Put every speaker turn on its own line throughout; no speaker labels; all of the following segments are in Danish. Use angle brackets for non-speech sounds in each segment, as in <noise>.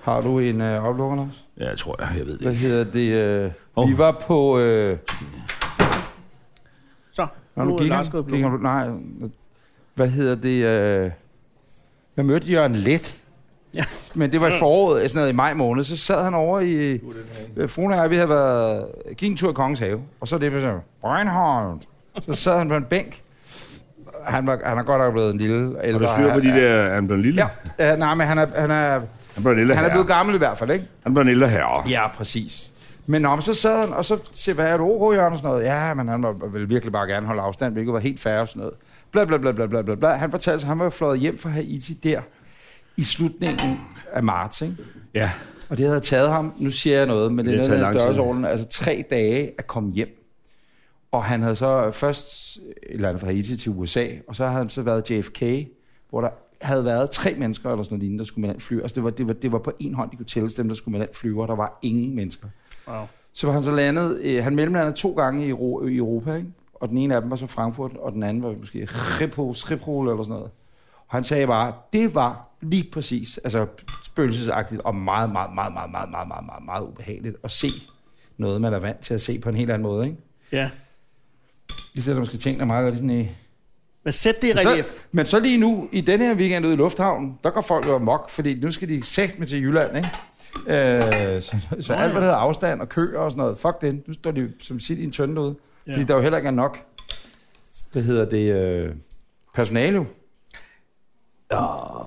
Har du en øh, aflukker, Lars?
Ja, jeg tror jeg. Jeg ved det
Hvad
ikke.
hedder det? Øh,
Åh.
Vi var på... Øh,
Så,
Nå, nu
er
gik
Lars
han.
gået
Gik han
blå.
nej. Hvad hedder det? Øh, jeg mødte Jørgen Let.
Ja.
Men det var i foråret, sådan noget i maj måned. Så sad han over i... Øh, Fruen og jeg, vi havde været... Gik en tur i Kongens Have. Og så det, vi sagde, Reinhardt. Så sad han på en bænk. Han, var, han er godt nok blevet en lille
Har
ældre.
du styr på de der... Er han blevet en lille?
Ja, ja nej, men han er, han er,
Han blev en ældre
han er
herre.
blevet gammel i hvert fald, ikke?
Han blev en ældre herre.
Ja, præcis. Men om, så sad han, og så siger, hvad er du OK, Jørgen? Og sådan noget. Ja, men han var, ville virkelig bare gerne holde afstand, hvilket var helt fair og sådan noget. Bla, bla, bla, bla, bla, bla, bla. Han fortalte sig, at han var fløjet hjem fra Haiti der i slutningen af marts, ikke?
Ja.
Og det havde taget ham, nu siger jeg noget, men det,
Det
det er
har taget
noget af
lang
den størrelseorden,
tid.
altså tre dage at komme hjem. Og han havde så først eller andet fra Haiti til USA, og så havde han så været JFK, hvor der havde været tre mennesker eller sådan noget lignende, der skulle med den flyve. Altså det var, det var, det var på en hånd, de kunne tælles dem, der skulle med den flyve, og der var ingen mennesker.
Wow.
Så var han så landet, øh, han mellemlandede to gange i, Euro, i Europa, ikke? og den ene af dem var så Frankfurt, og den anden var måske Schiphol, Schiphol eller sådan noget. Og han sagde bare, det var lige præcis, altså spøgelsesagtigt og meget, meget, meget, meget, meget, meget, meget, meget, meget ubehageligt at se noget, man er vant til at se på en helt anden måde, ikke?
Ja.
Det sætter måske tingene meget godt sådan i...
Men sæt det i
Så,
relief.
men så lige nu, i denne her weekend ude i Lufthavnen, der går folk jo amok, fordi nu skal de sagt med til Jylland, ikke? Øh, så, så
Nå,
alt, hvad
ja.
der hedder afstand og køer og sådan noget, fuck det, nu står de som sit i en tønde ude,
Ja.
fordi der jo heller ikke er nok, hvad hedder det, øh, personale jo.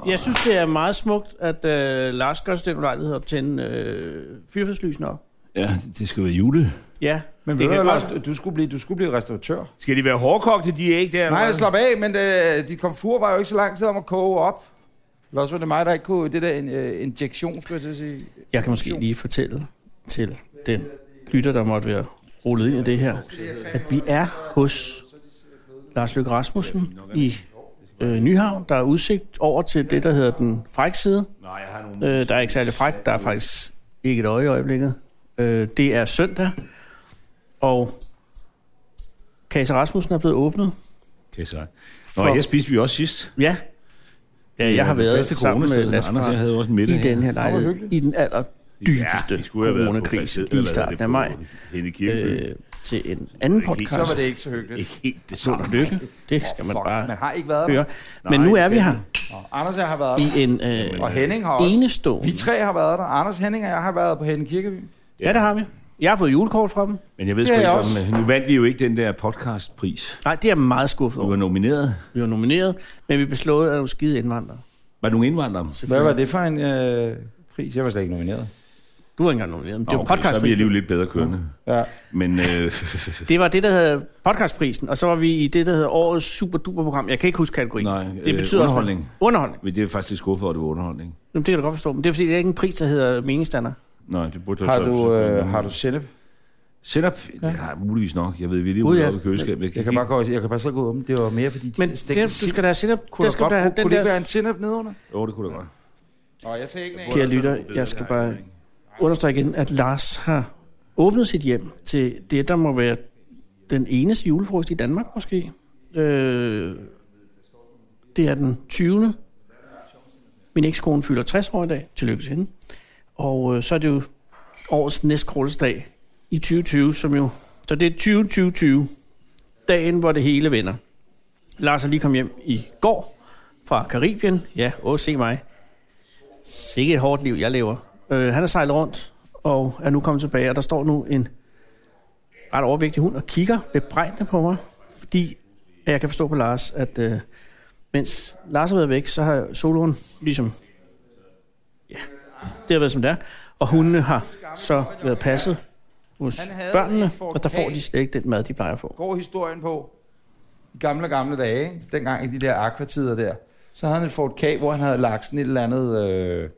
Jeg synes, det er meget smukt, at øh, Lars gør sig den lejlighed at tænde øh, fyrfærdslysene op.
Ja, det skal være jule.
Ja,
Men
det
ved du,
kan
Lars,
godt.
du- du skulle blive, du skulle blive restauratør.
Skal de være hårdkogte, de æg der?
Nej, slap af, men øh, dit komfur var jo ikke så lang tid om at koge op. Eller også var det mig, der ikke kunne det der in, øh, injektion, skulle jeg til at sige.
Jeg kan måske lige fortælle til den lytter, der måtte være rullet ind i det her, at vi er hos Lars Løkke Rasmussen i øh, Nyhavn. Der er udsigt over til det, der hedder den frække side.
Nej, jeg har nogle...
Øh, der er ikke særlig fræk. Der er faktisk ikke et øje i øjeblikket. Øh, det er søndag, og Kase Rasmussen er blevet åbnet.
Okay, så. Nå,
For-
her spiste vi også sidst.
Ja, ja jeg har været
Faste
sammen med
coronasted.
Lasse
Anders, jeg
Frank
havde også en middag
i den her
Hvor
lejlighed,
hyggeligt.
i den
Ja,
allerdybeste
vi
ja,
skulle have været på
coronakrise
Falsed,
i
eller hvad
starten
hedder
af maj.
det, på Henne Kirkeby.
Øh, til en anden
Det er ikke
podcast.
Så
helt-
var det Altså, ikke så hyggeligt.
Ikke helt det
Sund og
samme.
lykke. Det skal man
Fuck,
bare
man har ikke været
høre.
der.
Men nu
Nej,
er vi
det
her
Og Anders og jeg har været der.
i en øh,
Og Henning har også. Vi
enestående...
tre har været der. Anders, Henning og jeg har været på Henning Kirkeby.
Ja, det har vi. Jeg har fået julekort fra dem.
Men jeg ved
Det
sgu
er
ikke,
jeg
om... øh, Nu vandt vi jo ikke den der podcastpris.
Nej, det er jeg meget skuffet
Du
over.
var nomineret.
Vi var nomineret, men vi beslåede, at du skide indvandrere.
Var du nogen indvandrer?
Hvad var det for en øh, pris? Jeg var slet ikke nomineret.
Du var ikke engang nomineret, men det
Nå,
var
okay, Så er vi alligevel
podcastprisen.
lidt bedre kørende.
Ja.
Men øh,
<laughs> Det var det, der hedder podcastprisen, og så var vi i det, der hedder årets super duper program. Jeg kan ikke huske kategorien.
Nej,
det
øh,
betyder
underholdning.
Også, underholdning.
men det er faktisk lidt skuffet over, at det var underholdning.
Jamen, det kan du godt forstå, men det er fordi, det er ikke en pris, der hedder meningsstander.
Nej, det burde
Har
så-
du, øh, har du sennep?
Setup? Ja. Det har jeg muligvis nok. Jeg ved, vi er lige
Gud,
ude
ja.
oppe i køleskabet. Jeg kan,
Jeg kan bare, gå, jeg kan bare selv gå ud om. Det var mere fordi...
Men det,
stegte
du
sild.
skal da have setup.
Kunne
der
der
skal
godt,
du da have
kunne,
den
kunne det
der...
ikke være en sennep nedenunder?
Jo, det kunne da godt.
Nå, jeg tager ikke
Kære lytter, jeg skal bare understrege igen, at Lars har åbnet sit hjem til det, der må være den eneste julefrokost i Danmark måske. Øh, det er den 20. Min ekskone fylder 60 år i dag. Tillykke til hende. Og øh, så er det jo årets næstkortesdag i 2020, som jo... Så det er 2020, dagen hvor det hele vender. Lars er lige kommet hjem i går fra Karibien. Ja, åh, se mig. Sikke et hårdt liv, jeg lever. Øh, han er sejlet rundt, og er nu kommet tilbage, og der står nu en ret overvægtig hund og kigger bebrejdende på mig, fordi at jeg kan forstå på Lars, at øh, mens Lars har været væk, så har soloen ligesom... Ja, det har været som det er. Og hundene har så været passet hos
Han havde
børnene,
en forkage.
og der får de slet ikke den mad, de plejer at få.
Går historien på i gamle, gamle dage, ikke? dengang i de der akvatider der, så havde han et Ford K, hvor han havde lagt sådan et eller andet øh,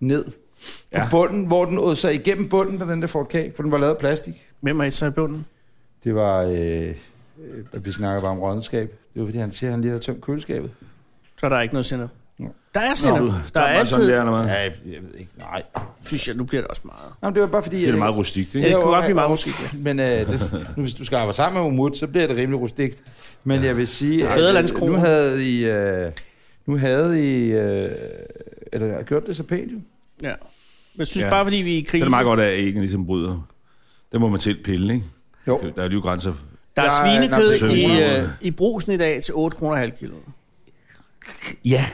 ned ja.
Ja.
på bunden, hvor den åd sig igennem bunden på den der Ford K, for den var lavet af plastik.
Hvem er et så i bunden?
Det var, øh, øh, vi snakker bare om rådenskab. Det var fordi, han siger, at han lige havde tømt køleskabet.
Så er der ikke noget sender.
Nå.
Der er sender.
du,
der er altid...
Der, eller hvad?
Ja, jeg jeg ved ikke. Nej.
Synes jeg, nu bliver det også meget.
Nå, men det var bare fordi...
Det er da meget rustikt,
Ja,
ikke?
det kunne
jo,
godt blive meget
og-
rustikt, ja.
Men øh, det, nu, hvis du skal arbejde sammen med Umut, så bliver det rimelig rustikt. Men jeg vil sige... at, øh,
Fædrelandskroen.
Nu havde I... Øh, nu havde I... Øh, eller gjort det så pænt, jo.
Ja. Jeg synes ja.
Ja.
bare, fordi vi er i
Det
krise,
er meget godt, at æggen ligesom bryder. Det må man selv pille, ikke?
Jo.
Der er jo grænser.
der er
Der er-
svinekød
der er
i,
service-
øh, i brusen i dag til 8 kroner halv kilo.
Ja.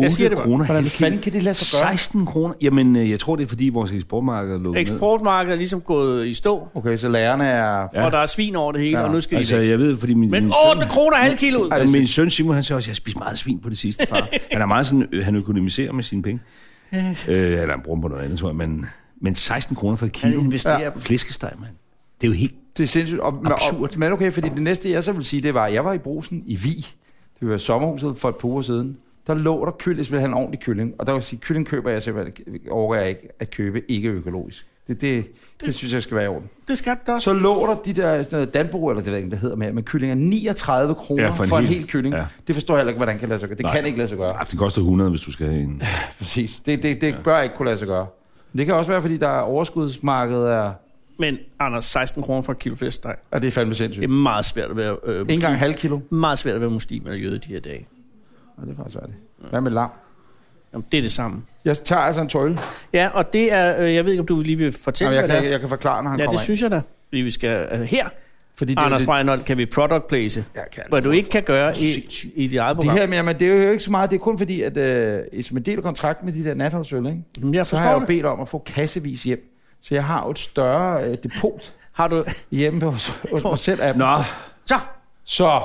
Jeg siger det
8
bare.
kroner.
Hvordan
halv
fanden
kilo.
kan det lade sig gøre?
16 kroner. Jamen, øh, jeg tror, det er, fordi vores eksportmarked er lukket
Eksportmarkedet er ligesom gået i stå,
Okay, så lærerne er...
Ja.
ja. og der er svin over det hele,
Ja.
og nu
ned.
skal altså,
Altså,
I væk.
jeg ved, fordi min,
Men
min
8 kroner halv kilo!
Ej,
Ja,
det er
min søn Simon, han siger også, jeg har spist meget svin på det sidste, <laughs> far. han er meget sådan, øh, han økonomiserer med sine penge. øh, eller han bruger dem på noget andet, tror jeg. Men, men 16 kroner for et
Han
kilo.
investerer
Ja.
ja.
Flæskesteg, mand. Det er jo helt...
Det er sindssygt. Og,
Absurd.
Og, men okay, fordi det næste, jeg så vil sige, det var, at jeg var i brusen i Vi. Det var i sommerhuset for et par uger siden. Der lå der kylling, ville have en ordentlig kylling. Og der vil jeg sige, kylling køber jeg simpelthen, overgår jeg ikke at købe ikke økologisk. Det, det, det, synes jeg skal være i orden.
Det skal der også.
Så lå der de der sådan noget Danbo, eller det ved jeg ikke, hvad det hedder med, med kyllinger, 39 kroner
Ja,
for en, for en hel, kylling. Ja. Det forstår jeg heller ikke, hvordan det kan lade sig gøre. Det Nej.
Nej.
kan ikke lade sig gøre.
Ah, det koster 100, hvis du skal have en...
Præcis. Det, det, det ja. bør ikke kunne lade sig gøre. Men det kan også være, fordi der er overskudsmarkedet er...
Men Anders, 16 kroner for et kilo flæskesteg.
Og det er fandme
Det
sindssygt.
er meget svært at være, øh,
Ikke engang halv kilo.
meget svært at være muslim eller jøde de her dage.
Og det er faktisk svært. Hvad med lam?
Jamen, det er det samme.
Jeg tager altså en tøjle.
Ja, og det er, øh, jeg ved ikke, om du lige vil
Nå,
fortælle,
jeg,
hvad
kan,
det er.
jeg kan forklare, når han
Ja,
kommer
det synes jeg da. Fordi vi skal, altså, her,
ind. Fordi det, er jo
Anders
det,
Breinholt, kan vi product place,
jeg kan.
hvad du ikke kan gøre i, i dit eget
Det
program.
her med, men det er jo ikke så meget. Det er kun fordi, at øh, som en del af kontrakten med de der natholdsøl, ikke?
Jamen, jeg
så har jeg
forstår
jo
det.
bedt om at få kassevis hjem. Så jeg har jo et større øh, depot
Har du...
hjemme hos, hos mig selv. Af dem.
Nå,
Så!
Så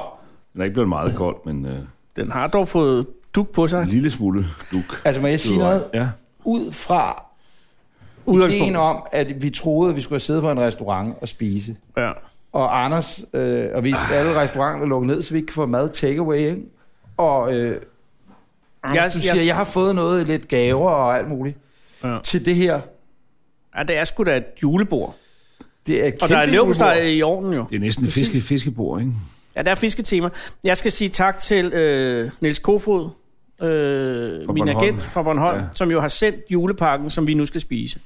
den er ikke blevet meget kold, men øh,
Den har dog fået duk på sig.
en lille smule duk.
altså, må jeg sige noget?
Ja.
Ud fra ideen
Udgangspunkt.
om, at vi troede, at vi skulle sidde på en restaurant og spise.
Ja.
Og Anders, øh, og vi
Ah.
alle restauranter lukket ned, så vi ikke kan få mad takeaway, ikke? Og øh,
Jeg,
Anders, du siger,
jeg,
jeg har fået noget, lidt gaver og alt muligt
Ja.
til det her.
ja, det er sgu da et julebord.
Det er et
Og
kæmpe
der er
julebord.
løbsteg i ovnen jo.
Det er næsten et
Præcis.
fiske, fiskebord, ikke?
Ja, der er fisketema. Jeg skal sige tak til øh, Niels Kofod, øh,
Fra
min
Bornholm.
agent fra Bornholm, ja.
Ja.
som jo har sendt julepakken, som vi nu skal spise.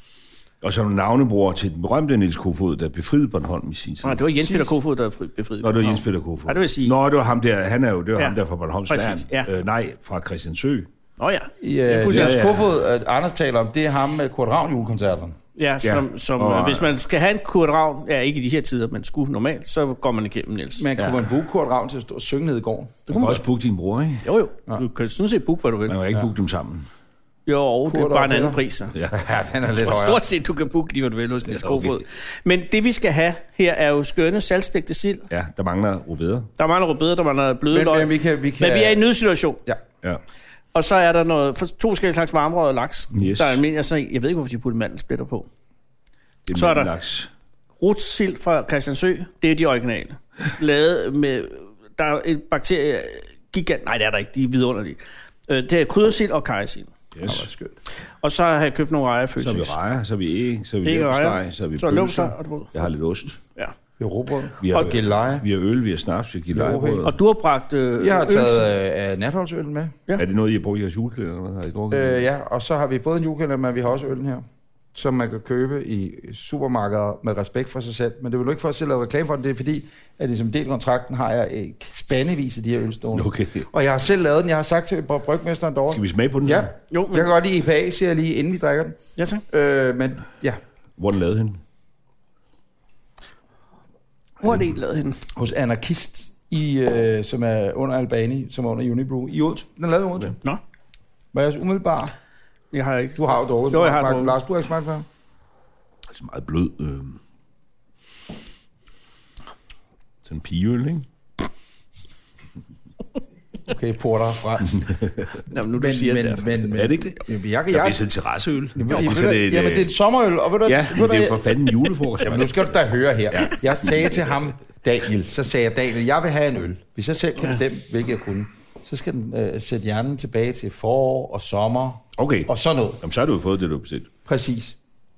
Og så er du navnebror til den berømte Niels Kofod, der befriede Bornholm i sin tid.
Nej, det var Jens Peter Kofod, der fri- befriede
Ah, Nå, det var
Bornholm.
Jens Peter Kofod.
Ja, det vil sige-
Nå, det var ham der, han er jo, det var
Ja.
ja. ham der fra Bornholms
Præcis,
Værn.
ja.
Øh, nej, fra Christiansø.
Nå ja,
Ja, det
fuldstændig.
er
Ja, ja.
skuffet, øh, at Anders taler om, det er ham med Kurt Ravn julekoncerten.
ja som, som
Og-
øh, hvis man skal have en Kurt Ravn, ja ikke i de her tider, men skulle normalt, så går man igennem Niels.
Men kunne man booke Kurt Ravn til at stå og synge ned i gården?
Du kan også booke din bror, ikke?
Jo jo,
Ja.
du kan sådan set booke, hvad du vil.
Man kan ikke booke dem sammen.
Jo, det er
Kurt
bare
og
en anden
Peter.
pris. Så.
Ja.
<laughs> Ja, den er lidt
Og
højere.
stort set, du kan booke lige, hvad du vil hos Niels
er okay.
Kofod. Men det, vi skal have her, er jo skønne salgstegte sild.
ja, der mangler rubeder.
Der mangler rødbeder, der mangler bløde
Men,
løg.
men, vi kan, vi kan,
Men vi er i en nødsituation.
Ja.
Ja.
Og så er der noget, for to forskellige slags varmrød laks.
Yes.
Der er almindelig, altså, jeg ved ikke, hvorfor de putter mandelsplitter på.
Det
Så er der-
laks.
Rutsild fra Christiansø, det er de originale. Lavet med, der er et bakterie, gigant, nej det er der ikke, de er vidunderlige. Øh, Det er kryddersild og kajsild.
Yes.
Og så har jeg købt nogle rejer
Så er vi
fødsels.
rejer, så er vi æg, så er vi
Ikke
leverpostej,
rejer.
så er vi
Så er
pølser.
løbsteg og brød.
Jeg har lidt ost.
Ja.
Vi er råbrød.
Vi har,
Og geleje.
vi har øl, vi har snaps, vi har gilejbrød.
Og du har bragt øh,
Jeg har
øl til-
taget øh, natholdsølen med.
Ja.
Er det noget, I har brugt i jeres juleklæder? Eller hvad? Har I drukket det?
Øh, ja, og så har vi både en julekalender, men vi har også øllen her, som man kan købe i supermarkeder med respekt for sig selv. Men det vil du ikke for at selv lave reklame for den. Det er fordi, at ligesom del af kontrakten har jeg øh, spandevis af de her ølstående.
Okay.
Og jeg har selv lavet den. Jeg har sagt til bryg- brygmesteren derovre.
Skal vi smage på den?
Ja,
så?
Jo,
jeg
men,
kan godt lide IPA, siger jeg lige, inden vi drikker den.
ja, tak.
Øh, men ja,
Hvor er den lavet henne?
Hvor er det egentlig lavet henne?
hos Anarkist, i, øh, som er under Albani, som er under Unibrew, i Odense. Den er lavet i Odense. Okay.
Nå,
Var jeg så umiddelbar?
jeg har ikke.
Du har jo drukket. den,
Jo, jeg har
Mark-
drukket.
Lars, du har ikke smagt på den?
Det er så meget blød. Øh... Sådan en pigeøl, ikke?
Okay, porter fra.
Nå, men nu du siger det.
men, men, men,
Er det ikke det?
Jamen, jeg, jeg,
Jeg, det er sådan en terrasseøl.
Jamen,
Jo,
jamen,
så
det, jamen, det er en sommerøl, og ved du,
Ja,
ved
men
du
det er jo
jeg-
for fanden en julefrokost.
Jamen, nu skal du da høre her. Ja. Jeg sagde til ham, Daniel, så sagde jeg, Daniel, jeg vil have en øl. Hvis jeg selv kan bestemme, hvilket jeg kunne, så skal den øh, sætte hjernen tilbage til forår og sommer
Okay,
og sådan noget.
jamen, så har du jo fået det, du har bestilt.
Præcis.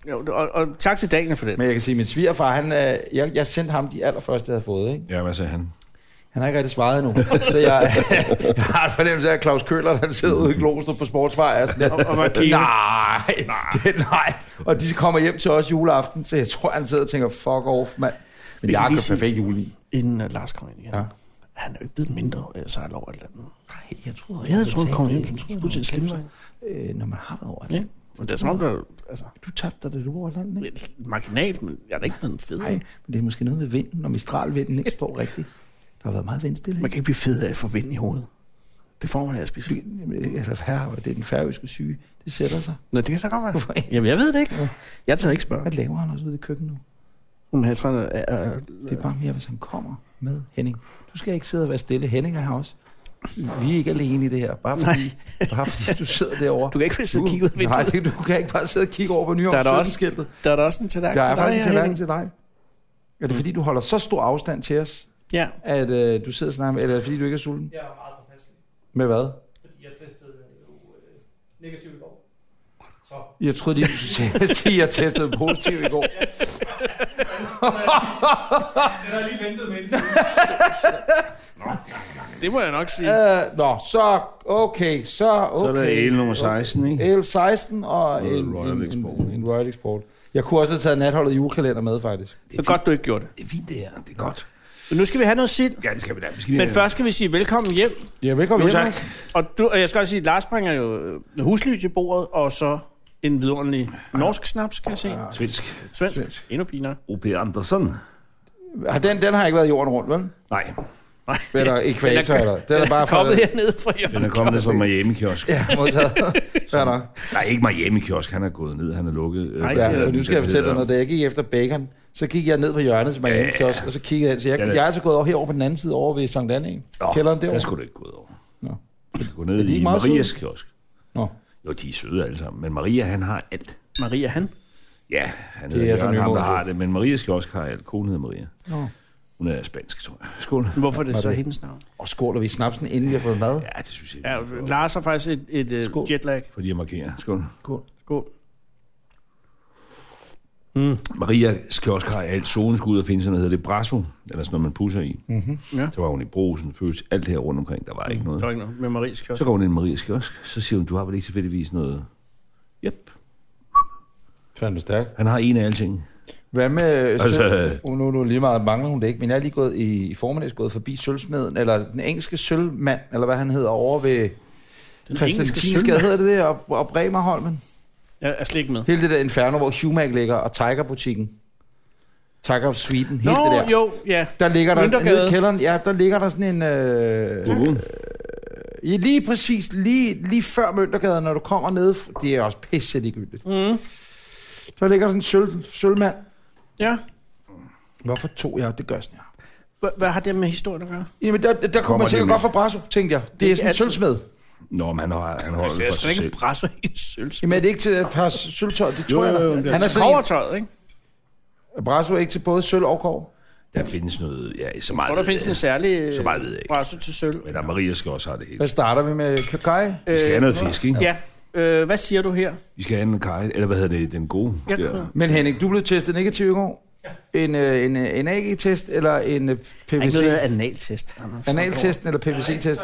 Jo, og, og tak til Daniel for den.
Men jeg kan sige, at min svigerfar, han, øh, jeg, jeg sendte ham de allerførste, jeg havde fået. Ikke?
Ja, hvad sagde han?
Han har ikke rigtig svaret endnu. Så jeg, <laughs> jeg har en fornemmelse af, at Claus Køller, han sidder ude i Glostrup på Sportsvej. Er sådan,
Og- og markerer.
nej, det, nej. Og de kommer hjem til os juleaften, så jeg tror, han sidder og tænker, fuck off, mand. Men jeg
lige
har købt
sige-
perfekt jul i.
inden uh, Lars kom ind igen.
Ja.
Ja. Han er jo ikke blevet mindre øh, sejl over et eller andet. Nej, jeg troede, jeg havde troet, han kom hjem, som skulle til at slippe sig.
øh, når man har været over det.
Ja. Men det er som om, der, altså, Altså,
Du tabte dig det lort, ikke?
marginalt, men jeg er da ikke blevet fed.
Nej, men det er måske noget med vinden, og mistralvinden ikke står rigtigt. Der har været meget vindstille.
Man
ikke?
kan ikke blive fed af at få vind i hovedet. Det får man af at spise.
Fordi, jamen, altså, her, det er den færøske syge. Det sætter sig.
Nå, det kan så godt være.
Hvorfor ikke?
Jamen, jeg ved det ikke.
Ja.
Jeg tør ikke spørge.
Hvad laver han også ude i køkkenet nu?
Om jeg tror, at, at, at,
Det er bare mere, hvis han kommer med Henning. Du skal ikke sidde og være stille. Henning er her også. Vi er ikke alene i det her. Bare fordi, bare fordi du sidder derovre.
du kan ikke sidde og kigge ud af
Nej,
vinduet.
det- du kan ikke bare sidde og kigge over på Nyhavn.
Der er der også-
skiltet.
Der er der også en tallerken
Der er faktisk en
her,
tallerken
Henning.
til dig. Er det fordi, du holder så stor afstand til os,
Ja.
at øh, du sidder og snakker med, eller er det fordi, du ikke er sulten?
Jeg er meget påpasselig,
Med hvad?
fordi jeg testede jo øh, negativt i går. Så
Jeg troede, de ville sige, <laughs> at jeg testede positiv i går.
den har jeg lige
<laughs>
ventet med indtil.
Det må jeg nok sige.
Uh, nå, så okay, så
Så er
okay.
der el nummer 16, ikke?
El 16 og en,
Royal
en, en,
Export.
en, en Royal Export. Jeg kunne også have taget natholdet julekalender med, faktisk.
Det er Øh, godt, du ikke gjorde det.
Det er fint, det her. Det er godt.
Men nu skal vi have noget sild.
Ja, det skal vi da. Vi skal lige-
Men først skal vi sige velkommen hjem.
Ja, velkommen
Jo, tak.
Mads.
Og, du, og jeg skal også sige, at Lars bringer jo øh, husly til bordet, og så en vidunderlig norsk snaps, kan jeg se.
Svensk.
Svensk. Endnu finere.
O.P. Andersen.
Har Den, den har ikke været jorden rundt, vel?
Nej,
Nej,
Hvad
<laughs>
er der ekvator eller? Den er bare fra...
kommet hernede fra hjørnet.
den er kommet ned fra Miami-kiosk.
Ja, modtaget.
<laughs>
Fair nok.
Nej, ikke Miami-kiosk. Han er gået ned. Han er lukket. Øh,
Nej,
hvad
det er-
hedder
Ja, for
den,
nu skal
den
jeg fortælle dig
hedder?
noget. Da jeg gik efter bacon, så gik jeg ned på hjørnet til Miami Kiosk, og så kiggede jeg ind. Så jeg,
Ja, det-
jeg er altså gået over herover på den anden side, over ved Sankt Anne.
Nå,
Kælderen
Der
derovre.
skulle du ikke gået over.
Nå.
Du skal gå ned
de
i
ikke meget
Marias kiosk.
Nå.
Jo, de er søde alle sammen. Men Maria, han har alt.
Maria, han.
Ja, han
Det er
hedder
altså
Jørgen, ham, der
nymodigt.
har det. Men Marias kiosk har alt. Konen hedder Maria.
Nå.
Hun er spansk, tror jeg. Skål.
Hvorfor er det
Var
så
det-
hendes navn?
Og skåler vi i snapsen, inden vi har fået mad?
Ja, det synes jeg.
Ja,
vi får-
Lars har faktisk et, et
Skål.
uh, jetlag.
Fordi jeg markerer. Skål.
Skål. Mm.
Marias kiosk har alt. Solen skulle ud og finde sådan noget, hedder det brasso. Eller sådan noget, man pusser i.
Mm-hmm.
Ja. Mm.
Så var hun i brosen, føles alt her rundt omkring. Der var ikke noget.
Der var ikke noget med Maries kiosk.
Så går hun ind i Marias kiosk. Så siger hun, du har vel ikke tilfældigvis noget... Yep.
Fandt stærkt.
Han har en af alting.
Hvad med...
Altså,
Altså, nu, nu er det lige meget, mangler hun det ikke, men jeg er lige gået i, i formiddags gået forbi sølvsmeden, eller den engelske sølvmand, eller hvad han hedder, over ved
Den
Christiansgade, hedder det det, og, og Bremerholmen.
Jeg er slet ikke med.
Hele det der inferno, hvor Humac ligger, og Tiger-butikken. Tiger of Sweden, hele
Nå,
det der.
jo, ja.
Der ligger der,
Møntergade.
nede i kælderen, ja, der ligger der sådan en... Øh,
Boom.
ja, lige præcis, lige, lige før Møntergade, når du kommer ned, det er også pisse ligegyldigt.
Mm.
Der ligger der sådan en sølv, sølvmand.
Ja.
Hvorfor tog jeg? Det gør sådan her.
Hva- Hvad har det med historien at gøre?
Jamen, der, der kunne
Kommer
man
de
sikkert
med?
godt fra Brasso, tænkte jeg. Det,
Det
er
er
sådan en
altid-
sølvsmed.
Nå, men han, har, han
Altså,
holder det for sig selv.
brasse i en sølvs.
Jamen, er det ikke til et par sølvtøj? Det tror
jo,
jeg
jo,
da.
det er
Han er
Altså,
sådan
Kovertøjet, ikke?
en, Brasso er ikke til både sølv og kov.
Der findes noget... Ja, så meget
Hvor der
ved
findes en
jeg.
særlig øh,
Så meget ved jeg ikke.
brasse til sølv.
Men der Maria skal også have det hele.
Hvad starter vi med? Kakai?
Vi skal have noget
Øh,
fisk, ikke?
Ja. Øh, hvad siger du her?
Vi skal have en kaj, eller hvad hedder det, den gode?
Jeg
der.
tror-
Men Henning, du blev testet negativ i går. En, øh, en, øh, en AG-test eller en øh, PVC?
analtest, Anders.
Analtesten eller PVC-testen?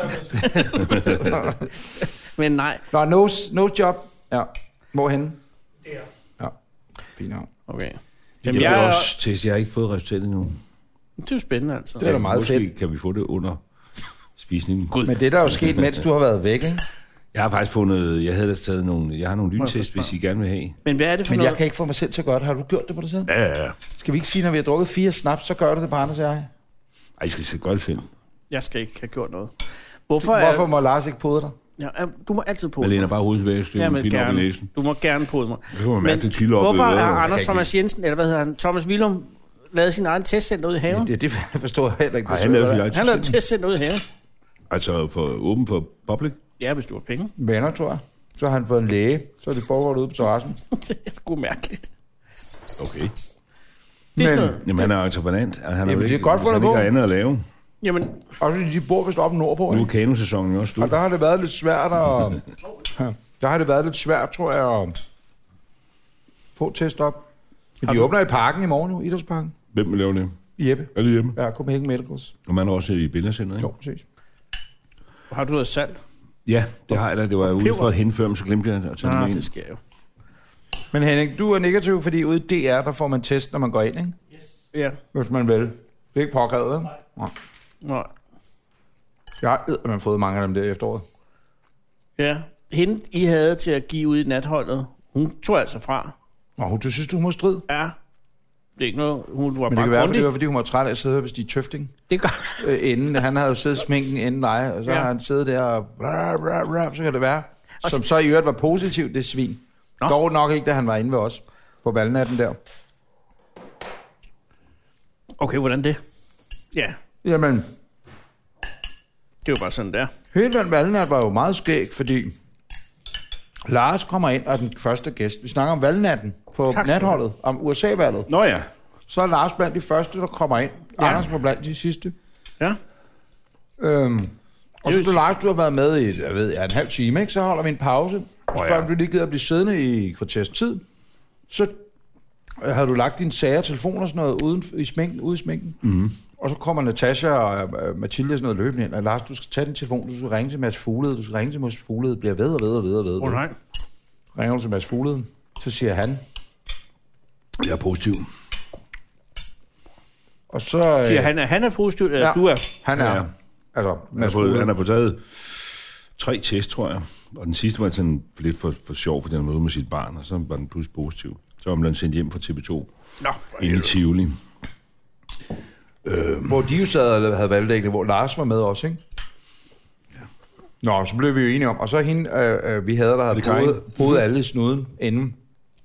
Men nej.
<laughs> Nå, no, no job. Ja. Hvorhenne?
Det er
Fint navn.
Okay.
jeg,
Jamen,
vil
jeg,
også teste, jeg har ikke fået resultatet endnu.
det er jo spændende, altså.
Det er da meget
Måske
fedt.
kan vi få det under spisningen. God.
Men det er der er jo sket, mens du har været væk, ikke?
Jeg har faktisk fundet, jeg havde ellers taget nogle, jeg har nogle lyntest, hvis I gerne vil have.
Men hvad er det for
Men
noget?
jeg kan ikke få mig selv til at gøre det. Har du gjort det på dig selv?
Ja, ja, ja.
Skal vi ikke sige, når vi har drukket fire snaps, så gør du det på Anders og jeg?
Ej, I skal se godt selv.
Jeg skal ikke have gjort noget. Hvorfor,
Hvorfor
Hvorfor?
må Lars ikke pode dig?
Er, ja, du må altid på
Jeg læner bare hovedet tilbage, så det er en
men
pin op i
gerne.
næsen.
Du må gerne på mig.
Det var mærkeligt kilde op.
hvorfor
ved øret.
har
Jeg
Anders
kan ikke-
Thomas Jensen, eller hvad hedder han, Thomas Willum, lavet sin egen testcenter ude i haven?
Ja, det <laughs> forstår jeg heller ikke.
Ej, han lavede sit eget
Han lavede et
test.
testcenter ude i haven.
Altså for, åben for public.
Ja, hvis du har penge. <laughs>
venner, tror jeg. Så har han fået en læge, så det foregår ude på terrassen.
det er sgu mærkeligt.
Okay.
Det er sådan
Men-
noget.
Jamen, han er entreprenant. og Han er
Jamen,
jo
det er
ikke-
godt
hvis
fundet
han ikke
på.
har andet at lave.
Jamen,
Og de bor vist oppe nordpå,
Nu er
ikke?
kanosæsonen jo også slut.
Og der har det været lidt svært at... <laughs> Der har det været lidt svært, tror jeg, at få test op. Men de åbner i parken i morgen nu, Idrætsparken.
Hvem vil lave det?
I Jeppe.
Er det hjemme?
Ja, Copenhagen Medicals.
Og man er også i billedcenteret, ikke?
Jo, præcis.
har du noget salt?
Ja, det har jeg da. Det var jeg ude
peber.
for at henføre dem, så glemte jeg at tage
Nej,
dem
ah,
med
det
ind.
sker jo.
Men Henning, du er negativ, fordi ude i DR, der får man test, når man går ind, ikke?
Ja,
Hvis man vil. Det er ikke påkrævet, ikke?
Nå.
Jeg har man fået mange af dem der i efteråret.
ja. Hende, I havde til at give ud i natholdet, hun tog altså fra.
Nå, du synes, du må strid.
Ja. Det er ikke noget, hun var
Men det
bare
kan være, fordi,
grundig.
det var, fordi hun var træt af at sidde her, hvis de er tøfting
Det gør
øh, inden. Han havde jo siddet i sminken inden dig, og så
Ja.
ja. har han siddet der og... Rah, rah, rah, så kan det være. Som så i øvrigt var positivt, det svin.
Nå.
Nå. Dog nok ikke, da han var inde ved os på valgnatten der.
Okay, hvordan det? Ja,
Jamen,
det er jo bare sådan der.
Hele den valnat var jo meget skæg, fordi Lars kommer ind og er den første gæst. Vi snakker om valgnatten på
Tak skal du have.
natholdet, om USA-valget.
Nå ja.
Så er Lars blandt de første, der kommer ind.
Ja.
Ja. Anders var blandt de sidste.
Ja.
Øhm, og
Det er
så
jo
du, Lars, du har været med i, jeg ved, ja, en halv time, ikke? Så holder vi en pause. Og
Åh,
spørger,
ja.
om du lige gider at blive siddende i et kvarters tid. Så øh, havde du lagt dine sager, telefon og sådan noget uden, i sminken, ude i sminken.
Mhm.
Mm-hmm. Og så kommer Natasha og øh, Mathilde og sådan noget løbende ind. Og Lars, du skal tage din telefon, du skal ringe til Mads Fuglede, du skal ringe til Mads Fuglede, bliver ved og ved og ved og ved.
Åh oh, nej.
Ringer du til Mads Fuglede, så siger han.
Jeg er positiv.
Og så... Øh,
Siger han, er, han er positiv, eller ja.
Ja.
du er...
Han er...
Ja, ja.
Ja. Altså,
Han har,
Mads
fået,
Fuglede.
han har fået taget tre test, tror jeg. Og den sidste var sådan lidt for, for sjov, fordi han var ude med sit barn, og så var den pludselig positiv. Så var han blevet sendt hjem fra TV2
Nå, for
ind i
helvede.
Tivoli.
Øh, Hvor de jo sad og havde valgdækning, hvor Lars var med også, ikke? Nå, så blev vi jo enige om. Og så hende, øh, øh, vi havde, der havde
det Karin?
boet, boet alle i snuden inden.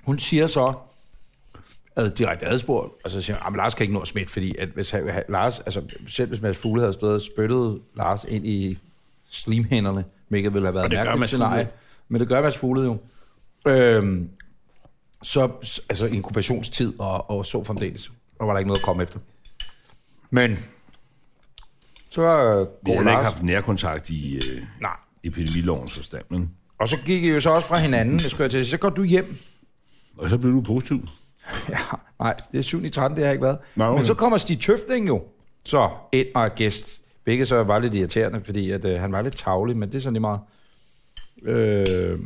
Hun siger så, ad, direkte adspurgt, og så siger hun, "Ah, Lars kan ikke nå at smitte, fordi at hvis han, han- Lars, altså, selv hvis Mads Fugle havde stået og spyttet Lars ind i slimhænderne, hvilket ville have været
Og
et
det gør
mærkeligt
Mads
scenarie.
Fuglede.
Men det gør Mads Fugle jo. Øhm, så, altså inkubationstid og, og så fremdeles. Og var der ikke noget at komme efter. Men så øh,
Vi har
går
heller ikke
Lars.
haft nærkontakt i øh,
Nej.
epidemilovens forstand, men...
Og så gik I jo så også fra hinanden, det skulle jeg til. at sige. Så går du hjem.
Og så blev du positiv.
Ja, nej, det er 7. i 13, det har jeg ikke været.
Nå, okay.
Men så kommer Stig Tøfting jo, så ind og er gæst. Hvilket så var lidt irriterende, fordi at, øh, han var lidt tavlig, men det er sådan lige meget. Øh,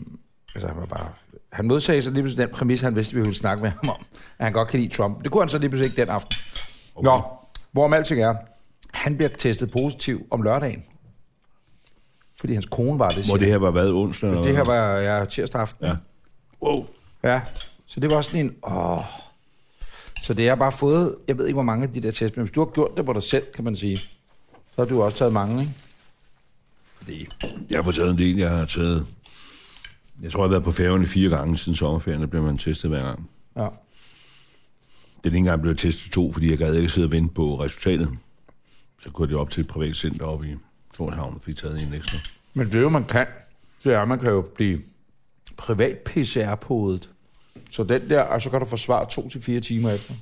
altså, han var bare... Han modsagde sig lige pludselig den præmis, han vidste, vi ville snakke med ham om. At han godt kan lide Trump. Det kunne han så lige pludselig ikke den aften. Okay. Nå, hvorom alting er, han bliver testet positiv om lørdagen. Fordi hans kone var det.
Hvor
siger
det her var været onsdag?
han.
eller
det her
hvad?
var ja, tirsdag aften.
Ja. Wow.
Ja, så det var sådan en, åh. Så det har bare fået, jeg ved ikke, hvor mange af de der tests, men hvis du har gjort det på dig selv, kan man sige, så har du også taget mange, ikke?
Jeg har fået taget en del, jeg har taget... Jeg tror, jeg har været på færgerne fire gange siden sommerferien, der blev man testet hver gang.
Ja.
Den ene gang blev jeg testet to, fordi jeg gad ikke sidde og vente på resultatet. Så kunne det op til et privat center oppe i Torshavn og fik taget en ekstra.
Men det er jo, man kan. Det er, man kan jo blive privat PCR-podet. Så den der, og så kan du få svar to til fire timer efter.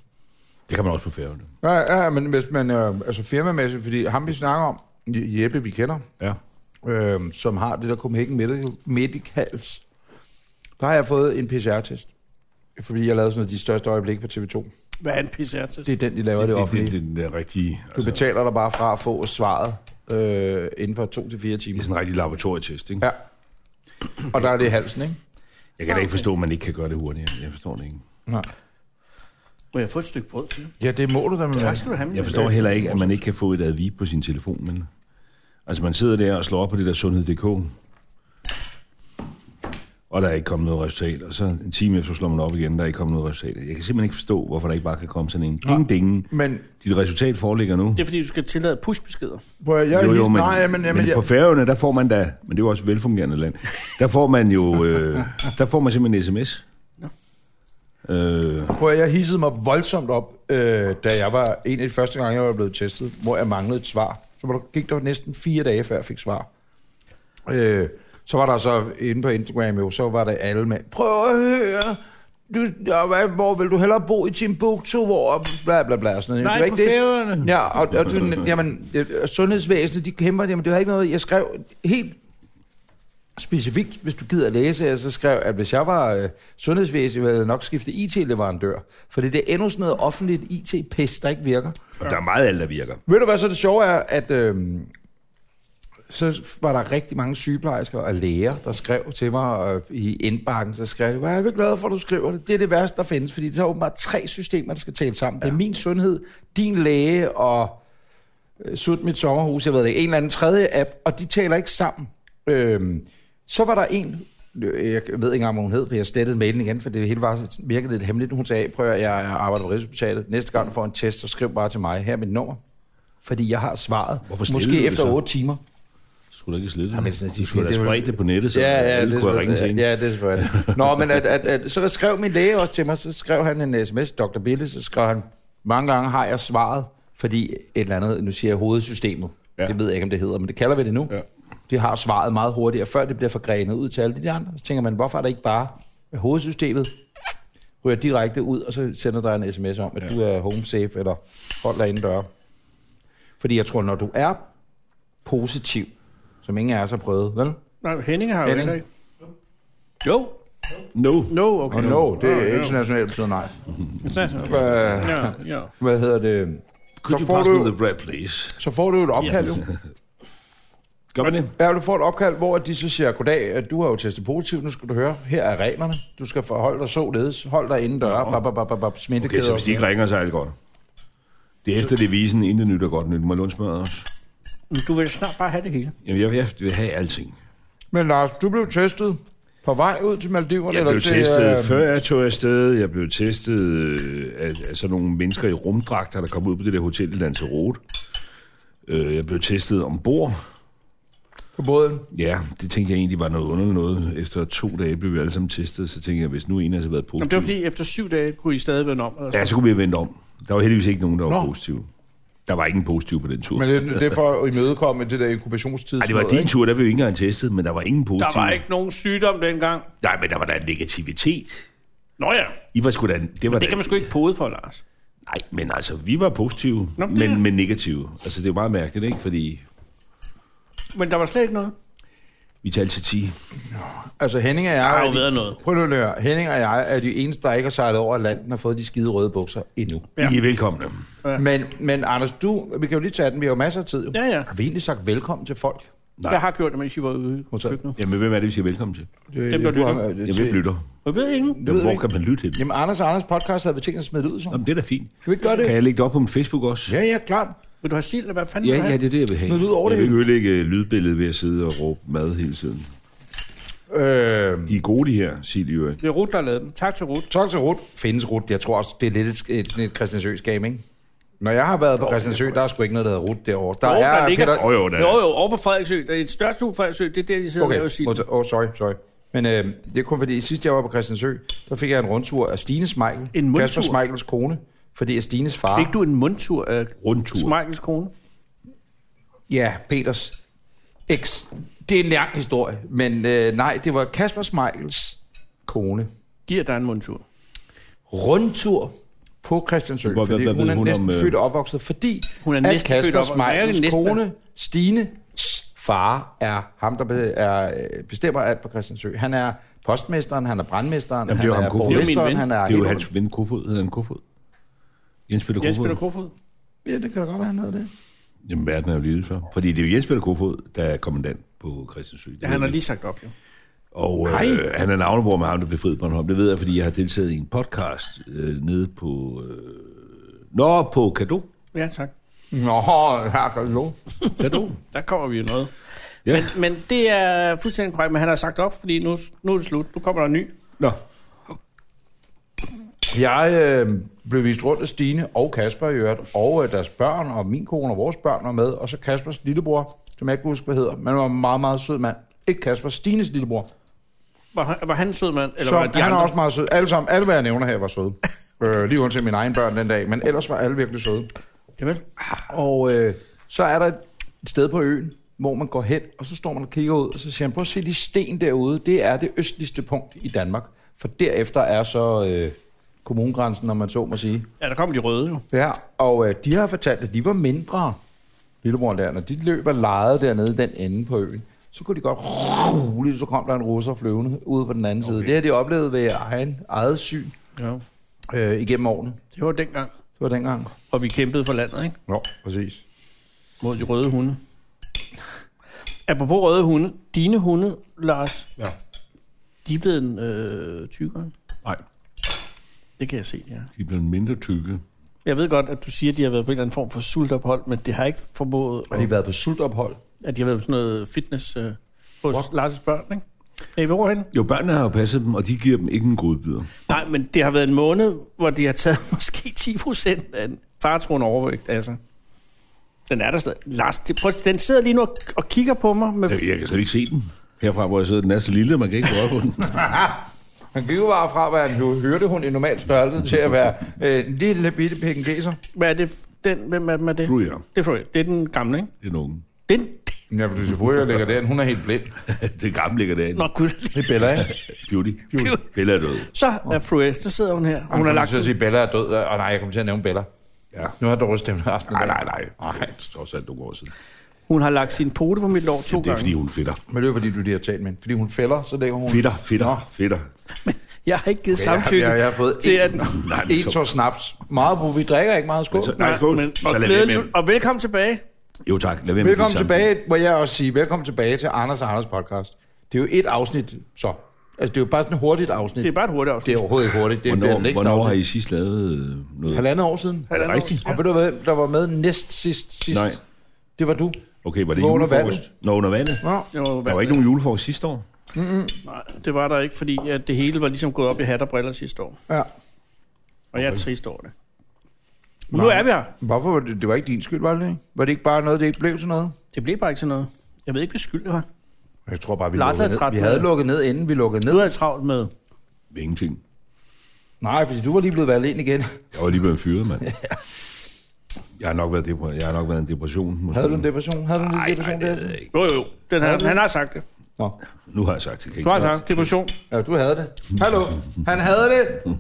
Det kan man også på færgerne.
Ja, ja, ja, men hvis man, øh, altså firmamæssigt, fordi ham vi snakker om, Je- Jeppe, vi kender,
Ja.
øh, som har det der Copenhagen Medical, Medicals, der har jeg fået en PCR-test. Fordi jeg lavede sådan noget de største øjeblikke på TV2.
Hvad er en PCR til?
Det er den, de laver det, det, det
det,
offentlige.
det, det, det, er den rigtige...
Du
Altså, det
betaler dig bare fra at få svaret øh, inden for to til fire timer.
er sådan en rigtig laboratorietest, ikke?
Ja. Og der er det i halsen, ikke?
Jeg kan da ikke forstå, at man ikke kan gøre det hurtigere. Jeg forstår det ikke.
Nej.
Må jeg få et stykke brød til?
Ja, det må du da med.
Tak skal du have.
Jeg forstår heller ikke, at man ikke kan få et advi på sin telefon. Men... Altså, man sidder der og slår op på det der sundhed.dk, og der er ikke kommet noget resultat. Og så en time efter slår man op igen, der er ikke kommet noget resultat. Jeg kan simpelthen ikke forstå, hvorfor der ikke bare kan komme sådan en ding ding.
Men
Dit resultat foreligger nu.
Det er, fordi du skal tillade pushbeskeder.
prøv, at- jeg
jo, jo,
hilser-
men,
nej, men,
men,
men, jeg,
på færøerne, der får man da, men det er jo også et velfungerende land, der får man jo, øh, der får man simpelthen en sms. Øh,
prøv, at- jeg hissede mig voldsomt op, øh, da jeg var en af de første gange, jeg var blevet testet, hvor jeg manglede et svar. Så var der, gik der næsten fire dage, før jeg fik svar. Øh, så var der så inde på Instagram jo, så var der alle med, prøv at høre, du, ja, hvad, hvor vil du hellere bo i Timbuktu, hvor bla bla bla, og sådan noget. Det var ikke det.
færøerne.
Ja, og, og du, jamen, øh, sundhedsvæsenet, de kæmper, jamen, det var ikke noget, jeg skrev helt specifikt, hvis du gider læse, jeg så skrev, at hvis jeg var øh, sundhedsvæsen, ville jeg nok skifte IT-leverandør, for det er endnu sådan noget offentligt IT-pest, der ikke virker.
Der er meget alt, der virker.
Ved du hvad, så det sjove er, at øh, så var der rigtig mange sygeplejersker og læger, der skrev til mig øh, i indbakken, så skrev de, "Hvor er jeg er glad for, at du skriver det. Det er det værste, der findes, fordi der er åbenbart tre systemer, der skal tale sammen. Ja. Det er min sundhed, din læge og øh, sut mit sommerhus, jeg ved det ikke, en eller anden tredje app, og de taler ikke sammen. Øh, Øhm, så var der en jeg ved ikke engang, hvad hun hed, for jeg slettede mailen igen, for det hele var, virkede lidt hemmeligt. Hun sagde, prøv at høre, jeg arbejder på Rigshospitalet. Næste gang du får en test, så skriv bare til mig. Her er mit nummer. Fordi jeg har svaret.
Hvorfor slettede du
Måske
det
efter
så?
8 timer.
Skulle du ikke slette
Jamen,
det?
sådan,
Du
de-
skulle da
det er jo-
sprede det på nettet, så
ja, ja,
alle
det
kunne
er
have ringet til
selvfølgelig- ja,
hende.
det er selvfølgelig. Nå, men at, at, at, så skrev min læge også til mig, så skrev han en sms, Dr. Bille, så skrev han, mange gange har jeg svaret, fordi et eller andet, nu siger jeg hovedsystemet,
Ja.
ja. det ved jeg ikke, om det hedder, men det kalder vi det nu.
Ja.
Ja. De har svaret meget hurtigere, før det bliver forgrenet ud til alle de der andre. Så tænker man, hvorfor er det ikke bare at hovedsystemet? ryger direkte ud, og så sender der en sms om, at ja. du er home safe, eller hold dig inden døre. Fordi jeg tror, når du er positiv, som ingen af os har prøvet, vel?
Nej, Henning har jo
Henning.
heller ikke.
Jo. No.
No, okay.
Og no, det
Ja, ja.
er internationalt betyder nej.
International.
Øh,
Ja, ja.
hvad hedder det?
Could
Så
you
får
pass
du-
me the bread, please?
Så får du et opkald, jo.
Gør man det?
Ja, du får et opkald, hvor de så siger, goddag, at du har jo testet positivt, nu skal du høre, her er reglerne. Du skal forholde dig således, hold dig inden døre, bap, bap, bap, bap, bap,
Okay,
smittekæder.
så hvis de ikke ringer, så er alt godt. Det er efter devisen, intet nyt er godt nyt. Må jeg låne smøret også?
Men Du vil snart bare have det hele.
Jamen, jeg, jeg vil have alting.
Men Lars, du blev testet på vej ud til Maldiverne.
Jeg blev
til,
testet,
øh,
før jeg tog afsted. Jeg blev testet øh, af, af sådan nogle mennesker i rumdragter, der kom ud på det der hotel i Lanzarote. Øh, Jeg blev testet ombord.
På båden.
Ja, det tænkte jeg egentlig var noget underligt noget. Efter to dage blev vi alle sammen testet, så tænkte jeg, hvis nu en af os havde været
Jamen, det var
positiv...
fordi, efter syv dage kunne I stadig vende om. Eller sådan.
Ja, så kunne vi have vendt om. Der var heldigvis ikke nogen, der var
Nå.
positive. Der var ikke en positiv på den tur.
Men det, det er for at imødekomme det der inkubationstid.
Nej, det var din tur, der blev vi ikke engang testet, men der var ingen positiv.
Der var ikke nogen sygdom dengang.
Nej, men der var da en negativitet.
Nå ja,
I var sgu da... Det, var
det
da,
kan man sgu ikke pode for, Lars.
Nej, men altså, vi var positive, Nå,
Nå, men
men,
det er-
men negative. Altså, det er jo meget mærkeligt, ikke? Fordi
Men der var slet ikke noget.
vi talte til 10.
Altså Henning og jeg...
Der har jo
er de-
været noget.
Prøv nu at høre. Henning og jeg er de eneste, der ikke har sejlet over Atlanten og fået de skide røde bukser endnu.
Ja. I er velkomne.
Ja. Men, men Anders, du, vi kan jo lige tage den, vi har jo masser af tid. Jo.
Ja, ja.
Har vi egentlig sagt velkommen til folk?
Nej.
Jeg har gjort det, mens I var ude i
Modtaget.
køkkenet.
Jamen, hvem er det, vi siger velkommen til?
Dem,
der lytter.
Jamen, hvem lytter?
Jeg ved ikke.
Jamen,
vi
hvor
ikke.
kan man lytte til?
øh, Jamen, Anders og Anders podcast havde vi tænkt at smide det ud, så.
Jamen, det er da fint.
Kan vi ikke gøre det?
Kan jeg lægge det op på min Facebook også?
Ja, ja, klart.
Vil du have sild, eller hvad fanden
Ja,
vil du
ja,
have?
det er det, jeg vil have.
Smid det ud over
jeg
det
vil ikke ødelægge øh, lydbilledet ved at sidde og råbe mad hele tiden.
Øh,
De er gode, de her, Silje. øh, i øvrigt.
Det er Rut, der lavede dem. Tak til Rut.
tak til Rut. Findes Rut. Jeg tror også, det er lidt et, et, sådan et Christiansøs game, ikke? Når jeg har været på Christiansø, der er sgu ikke noget, der hedder Rut derovre. Der
Jo,
er
der ligger-
Peter...
Åh, jo, da.
Jo, jo, over på Frederiksø. Der er et største uge Frederiksø. Det er der, de sidder og
Okay,
laver sild.
åh, oh, sorry, sorry. Men øh, det er kun fordi, sidst jeg var på Christiansø, der fik jeg en rundtur af Stine Smeichel,
En mundtur?
Kasper Smeichels kone, fordi er Stines far...
Fik du en mundtur af
Rundtur.
Smeichels kone?
Ja, Peters eks. Det er en lang historie, men øh, nej, det var Kasper Smeichels kone.
Giver dig en mundtur.
Rundtur på Christiansø,
Hvor-
hvor,
hvad-
fordi
hvad
hun
ved
er
hun
næsten
om,
om,
øh,
født og opvokset, fordi
Hun er næsten
at
født
Kasper
og opvokset. Hvad er det
Smeichels
næsten?
kone, Stine, far, er ham, der be- er, øh, bestemmer alt på Christiansø. Han er postmesteren, han er brandmesteren,
Jamen, det
han
er jo
er
ham, Kofod. Det er jo min
borgmesteren,
ven.
han er...
Det er jo
hele-
hans ven Kofod. Hedder han Kofod? Jens Peter
Jens
Kofod.
Peter Kofod.
Ja, det kan da godt være, han hedder det.
Jamen, verden er jo lille så. Fordi det er jo Jens Peter Kofod, der er kommandant på Christiansø. Det
Ja,
ved
han har
jeg.
lige sagt op, jo.
Og
Nej.
øh, han er navnebror med ham, der blev friet på Bornholm. Det ved jeg, fordi jeg har deltaget i en podcast øh, nede på... Øh, Nå, på Kado.
Ja, tak.
Nå, her kan du lov.
Kado.
Der kommer vi jo noget.
Ja.
Men, men det er fuldstændig korrekt, men han har sagt op, fordi nu, nu er det slut. Nu kommer der en ny.
<laughs> Nå.
Jeg øh, blev vist rundt af Stine og Kasper i øvrigt, og øh, deres børn, og min kone og vores børn var med, og så Kaspers lillebror, som jeg ikke kan huske, hvad hedder, men han var en meget, meget sød mand. Ikke Kasper, Stines lillebror.
Var han, var han en sød mand? Eller
Eller som,
var de
han
andre?
er også meget sød. Alle sammen, alle hvad jeg nævner her, var
<laughs>
søde. øh, lige undtil mine egne børn den dag, men ellers var alle virkelig søde.
Jamen.
Og øh, så er der et sted på øen, hvor man går hen, og så står man og kigger ud, og så siger han, prøv at se de sten derude, det er det østligste punkt i Danmark. For derefter er så øh, kommunegrænsen, når man så må sige.
Ja, der kom de røde jo.
Ja, og øh, de har fortalt, at de var mindre, lillebror der, når de løb og legede dernede i den ende på øen, så kunne de godt roligt, så kom der en russer flyvende ude på den anden okay. side. Det har de oplevet ved egen, eget syn
Ja,
øh, igennem årene.
det var dengang.
Det var dengang.
Og vi kæmpede for landet, ikke?
Nå, præcis.
Mod de røde hunde. Apropos røde hunde. Dine hunde, Lars,
Ja.
de er blevet en øh, tykkere.
Nej,
Det kan jeg se, ja.
de er blevet mindre tykke.
Jeg ved godt, at du siger, at de har været på en eller anden form for sultophold, men det har ikke formået,
Har de været på sultophold?
at de har været på sådan noget fitness øh, hos Lars' børn, ikke? Nej, hvor hen?
Jo, børnene har jo passet dem, og de giver dem ikke en godbyder.
Nej, men det har været en måned, hvor de har taget <laughs> måske 10 procent af en fartroende overvægt, altså. Den er der stadig. Lars, det, prøv, den sidder lige nu og, og kigger på mig. Med,
Øh, Jeg, jeg kan slet ikke se den. Herfra, hvor jeg sidder, den er så lille, man kan ikke røre på <laughs> den.
Han gik jo bare fra at være en hø- hyrdehund i normal størrelse til at være øh, en lille bitte pekingeser.
hvad er det? Den, hvem er, hvem er det?
Tror jeg.
Det er Frøer. Det er den gamle, ikke?
Det er nogen.
Det er den,
Ja, fordi Sephora ligger der, hun er helt blind.
<laughs> det gamle ligger derinde.
Nå, gud.
Det er Bella, ikke?
Beauty.
Beauty.
Bella er død.
Så er Frøer, så sidder hun her. Hun har lagt...
til at sige, Bella er død. Og nej, jeg kommer til at nævne Bella.
Ja.
Nu har jeg dårlig stemme resten af
Nej,
dagen.
nej, nej. Nej, det er trods alt nogle år siden.
Hun har lagt sin pote på mit lår to
Det er, fordi
gange.
hun fedter.
Men det er fordi, du lige har talt med hende. Fordi hun fælder, så lægger hun...
Fedter, fedter, fedter.
Jeg har ikke givet
Jeg,
samtykke.
jeg, jeg, har fået
til, at,
en,
<laughs> Nej, men
en
så-
tår snaps. Meget på. Vi drikker ikke meget skål.
Så, nej,
Nej,
skål.
men,
Så
og,
lad være
glædelig,
med-
jul, og velkommen tilbage.
Jo tak, lad være med
Velkommen
det samme.
tilbage, må jeg også sige. Velkommen tilbage til Anders og Anders podcast. Det er jo et afsnit, så. Altså, det er jo bare sådan et hurtigt afsnit.
Det er bare et hurtigt afsnit.
Det er overhovedet ikke hurtigt. Det bliver
Hvornår,
den næste
hvornår har
afsnit.
I sidst lavet øh, noget?
Halvandet år siden.
Er det rigtigt?
Og ved du hvad, der var med næst sidst sidst?
Nej.
Det var du.
Okay, var det
Hvor under
julefrokost? Nå, under vandet.
Nå.
Det var,
Der var ikke nogen julefrokost sidste år.
Nej, det var der ikke, fordi at det hele var ligesom gået op i hat og briller sidste år.
Ja.
Og jeg er trist over det. Men nu er vi her.
Hvorfor var det, det var ikke din skyld, var det ikke? Var det ikke bare noget, det ikke blev til noget?
Det blev bare ikke sådan noget. Jeg ved ikke, hvad skyld det var.
Jeg tror bare, vi,
Lars er
lukkede ned.
træt
vi
nu.
havde lukket ned, inden vi lukkede
Nu
ned.
er jeg travlt med...
Ingenting.
Nej, fordi du var lige blevet valgt ind igen.
Jeg var lige blevet fyret, mand. Jeg har nok været, depre- jeg har nok været en depression. Måske.
Havde du en depression? Havde du en lille depression
Nej,
der?
det ved jeg ikke.
Jo, jo, den her, han har sagt det.
Nå.
Nu har jeg sagt det. Kan
Du
ikke
har
snakke.
sagt depression.
Ja, du havde det. Hallo, han havde det.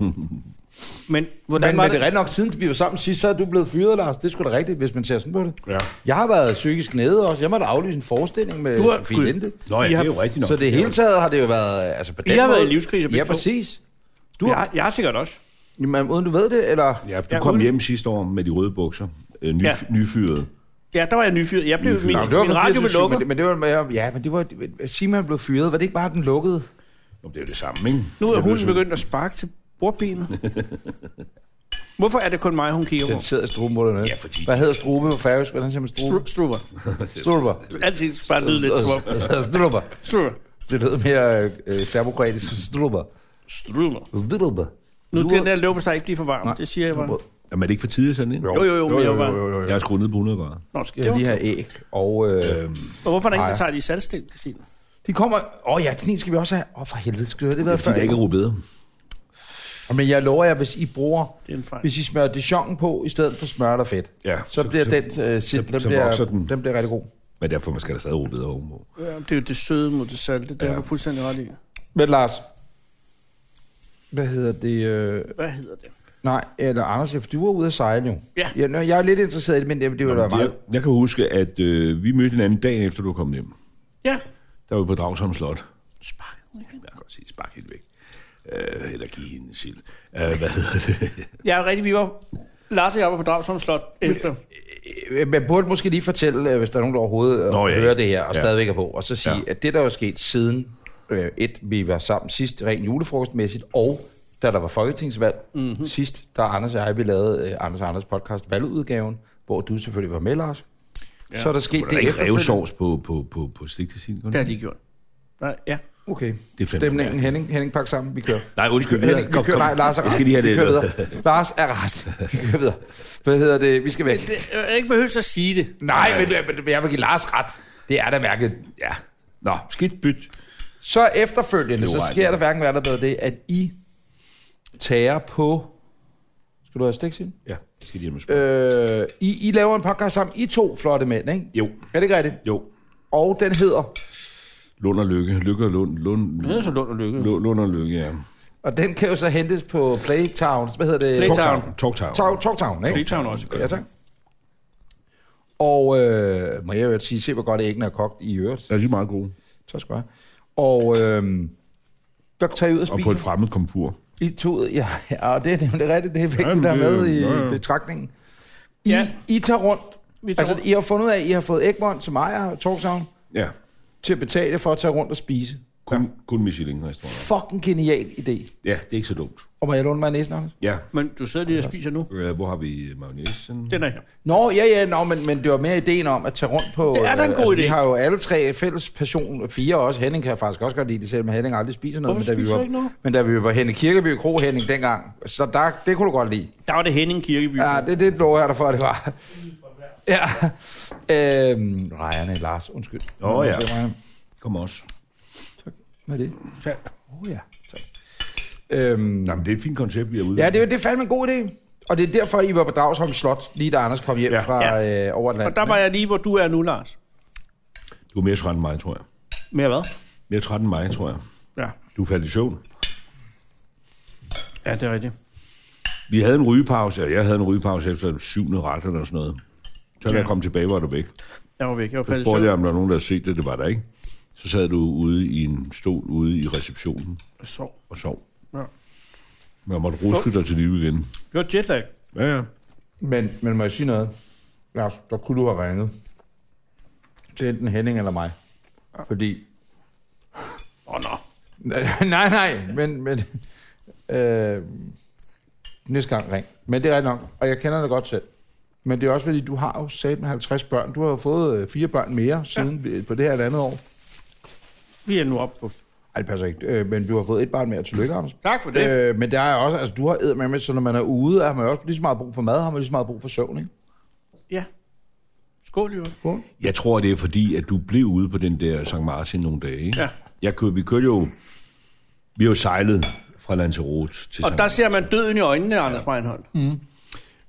Men hvordan
Men,
var
men det er
det?
rigtigt nok, siden vi var sammen sidst, så er du blevet fyret, Lars. Det skulle sgu da rigtigt, hvis man ser sådan på det.
Ja.
Jeg har været psykisk nede også. Jeg måtte aflyse en forestilling med
Du har-
Sofie
Gud.
Linde.
Nå ja,
I har-
det er jo rigtigt nok.
Så det
er
hele taget har det jo været... Altså på den
I har
måde,
været i livskrise begge
Ja,
to.
præcis.
Du har, jeg har sikkert også.
Jamen, uden du ved det, eller...
Ja, du
Ja,
kom
uden-
hjem sidste år med de røde bukser. Øh, ny,
Ja.
ja. Nyfyret.
Ja, der var jeg nyfyret. Jeg blev, min,
Nyfyret.
Nå, men det var
min
fra
radio blev
24/7,
lukket.
Men det, men det var, mere- ja, men det var, Simon blev fyret. Var det ikke bare den lukkede?
Nå, det er jo det samme, ikke?
Nu er
Jeg blev
hunden
så-
begyndt at sparke til <laughs> bordbenet. Hvorfor er det kun mig, hun kigger på?
Den sidder i struben på dig.
Ja, fordi-
Hvad hedder strube på færøsk? Hvordan siger man strube?
Stru- Struber.
Struber.
Altid bare lyde
<laughs>
lidt som om.
Struber.
Struber.
Det lyder mere øh, øh, serbokroatisk. Struber.
Struber.
Struber.
Nu
Du
den
er-
der løbesteg ikke blive for varm. Det siger jeg bare.
Jamen, er det ikke for tidligt sådan, ikke?
Jo, jo, jo, men jeg var bare...
Jeg har skruet ned på 100 grader.
Nå, skal
Jeg
det
skal
var...
lige have æg, og... Øh,
Og hvorfor er der ikke,
Ejer.
der tager de salgstil, Christine?
de kommer... Åh oh, ja, den ene skal vi også have. Åh, oh, for helvede, skal det være
Fordi
før?
der ikke er rubeder.
Men jeg lover jer, hvis I bruger...
Det er en fejl.
Hvis I smører dijon på, i stedet for smør og fedt,
Ja,
så, bliver den, øh, sit, den,
så
bliver,
vokser
den.
den.
den bliver rigtig god.
Men derfor man skal der stadig rubeder ovenpå.
Ja, det er jo det søde mod det salte. Det ja. har du fuldstændig ret i.
Men Lars, hvad hedder det? Øh,
Hvad hedder det?
nej, eller Anders, ja, for du var ude at sejle jo.
Ja.
Jeg, nå, jeg er lidt interesseret i det, men det, det var da
Jeg,
meget...
jeg kan huske, at øh, vi mødte hinanden dagen efter, du kom hjem.
Ja.
Der var vi på Dragsholm Slot.
Spark.
Jeg kan godt sige, spark helt væk. Øh, eller give hende sild. Øh, hvad hedder det?
Ja, rigtig. Vi var... Lars og jeg var på Dragsholm Slot efter.
Øh, Man burde måske lige fortælle, øh, hvis der er nogen, der overhovedet Nå,
Nå,
ja,
ja,
hører
ja.
det her, og ja.
Ja.
stadigvæk er på, og så sige, ja.
Ja.
at det, der er jo sket siden, øh, et, vi var sammen sidst, rent julefrokostmæssigt, og da der var folketingsvalg mm-hmm. sidst, der Anders og jeg, vi lavede øh, Anders og Anders podcast valgudgaven, hvor du selvfølgelig var med, Lars. Ja. Så er der sket
Var der
det
ikke
efterfølgende.
revsovs på, på, på, på stigte sin?
Det har de gjort. Nej, ja.
Okay,
Det er fandme
stemningen.
mærkeligt.
Henning, Henning, pak sammen, vi kører.
Nej, undskyld.
Henning, vi kører, nej, Lars er
Jeg
rest.
skal lige
vi
have
kører
det.
videre. Lars er rest. Vi kører videre. Hvad hedder det? Vi skal væk.
Det, jeg har ikke behøver at sige det.
Nej, men, men jeg vil give Lars ret. Det er da mærket.
Ja. Nå, skidt byt.
Så efterfølgende,
Jo,
så
ej,
sker
det-
der hverken hvad der bedre det, at I tager på... Skal du have stiksin?
Ja, jeg skal lige have med spørg.
Øh, I, I laver en podcast sammen. I to flotte mænd, ikke?
Jo,
Er det ikke rigtigt?
jo.
Og den hedder...
Lund og Lykke. Lykke og Lund. Lund,
Det er så lund og lykke.
Lund, Lund og Lykke, ja.
Og den kan jo så hentes på Playtowns. Hvad hedder det?
Playtown.
Talktown. Talktown.
Talk, Talktown, ikke?
Playtown også godt.
Ja, tak. Og øh, må jeg jo sige, se hvor godt æggene er kogt i øvrigt.
Ja, de er meget gode.
Så skal jeg. Og øh, der tager I ud og
Og
spiser.
på et fremmed komfur.
I to, ja, ja, og det er nemlig rigtigt, det er vigtigt,
Jamen,
der er
det-
med i
ja, ja.
betragtningen. I,
Ja.
I tager rundt.
Vi tager
Altså,
rundt.
I har fundet ud af, at I har fået Egmont til mig og Torgshavn
Ja.
til at betale for at tage rundt og spise.
Kun, ja. kun Michelin-restauranter.
Fucking genial idé.
Ja, det er ikke så dumt.
Og må jeg låne mig næsen, Anders?
Ja.
Men du sidder lige og spiser nu.
Øh, Hvor har vi magnesium?
Den er her.
Nå, ja, ja, nå, men, men det var mere ideen om at tage rundt på...
Det er da en
øh,
god
altså, Vi
idé.
har jo alle tre fælles passion, fire også. Henning kan jeg faktisk også godt lide det, selvom Henning aldrig spiser noget.
Hvorfor
men da vi
spiser
var,
jeg ikke noget?
Men da vi var Henning Kirkeby Kro, Henning, dengang, så der, det kunne du godt lide.
Der var det Henning Kirkeby.
Ja, det, det lover jeg dig for, at det var. Ja. Øhm, Rejerne, Lars, undskyld.
Åh, ja.
Det var jeg.
Kom også.
Hvad er det? Åh oh, ja, tak. Øhm,
Jamen, det er et fint koncept, vi har ude.
ja, det, er- det er fandme en god idé. Og det er derfor, I var på Dragsholm Slot, lige da Anders kom hjem
Ja.
ja. fra øh, over Atlanten.
Og der var jeg lige, hvor du er nu, Lars.
Du er mere træt end mig, tror jeg.
Mere hvad?
Mere træt end mig, tror jeg.
Ja.
Du faldt i søvn.
Ja, det er rigtigt.
Vi havde en rygepause, og jeg havde en rygepause efter den syvende ret eller sådan noget. Så da
Ja.
jeg kom tilbage, var du væk.
Jeg var væk. Jeg var
Så
faldet i
spurgte jeg, om
søvn.
der var nogen, der havde set det. Det var der ikke. Så sad du ude i en stol ude i receptionen
Jeg sov.
og sov.
Ja.
Men jeg måtte ruske dig til live igen.
Det var jetlag.
Ja, ja.
Men, men må jeg sige noget? Lars, der kunne du have ringet til enten Henning eller mig. Fordi... <laughs>
Åh, oh, nå.
Nej, nej, men... men øh, næste gang ring. Men det er rigtigt nok, og jeg kender det godt selv. Men det er også fordi, du har jo sat med 50 børn. Du har jo fået øh, fire børn mere siden vi- på det her eller andet år.
Vi er nu oppe på...
Ej, det passer ikke. Øh, men du har fået et barn mere. Tillykke, Anders.
Tak for det. Øh.
Øh, men der er også, altså du har æd med, så når man er ude, har man jo også lige så meget brug for mad, har man lige så meget brug for søvn, ikke?
Ja. Skål, jo.
Jeg tror, det er fordi, at du blev ude på den der St. Martin nogle dage. Ikke?
Ja.
Jeg kørte, vi kørte jo... Vi har jo sejlet fra Lanzarote til
Og
St.
der ser man døden i øjnene, Anders Breinholt. Mm.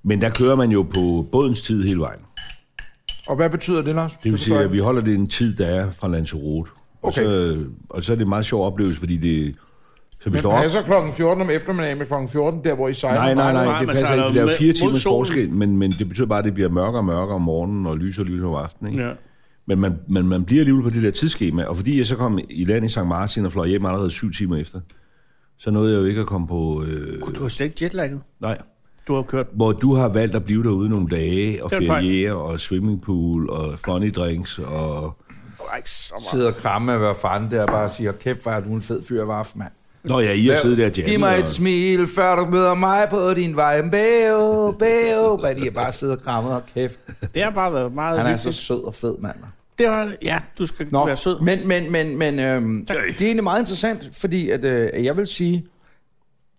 Men der kører man jo på bådens tid hele vejen.
Og hvad betyder det, Lars?
Det vil
forstår
sige,
jeg
at vi holder det en tid, der er fra Lanzarote. Og,
Okay.
så, og så er det en meget sjov oplevelse, fordi det... Så vi
Men
står op.
passer klokken 14 om eftermiddagen med klokken 14, der hvor I sejler?
Nej, nej, nej,
Nej,
det
man
passer
sejler
ikke, for der er jo
med-
fire
mod
timers
solen.
forskel, men, men det betyder bare, at det bliver mørkere og mørkere om morgenen, og lysere og lysere om aftenen. Ikke?
Ja.
Men, man, men man bliver alligevel på det der tidsskema, og fordi jeg så kom i land i St. Martin og fløj hjem allerede syv timer efter, så nåede jeg jo ikke at komme på... Øh,
Du har slet ikke jetlagget.
nej,
Du har kørt...
hvor du har valgt at blive derude nogle dage, og
Det er en fejl.
feriere, og swimmingpool, og funny drinks, og...
Ej, så meget.
Sidder og kramme af hver fanden der og bare siger, kæft, hvor er du en fed fyr, var mand.
Nå ja, I har siddet der og
Giv mig
jammet,
et smil, før du møder mig på din vej. Bæo, bæo. Bare de har bare siddet og krammet og kæft.
Det har bare været meget
Han er så
hyggeligt.
sød og fed, mand.
Det var... Ja, du skal Nå. være sød.
men, men, men, men øhm, det er egentlig meget interessant, fordi at, øh, jeg vil sige,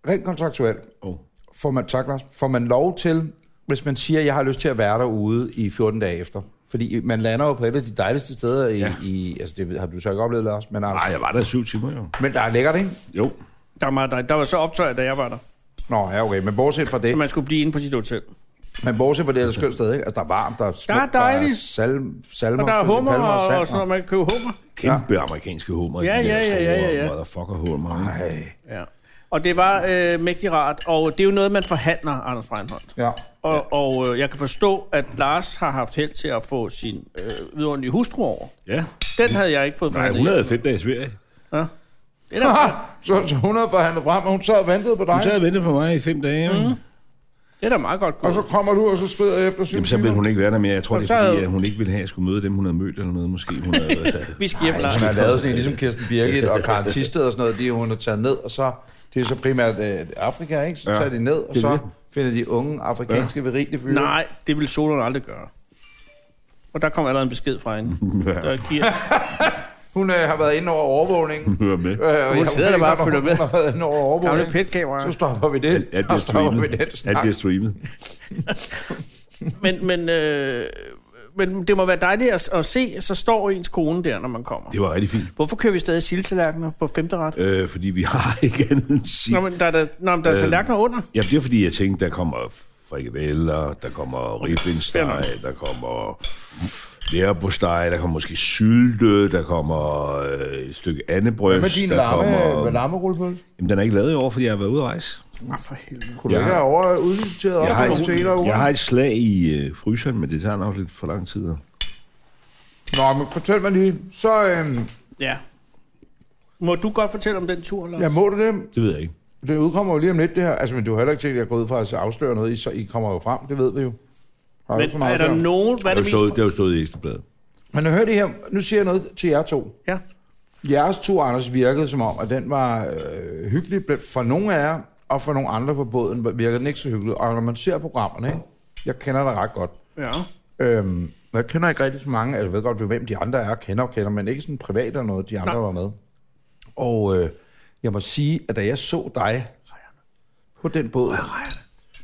rent kontraktuelt,
Og, oh,
får man, tak, Lars, får man lov til, hvis man siger, at jeg har lyst til at være derude i 14 dage efter? Fordi man lander jo på et af de dejligste steder i...
Ja.
Ja. i altså, det har du så ikke oplevet, Lars, men,
nej,
altså,
jeg var der syv timer jo.
men der er lækkert, ikke?
Jo,
Der var, der, der var så optøjet, da jeg var der.
Nå, ja, okay, men bortset fra
Så
det,
man skulle blive inde på sit hotel.
men bortset fra det er det et skønt sted, ikke? Altså, der er varmt, der er smukt,
dejligt.
salm, salmer,
Og der er
skal vi sige,
hummer
palmer
og,
sand,
og sådan noget. Man kan købe hummer.
kæmpe ja. amerikanske hummer.
Ja,
de der
ja, ja, ja, ja, ja.
store Motherfucker hummer. ikke?
Ej,
Ja. Og det var øh, mægtig rart. Og det er jo noget, man forhandler, Anders Breinholt.
ja. <laughs>
Og, og øh, jeg kan forstå, at Lars har haft held til at få sin øh, vidunderlige hustru over.
Ja,
Den havde jeg ikke fået
nej,
forhandlet.
hun havde
hjem.
fem dages ferie.
Ja. Det er da,
Så, så hun havde forhandlet frem, og hun sad og ventede på dig.
Hun sad og ventede på mig i fem dage. Mm.
det er da meget godt
Og
gået.
så kommer du, og så skrider jeg efter syv
Jamen, så ville hun ikke være der mere. Jeg tror,
Og
det
så
er fordi,
havde-
at hun ikke ville have, at jeg skulle møde dem, hun havde mødt eller noget. Måske hun havde...
Vi skal hjem, Lars.
Hun har lavet sådan en, ligesom Kirsten Birgit og Karen Tisted og sådan noget, de hun har taget ned, og så, det er så primært øh, Afrika, ikke? Så
Ja.
tager de ned, og
Det er
så
det.
finder de unge afrikanske ja. virige fyre.
Nej, det ville Solon aldrig gøre. Og der kom allerede en besked fra hende. Der giver,
Hun øh, har været inde over <laughs> overvågningen.
Hør med.
Øh, og jeg
sidder der
ved
bare
godt,
og følger
hun
med.
Har været inde over
gamle
overvågningen.
petkamera.
Så stopper vi det.
Alt
så
bliver
stopper vi
streamet.
den
Alt
snak.
bliver streamet.
Men, men, øh, men det må være dejligt at, at se, så står ens kone der, når man kommer.
Det var rigtig fint.
Hvorfor kører vi stadig sildetallerkener på femte ret?
Øh, fordi vi har ikke andet end sig.
Nå, men der er, der, nå, men der er
Øh,
tallerkener under.
Ja, det er fordi, jeg tænkte, der kommer frikadeller, der kommer
fair
ribbensteg,
nok.
der kommer lærepostej, der kommer måske sylte, der kommer øh, et stykke
Hvad med
andebryst,
din
der
lamme,
øh,
kommer...
med lammerullepølse?
Jamen, den er ikke lavet i år, fordi jeg har været ude at rejse.
Nå, for helvede.
Kunne du
Jeg
ikke
har-
have over udliteret op
Jeg har,
på
et, jeg
hoteler?
har et slag i øh, fryseren, men det tager nok lidt for lang tid.
Nå, men fortæl mig lige. Så, øh,
Ja. Må du godt fortælle om den tur, Lars?
ja, må du det?
Det ved jeg ikke.
Det udkommer jo lige om lidt, det her. Altså, men du har heller ikke tænkt, at jeg går ud fra at afsløre noget. I, så I kommer jo frem, det ved vi jo. Har jo ikke så
Men er
meget
der
at sige om.
nogen... Hvad
Det har jo
er det
stået,
mest...
det har jo stået i ekstrabladet.
Men hør det her. Nu siger jeg noget til jer to.
Ja.
Jeres to, Anders, virkede som om, at den var øh, hyggelig bl- for nogle af jer, og for nogle andre på båden virker den ikke så hyggelig. Og når man ser programmerne, ikke? jeg kender dig ret godt.
Ja.
Øhm, jeg kender ikke rigtig så mange, altså, jeg ved godt, hvem de andre er, kender og kender, men ikke sådan privat eller noget, de andre
Nej.
Nej. var med. Og øh, jeg må sige, at da jeg så dig på den båd,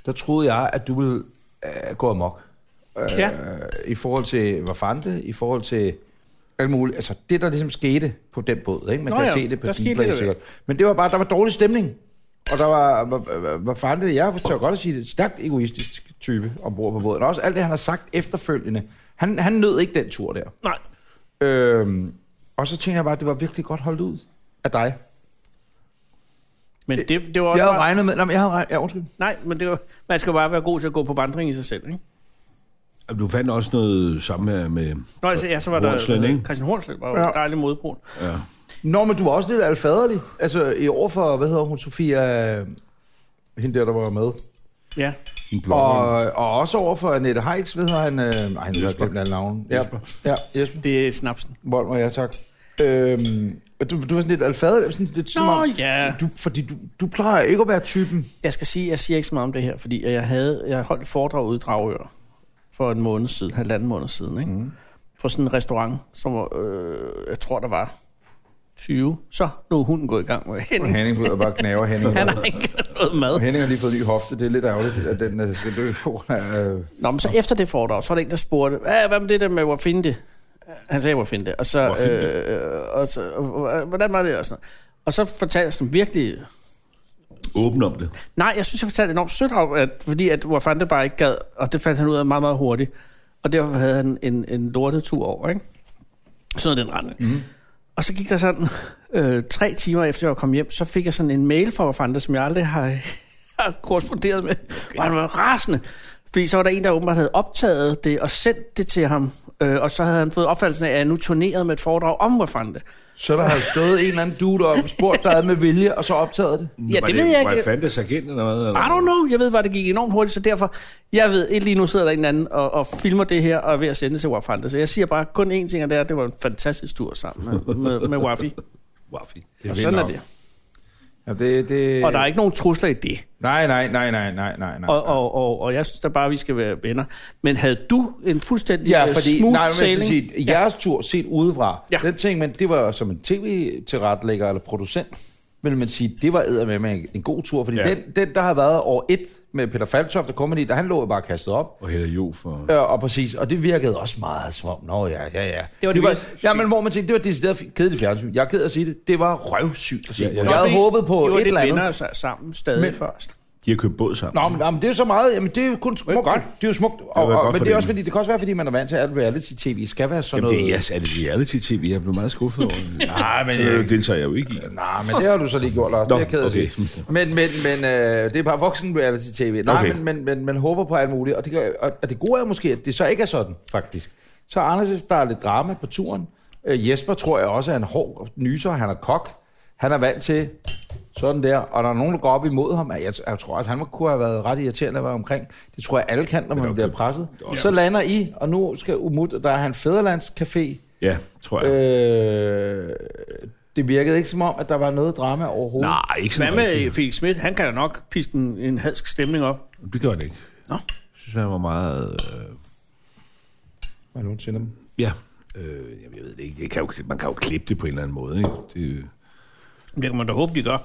der troede jeg, at du ville øh, gå amok. Øh,
Ja.
I forhold til, hvad fanden det, i forhold til alt muligt. Altså det, der ligesom skete på den båd, ikke? man
Nå
kan
ja,
se det på
der skete lidt
Dplay
af det.
sikkert. Men det var bare, der var dårlig stemning. Og der var, hvad- hvad- hvad fanden det, jeg tør godt at sige det, stærkt egoistisk type ombord på båden. Og også alt det, han har sagt efterfølgende. Han, han nød ikke den tur der.
Nej.
Øhm, og så tænkte jeg bare, at det var virkelig godt holdt ud af dig.
Men det, det var også
Jeg havde
bare,
regnet med... Nej, men jeg havde regnet... Ja, undskyld.
Nej, men det var, man skal bare være god til at gå på vandring i sig selv, ikke?
Du fandt også noget sammen med...
Nå, altså, ja, så var der
Hornslet, ikke?
Christian Hornslet, var jo ja.
Ja.
dejlig modbrug.
Ja.
Nå, men du var også lidt alfaderlig. Altså, i år for, hvad hedder hun, Sofia... øh, Hende der, der var med.
Ja.
En
Og,
blogger.
og også over for Annette Heiks, ved hedder han... Øh, ej, han har
Jesper.
glemt alle navne. Ja,
Jesper.
ja, Jesper.
Det er snapsen.
Vold mig, ja, tak. Øhm, og du, du var sådan lidt alfaderlig, sådan lidt som
Nå,
om,
ja.
du, fordi du, du plejer ikke at være typen.
Jeg skal sige, jeg siger ikke så meget om det her, fordi jeg havde jeg holdt et foredrag ude i Dragør for en måned siden, halvanden måned siden, ikke? Mm. På sådan en restaurant, som var, øh, jeg tror, der var 20. Så nu er hunden gået i gang med
Og
Henning.
<laughs> Henning ud og bare gnaver Henning.
Han har ikke noget
Og
mad.
Henning har lige fået ny hofte. Det er lidt ærgerligt, at den øh, skal dø. på grund af, øh,
Nå, men så efter det foredrag, så var der en, der spurgte, "Hvad- hvad med det der med, hvor finde det? Han sagde, hvor finde det. Og så,
Hvor finde
øh, og så øh, hvordan var det? Og, sådan. og så fortalte jeg sådan virkelig...
Åben om det.
Nej, jeg synes, jeg fortalte enormt sødt om, at, fordi at hvor fanden det bare ikke gad, og det fandt han ud af meget, meget hurtigt. Og derfor havde han en, en lortetur over, ikke? Sådan noget i den retning. Mm. Og så gik der sådan øh, tre timer efter, jeg kom hjem, så fik jeg sådan en mail fra Wafanda, som jeg aldrig har, <laughs> har korresponderet med. Okay. Og han var rasende. Fordi så var der en, der åbenbart havde optaget det og sendt det til ham. Øh, og så havde han fået opfattelsen af, at jeg nu turnerede med et foredrag om Wafanda.
så der har stået en eller anden dude op og spurgt dig ad med vilje, og så optaget det.
Ja, det, det ved jeg
Var
ikke.
det Fantas agent eller hvad? Eller?
I don't know. Jeg ved bare, det gik enormt hurtigt, så derfor, jeg ved, ikke lige nu sidder der en eller anden og, og filmer det her og er ved at sende det til Wafanda. Så jeg siger bare kun én ting, og det er, at det var en fantastisk tur sammen med, med, med Wafi.
Waffi.
Og sådan er det.
Ja, det, det...
Og der er ikke nogen trusler i det.
Nej, nej, nej, nej, nej, nej, nej.
Og, og, og, og jeg synes da bare, at vi skal være venner. Men havde du en fuldstændig
Ja,
øh,
fordi
smooth
nej, men jeg skal
sailing?
sige, jeres tur set udefra,
Ja.
ja. den ting, men det var jo som en tv-tilretlægger eller producent, vil man sige, det var med med en god tur, fordi
Ja.
ja. den, den, der har været over et med Peter Faltoft og Company, der han lå jo bare kastet op.
Og hedder Jo for...
Øh, og præcis, og det virkede også meget som om, nå ja, ja, ja.
det vildeste
ja, men hvor man tænkte, det var decideret f- kedeligt fjernsyn. Jeg er ked af at sige det, det var røvsygt at se.
Ja,
Ja,
ja.
ja. Jeg havde håbet på et eller andet.
venner sig sammen stadig men,
Men-
først.
De har købt båd sammen.
Nå, men, nå, men det er så meget, jamen det er jo kun smukt.
godt.
Det er jo smukt, og,
være
og,
godt
men
for
det er
dem.
også fordi, det kan også være, fordi man er vant til, at reality-tv skal være sådan
Jamen, det
noget.
er, yes, er det reality-tv? Jeg blev meget skuffet
<laughs>
over det.
Nej, men,
Det
jeg,
deltager jeg jo ikke i.
nej, men det har du så lige gjort, Lars. Det er
Nå,
jeg ked af at
okay.
sige. Men, men, men øh, det er bare voksen reality-tv. Nej,
Okay.
men, men, men man håber på alt muligt. Og det, gør, og, og det gode er måske, at det så ikke er sådan, faktisk. Så Anders, der er lidt drama på turen. Øh, Jesper tror jeg også er en hård nyser. Han er kok. Han er vant til sådan der. Og der er nogen, der går op imod ham. Jeg, jeg tror også, han kunne have været ret irriterende at være omkring. Det tror jeg alle kan, når man bliver presset. Så lander I, og nu skal Umut, der er han Fæderlandscafé.
Ja, tror jeg.
Øh, det virkede ikke som om, at der var noget drama overhovedet.
Nej, ikke
Hvad
sådan
med øh,
rigtigt.
Felix Schmidt? Han kan da nok piske en, en halsk stemning op.
Det gør det ikke.
Nå.
Jeg synes, han var meget... Øh,
Hvad er det, til dem?
ja, øh, jamen, jeg ved det ikke. Jeg kan jo, man kan jo klippe det på en eller anden måde. Ikke? Det,
Det kan man da håbe, de gør.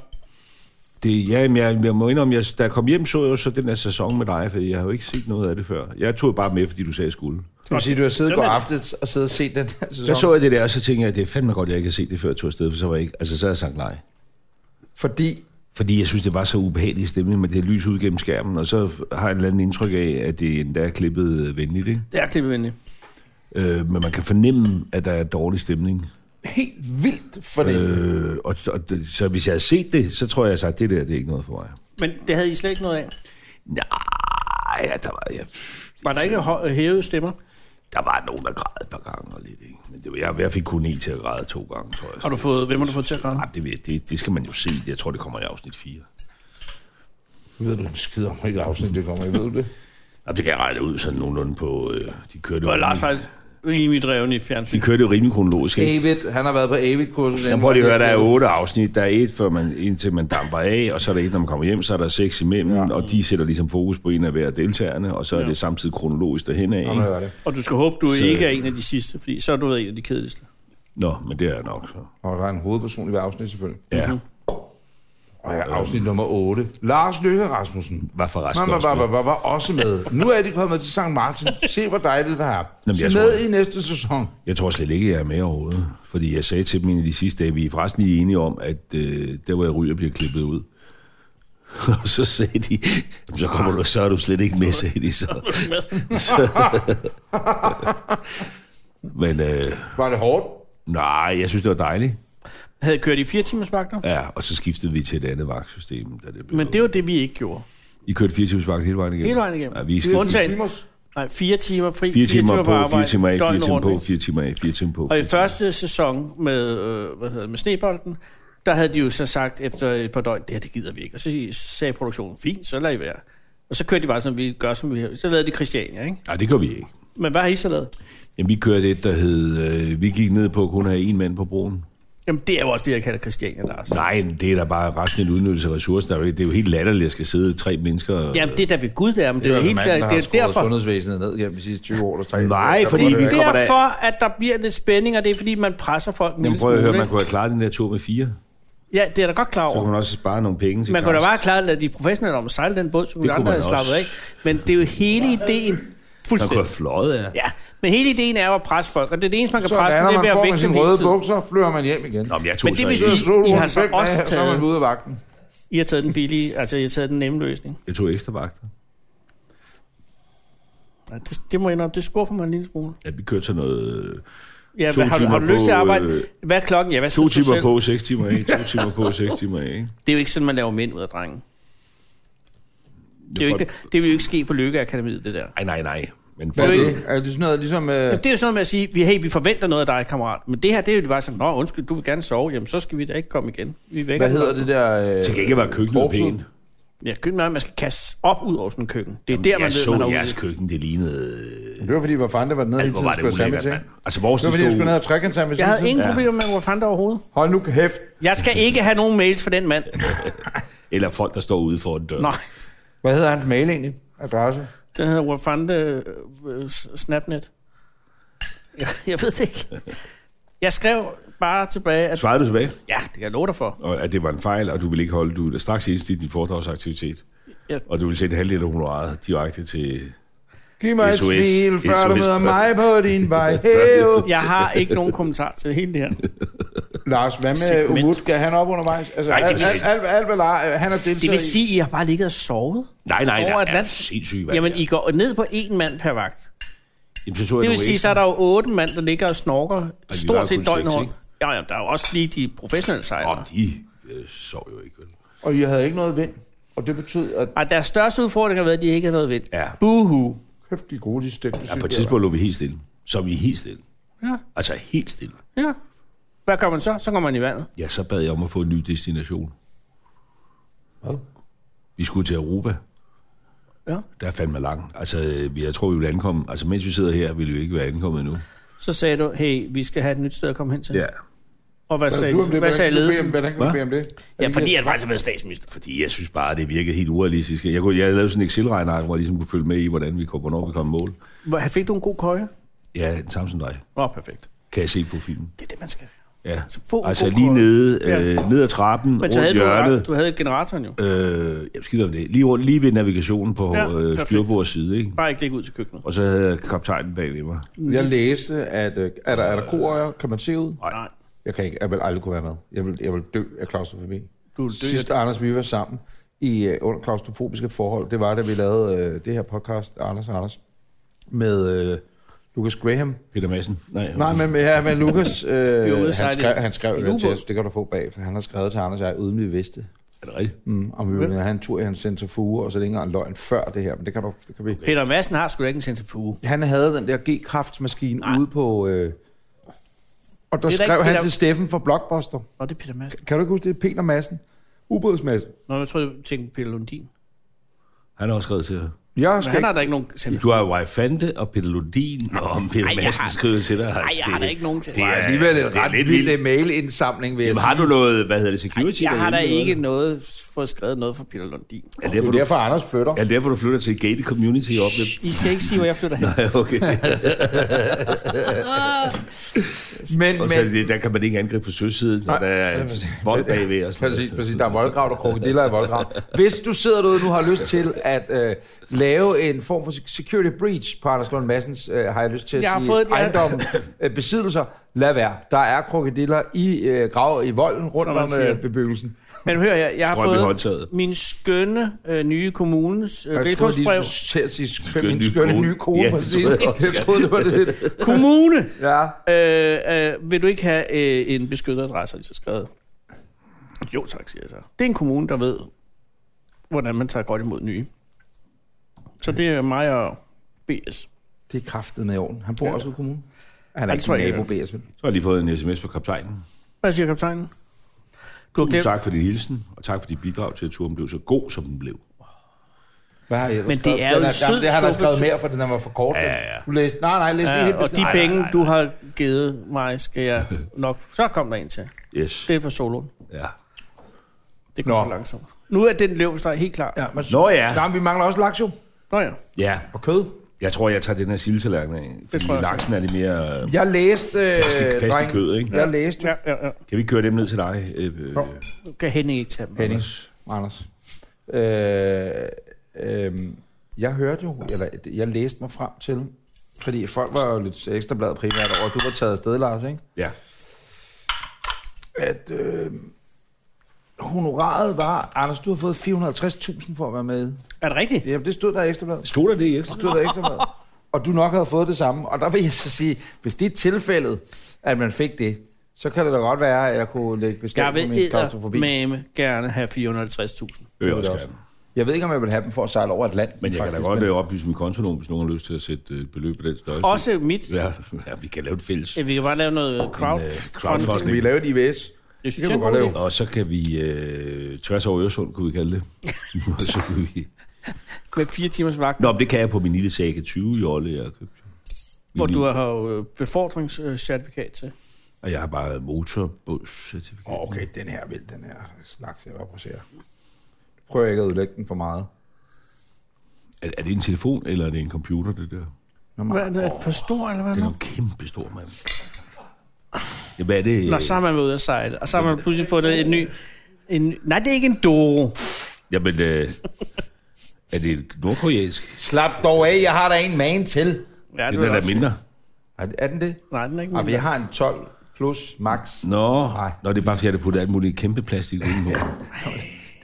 det, ja, jamen, jeg, jeg må indrømme, jeg, da jeg kom hjem, så jeg jo så den der sæson med dig, for jeg har jo ikke set noget af det før. Jeg tog bare med, fordi du sagde, jeg skulle.
Det vil sige, du har siddet
Sådan
går
er det.
aftes og siddet og set den her
Så
sæson.
så jeg det der, og så tænkte jeg, det er fandme godt, jeg ikke har set det før, jeg tog afsted, for så var jeg ikke... Altså, så havde jeg sagt nej.
Fordi,
Fordi jeg synes, det var så ubehagelig stemning med det lys ud gennem skærmen, og så har jeg en eller anden indtryk af, at det endda er klippet øh, venligt, ikke?
Det er klippevenligt.
Øh, men man kan fornemme, at der er dårlig stemning.
helt vildt for det. Øh,
Øh, og, og, det- så hvis jeg havde set det, så tror jeg, at jeg sagde, at det der, det er ikke noget for mig.
Men det havde I slet ikke noget af.
Nej, ja, der var, ja,
Var der ikke hø- hævede stemmer?
der var nogen, der græd et par gange og lidt, ikke? Men det var, jeg, jeg fik kun en til at græde to gange, tror jeg.
Har du fået, hvem har du fået til at gøre det?
Nej, det, ved jeg- det, det, skal man jo se. Jeg tror, det kommer i afsnit 4.
ved du en skid om, hvilket afsnit det kommer, jeg ved du det.
Jamen, det kan jeg regne ud sådan nogenlunde på... Øh, de kørte
Det var
jo-
Lars faktisk rimelig dreven i et fjernsyn.
De kørte jo rimelig kronologisk. Ikke?
Avid, han har været på Avid-kursus.
Jeg prøver lige at høre, der er otte afsnit. Der er et, før man, indtil man damper af, og så er der et, når man kommer hjem, så er der seks imellem, ja. og de sætter ligesom fokus på en af hver deltagerne, og så er
Ja.
det samtidig kronologisk derhen af.
Prøv at
Ikke?
høre det.
Og du skal håbe, du
Så-
så... ikke er en af de sidste, fordi så har du været en af de kedeligste.
Nå, men det er nok så.
Og der er en hovedperson i hver afsnit, selvfølgelig.
Ja,
Og
øh.
her er afsnit nummer 8. Lars Løkke Rasmussen.
hvad for resten
Han var,
også
var, var,
med?
var, var også med. Nu er de kommet til St.
<laughs>
Martin. Se, hvor dejligt det er.
Jamen, jeg
Se
tror-
med i næste sæson.
Jeg tror slet ikke, jeg er med overhovedet. Fordi jeg sagde til dem en af de sidste dage, vi er forresten lige enige om, at øh, der, hvor jeg ryger, bliver klippet ud. <laughs> Og så sagde de, "Jamen, så, kommer du, så er du slet ikke med, sagde de
<laughs>
så. <laughs> så men øh,
Var det hårdt?
nej, jeg synes, det var dejligt.
Havde kørt i fire timers vagter?
Ja, og så skiftede vi til et andet vagtsystem. Da det blev
Men det var det, vi ikke gjorde.
I kørte fire timers vagt hele vejen igennem?
Hele vejen igennem.
Ja, vi
Det var
skiftede
Undtagen.
Timers.
Nej, fire timer fri,
fire timer på, fire timer af, fire
døgnet
timer på,
rundt.
fire timer af, fire timer på.
Og i første sæson med, øh, hvad hedder det, med snebolden, der havde de jo så sagt efter et par døgn, det her, det gider vi ikke. Og så sagde produktionen, fint, så lad I være. Og så kørte de bare, som vi gør, som vi har. Så lavede de Christiania, ikke?
Nej, det gør vi ikke.
Men hvad har I så lavet?
Jamen, vi kørte et, der hed... Øh, vi gik ned på at kun have en mand på broen.
Jamen, det er jo også det, jeg kalder Christiania, Lars.
Nej, det er da bare resten en udnyttelse af ressourcer. Der er jo ikke- Det er jo helt latterligt, at jeg skal sidde tre mennesker... og-
Jamen, det er da ved Gud, det er, men det, er jo helt
altså manden, der
klart,
har
det er
skåret
derfor.
sundhedsvæsenet ned gennem de sidste 20 år. Der trækker-
Nej,
der
fordi
kommer
vi-
det
Det
ikke.
er
kommer der-
derfor, at der bliver lidt spænding, og det er fordi, man presser folk. en
Jamen,
lille
prøv at
smule,
høre, man
ikke?
kunne have klaret den der tur med fire.
Ja, det er da godt klar
Så
over.
kunne man også spare nogle penge til
Man kunne da
Karsten.
bare klare, at de professionelle om at sejle den båd, så
Det
kunne vi
kunne
andre
man
have slappet af.
også.
Men det er jo hele ideen.
Man kunne
Fuldstændig.
have fløjet af.
Ja, men hele ideen er jo at presse folk, og det er det eneste, man kan
Så
presse,
lander
det er
man
ved at
får med
vække dem
sine
hele
røde
tiden.
bukser, flyver man hjem igen.
Nå, men jeg tog
Men det
så
vil
en.
sige-
Så slog du
I har
den
så
fem dage,
også
Så er man
taget-
ude af vagten.
I har taget den billige, altså I har taget den nemme løsning.
Jeg tog ekstra vagter.
Ja, det, det må jeg indrømme, det skuffer mig en lille smule.
Ja, vi kørte sådan noget... øh,
Ja,
To
hvad, har, du- har du
timer
lyst til at
på,
arbejde?
øh,
Hvad er klokken? Ja, hvad
To
synes du
timer
selv?
på, seks timer
<laughs>
af, to timer på, seks timer af, ikke?
Det er jo ikke sådan, man laver mænd ud af drengen. Det, er jo
Folk-
ikke, det, det vil jo ikke ske på Lykkeakademiet, det der.
Nej, nej, nej. Men
Hvad
folk,
er
Det er
det? Er det sådan noget, ligesom... øh,
Jamen, det er jo sådan noget med at sige, vi, hey, vi forventer noget af dig, kammerat. Men det her, det er jo bare sådan, nå, undskyld, du vil gerne sove. Jamen, så skal vi da ikke komme igen. Vi vækker
Hvad
den
hedder
op."
det der... øh,
til gengæld var køkkenet
korpset?
pænt.
Ja, køkken er, man skal kaste op ud over sådan en køkken. Det er der, man
jeg
ved, man er
så
ude.
jeres køkken, det lignede...
Det var fordi, hvor fanden det var nede hele
Hvor
tiden,
var det
skulle have samme
ulækkert,
ting.
mand. Altså, vores
Det var fordi, jeg skulle ned
stod...
og trække sammen med
Jeg havde
samtidig.
ingen problemer med Rwanda overhovedet.
Hold nu kæft.
Jeg skal ikke have nogen mails fra den mand.
Eller folk, der står ude for en dør.
Nej,
Hvad hedder hans mail egentlig? Adresse?
den hedder Rwanda øh, s- Snapnet. Jeg, jeg ved det ikke. Jeg skrev bare tilbage, at
Svarede du tilbage,
ja, det kan jeg love dig for.
og at det var en fejl, og du ville ikke holde... Du ville straks indstille din foredragsaktivitet.
Ja.
Og du ville sætte halvdelen af honoraret direkte til...
Giv mig et
SOS.
smil, før du
SOS.
møder mig på din
<laughs>
vej. Hey, oh.
Jeg har ikke nogen kommentar til hele det her. Det
Lars, hvad med
Segment.
Umut? Skal han op undervejs? Altså,
Nej, det
alt,
vil
alt,
sige-
alt, alt, hvad Lars, han har deltaget
vil
i.
sige, at I har bare ligget og sovet.
Nej, nej,
Over
nej.
Atlanten?
Ja, sindssygt, hvad
Jamen,
det er.
I går ned på én mand per vagt.
Jamen, så tog jeg
Det vil
nogle
sige, så
ekstra.
er der jo otte mand, der ligger og snorker
vi var
stort
kun
set døgnet
seks,
rundt. Ja, ja, der er jo også lige de professionelle sejlere.
Om de øh, sov jo ikke, vel?
Og jeg havde ikke noget vind. Og det betød, at
Ej, deres største udfordring har været, at de ikke har noget vind.
Ja.
Buhu.
kæft, de gode, de stemte.
ja,
synes
på
jeg,
et tidspunkt lå vi helt stille. Så vi helt stille.
Ja.
Altså helt stille.
Ja. Hvad gør man så? Så går man i vandet.
Ja, så bad jeg om at få en ny destination.
Hvad?
Vi skulle til Europa.
Ja.
Der er fandme langt. Altså, øh, vi- jeg tror, vi vil ankomme. Altså, mens vi sidder her, vil vi jo ikke være ankommet endnu.
Så sagde du, hey, vi skal have et nyt sted at komme hen til.
Ja.
Og hvad,
Hvad
sagde,
sagde du om det?
hvad sagde
Hvordan kan du bede
ledelsen?
om- Hvordan kan du
Hva?
bede om det?
Ja,
Er
fordi
det-
han faktisk har været statsminister.
Fordi jeg synes bare, det virkede helt urealistisk. Jeg, kunne, jeg lavede sådan en Excel-regneark, hvor jeg ligesom kunne følge med i, hvordan vi kom, hvornår vi kom i mål.
Hvor- Fik du en god køje?
Ja, den samme som dig.
Åh, oh, perfekt.
Kan jeg se på filmen.
Det er det, man skal.
Ja.
få en
Altså
god
lige
kåre.
nede, øh, ned ad trappen,
Men så havde
rundt
du, ret.
hjørnet.
du havde et generatoren jo.
Øh, jeg skider om det. Lige, rundt, lige ved navigationen på
Ja,
ja, øh,
perfekt.
styrbords side, ikke?
Bare ikke ligge ud til køkkenet.
Og så havde jeg kaptajnen bag ved mig.
Jeg læste, at øh, er der, er der koøjer? Kan man se ud?
Nej.
Jeg, kan ikke, jeg vil aldrig kunne være med. Jeg vil, jeg vil dø af klaustrofobi.
Du er død.
Sidst Anders, vi var sammen i øh, under klaustrofobiske forhold, det var, da vi lavede øh, det her podcast, Anders og Anders, med øh, Lucas Graham.
Peter Madsen. Nej,
Nej, men, ja, men
<laughs>
Lucas, øh,
ude
han,
at sejle
skrev,
i-
han skrev
i
jo til
ubåd.
os, det kan du få bagefter. Han har skrevet til Anders og jeg, uden vi vidste det.
Er det rigtigt?
mm, om vi ville have en tur i hans centrifuge, og så længere en løgn før det her, men det kan, du, det kan vi
Peter Madsen har sgu da ikke en centrifuge.
han havde den der G-kraftsmaskine ude på... Øh, og der
Det er da
skrev
ikke
han
Peter-
til Steffen fra Blockbuster.
Nå, det er Peter Madsen.
Kan du ikke huske det? Peter Madsen. Ubådsmadsen.
Nå, jeg tror, du tænkte på Peter Lundin.
Han har også skrevet til jer.
Jeg
Men
skal
han
ikke...
har da ikke nogen... Nej,
Du har jo Wai Fante og Peter Lodin, og om Peter
Ej, jeg
Madsen
har-
skriver til dig. Nej,
jeg har da ikke nogen til.
Det er alligevel
det
en
er
ret
lidt
vild
vildt.
mailindsamling, vil jeg
Jamen,
sige.
har du noget, hvad hedder det, security?
Jeg har da
derinde,
ikke
eller
noget fået skrevet noget for Peter Lundin.
hvad? Er
Det
derfor,
er
du,
derfor, Anders flytter.
er derfor, du flytter til Gated Community op med...
I skal ikke sige, hvor jeg flytter hen.
Ja, <laughs> okay.
Men,
Og så er
men,
det det, der kan man ikke angribe på søsiden, når der er et vold bagved og sådan noget.
Præcis, præcis. Der er voldgrav, der er krokodiller i voldgrav. Hvis du sidder derude nu og har lyst til at øh, lave en form for security breach på Anders Lund Madsens, øh, har jeg lyst til at
Jeg har
sige,
fået et-
ejendom,
<laughs>
øh, besiddelser, lad være. Der er krokodiller i øh, grav i volden rundt
Som man
om
siger.
øh, bebyggelsen.
Men hør her, jeg har
Strøm i
fået
håndtaget.
min skønne øh, nye kommunes øh,
Jeg troede, de
<laughs> deltagsbrev.
skulle til at sige, skøn,
Skøn
min
ny
skønne
kone.
nye kone.
Ja,
Ja,
det
præcis.
troede jeg også,
<laughs> Jeg troede, det var det lidt.
Kommune!
Ja.
Øh, øh, vil du ikke have øh, en beskyttet adresse, har de så skrevet? Jo tak, siger jeg så. Det er en kommune, der ved, hvordan man tager godt imod nye. Så det er mig og BS.
Det er kraftet med i orden. Han bor også i kommunen. Han er
det
ikke
tror jeg
nabo,
ikke.
BS. vel?
Så har jeg lige fået en sms fra kaptajnen.
Hvad siger kaptajnen? Du har
Tusind
glemt.
tak for din hilsen, og tak for dit bidrag til, at turen blev så god, som den blev.
Hvad har I ellers
Men det
skrevet?
er jo
Den
en sød
gammel. Det har han
suppe
skrevet
til-
mere, for den er var for kort.
Ja, ja, ja.
Du læste, nej, nej, læste lige helt
Ja, og de
bestemt.
penge, du har givet mig, skal jeg nok... Så kom der en til.
Yes.
Det er for soloen.
Ja.
Det går
Nå.
for langsomt. Nu er den løbsteg helt klar.
Ja, men,
Nå ja.
Nej, men vi mangler også laks jo.
Nå ja.
Ja,
Og kød.
jeg tror, jeg tager den her sildetallerken af. Fordi
tror jeg også.
laksen er lidt mere... øh,
Jeg læste, øh,
i- fast i
dreng,
kødet, ikke?
Jeg læste
Ja, ja, ja.
Kan vi køre dem ned til dig? Øh, øh,
Nå.
Nu kan Henning ikke tage dem.
Henning, Anders. Øh, øh, jeg hørte jo, eller jeg læste mig frem til, fordi folk var jo lidt ekstrabladet primært over, at du var taget afsted, Lars, ikke?
ja.
At øh, honoraret var, Anders, du har fået 450.000 for at være med.
Er det rigtigt?
Jamen, det stod der i ekstrabladet.
Stod der det i ekstra?
stod der ekstra mad. Og du nok havde fået det samme. Og der vil jeg så sige, hvis det er tilfældet, at man fik det, så kan det da godt være, at jeg kunne lægge
Jeg
beslag på
vil
min klaustrofobi. Men...
eddermame gerne have 450.000.
Øh, jeg
det
også
også.
gerne.
Jeg ved ikke, om jeg vil have dem for at sejle over Atlanten.
Men jeg kan da
faktisk,
godt
men-
øh, oplyse min kontonummer, hvis nogen har lyst til at sætte øh, et beløb på den størrelse.
Også mit.
Ja, ja, vi kan lave et fælles.
Ja, Vi kan bare lave noget crowd.
En, øh, crowdfunding.
Skal vi lave et IVS?
Det synes
kan
jeg
vi
er en
godt
god
lave.
idé.
Og så kan vi øh, tværs over Øresund, kunne vi kalde det. <laughs> Og så kunne vi...
Med fire timers vagt,
Nå, men det kan jeg på min lille Saga 20 jolle, jeg har købt. Min
hvor
lille-
du har jo øh, befordringscertifikat til.
Og jeg har bare motorbådscertifikat.
Åh, Okay, den her vil, den her slags, jeg rapporterer. Prøver jeg ikke at udlægge den for meget.
Er, er, det en telefon, eller er det en computer, det der?
Nå,
Hvad
man,
er det? Er det for stor, eller hvad
Den er
nu?
jo kæmpe stor, mand. Ja, hvad er det? øh,
Nå, så har man været ude at sejle, og så har man pludselig fået en ny... En, nej, det er ikke en Doro.
Jamen, øh, er det nordkoreansk?
Slap dog af, jeg har da en man til.
Ja,
Den
vil
er
jeg
da
også sige.
mindre.
Er, er den det?
Nej, den er ikke
Ej, for jeg
mindre.
har en 12 plus max.
Nå,
Nej.
Nå, det er bare, fordi jeg har puttet alt muligt kæmpe plastik udenpå.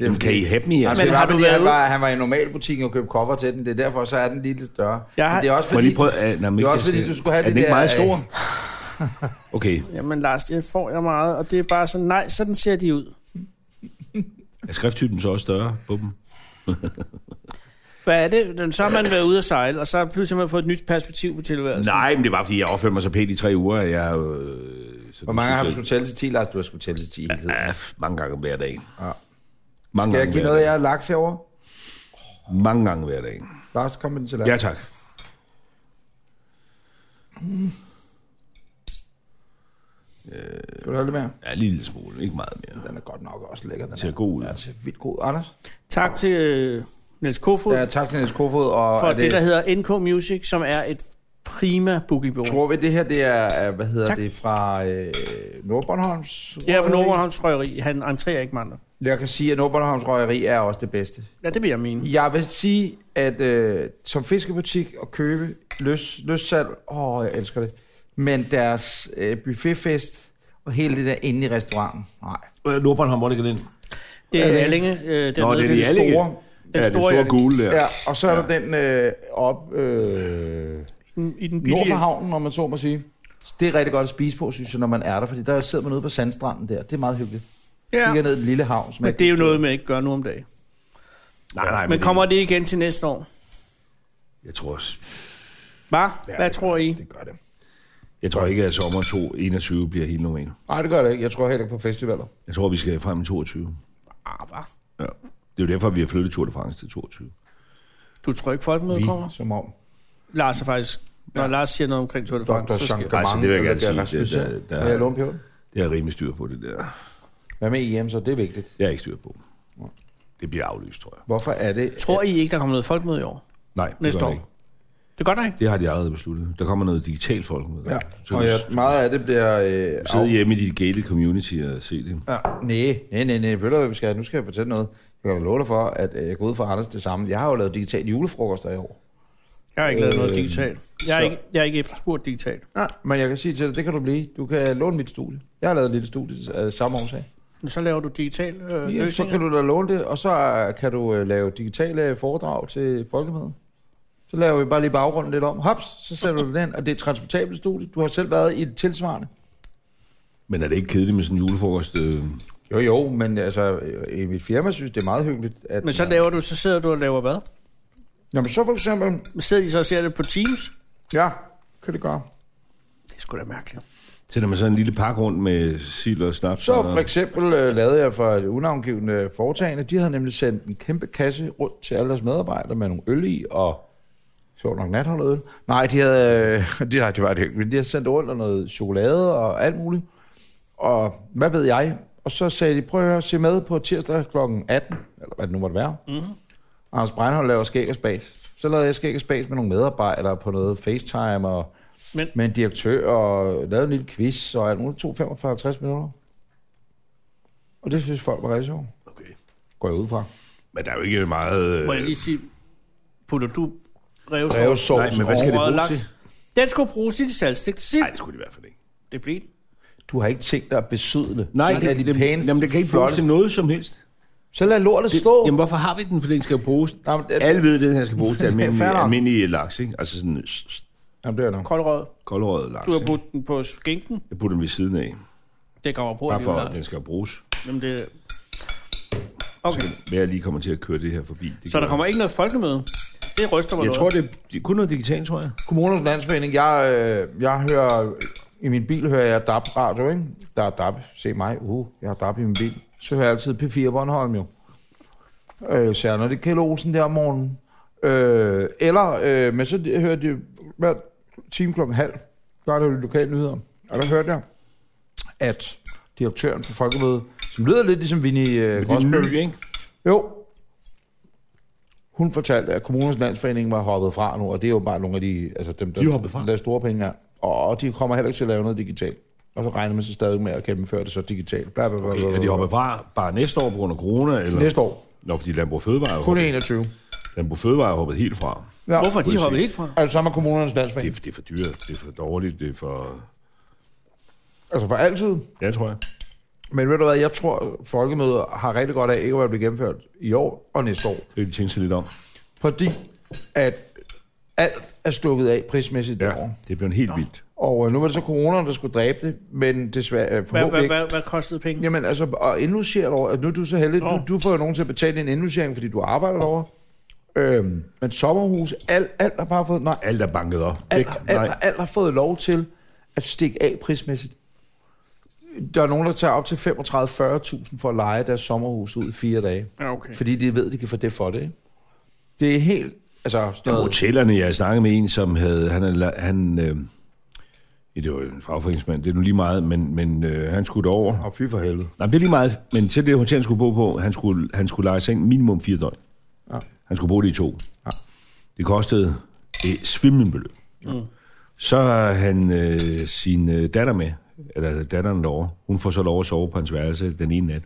Jamen, kan I have dem i
Altså,
jeres?
Men
det var, har
har du
fordi,
været
han,
ude-
var, han var i normalbutikken og købte cover til den. Det er derfor, så er den lige lidt større.
Jeg
Men
har-
det er også
Må jeg
fordi...
lige prøve? Uh, nej, men
Det er
ikke-
også fordi, du skulle have
er
det
den ikke
der,
meget
øh,
stor? Okay,
Jamen, Lars, det får jeg meget, og det er bare sådan, nej, sådan ser de ud.
er skrifttypen så også større på dem?
Hvad er det? Så har man været ude at sejle, og så har pludselig man fået et nyt perspektiv på tilværelsen.
Nej, men det var, fordi jeg opførte mig så pænt i tre uger, at jeg... Øh, så
Hvor mange har du skulle tælle til 10, Lars? Du har skulle tælle til 10 hele tiden.
Ja, f- mange gange hver dag.
Ja.
Mange
Kan jeg
gange
give
hver
noget af
dag.
jer laks herovre?
Mange gange hver dag.
Lars, kom med den til
Ja,
laks.
tak.
Kan du holde det med?
Ja, en lille smule, ikke meget mere.
Den er godt nok også lækker, den
Det ser
her.
god ud.
Den ser vildt god. Anders?
Tak til øh, Niels Kofod
Ja, tak til Niels Kofod. Og
for
er
det, det, der hedder NK Music, som er et prima bookiebureau.
Tror vi, det her det er, øh, hvad hedder
Tak.
tak. det, fra øh, Nordbornholms?
Ja, for
Røgeri?
Nordhavns Røgeri, han entrerer ikke med andre.
Jeg kan sige, at Nordbornholms Røgeri er også det bedste.
Ja, det vil jeg mene.
Jeg vil sige, at øh, som fiskebutik at købe løs, løssalg, åh, jeg elsker det, men deres øh, buffetfest og hele det der inde i restauranten, nej.
Øh, Nordbornholm, hvor ligger den?
Det er
Ja, det-
Allinge, øh, den,
Nå,
nede-
det er
det
i Allinge.
store.
ja, den
store,
store
ja.
gule der.
Ja, og så er der den øh, op øh,
den- i den
nord for
billige.
havnen, om man så må sige. Det er rigtig godt at spise på, synes jeg, når man er der, fordi der sidder man ude på sandstranden der. Det er meget hyggeligt. Ja.
Ja,
Kigger ned i den lille havn. Som
men
jeg-
det er jo noget, man ikke gør nu om dagen.
Nej, nej,
Men kommer det igen til næste år?
Jeg tror også.
Hva? Hvad tror I?
Det gør det.
Jeg tror ikke, at sommer 2021 bliver helt normal.
Nej, det gør det ikke. Jeg tror heller ikke på festivaler.
Jeg tror, vi skal frem i 22.
Ah, hva?
Ja. Det er jo derfor, vi har flyttet Tour de France til 22.
Du tror ikke, folkemødet kommer?
Vi, som om.
Lars er faktisk... Når
Ja.
Lars siger noget omkring Tour de
Dr.
France, så skal...
Jean
Altså, det vil jeg gerne sige.
Rasmus
Det-
Søren.
der- der-
Vil jeg låne peberen?
Det er rimelig styr på det der.
Hvad med EM, så det er vigtigt.
Jeg er ikke styr på. Det bliver aflyst, tror jeg.
Hvorfor er det...
Tror I ikke, der kommer noget folkemøde i år?
Nej, det
Næste
gør det
år?
ikke.
Det gør der ikke.
Det har de allerede besluttet. Der kommer noget digitalt folk med.
Ja,
Så
og
du
jeg, meget af det bliver... Øh,
sidder hjemme i dit gated community og se det.
Ja. Nej, nej, nej, nej. Ved du, hvad vi skal? Nu skal jeg fortælle noget. Jeg kan jo love dig for, at øh, jeg går ud for Anders det samme. Jeg har jo lavet digitale julefrokoster i år.
Jeg har ikke lavet noget
Øh,
digitalt. Jeg er
så-
ikke, jeg er ikke efterspurgt digitalt.
Ja, men jeg kan sige til dig, det kan du blive. Du kan låne mit studie. Jeg har lavet et lille studie af samme årsag.
Men så laver du digital øh,
Ja, så
løsninger.
kan du da låne det, og så øh, kan du øh, lave digitale foredrag til folkemødet. Så laver vi bare lige baggrunden lidt om. Hops, så sætter du den, og det er et transportabelt studie. Du har selv været i et tilsvarende.
Men er det ikke kedeligt med sådan en julefrokost? Øh,
Jo, jo, men altså, øh, i mit firma synes, det er meget hyggeligt. At,
Men så laver du, så sidder du og laver hvad?
Nå, men så for eksempel,
Sidder de så og ser det på Teams?
ja, kan det gøre.
Det er sgu da mærkeligt.
Sætter man så en lille pakke rundt med sild og snaps?
Så
og-
for eksempel øh, lavede jeg for et unavngivende foretagende. De havde nemlig sendt en kæmpe kasse rundt til alle deres medarbejdere med nogle øl i og sjovt nok natholdet øl. Nej, de havde, <laughs> øh, de, nej, det var det, ikke, men de havde sendt rundt og noget chokolade og alt muligt. Og hvad ved jeg? Og så sagde de, prøv at høre, se med på tirsdag kl. 18, eller hvad det nu måtte være. Mm-hmm. Anders Breinholt laver skæg og spas. Så lavede jeg skæg og spas med nogle medarbejdere på noget FaceTime og
Men-
med en direktør og lavede en lille quiz og alt muligt. Det tog 45-50 minutter. Og det synes folk var rigtig sjovt.
Okay.
Går jeg ud fra.
Men der er jo ikke meget... Øh,
Må jeg lige sige, putter du revsovs?
Brevsovs.
Nej, men hvad skal det
Overrøget
bruges
laks.
til?
Den skulle bruges til de salgstegte sild.
Nej, det skulle det i hvert fald ikke.
Det blev den.
Du har ikke tænkt dig at besødle.
Nej,
det, er
det,
de
det,
pæneste,
jamen, det kan ikke bruges
flotte.
til noget som helst.
Så lad lortet
Det,
stå.
jamen, hvorfor har vi den? For den skal jo bruges.
Jamen, det-
Alle ved, at den her
<laughs>
skal bruges til
er
almindelig,
fair nok.
almindelig laks, ikke? Altså sådan s- s-
Jamen, det er nok.
Koldrød.
koldrøget laks.
Du har
ikke?
puttet den på skinken.
Jeg putter den ved siden af,
Det kommer på
bare for,
alligevel.
at den skal bruges.
Jamen, det... Okay,
Men jeg lige kommer til at køre det her forbi. Det
så
gør
der kommer ikke noget folkemøde. Det ryster mig
Jeg
noget.
tror, det er- det er kun noget digitalt, tror jeg.
Kommunernes Landsforening, jeg, øh, jeg hører, i min bil hører jeg DAB radio, ikke? Der er DAB, se mig, uh, jeg har DAB i min bil. Så hører jeg altid P4 Bornholm jo. Øh, så når det er Kjell Olsen der om morgenen. Øh, eller, øh, men så hører de hver time klokken halv, der er det jo de lokale nyheder. Og der hørte jeg, at direktøren for Folkemødet, som lyder lidt ligesom Vinnie øh,
Men det er
Grosbøll,
ny, ikke?
jo. Hun fortalte, at kommunernes landsforening var hoppet fra nu, og det er jo bare nogle af de, altså dem, der,
De er hoppet fra.
der er store penge her. Og de kommer heller ikke til at lave noget digitalt. Og så regner man sig stadig med at gennemføre det så digitalt. Bla, bla, bla, bla,
Er de hoppet fra bare næste år på grund af corona? Eller?
Næste år.
Nå, fordi Landbrug Fødevare
Kun
er hoppet,
21.
Landbrug Fødevare er hoppet helt fra.
Ja.
Hvorfor er de
Politik.
hoppet helt fra?
Altså, så er kommunernes
Det er,
landsforening.
det er for dyrt, det er for dårligt, det er for...
Altså for altid.
Ja, tror jeg.
Men ved du hvad, jeg tror, folkemødet har rigtig godt af ikke at blive gennemført i år og næste år.
Det kan de tænke sig lidt om.
Fordi at alt er stukket af prismæssigt ja.
Ja,
derovre.
det bliver helt vildt.
Og øh, nu var det så corona, der skulle dræbe det, men desværre... øh,
Hvad,
forhåbentlig
hvad,
ikke.
hvad, hvad kostede penge?
Jamen altså, og indlogere over, at nu er du så heldig,
Nå.
du, du får jo nogen til at betale en indlogering, fordi du arbejder over. Øhm, men sommerhus, alt, alt har bare fået, nej,
Alt er banket op. Væk.
alt, alt,
Nej,
alt har fået lov til at stikke af prismæssigt. Der er nogen, der tager op til 35-40.000 for at lege deres sommerhus ud i fire dage.
Ja, okay.
Fordi de ved, de kan få det for det. ikke? Det er helt, altså, sådan
Jamen,
noget,
hotellerne, jeg snakkede med en, som havde, han, havde la- han øh, ja, det var jo en fagforeningsmand, det er nu lige meget, men, men øh, han skulle derover.
og fy for helvede.
Nej, men det er lige meget, men til det hotel, han skulle bo på, han skulle, han skulle lege seng minimum fire døgn.
Ja.
Han skulle bo det i to.
Ja.
Det kostede et svimlende beløb.
Mm.
Så har han øh, sin øh, datter med, eller datteren derovre. Hun får så lov at sove på hans værelse den ene nat.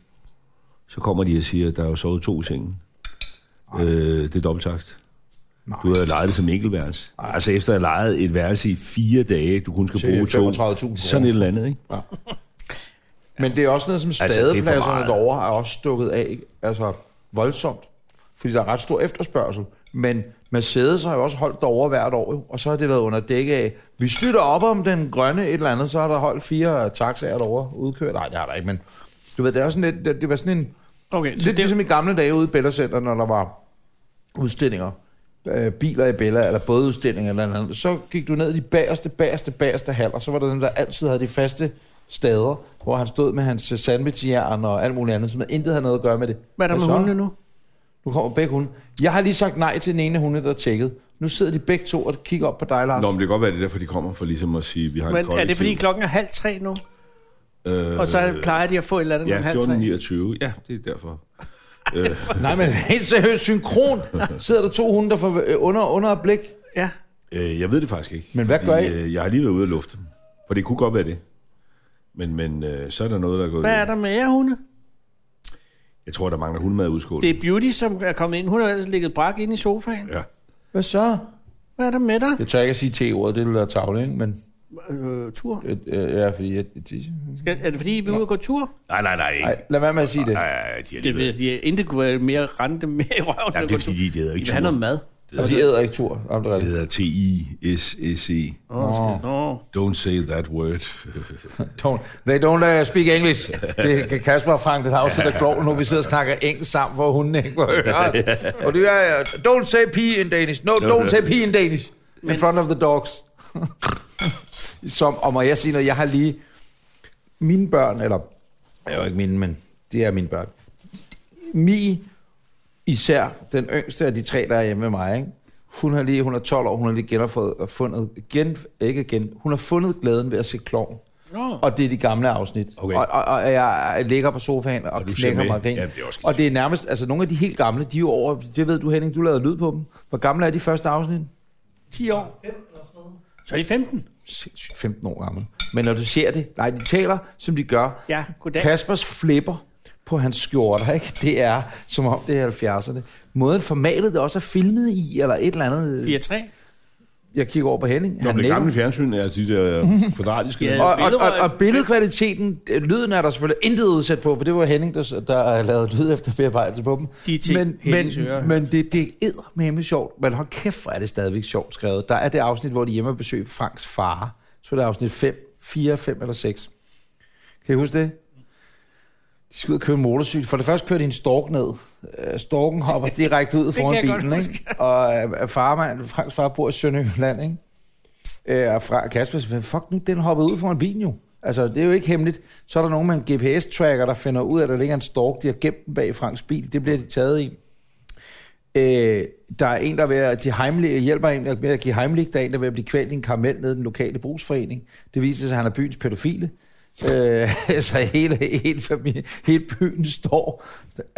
Så kommer de og siger, at der er jo sovet to i sengen. Øh, det er dobbelttakst.
Nej.
Du havde lejet det som enkeltværelse. Altså efter at have lejet et værelse i fire dage, du kun skal
Til
bruge to.
35.000
Sådan et eller andet, ikke?
Men det er også noget, som
Altså, det er for
stadepladserne
meget.
altså, derovre er også stukket af, ikke? altså voldsomt. Fordi der er ret stor efterspørgsel. Men Mercedes har jo også holdt derovre hvert år, jo. og så har det været under dække af, vi støtter op om den grønne et eller andet, så har der holdt fire taxaer derovre udkørt. Nej, det har der ikke, men du ved, det er også sådan lidt, det, det var sådan en,
Okay, så
lidt
det,
ligesom i gamle dage ude i Bella Center, når der var udstillinger, øh, biler i Bella, eller bådeudstillinger eller noget andet, så gik du ned i de bagerste, bagerste, bagerste hal, og så var der den, der altid havde de faste stader, hvor han stod med hans øh, sandwichjern og alt muligt andet, som intet havde noget at gøre med det.
hvad er der
Men
med
så-
hundene nu?
Nu kommer begge hunde. Jeg har lige sagt nej til den ene hunde, der er tjekket. Nu sidder de begge to og kigger op på dig, Lars.
Nå, men det kan godt være, det er derfor, de kommer, for ligesom at sige, vi har en
Men er
kollektiv.
det fordi klokken er halv tre nu?
Øh,
Og så plejer de at få et eller andet ja, om
Ja,
halv tre?
14.29. Ja, det er derfor. øh,
Nej, men helt seriøst, synkron sidder der to hunde, der får øh, under, under et blik.
Ja.
øh, jeg ved det faktisk ikke.
Men hvad gør I?
Øh, jeg har lige været ude at lufte. dem. For det kunne godt være det. Men, men øh, så er der noget, der er gået
Hvad er der med jer, hunde?
Jeg tror, der mangler hundemad i udskålen.
Det er Beauty, som er kommet ind. Hun har ellers ligget brak inde i sofaen.
Ja.
Hvad så?
Hvad er der med dig?
Jeg tør ikke at sige T-ordet, det vil være tavle, ikke? Men,
Øh, tur.
øh, øh, ja, fordi jeg, jeg,
Skal, er det fordi, vi er ude og gå tur?
Nej, nej, nej. Ikke.
Nej, lad være med at sige det.
Nej, nej, nej, de har lige
Det ved
været.
jeg, de intet kunne være mere rente mere i røven.
Ja,
end at
det er
gå tur.
fordi, de- de hedder
de
ikke
vil have
tur.
noget mad.
Og Altså, de æder ikke tur. Om det er
Det
rigtigt.
hedder T-I-S-S-E.
Åh, oh. oh.
E. Don't say that word. <laughs>
Don't, they don't uh, speak <laughs> English. Det kan Kasper og Frank det afsætte af kloven, nu vi sidder og snakker engelsk sammen, hvor hunden ikke må <laughs> høre. Og det er, uh, don't say pee in Danish. No, don't say pee in Danish. In front of the dogs. <laughs> Som, og må jeg sige noget, jeg har lige... Mine børn, eller... Jeg er jo ikke mine, men det er mine børn. Mi, især den yngste af de tre, der er hjemme med mig, ikke? Hun, har lige, hun er 12 år, hun har lige genfundet, fundet, gen, ikke gen, hun har fundet glæden ved at se klovn.
Nå.
Og det er de gamle afsnit.
Okay.
Og, og, og, jeg ligger på sofaen og, og
du ser
knækker
med.
mig ren.
Ja, det er også
og det er nærmest, altså nogle af de helt gamle, de er jo over, det ved du Henning, du lavede lyd på dem. Hvor gamle er de første afsnit?
10 år. Så er de 15.
Sindssygt, 15 år gamle. Men når du ser det, nej, de taler, som de gør.
Ja, goddag.
Kaspers flipper på hans skjorter, ikke? Det er som om det er 70'erne. Måden formatet det også er filmet i, eller et eller andet.
4-3.
Jeg kigger over på Henning.
Nå,
han
men det
nikker.
gamle fjernsyn er de
<laughs>
der kvadratiske.
Ja.
der.
og, og,
Billeder-
og, og billedkvaliteten, øh, lyden er der selvfølgelig intet udsat på, for det var Henning, der, s- der lavede lyd efter bearbejdelse på dem.
De er til Hennings
men,
ører.
men det, det er eddermame sjovt, men hold kæft, hvor er det stadigvæk sjovt skrevet. Der er det afsnit, hvor de er hjemme og besøger Franks far. Så er det afsnit 5, 4, 5 eller 6. Kan I huske det? De skal ud og køre en motorcykel. For det første kører de en stork ned. Øh, Storken
<laughs>
hopper direkte ud foran
jeg godt
bilen, ikke? Og øh, farmand, Franks far bor i Sønderjylland, ikke? Øh, og fra Kasper siger, fuck nu, den hoppede ud foran bilen jo. Altså, det er jo ikke hemmeligt. Så er der nogen med en GPS-tracker, der finder ud af, at der ligger en stork, de har gemt den bag Franks bil. Det bliver de taget i. Øh, der er en, der er ved at, de heimlig, hjælper en med at give heimlig, der er en, der er ved at blive kvalt i en karamel nede i den lokale brugsforening. Det viser sig, at han er byens pædofile. Øh, <laughs> så hele, hele, familie, hele byen står.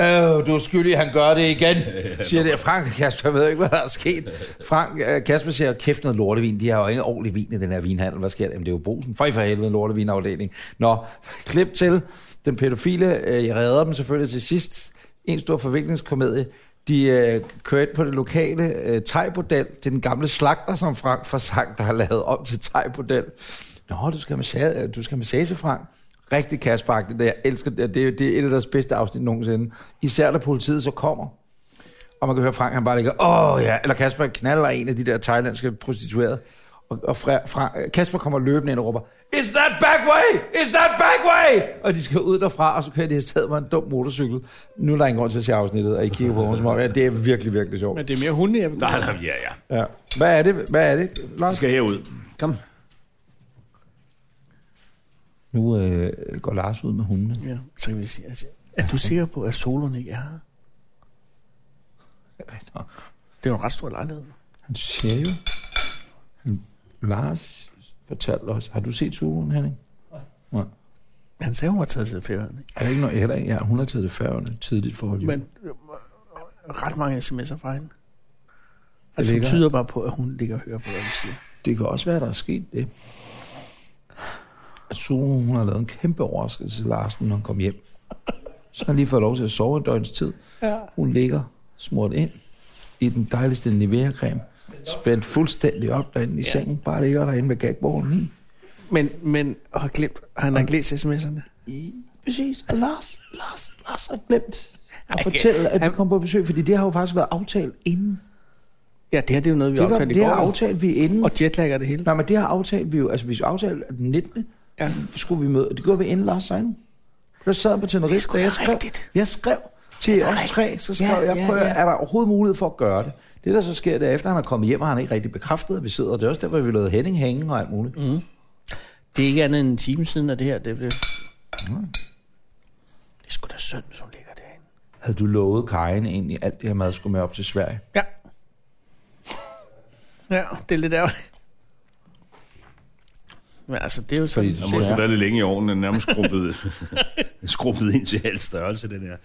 Øh, du er skyldig, han gør det igen, siger det. Frank og Kasper ved ikke, hvad der er sket. Frank, øh, Kasper siger, kæft noget lortevin. De har jo ikke ordentlig vin i den her vinhandel. Hvad sker der? Jamen, det er jo brusen. Føj for helvede, lortevinafdeling. Nå, klip til. Den pædofile, øh, jeg redder dem selvfølgelig til sidst. En stor forviklingskomedie. De øh, kører ind på det lokale øh, thai-bordel. Det er den gamle slagter, som Frank fra Sang, der har lavet om til thai-bordel. Nå, du skal have massage, øh, du skal have massage Frank. Rigtig kasperagtigt. Jeg elsker det. Det er, det er et af deres bedste afsnit nogensinde. Især da politiet så kommer. Og man kan høre Frank, han bare ligger, åh ja, eller Kasper knaller en af de der thailandske prostituerede. Og, og fra, fra, Kasper kommer løbende ind og råber, Is that back way? Is that back way? Og de skal ud derfra, og så kører de afsted med en dum motorcykel. Nu er der ingen grund til at se afsnittet, og I kigger på mig som om, ja, det er virkelig, virkelig sjovt.
Men det er mere hunde, jeg
Nej, nej, ja, ja.
Ja. Hvad er det, hvad er det,
Jeg
Lars?
skal herud.
Kom. Nu øh, går Lars ud med hundene.
Ja, så kan vi sige, altså, er du sikker på, at solerne ikke er her? Det er jo en ret stor lejlighed.
Han siger jo, han, Lars fortalte os, har du set solen, Henning?
Han sagde, hun var taget til færøerne.
Er det ikke noget, heller ikke? Ja, hun har taget det færgerne tidligt for Hollywood.
Men øh, ret mange sms'er fra hende.
Det
Altså, det
ligger-
tyder bare på, at hun ligger og hører på, hvad vi siger.
det kan også være, der er sket det. At solen, hun har lavet en kæmpe overraskelse til Larsen, når han kom hjem. Så har han lige fået lov til at sove en døgns tid.
Ja.
Hun ligger smurt ind i den dejligste Nivea-creme. Spændt fuldstændig op derinde i sengen. Bare ligger derinde med gagballen i.
Men, men og har glemt, han har glemt sms'erne.
I- Præcis. Og Lars, Lars, Lars har glemt at fortælle, at vi kom på besøg, fordi det har jo faktisk været aftalt inden.
Ja, det her det er jo noget, vi
Det, var,
aftalte i
det har
går.
aftalt vi inden.
Og jetlag er det hele.
Nej, men det har aftalt vi jo. Altså, vi aftalte at den 19.
Ja.
Ja. skulle vi møde. og Det gjorde vi inden Lars Sejne. Der sad på Tenerife,
Det er sgu
og jeg
da
skrev,
rigtigt.
jeg skrev til os tre, så skrev
Ja,
ja,
ja,
jeg, prøv, ja,
ja.
er der overhovedet mulighed for at gøre det? Det, der så sker derefter, han er kommet hjem, og han er ikke rigtig bekræftet, at vi sidder. og Det er også der, hvor vi lavede Henning hænge og alt muligt. Mm.
Det er ikke andet end en Mm. time siden, at det her det blev... Det er sgu da synd, som ligger derinde.
havde du lovet Kajen egentlig, alt det her mad skulle med op til Sverige?
Ja. Ja, det er lidt ærgerligt. Men altså, det er jo sådan...
Fordi
Der
det
må sgu
Ja.
være lidt længe i ovnen, den er nærmest
<laughs>
skrumpet, skrumpet ind til halv størrelse, den her.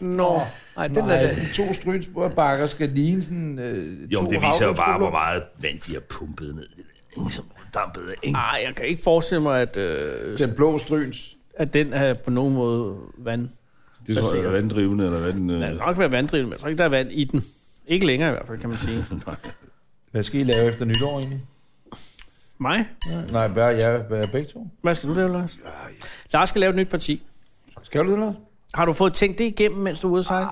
Nå, nej, den
Nej,
er der.
sådan to strynsbakker skal ligne sådan øh,
Jo,
to
det viser jo bare,
havregrynskugler.
hvor meget vand de har pumpet ned. i den, Som dampet af, ikke?
Ej, jeg kan ikke forestille mig, at, øh,
Den blå stryns.
at den er på nogen måde vand.
Det tror jeg er
baseret.
vanddrivende, eller hvad den... Øh,
Den kan nok være vanddrivende, men jeg tror ikke, der er vand i den. Ikke længere i hvert fald, kan man
<laughs>
sige.
Hvad skal I lave efter nytår egentlig?
Mig?
Nej, hvad er jeg? Hvad er begge to?
Hvad skal du lave, Lars? Lars skal lave et nyt parti.
Skal du det, Lars?
Har du fået tænkt det igennem, mens du er ude at sejle?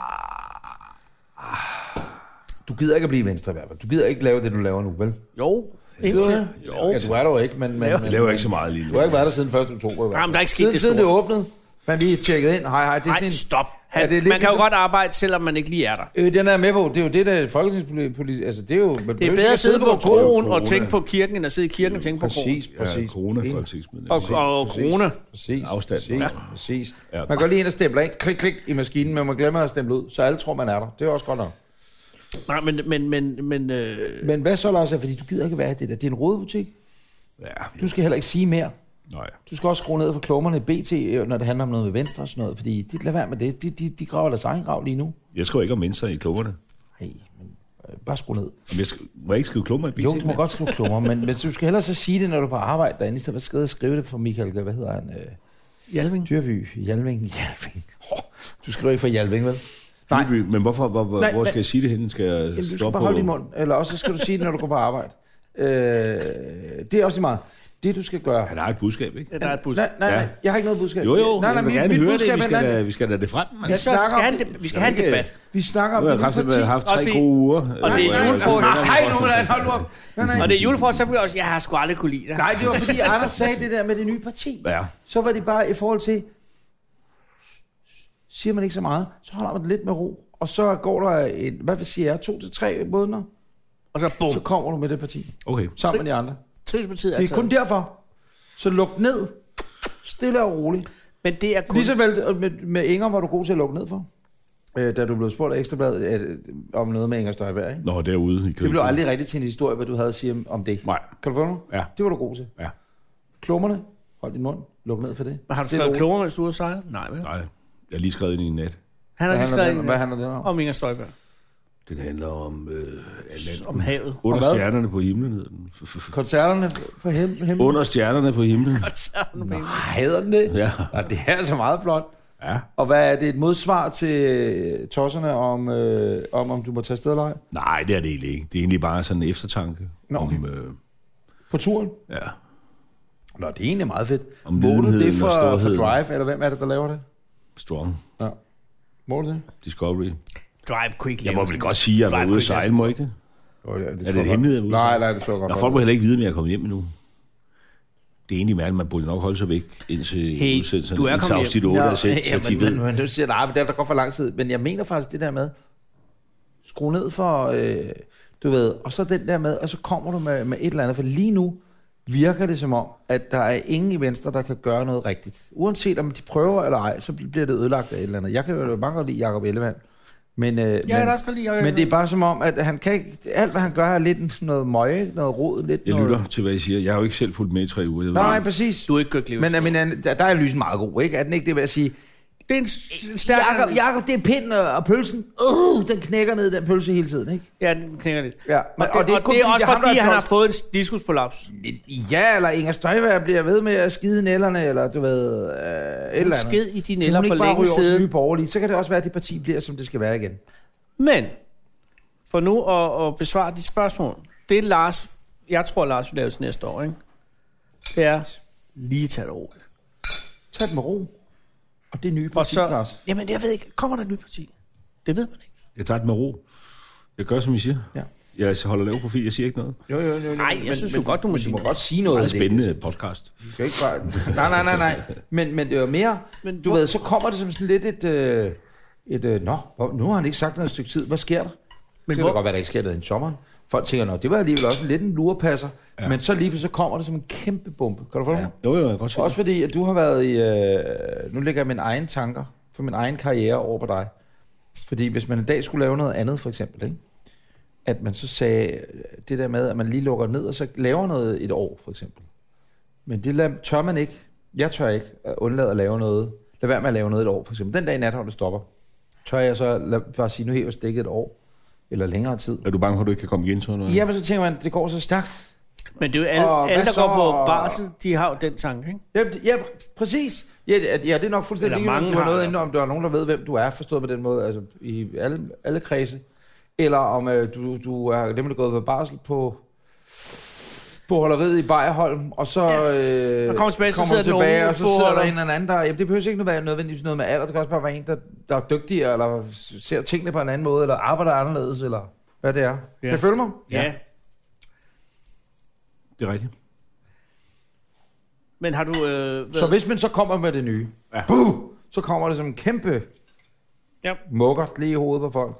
Ah. Du gider ikke at blive venstre i hvert fald. Du gider ikke lave det, du laver nu, vel?
Jo.
Gider du Altså,
Indtil.
det?
Jo.
Ja, du er der jo ikke, men... men,
Laver-
jeg
men
laver ikke så meget lige
Du
nu.
har ikke været der siden 1. oktober. i hvert
Jamen,
fald.
der er ikke sket
siden,
det
Siden det
store.
åbnede, man lige tjekket ind. Hej, hej. Det er sådan
Nej,
en,
stop.
Ja,
Han,
det er lidt
man kan jo
ligesom-
godt arbejde, selvom man ikke lige er der.
Øh, den er jeg med på. Det er jo det, der folketingspolitik... Altså, det er jo...
Det er bedre at sidde på kroen og tænke på kirken, end at sidde i kirken og tænke på kroen.
Præcis, præcis.
Ja, corona
Enig.
folketingsmedlem.
Og, og kroner.
Præcis.
Afstand.
Præcis.
Ja.
Ja. præcis.
Ja.
Man går lige ind og stempler ind. Klik, klik i maskinen, men man glemmer at stemple ud. Så alle tror, man er der. Det er også godt nok.
Nej, men, men, men, men øh,
Men hvad så, Lars? Fordi du gider ikke være i det der. Det er en rodebutik.
Ja,
Du skal heller ikke sige mere.
nej.
Du skal også skrue ned for klummerne i BT, når det handler om noget med venstre og sådan noget. Fordi det, lad være med det. De, de, de graver deres egen grav lige nu.
Jeg skriver ikke om mennesker i klummerne.
Hey, men øh, bare skru ned.
Om jeg skal, må jeg ikke skrive klummer i BT?
Jo, du må godt skrive klummer, men, men du skal hellere så sige det, når du er på arbejde derinde, i stedet for at skrive- skrive det for Michael, hvad hedder han? Øh,
Hjalving.
Dyrby, Hjalving, Hjalving. Hov, Du skriver ikke for Hjalving, vel?
Nej. Men hvorfor, hvor, hvor,
Nej,
hvor
men-
skal jeg sige det henne? Skal
Jamen,
jeg
du
stå
skal
på...
bare holde din mund, eller også så skal du sige det, når du går på arbejde. Øh, det er også lige meget. Det, du skal gøre...
Han har et budskab, ikke?
Ja, der er et budskab.
Nej, nej, nej,
Ja.
jeg har ikke noget budskab.
Jo, jo,
nej, nej,
jeg vil
mit-
gerne
mit
høre
budskab er
det. Vi
en
skal,
anden-
da, vi skal da det frem, mand.
Ja,
vi
så
snakker
skal
om
han,
det.
det- vi skal have en
Skal vi ikke-
debat.
Vi snakker om
Nu har jeg
det nye
kraftigt med
parti.
haft
Og
tre
vi-
gode uger.
og det
Nej,
er
nej,
julefrokost.
nej, nej, nu må jeg holde nu op. Nej, nej.
Og det er julefrokost, så bliver jeg også, jeg har sgu aldrig kunne lide det.
Nej, det var fordi Anders sagde det der med det nye parti.
Ja,
Så var det bare i forhold til, siger man ikke så meget, så holder man det lidt med ro. Og så går der, en, hvad vil sige, to til tre måneder,
Og så bum.
så kommer du med det parti,
okay.
sammen med de andre.
Trivselspartiet er
Det er kun
taget.
derfor. Så luk ned, stille og roligt.
Men det er kun...
Lige så vel øh, med, med Inger var du god til at lukke ned for, øh, da du blev spurgt af Ekstrabladet øh, om noget med Inger Støjberg. Ikke?
Nå, derude i
Det
København.
blev aldrig rigtigt til en historie, hvad du havde at sige om- om det.
Nej,
Kan du få noget?
Ja.
Det var du god til.
Ja.
Klummerne, hold din mund, luk ned for det.
Men Har du
Stille og
skrevet
roligt.
klogere, mens du er sejlet? Nej, vel?
nej. Jeg har lige skrevet ind i en nat.
Han har
Hvad
lige
handler,
skrevet
den, hvad
en-
handler den om?
om Inger Støjberg.
Den handler om... Øh, Atlanten.
Om havet. <laughs>
under
Om hvad?
stjernerne på himlen. hed den. <laughs>
Koncerterne på hem, hem.
Under stjernerne på himlen.
Hedder den det?
Ja.
Nå, det er altså meget flot.
Ja.
Og hvad er det et modsvar til øh, tosserne om, øh, om, om du må tage afsted eller ej?
Nej, det er det egentlig ikke. Det er egentlig bare sådan en eftertanke.
Nå,
Om, øh,
På turen?
ja.
Nå, det er egentlig meget fedt.
Om
Måler du det
lidenheden og
for, for
storheden.
Drive, eller hvem er det, der laver det?
Strong.
Ja. Måler du det?
Discovery.
Drive quick.
Jeg må vel godt sige, at jeg
Drive
var ude at
quick,
sejle, må jeg ikke det?
Jo, ja, det
Er det en hemmelighed, jeg er ude
Nej,
til?
nej, det tror jeg godt.
Nå,
nok.
folk må heller ikke vide, at jeg er kommet hjem endnu. Det er egentlig mærkeligt, man burde nok holde sig væk indtil
Hey,
udsendelsen.
du er kommet hjem.
afsnit 8,
Nå,
ja, så,
ja,
så de
men,
ved.
Men, men du siger, nej, men det er der godt for lang tid. Men jeg mener faktisk det der med, skru ned for, øh, du ved, og så den der med, og så kommer du med, med et eller andet. For lige nu virker det som om, at der er ingen i Venstre, der kan gøre noget rigtigt. Uanset om de prøver eller ej, så bliver det ødelagt af et eller andet. Jeg kan jo mange godt lide Jacob Ellemann. Men, øh,
Jeg
men,
kan også godt lide Jacob
men det er bare som om, at han kan ikke, alt hvad han gør er lidt noget møje, noget rod, lidt
Jeg
noget...
lytter til, hvad I siger. Jeg har jo ikke selv fulgt med i tre uger. Jeg
Nej, nej,
ved,
præcis.
Du er ikke Kirk
Men, men han- der der er lysen meget god, ikke? Er den ikke det ved at sige,
Det er en s- en stærk...
Jakob, Jakob, det er pinden og, og pølsen. Uh, den knækker ned, den pølse hele tiden, ikke?
Ja, den knækker lidt.
Ja,
Men, og, det, og
kun
det er også
ham, der
fordi,
er
han har
flot.
fået en diskusprolaps.
Ja, eller Inger Støjberg bliver ved med at skide i nælderne, eller du ved, øh, et eller andet.
Sked i dine
Kan
eller
hun
for
ikke bare
længe
ryge over til
siden.
nye borgerlige, så kan det også være, at det parti bliver, som det skal være igen.
Men, for nu at, at besvare de spørgsmål, det Lars, jeg tror Lars vil lave til næste år, ikke? Det er lige tage det roligt.
Tag det med ro. Og det er nye
Og
parti,
så,
Lars.
jamen jeg ved ikke, kommer der et nyt parti? Det ved man ikke.
jeg tager det med ro. Jeg gør, som I siger.
Ja.
Jeg holder lav profil. Jeg siger ikke noget.
Jo, jo, jo. jo.
Nej, jeg synes jo godt, du må
men
sige
Du må
noget.
godt sige noget.
Det er
af
en spændende podcast.
Du skal ikke bare... <laughs> nej, nej, nej, nej. Men, men det var mere...
Men
Du ved, så kommer det som sådan lidt et... Øh, et øh, nå, hvor- nu har han ikke sagt noget et stykke tid. Hvad sker der? Men det
hvor-
kan da godt være, der ikke sker noget i sommeren. Folk tænker, nå, det var alligevel også lidt en lurepasser. Ja. Men så lige pludselig kommer det som en kæmpe bombe. Kan du få ja.
Jo, jo, jeg kan godt se
Også
det.
fordi, at du har været i... Øh, nu lægger jeg mine egne tanker for min egen karriere over på dig. Fordi hvis man en dag skulle lave noget andet, for eksempel, ikke? at man så sagde øh, det der med, at man lige lukker ned, og så laver noget et år, for eksempel. Men det lad, tør man ikke. Jeg tør ikke at undlade at lave noget. Lad være med at lave noget et år, for eksempel. Den dag i natholdet stopper, tør jeg så lad, bare sige, nu hæver stikket et år, eller længere tid.
Er du bange for, at du ikke kan komme igen til noget?
Ja, men så tænker man, det går så stærkt.
Men det er jo alle,
Og
alle
hvad
der
så?
går på barsel, de har jo den tanke, ikke?
Ja, det- ja præcis. Ja, det- ja, det er nok fuldstændig
Eller mange
ligegyldigt, om du har
har-
noget inde, om der er nogen, der ved, hvem du er, forstået på den måde, altså i alle, alle kredse. Eller om øh, du, du er nemlig gået på barsel på, på holderiet i Bejerholm, og så
Ja.
øh,
Og kommer tilbage, så
kommer du
sidder den
tilbage,
unge
og så sidder der
boholder.
en eller anden, der... Jamen, det behøver ikke nødvendigvis være nødvendigvis noget med alder, det kan også bare være en, der, der er dygtigere, eller ser tingene på en anden måde, eller arbejder anderledes, eller hvad det er. Ja. Kan I følge mig?
Ja. ja.
Det er rigtigt.
Men har du... Øh,
Så hvis man så kommer med det nye,
Ja.
ja. buh, så kommer det som en kæmpe
Ja.
mukker lige i hovedet på folk.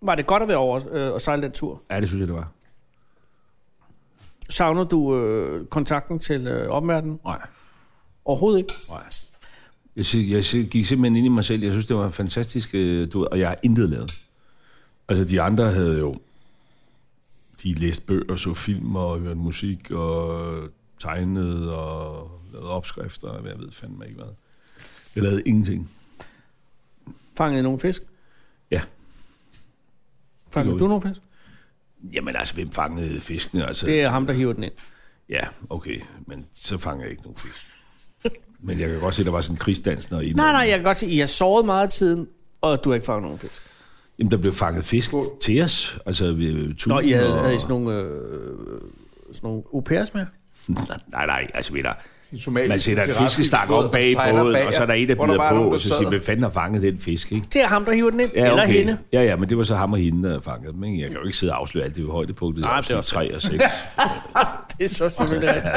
Var det godt at være over øh, og sejle den tur?
Ja, det synes jeg, det var.
Savner du øh, kontakten til øh, omverdenen?
Nej,
Overhovedet ikke.
nej. Jeg, sy- jeg sy- gik simpelthen ind i mig selv. Jeg synes, det var fantastisk, øh, du, ved, og jeg har intet lavet. Altså, de andre havde jo... De læste bøger, så film og hørte musik og tegnede og lavede opskrifter, og jeg ved fandme ikke hvad. Jeg lavede ingenting.
Fangede nogle fisk?
Ja.
Fangede
Det
du
gjorde
nogle fisk?
Jamen altså, hvem fangede fiskene? Altså,
Det er ham, der hiver den ind.
Ja, okay, men så fanger jeg ikke nogen fisk. Men jeg kan godt se, at der var sådan en krigsdans, når I...
Nej, nej, jeg kan godt se, I har sovet meget af tiden, og du har ikke fanget nogen fisk.
Jamen, der blev fanget fisk til os. Altså, ved turen
Nå, I havde,
og...
havde I sådan nogle, øh, sådan nogle au pairs med?
Nej, nej, altså, ved der,
I Somalia,
man sætter en fiskestang op bag i båden, og så er der en, der bider på, og så siger, hvem fanden har fanget den fisk, ikke?
Det er ham, der hiver den ind. Ja, okay. Eller hende.
Ja, ja, men det var så ham og hende, der havde fanget dem, ikke? Jeg kan jo ikke sidde og afsløre alt det ved højdepunktet.
Nej,
Nej,
det
det
var-
var 3 og
<laughs>
6.
Det er så <laughs> selvfølgelig rigtigt.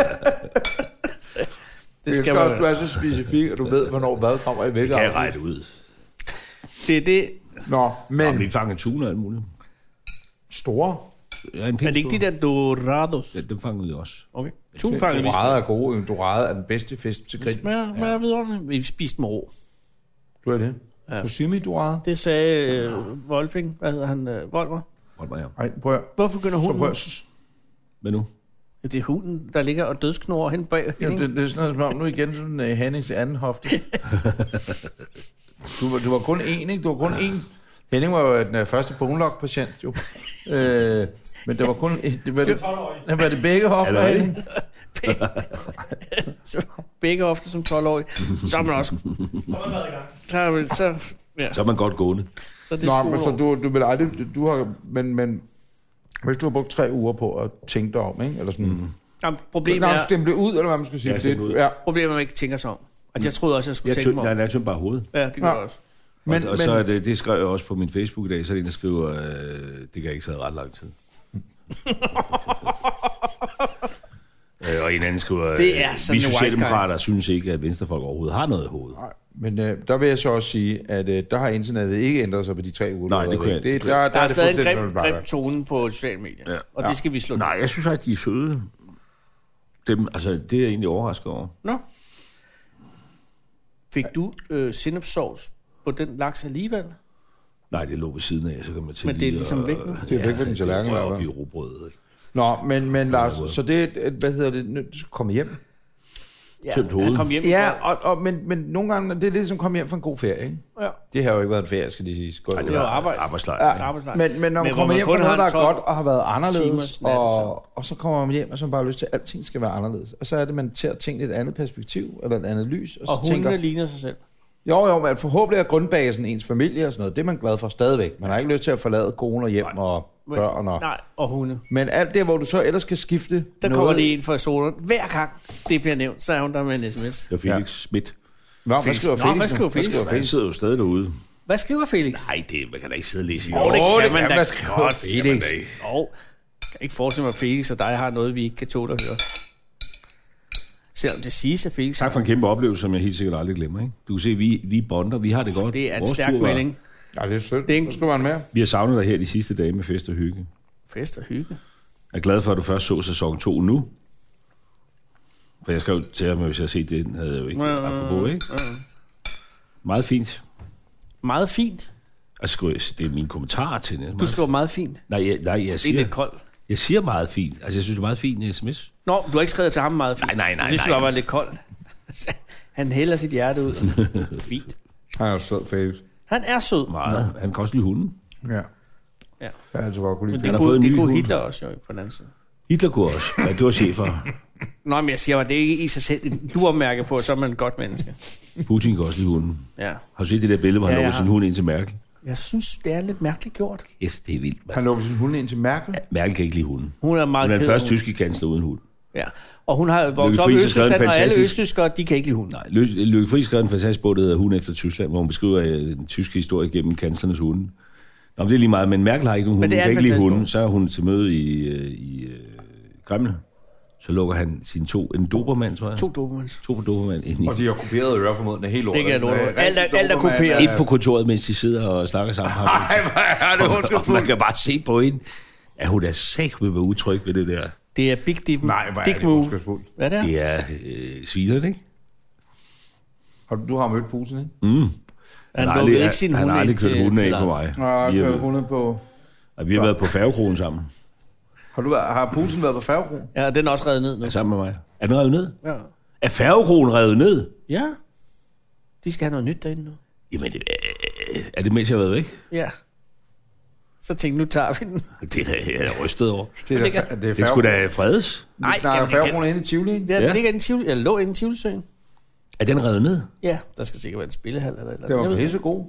Det
Det skal
skal også,
man
du er så specifik, og du ved, hvornår hvad kommer i hvilket
kan jeg
afsnit.
regne ud.
Det er det.
Nå,
Om vi
men
fanger tuna og alt muligt.
store.
Ja, en
Er det ikke de der dorados?
Ja, dem fangede vi også.
Okay. Tusind fanger vi.
Dorade er gode. En dorade er den bedste fisk til grill.
Smager, smager vidunderligt. Vi spiste med rå.
Du er det. Ja. Sashimi dorade.
Det sagde øh, Wolfing. Hvad hedder han? Øh, Volmer.
Hold mig her.
Ej, prøv at
Hvorfor begynder
så
hunden?
prøv at-
Hvad nu?
Ja, det er hunden, der ligger og dødsknurrer hen bag.
Jamen,
hende.
det, det, er sådan noget, som om nu igen sådan uh, Hennings anden
<laughs>
hofte. du, var, du var kun én, ikke? Du var kun én. Henning var jo den uh, første bonelok-patient, jo. øh, men det var kun... Det var det,
12-årig.
det, var det begge hofter,
Er det
Henning.
<laughs> Så Begge ofte som 12-årig. Så er man også
Så har man været i gang.
klar. vel, Så, ja,
Så er man godt gående.
så det
Nå, men
er
så
Nå,
du, du vil aldrig, du har, men, men hvis du har brugt tre uger på at tænke dig om, ikke? Eller sådan, mm.
Jamen,
Nå,
problemet
er...
er,
stemme det ud, eller hvad man skal sige.
Ja,
det,
stem det ud.
ja.
problemet er, at man ikke tænker sig om. Altså,
Mm.
jeg troede også, jeg skulle
Jeg
tænke
tømte,
mig om.
nej, jeg tømte bare hovedet.
Ja, det gør jeg
Nå.
også.
Men,
Men,
og, og så er det, det skrev jeg også på min Facebook i dag, så er det en, der skriver, øh, det kan jeg ikke sidde ret <laughs> lang tid. øh, og en anden skriver, øh,
Det er sådan
vi
en wise
socialdemokrater synes ikke, at venstrefolk overhovedet har noget i hovedet.
men, men øh, der vil jeg så også sige, at øh, der har internettet ikke ændret sig på de tre uger.
Nej,
du har været
det kunne
væk.
jeg-
det, der, der,
Der er,
er det
stadig en
fuldstændig
grim,
bare
grim tone på sociale medier,
Ja.
ja. og det skal vi slå ned.
Nej, jeg synes faktisk, de er søde. Dem, altså, det er jeg egentlig overrasket over.
Nå. Fik du øh, sinapsovs på den laks alligevel?
Nej, det lå ved siden af, så kan man til
Men det er
lige
ligesom
at-
væk nu. Det
er væk ved den tallerken,
Det er
eller
op
hvad?
i rugbrødet. ikke?
væk. Nå, men, men Lars, så det, øh, hvad hedder det, nu- du skal komme hjem.
Ja,
Tømt hovedet.
jeg kom hjem i
Ja,
går.
og, og, men, men nogle gange, det er lidt som at komme hjem fra en god ferie, ikke?
Ja.
Det har jo ikke været en ferie, skal de sige. Godt
Ej,
ud.
Det var arbejde.
Arbejdslejr.
Ja,
ikke?
arbejdslejr.
Men, men når man
Men
men
hvor
kommer
man
hjem
kun
fra noget, der
har
er
en
godt
12
og har været anderledes,
timers nat og
og, og så kommer man hjem, og så har man bare lyst til, at alting skal være anderledes. Og så er det, man tager ting i et andet perspektiv, eller et andet lys, og så
Og
og
hundene
tænker,
tænker... ligner sig selv.
jo jo, men forhåbentlig er grundbasen ens familie og sådan noget, det er man glad for stadigvæk. Man har ikke lyst til at forlade kone og hjem
Nej.
og
Men-
børn og...
Nej, og hunde.
Men alt det, hvor du så ellers skal skifte
Der
noget...
kommer lige en fra solen. Hver gang det bliver nævnt, så er hun der med en sms.
Det var Felix Schmidt.
Nå, hvad skriver
Nå,
Felix?
hvad skriver Felix?
Åh,
Han sidder jo stadig derude.
Hvad skriver Felix?
Nej, det, man kan da ikke sidde og læse i
Åh, det
det
kan man
kan
da
man skrive
godt.
Felix.
Og jeg kan ikke forestille mig, at Felix og dig har noget, vi ikke kan tåle at høre. Selvom det siges, at Felix
Tak for en kæmpe oplevelse, som jeg helt sikkert aldrig glemmer. Ikke? Du kan se, vi, vi bonder, vi har det godt.
det er en
Vores
stærk
tur var-
melding.
Ja, det er sødt.
Det er en-
Nu skriver han mere.
Vi har savnet dig her de sidste dage med fest og hygge.
Fest og hygge.
Jeg er glad for, at du først så sæson 2 nu. For jeg skrev til ham, at hvis jeg havde set det, havde jeg jo ikke.
Ja, ja, ja.
Apropos, ikke? Meget fint.
Meget fint.
Altså, skulle jeg- det er min kommentar til det.
Du skriver meget fint.
Nej, jeg, nej, jeg
Det er
siger,
lidt koldt.
jeg siger meget fint. Altså, jeg synes, det er meget fint en sms.
Nå, du har ikke skrevet til ham meget fint.
Nej, nej, nej,
Det synes
nej.
jeg var lidt koldt. <laughs> Han hælder sit hjerte
<laughs>
ud. fint.
Han er jo sød, Felix.
Han er sød.
Meget. Han kan også lide hunden.
Ja.
Ja.
Jeg har altid godt kunne
Men
lide
det
har
kunne,
fået en
det
ny
kunne
hund.
Hitler også jo på den anden side.
Hitler kunne også. Ja, det var
<laughs>
chefer.
Nå, men jeg siger bare, det er ikke i sig selv et durmærke på, at så er man et godt menneske.
Putin kan også lide hunden.
Ja.
Har du set det der billede, hvor han
Ja,
ja,
jeg
lukker sin
har.
hund ind til Merkel?
Jeg synes, det er lidt mærkeligt gjort.
Kæft, det er vildt,
hund.
man.
Han lukker sin hund ind til Merkel.
Merkel kan ikke lide hunden.
Hun er meget
Hun er den
ked af
første
hunden.
tyske kansler uden hund.
Ja. Og hun har vokset
Lykke
op i
Friis har skrevet en
Østtyskland, og alle
fantastisk-
østtyskere, de kan ikke lide hunden.
Nej, Lø- Lykke Friis skrev en fantastisk bog, der hedder Hun efter Tyskland, hvor hun beskriver øh, den tyske historie gennem kanslernes hunde. Nå, men det er lige meget, men Merkel har ikke nogen
Men
hunde,
det
hun
er
kan
en
ikke lide
fantastisk
hunden.
bog.
Så er hun til møde i, øh, i øh, Kreml. Så lukker han sine to, en dobermand, tror jeg.
To dobermans.
to dobermand ind i.
Og de har kopieret øreformoden af hele lortet.
Det kan jeg love dig.
Øh,
Alt er-
rigtig
alt er
Dobermann,
kopieret.
øh,
Ind på kontoret, mens de sidder og snakker sammen.
Ej, hvor er det
og man
ondskabsfuldt.
kan bare se på hende, at hun er sagt med utryg ved det der.
Det er Big Deep.
Nej, hvor er
Dick
det
Move.
ondskabsfuldt.
Hvad er det?
Det er øh, svinerne, ikke?
Har du, du har mødt Putin, ikke?
Han lukkede ikke sin
han
hund
har aldrig
ind
kørt
til,
hunden
til
af på mig.
Lars.
Nå, jeg
Vi
har
har,
kørt hunde på...
og vi har været på færgekronen sammen.
Har, du, været- har Putin været på færgekronen?
Ja, den er også reddet ned nu.
Er <laughs> sammen med mig. Er den revet ned?
Ja.
Er færgekronen revet ned?
ja. De skal have noget nyt derinde nu.
Jamen, det, øh, er det mens jeg har været væk?
Ja. Så tænkte nu tager vi den.
Det er da- jeg er rystet over.
Det er,
det
da,
kan-
det er
Det skulle
færgekronen.
da fredes.
Vi snakker
jamen, det kan-
færgekronen inde i Tivoli, ikke?
Der
Ja.
ja. ligger en tivoli, eller lå inde i Tivolisøen.
Er den revet ned?
Ja, der skal sikkert være en spillehal eller et eller
Det
andet.
var
Jeg ved-
pissegod.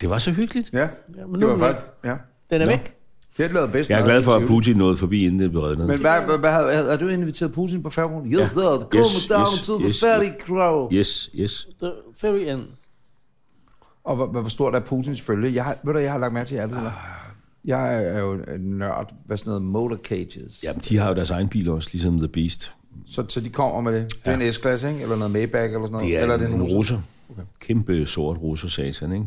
Det var så hyggeligt.
Ja,
Ja, men
det
nu
var
er den væk.
faktisk... Ja.
Den er
Nå.
væk.
Det har lavet bedst.
Jeg er
mad
glad
i
for, at
Tivoli.
Putin nåede forbi, inden det blev revet ned.
Men hvad, hvad, hvad, havde, havde, du inviteret Putin på færgekronen? Yes, sir. Come
Yes,
down
yes,
to the
yes.
ferry
Yes, yes.
The ferry end.
Og hvor, hvor stort er Putins følge? Jeg har, ved du, jeg har lagt mærke til jer alle sammen. Jeg er jo en nørd. Hvad sådan noget? Motorcages.
Jamen, de har jo deres egen bil også, ligesom The Beast.
Så, så de kommer med det. Det er en S-klasse, ikke? Eller noget Maybach eller sådan noget.
Det er,
eller
Eller en, en russer. Okay. Kæmpe sort russer, satan, ikke?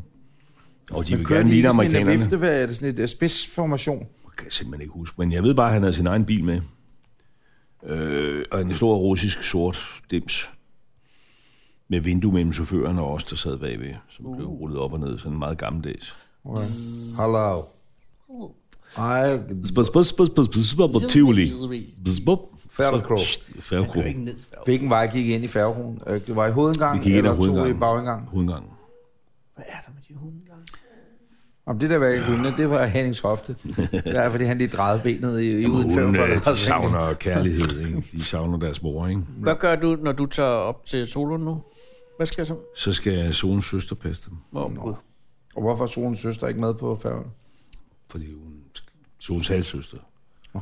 Og de ligesom vil
Kører
gerne
de i
ligne
sådan en
amerikanerne.
vifte? Hvad er det sådan et øh, spidsformation?
Jeg kan simpelthen ikke huske, men jeg ved bare, at han havde sin egen bil med. Øh, og en stor russisk sort dims. Med vindue mellem chaufføren og os, der sad bagved. Som blev
Uh.
rullet op og ned, sådan meget gammeldags.
Okay. Hallo. Ej,
Spus, spus, spus, spus, spus, spus, spus, Tivoli. Spus, spus.
Færdekrog.
Så- Færdekrog.
hvilken vej gik I ind i færgekronen? Øh, Det var i
Vi
hovedindgangen,
gik ind
eller
ad
tog I i
hovedgangen.
bagindgangen?
Hovedgangen.
Hvad er der med de hunde? Lars?
Om det der var ikke hundene, det var Hennings hofte. Det er, fordi han lige drejede benet i, i uden
Hun, øh, de
45.
savner kærlighed,
<laughs>
ikke? De savner deres mor, ikke?
Hvad gør du, når du tager op til solo nu? Hvad skal jeg så?
Så skal solens søster passe dem.
Hvor oh, Gud.
Og hvorfor er Solens søster ikke med på færgen?
Fordi hun... Solens halvsøster.
Nå,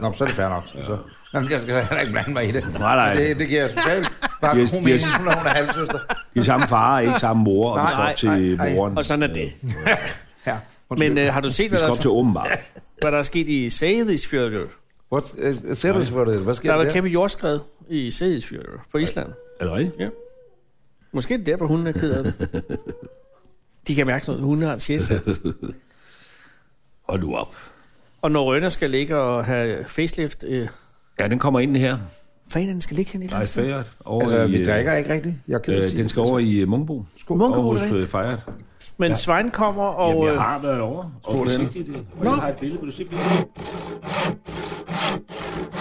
men så er det fair nok. Så. Nå, men jeg skal da heller ikke blande mig i det.
Nej, nej.
Det, det giver jeg totalt. Der er
Yes,
yes, god mening,
yes.
når hun er halvsøster.
De er samme far, ikke samme mor, og vi
Nej,
skal
nej,
op til
nej, nej.
moren.
Og sådan er
<laughs>
det.
Ja.
Men øh, har du set,
Vi
hvad der,
skal op til
er,
åbenbart.
hvad der er sket i Seyðisfjörður?
What, uh, sætter sig for det. Hvad sker
Der
der?
var et
der?
kæmpe jordskred i Seyðisfjörður på Island.
Er det rigtigt?
Måske er det derfor, hunden er ked
<laughs>
af det. De kan mærke noget. Hunden har en sjæsat.
Hold nu op.
Og når Rønner skal ligge og have facelift... Øh,
Ja, den kommer ind her.
fanden, den skal ligge hen i
Nej,
det
Fejret. Over
Altså,
i,
vi
øh,
drikker ikke rigtigt. Jeg kan
Øh, den skal over i øh, Munkebo.
Munkebo,
Over
det er
hos Fejret.
Men Svein kommer, og...
Jamen,
øh,
jeg har været over. Og du se det. Og jeg har et billede, vil du se billedet?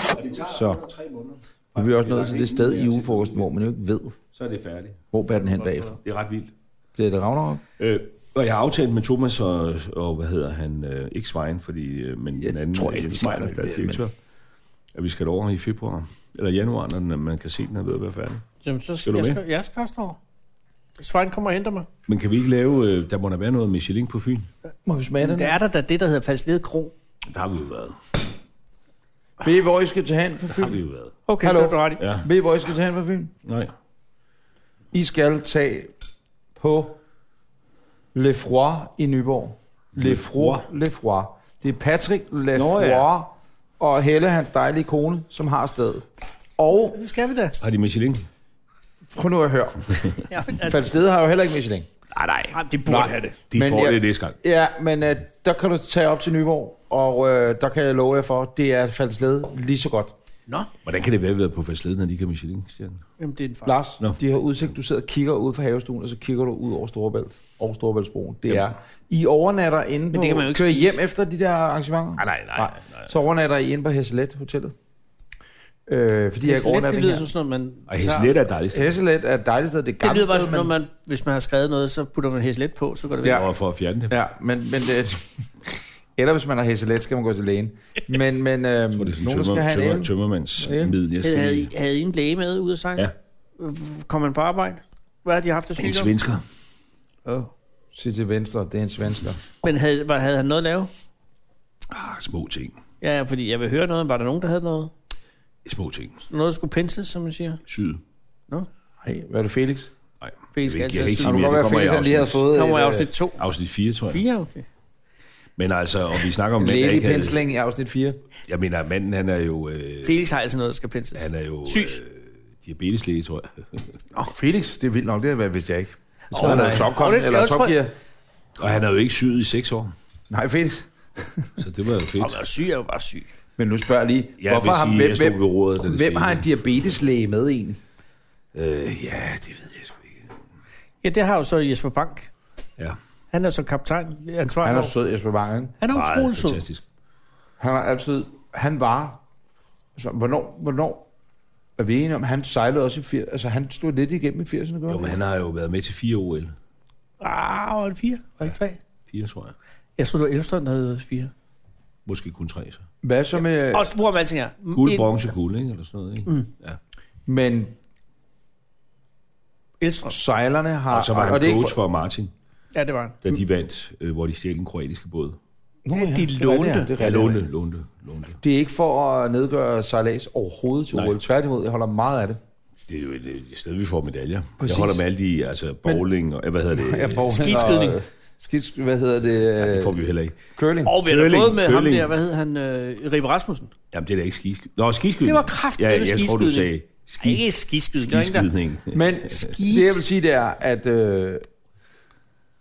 Og det tager
Så.
under tre måneder.
Nu er vi også nået til det sted i ugefrokosten, hvor man jo ikke ved,
Så er det færdigt.
hvor bærer den hen bagefter.
Det er ret vildt.
Bliver det Ragnarok?
Øh, og jeg har aftalt med Thomas og, og hvad hedder han, øh, ikke Svejen, fordi, øh, men jeg den anden, tror ikke, vi Svejner, der er direktør, at vi skal over i februar, eller januar, når den, man kan se, den er ved at være færdig.
Jamen, så
Skal
skal
du
jeg,
med?
skal, jeg skal også over. Svein kommer og henter mig.
Men kan vi ikke lave, øh, der må der være noget Michelin på Fyn?
Må vi smage den?
Der er der da det, der hedder Falsled Kro.
Der har vi jo været.
Ved I, hvor I skal tage hen på
Der har
Fyn?
vi jo været.
Okay,
Hallo.
Hallo. det er du ret i.
Ja,
Ved I, hvor I skal tage hen på Fyn?
nej.
I skal tage på Lefroy i Nyborg. Lefroy. Lefroy. Det er Patrick Lefroy ja. og Helle, hans dejlige kone, som har stedet. Og
Det skal vi da.
Har de Michelin?
prøv nu at <laughs> høre.
Ja, men altså,
Falstede har jo heller ikke Michelin.
Nej, nej.
ej, de burde have det.
De
Men
får
jeg-
det næste gang.
Ja, men øh, der kan du tage op til Nyborg, og øh, der kan jeg love jer for, det er Falsled lige så godt.
Nå,
Hvordan kan det være, at vi er på fastleden, når de ikke har Michelin-stjerne?
jamen det er en fejl.
Lars,
Nå.
de har udsigt, du sidder og kigger ud fra havestuen, og så kigger du ud over Storebælt og Storebæltsbroen. Det er, I overnatter inde på,
det kan man jo ikke
kører I
spise.
hjem efter de der arrangementer?
Nej, nej, nej, nej.
Så overnatter I inde på Hesselet Hotellet. Øh, fordi
Det,
jeg
er
ikke overnatter
slet, det lyder
her.
som sådan, noget, man...
Ej, Heslet er et dejligt sted.
Hesselet er et dejligt sted, det er et
Det
gammelt
lyder bare
sted,
som, når man, hvis man har skrevet noget, så putter man hæslet på, så går det væk.
Ja. Og for at fjerne det.
Ja, men, men det, eller hvis man har hæsselet, skal man gå til lægen. Men, men øhm,
Hvor det er sådan
nogen
tømmer,
skal have en
tømmer,
el.
tømmermandsmiddel. Jeg
Havde,
skal
havde,
lige-
I, havde I en læge med ude af sang?
Ja.
Kom man på arbejde? Hvad har de haft af
En
sygdom?
svensker.
Oh.
Sig til venstre, det er en svensker.
Men havde, var, havde han noget at lave?
Ah, små ting.
Ja, ja, fordi jeg vil høre noget. Var der nogen, der havde noget?
Små ting.
Noget, der skulle penses, som man siger?
Syd.
Hey, hvad er det, Felix? Det
Nej,
Felix skal
jeg
altid
kan ikke
have
kan
sige mere.
godt
Det
være,
kommer i
Felix han lige har
afsnit,
fået
Kommer i
et, øh,
afsnit 2?
afsnit 4, tror jeg.
4, okay.
Men altså, og vi snakker om
en
manden, der
lægelig
ikke havde-
pensling i afsnit 4.
Jeg mener, manden, han er jo... Øh,
Felix har altså noget, der skal penses.
han er jo...
Syg.
Øh, diabeteslæge, tror jeg.
Nå, Felix, det er vildt nok, det har været, hvis jeg ikke. Jeg tror,
Åh,
han er
nej.
topkon,
Åh, det-
eller
jeg tror-
topgear.
Og han har jo ikke syet i seks år,
Nej, Felix.
så det var jo
Og
fedt.
være syg er jo bare syg.
Men nu spørger jeg lige,
Ja,
altså, hvorfor
hvis
har,
I-
hvem,
jeg stod ved roret, da
hvem,
det
hvem
skete.
har en diabeteslæge med egentlig?
Øh, ja, det ved jeg sgu ikke.
Ja, det har jo så Jesper Bank.
Ja,
Han er så kaptajn, ansvarlig.
Han
Han
er
er,
sød, Jesper Bange. ikke?
han er utrolig
meget
sød.
fantastisk.
Han har altid, han var, altså, hvornår, hvornår er vi enige om, han sejlede også i 80'erne, altså han stod lidt igennem i 80'erne, gør
Jo,
han ikke?
men han har jo været med til fire OL.
Ah, var det fire? Var det tre?
Fire, tror jeg.
Jeg tror, det var Elstrøm, der havde fire.
Måske kun tre, så.
Hvad så med,
Og hvor man alting er.
Guld,
En-
bronze, guld, ikke? Eller sådan noget, ikke? Mm. Ja.
men
Elstrøm.
sejlerne har...
Og så var han
det er ikke
coach for Martin,
Ja, det var han.
da de vandt, øh, hvor de stjal den kroatiske båd.
Nå,
Det- de
er rigtigt,
lånte.
ja, Det
Ja,
er,
lånte,
lånte.
lånte, lånte.
det er ikke for at nedgøre sejlads overhovedet til
Nej.
OL. Tværtimod, jeg holder meget af det.
Det er jo et, et sted, vi får medaljer. Præcis.
Præcis.
Jeg holder med alle de, altså bowling og, eh, hvad hedder det?
Jeg prøver-
skidskydning.
øh, Skids, hvad hedder det?
Ja, det får
øh,
vi jo heller ikke.
Curling.
Og vi har da
Curling,
fået med ham
curling.
der, hvad hed han? Øh, Ribe Rasmussen.
Jamen, det er da ikke skiskydning. Nå, skiskydning.
Det var kraftedeme
ja, jeg tror, du
skiskydning.
sagde
Ej,
ski,
ikke skiskydning. Skiskydning.
skiskydning.
Men det, jeg vil sige, det er, at øh,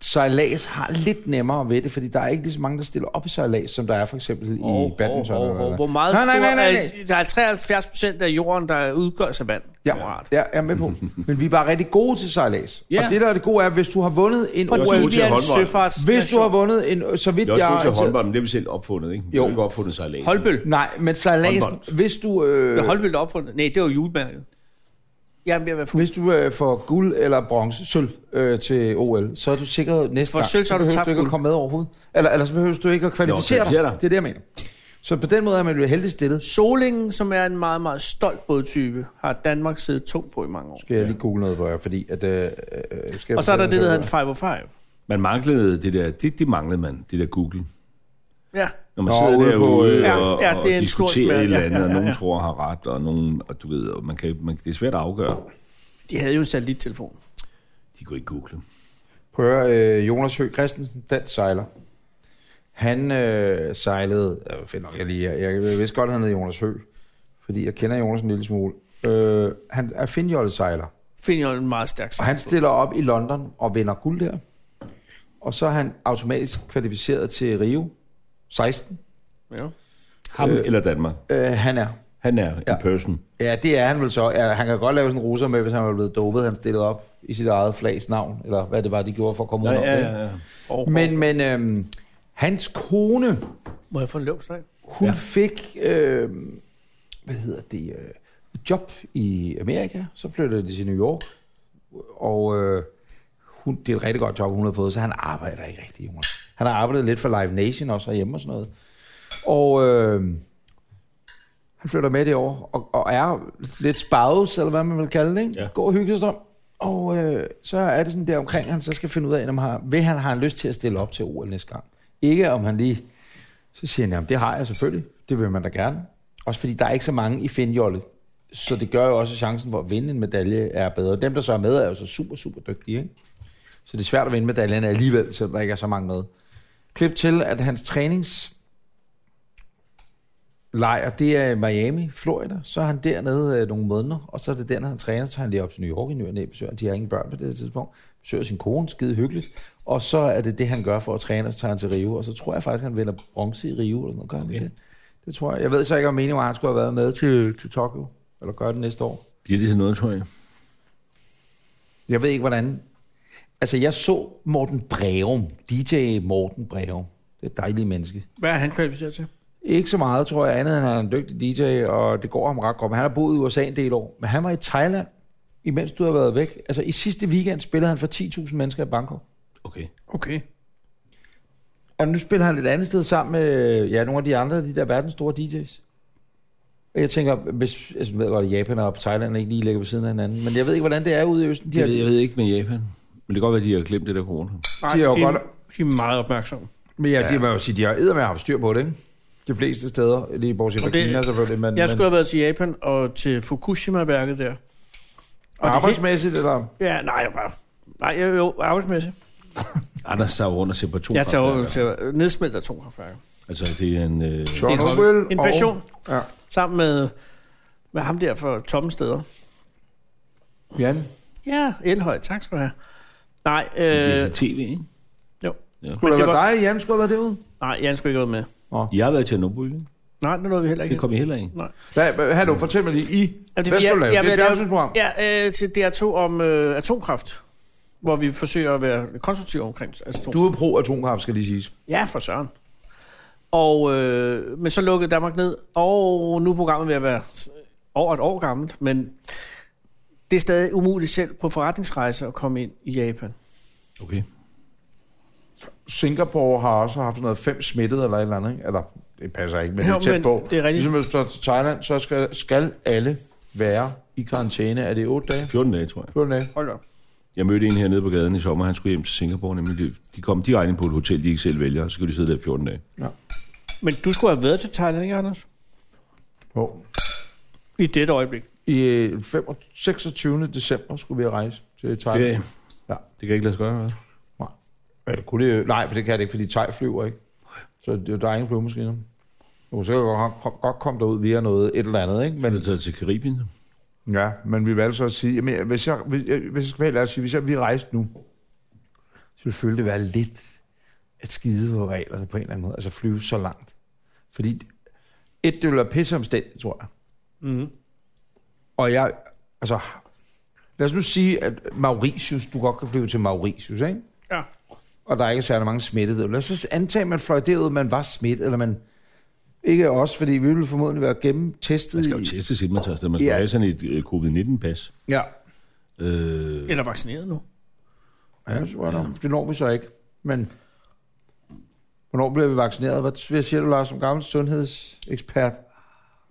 sejlads har lidt nemmere ved det, fordi der er ikke lige så mange, der stiller op i sejlads, som der er for eksempel i badminton.
Oh,
eller
oh, oh.
hvad.
Hvor meget
nej, nej, nej, nej, nej.
stor er, der er 73 procent af jorden, der udgøres af vand.
Ja,
Kammerat.
ja, jeg er med på. Men vi er bare rigtig gode til sejlads.
Ja.
Og det, der er det gode, er, hvis du har vundet en
også
Fordi
gode
OL...
vi
til
er en
håndbold.
søfarts...
Hvis du har vundet en... Så vidt
Det er også
jeg...
gode til
altså-
håndbold, men det er vi selv opfundet, ikke? Jo.
Jo.
Det er ikke opfundet sig lægen.
Holbøl.
Nej, men sejladsen...
Håndbold.
Hvis du... Øh,
Øh. Holbøl der opfundet. Nej, det var julemærket. Jeg er ved at være fuld.
Hvis du øh, får guld eller bronze, sølv øh, til OL, så er du sikret næste
For
gang.
sølv, så har du
behøver
tabt
du ikke
guld.
at komme med overhovedet. Eller, eller så behøver du ikke at kvalificere dig.
kvalificere dig.
Det er det, jeg mener. Så på den måde er man jo heldig stillet.
Solingen, som er en meget, meget stolt bådtype, har Danmark siddet tungt på i mange år.
Skal jeg lige google noget for jer, fordi at... Øh, øh, skal jeg
Og så er
fortælle,
der det, der
hvad
hedder en 505.
Man manglede det der, det, det manglede man, det der Google.
Ja,
Når man
Nå,
sidder
ude på,
derude
øh,
og,
Ja,
og,
ja, det
og
er en stor
diskuterer
smerte.
et eller
Ja,
andet,
ja,
og
ja,
nogen
ja.
tror har ret, og nogen, og du ved, og man kan, man, det er svært at afgøre.
de havde jo en satellittelefon.
De kunne ikke google.
Prøv at høre, øh, Jonas Høgh Christensen, dansk sejler. Han øh, sejlede... Øh, fedt nok, jeg, lige, jeg, jeg vidste godt, at han hed Jonas Høgh, fordi jeg kender Jonas en lille smule. Øh, han er finjollesejler.
Finder jo en meget stærk
Og han stiller op i London og vinder guld der. Og så er han automatisk kvalificeret til Rio 16.
Ja.
Ham øh, eller Danmark.
Øh, han er.
Han er ja.
Ja.
en person.
Ja, det er han vel så. Ja, han kan godt lave sådan en ruser med, hvis han var blevet dopet. Han stillede op i sit eget flags navn, eller hvad det var, de gjorde for at komme ud
Nej,
af
ja,
det.
ja, ja.
ikke? Men, men øhm, hans kone,
Må jeg få en løb slag?
hun
Ja.
ja. fik, øh, hvad hedder det, øh, et job i Amerika. Så flyttede de til New York, og øh, hun, det er et rigtig godt job, hun har fået, så han arbejder ikke rigtig, Jonas. Han har arbejdet lidt for Live Nation også herhjemme og sådan noget. Og øh, han flytter med det år, og, og er lidt spouse, eller hvad man vil kalde det, ikke?
Ja.
Ja. Går og hygger sig om. Og øh, så er det sådan der omkring, han så skal finde ud af, om han, vil han har lyst til at stille op til OL næste gang. Ikke om han lige... Så siger han, jamen det har jeg selvfølgelig. Det vil man da gerne. Også fordi der er ikke så mange i Finjolle. Så det gør jo også, at chancen for at vinde en medalje er bedre. Dem, der så er med, er jo så super, super dygtige. Ikke? Så det er svært at vinde medaljerne alligevel, selvom der ikke er så mange med. Klip til, at hans trænings lejr, det er i Miami, Florida. Så er han dernede øh, nogle måneder, og så er det der, når han træner, så tager han lige op til New York i ny og næ, besøger. De har ingen børn på det her tidspunkt. Besøger sin kone, skide hyggeligt. Og så er det det, han gør for at træne, og så tager han til Rio. Og så tror jeg faktisk, han vinder bronze i Rio, eller sådan noget. Gør han okay. det? Det tror jeg. Jeg ved så ikke, om meningen var, at han skulle have været med til, til Tokyo, eller gøre det næste år.
Bliver det til noget, tror jeg?
Jeg ved ikke, hvordan... Altså, jeg så Morten Breum, DJ Morten Breum. Det er et dejligt menneske.
Hvad er han kvalificeret til?
Ikke så meget, tror jeg, andet end han er en dygtig DJ, og det går ham ret godt. Men han har boet i USA en del år. Men han var i Thailand, imens du har været væk. Altså, i sidste weekend spillede han for 10.000 mennesker i Bangkok.
Okay.
Okay.
Og nu spiller han et andet sted sammen med ja, nogle af de andre, de der verdens store DJ's. Og jeg tænker, hvis, altså, jeg ved godt, at Japan og Thailand ikke lige ligger ved siden af hinanden, men jeg ved ikke, hvordan det er ude i Østen. De
Det
har,
ved, jeg ved ikke med Japan. Men det kan godt være, at de har glemt det der corona.
Nej,
De er jo
de,
godt-
de er meget opmærksomme.
men ja, det må jeg jo sige, de har eddermed haft styr på det, ikke? De fleste steder, lige bortset fra
Og det-
Kina selvfølgelig, men,
Jeg skulle
men
have været til Japan og til Fukushima-værket der. Og det,
arbejdsmæssigt, eller?
he- ja, nej, jeg bare... Nej, jeg, jo, arbejdsmæssigt.
Anders tager rundt og ser på
Jeg tager jo
atomkraftværker.
til at nedsmelte atomkraftværker.
Altså, det er en... Øh,
John
en hold-
Orwell
En passion.
Og, ja,
Sammen med, med ham der for tomme steder.
Jan.
Ja, Elhøj, tak skal du have. Nej, øh,
det er
det,
til tv, ikke?
jo.
Skulle
det
det være dig, Jan, skulle have været derude?
Nej, Jan skulle ikke være med.
Jeg har været til Tjernobyl, ikke?
Nej, det nåede vi heller ikke.
Det kom I heller ikke.
Hvad, hvad- hallo, fortæl mig lige, I, hvad
det-
skulle
jeg-
du lave?
jeg
Det er et
vil-
fjernsynsprogram.
Ja, øh, til DR2 om øh, atomkraft, hvor vi forsøger at være konstruktive omkring atomkraft.
Du er pro-atomkraft, skal lige siges.
Ja, for søren. Og, øh, men så lukkede Danmark ned, og nu er programmet ved at være over et år gammelt, men det er stadig umuligt selv på forretningsrejse at komme ind i Japan.
Okay.
Singapore har også haft sådan noget fem smittede eller et eller andet, ikke? Eller, det passer ikke, men det
Jo,
er tæt
men
på.
det er rigtigt.
Ligesom hvis du tager til Thailand, så skal, skal alle være i karantæne. Er det 8 dage?
14 dage, tror jeg.
14 dage?
Hold op.
Jeg mødte en hernede på gaden i sommer, han skulle hjem til Singapore, nemlig de, de kom direkte ind på et hotel, de ikke selv vælger, og så kan de sidde der i 14 dage.
Men du skulle have været til Thailand, ikke Anders?
Jo.
I dette øjeblik.
I øh, 5 26. december skulle vi rejse til Thailand.
Ferie.
Ja.
Det kan ikke lade sig gøre, hvad?
Eller kunne det, øh, nej, for det kan det ikke, fordi Thai flyver ikke. Så det, der er ingen flyvemaskiner. Du kan sikkert godt, kom- godt komme derud via noget et eller andet, ikke?
Men
Men,
du taget til Karibien?
ja, men vi valgte så at sige, jamen, hvis, jeg, hvis, jeg, hvis jeg skal være helt ærlig at sige, hvis jeg vi rejste nu, så ville følge det være lidt at skide på reglerne på en eller anden måde. Altså flyve så langt. Fordi et, det ville være pisseomstændigt, tror jeg.
Mm.
Og jeg, altså, lad os nu sige, at Mauritius, du godt kan flyve til Mauritius, ikke?
Ja.
Og der er ikke særlig mange smittede. Lad os så antage, at man fløj derud, man var smittet, eller man... Ikke os, fordi vi ville formodentlig være
Man
gennemtestet.
skal jo
i-
testes, inden man tager afsted. Man skal
Ja.
have sådan et øh, covid-19-pas.
Ja,
Øh,
Eller vaccineret nu.
ja, så var der. det når vi så ikke. Men hvornår bliver vi vaccineret? Hvad, hvad siger du, Lars, som gammel sundhedsekspert?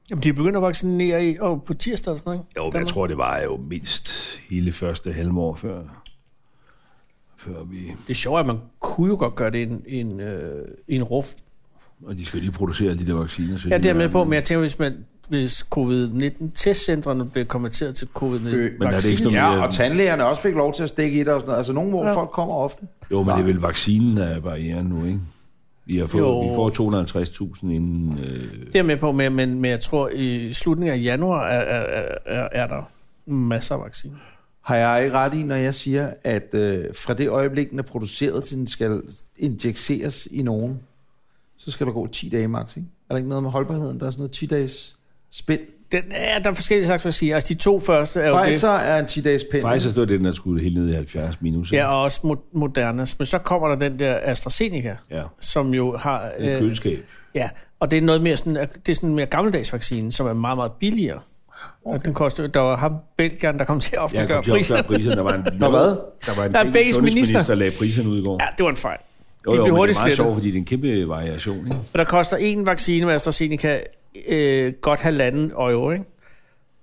Jamen, de er begyndt at vaccinere i, og på tirsdag eller sådan noget, ikke?
jo, men jeg tror, det var jo mindst hele første halvår før, før vi...
Det er sjovt, at man kunne jo godt gøre det i en, i en, øh, i en ruf.
Og de skal lige producere alle de der vacciner. Så
Ja, det er jeg med
verden-
på, men jeg tænker, hvis man hvis covid-19-testcentrene blev konverteret til
Øh, Men er det ikke
covid-19-vaccine.
sådan-
Ja, og tandlægerne også fik lov til at stikke i det og sådan noget. Altså, nogle hvor
Ja.
ja. folk kommer ofte.
Jo, men det er vel vaccinen, der er barrieren nu, ikke? Vi, har
Jo.
fået, vi får 250.000 inden... Øh,
Det er jeg med på, men, men, men jeg tror, i slutningen af januar er, er, er, er der masser af vacciner.
Har jeg ikke ret i, når jeg siger, at øh, fra det øjeblik, den er produceret, til den skal injiceres i nogen, så skal der gå 10 dage max, ikke? Er der ikke noget med holdbarheden? Der er sådan noget 10-dages spænd.
Den, ja, der er forskellige slags vacciner. Altså, de to første er jo det.
Pfizer er en 10-dages pind.
Pfizer stod det, den er skudt helt ned i 70 minus. ikke?
Ja, og også Mo- Modernas. Men så kommer der den der AstraZeneca,
ja.
som jo har... øh,
Det er et køleskab.
ja, og det er noget mere sådan, det er sådan en mere gammeldags vaccine, som er meget, meget billigere. Okay. Og den koster, der var ham, Belgieren, der kom til at
Jeg kom
offentliggøre
til at opklare
prisen.
priserne. Der var en,
Nå, hvad?
Der var en
Der er
belgisk
belgisk
sundhedsminister,
minister.
der lagde priserne ud i går.
Ja, det var en fejl.
jo, jo,
blev
men det er meget
hurtigt slettet.
sjovt, fordi det er en kæmpe variation. Ikke?
Og der koster en vaccine med AstraZeneca øh, godt halvanden euro, ikke?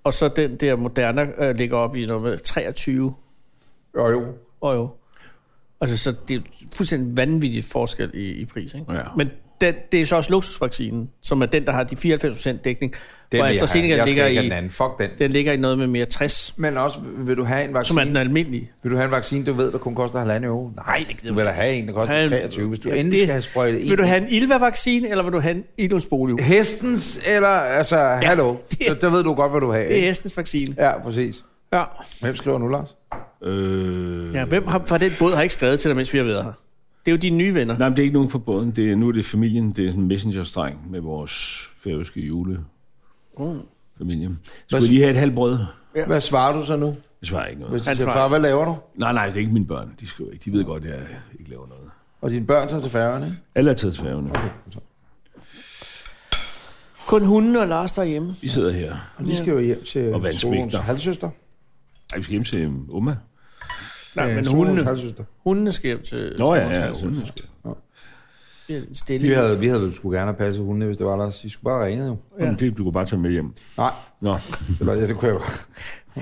Og så den der Moderna øh, ligger op i noget med 23
Jo, jo.
euro. Altså, så det er fuldstændig vanvittig forskel i, i pris, ikke?
Ja.
Men den, det er så også luksusvaccinen, som er den, der har de 94% dækning,
Den
hvor
vil jeg have.
AstraZeneca
Jeg skal
ligger
ikke have
i,
den anden. Fuck den.
den ligger i noget med mere 60,
Men også, vil du have en
som er
vaccine,
den almindelige.
vil du have en vaccine, du ved, der kun koster halvanden euro? Nej, det gider Du vil da have en, der koster
Han-
23, hvis du
Ja,
endelig
det-
skal have sprøjtet en.
Vil du have en Ilva-vaccine, eller vil du have en Idonspolio?
Hestens, eller, altså, hallo. Det, der ved du godt, hvad du vil have.
Det er
ikke?
hestens vaccine.
Ja, præcis.
Ja.
Hvem skriver nu, Lars?
Øh,
ja hvem har, fra den båd har ikke skrevet til dig, mens vi har været her? Det er jo dine nye venner.
Nej, men det er ikke nogen fra båden. Det er, nu er det familien. Det er sådan en messengerstreng med vores færøske julefamilie.
Mm.
Skulle jeg lige have et halvt brød?
Hvad svarer du så nu?
Jeg svarer ikke noget.
Hvis de
Han
siger,
svarer.
far, hvad laver du?
Nej, nej, det er ikke mine børn. De, skal jo ikke. de ved godt, at jeg ikke laver noget.
Og dine børn tager til færgerne, ikke?
Alle er taget til færgerne.
Kun hunden og Lars derhjemme.
Vi sidder her.
Og de skal jo hjem til
Og vandsmægter.
Solons halvsøster.
Ej, vi skal hjem til øhm, Oma.
Nej,
Øh,
men
Solons
hundene,
halvsøster.
hundene skal hjem til...
Nå ja, altså.
til
ja,
Moskva.
hun
Det er en stille.
Vi havde, vi havde sgu gerne have passet hundene, hvis det var Lars. I skulle bare ringe jo.
Ja. Jamen, det, du kan bare tage med hjem.
Nej,
Nå,
eller, ja, det kunne jeg jo.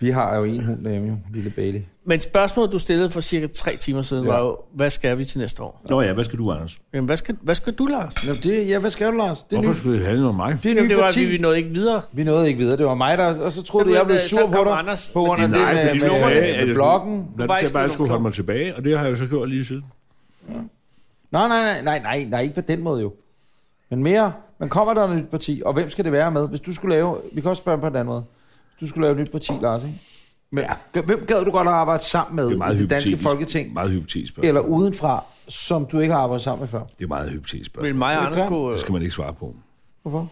Vi har jo en hund derhjemme jo, lille Bailey.
Men spørgsmålet, du stillede for cirka tre timer siden,
Ja.
ja. var jo, hvad skal vi til næste år?
Nå ja, hvad skal du, Anders?
Jamen, hvad skal, hvad skal du, Lars?
Nå, det, ja, hvad skal du, Lars? Det er
Hvorfor
nyt.
skal det handle om mig?
Det er
Jamen,
nyt
det var, at
parti.
vi, vi nåede ikke videre.
Vi nåede ikke videre. Det var mig, der... Og så troede
Så
du, jeg
blev
blev
det-
sur
så
på
kom
dig.
Anders,
på grund af det
Nej,
med,
fordi
med,
du
med,
sagde, at
med
jeg-
bloggen.
Hvad
bare
du
ikke
sagde bare, at jeg
skrive
skulle
nogen
holde mig tilbage, og det har jeg jo så gjort lige siden.
Nej, nej, nej, nej, nej, nej, ikke på den måde jo. Men mere, man kommer der et nyt parti, og hvem skal det være med? Hvis du skulle lave... Vi kan også spørge på en anden måde. Hvis du skulle lave et nyt parti, Lars, ikke? Men, ja. Hvem gad du godt at arbejde sammen med
Det er meget
i det danske
hypotetisk.
folketing?
Meget hypotetisk spørgsmål.
Eller udenfra, som du ikke har arbejdet sammen med før?
Det er meget hypotetisk
Vil
spørgsmål.
mig og
Det er
Anders
klart.
kunne...
Det skal man ikke svare på.
Hvorfor?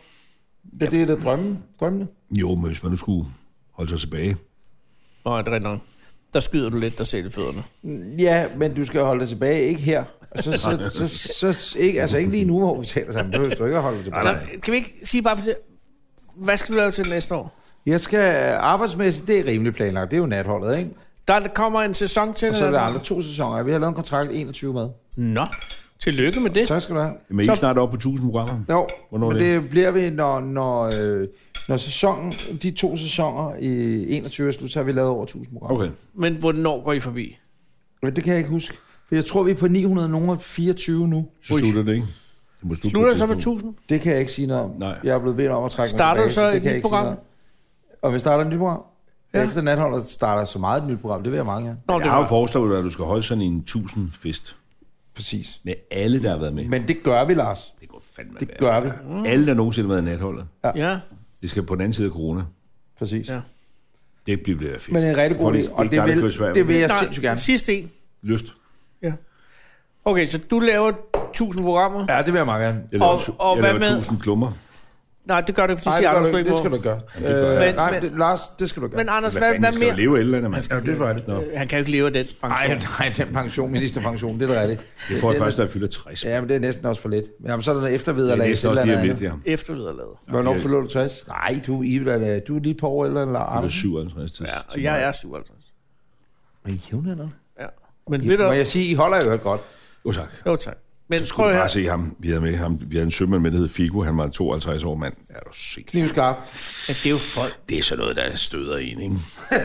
Ja, det er da drømmen, drømmene.
Jo, men hvis man nu skulle holde sig tilbage.
Nå, øh, det er rigtigt nok. Der skyder du lidt dig selv i fødderne.
Ja, men du skal holde dig tilbage, ikke her. Så, så, så, så, så ikke, altså ikke lige nu, hvor vi taler sammen. Behøver Du ikke at holde dig tilbage.
Nej.
Nå, kan vi ikke sige bare på det? Hvad skal du lave til næste år?
Jeg skal øh, arbejdsmæssigt, det er rimelig planlagt. Det er jo natholdet, ikke?
Der kommer en sæson til.
Og så er
eller
der
hvad?
andre to sæsoner. Vi har lavet en kontrakt 21 med.
Nå, tillykke med det.
Tak skal du have.
Men I
Så-
ikke snart oppe på 1000 programmer?
Jo,
Hvornår
men
er det?
det bliver vi, når, når, øh, når sæsonen, de to sæsoner i 21 er slut, så har vi lavet over 1000 programmer.
Okay.
Men hvornår går I forbi?
Men det kan jeg ikke huske. For jeg tror, vi er på 924 nu.
Så
Ui.
slutter det, ikke? Det må slutte på
Slutter
et
du så med
tidspunkt.
1000?
Det kan jeg ikke sige noget om.
Nej.
Jeg er blevet bedt om at trække
Starter
mig
du
tilbage,
så
det
et
kan jeg
nyt
ikke sige
program?
noget om. Og vi starter et nyt program?
Ja.
Ja. Efter natholdet starter så meget et nyt program. Det vil jeg mange gerne.
Nå, det
Jeg har jo
var.
foreslået dig, at du skal holde sådan en 1000 fest
Præcis.
med alle, der har været med.
Men det gør vi, Lars.
Det går fandme
Det
det
gør vi.
Alle, der nogensinde har været i natholdet.
Ja,
Det skal på den anden side af corona.
Præcis.
Ja.
Ja.
Det bliver det fedt.
Men det er en rigtig god
Folk-
idé, og
ikke dig,
det
der kører i
vil,
Sverige.
det vil jeg
Nej,
sindssygt gerne.
Sidste en.
Lyst.
Okay, så du laver 1000 programmer.
Ja, det vil jeg meget gerne.
Jeg laver,
Og-
tu-
og
jeg
hvad
laver
med-
1000 klummer.
Nej, det gør du, fordi
Nej,
siger
det, gør
Anders
du, ikke. det skal
Bryborg.
du gøre.
Jamen, det gør
Øh,
jeg.
Men-
nej,
men-
det, Lars, det skal du gøre.
Men Anders,
Hvad
hvad,
fanden
hvad
skal jo
mere?
leve et eller andet, mand?
skal jo det for det.
Han kan jo ikke leve af den
Nej,
pension.
nej, den pension, ministerpension, det er da rigtigt.
Det får jeg
Det er
først, når jeg fylder 60.
Ja, men det er næsten også for lidt. Jamen, så er der noget
Det er
eftervederlag.
næsten
til
også
et
lige
eller
om lidt,
andet.
ja.
Eftervederlaget.
Hvornår
Ja,
fylder du 60? Nej, du, I, vil da- du er lige på år eller eller
Jeg er
andet.
57 til.
Ja, og
til
jeg
mig.
er 57.
Men jævnaldrende.
Ja. Men ved du...
Må jeg sige, I holder jo godt.
Jo, tak.
Jo, tak. Men
Så
prøv
skulle
at
du
høre.
bare se ham. Vi havde, med ham. vi havde en sømand med, der hed Figo. Han var 52 år mand. Er du syg?
Knivskarp.
Ja, det er jo folk.
Det er sådan noget, der støder en, ikke? At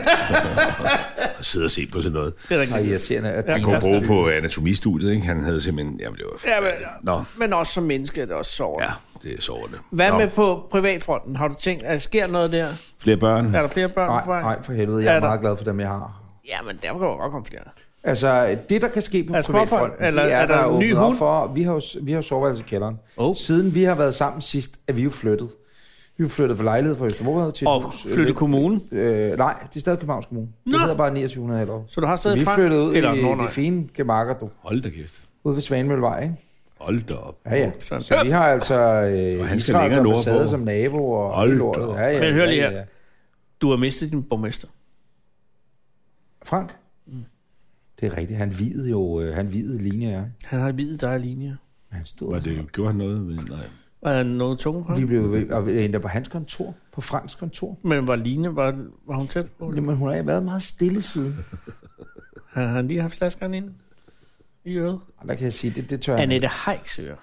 <laughs> sidde og se på sådan noget.
Det er
Ej,
rigtigt.
irriterende. At
Han kunne bruge på anatomistudiet, ikke? Han havde simpelthen... Jamen, det var...
Ja, men,
Nå,
men også som menneske er det også sårende.
ja, det er sårende.
Hvad
Nå,
med på privatfronten? Har du tænkt, at der sker noget der?
Flere børn.
Er der flere børn
Nej,
på vej?
nej, for helvede. Jeg
Er
er
der-
meget glad for dem, jeg har.
Ja, men der kan jo godt komme flere.
Altså, det der kan ske på
Altså,
altså,
hvorfor?
privatfronten,
Eller
det er,
er der en ny
åbnet op
hund?
for. Vi har jo, s- vi har jo soveværelse i kælderen.
Oh.
Siden vi har været sammen sidst, er vi jo flyttet. Vi er jo flyttet fra lejlighed fra Østerbro til et
Og
hus, øh,
flytte
lidt-
kommunen.
Øh, nej, det er stadig Københavns Kommune. Nå.
Nå.
Det hedder bare 2900 eller
Så du har
Så
stadig
vi
Frank-
flyttede ud
Eller,
i
nå,
no,
nej.
det fine gemakker, du.
Hold da kæft.
Ude ved Svanemøllevej, ikke?
Hold da op.
Ja, ja.
Sådan.
Så vi har altså øh,
Og
han skal
han skal
Israels
længere nordpå.
ambassade som nabo og
Hold da
lortet.
op.
Ja, ja,
Men hør lige
ja,
her.
ja.
Du har mistet din borgmester.
Frank?
Mm.
Det er rigtigt. Han videde jo, øh, han videde linje, ja.
Han har videt dig linje.
Han stod
Var det, gjorde han noget? ved- Nej.
Var der noget tunge på
Vi
ham?
blev ved- og vi endte på hans kontor, på Franks kontor.
Men var Line, var, var hun tæt på? det?
Men hun har været meget stille siden.
Har han lige haft flaskeren ind i øret?
Og Der kan jeg sige, det, det tør jeg. ikke.
Annette Heiks øre.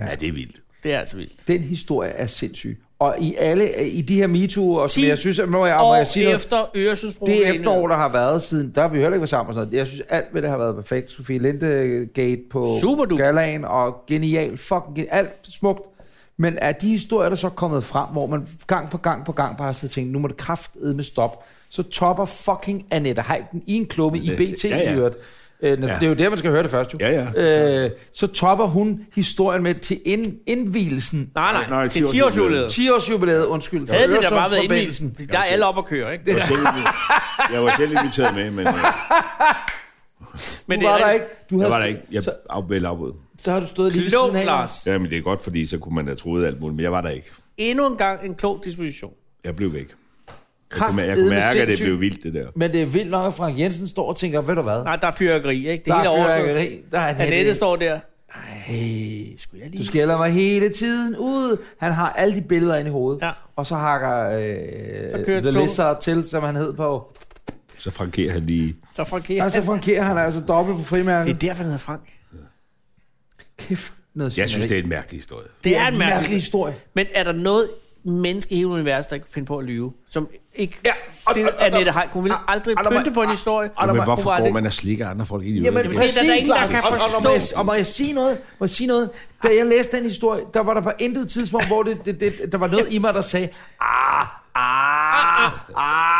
Ja, det er vildt.
Det er altså vildt.
Den historie er sindssyg. Og i alle, i de her MeToo, og som
Ti
jeg synes, at må jeg, må
Og
jeg sige noget,
efter Øresundsbroen.
det efterår, der har været siden, der har vi heller ikke været sammen og sådan noget. Jeg synes, alt ved det har været perfekt. Sofie Lindegate på
Super du.
Galaen, og genial, fucking genial, alt smukt. Men af de historier, der så er kommet frem, hvor man gang på gang på gang bare har siddet og tænkt, nu må det kraftedme stop, så topper fucking Annette Heiken i en klumme i BT,
Ja, ja.
i øvrigt. Øh, når-
Ja.
Det er jo der, man skal høre det først, jo.
Ja,
ja. Øh, så topper hun historien med til ind, indvielsen
Nej, nej, nej til 10 års jubilæet.
10-årsjubilæet, undskyld.
Havde det da bare været
Øresundsforbindelsen.
indvielsen? Der er alle op at køre, ikke?
Jeg var selv, jeg var selv inviteret med, men... øh,
Men du var der ikke. Du
Jeg
havde,
var der ikke. Jeg afbældte afbud.
Så har du stået lige ved
Klog,
siden af.
Lars.
Jamen, det er godt, fordi så kunne man have troet alt muligt, men jeg var der ikke.
Endnu en gang en klog disposition.
Jeg blev væk. Jeg kunne,
Kraftedeme
mær- jeg kunne mærke, at det
sindssygt.
blev vildt, det der.
Men det er vildt nok, at Frank Jensen står og tænker, ved du hvad?
Nej, der er fyrværkeri, ikke? Det
der
hele
er
overstået.
fyrværkeri. Der er
Annette
Annette.
står der. Ej, skulle jeg lige...
Du skælder mig hele tiden ud. Han har alle de billeder ind i hovedet.
Ja.
Og så hakker øh,
Så
så
kører
The
toget.
Lizard til, som han hed på.
Så frankerer han lige.
Så Frank her.
Og så fungerer han altså dobbelt på
Det
frimærket.
er derfor, han hedder Frank.
Kæft, noget
Jeg synes,
svineri.
det er en mærkelig historie.
Det er en
mærkelig
mærkelig...
historie.
Men er der noget menneske i hele universet, der kan finde på at lyve? Som ikke... Ja,
og-
det,
og- og-
Annette Heik, hun ville aldrig
og- og-
pynte på en
og-
historie.
og-
Men
var-
hvorfor
var
går
det-
man og slikker andre folk ind i
Jamen,
øjnene?
præcis,
der er ingen, der
Lars.
kan
Og- og, og, må jeg, og må jeg sige noget? Må jeg sige noget? Da jeg læste den historie, der var der på intet tidspunkt, hvor det, det, det, der var noget i mig, der sagde, ah, ah,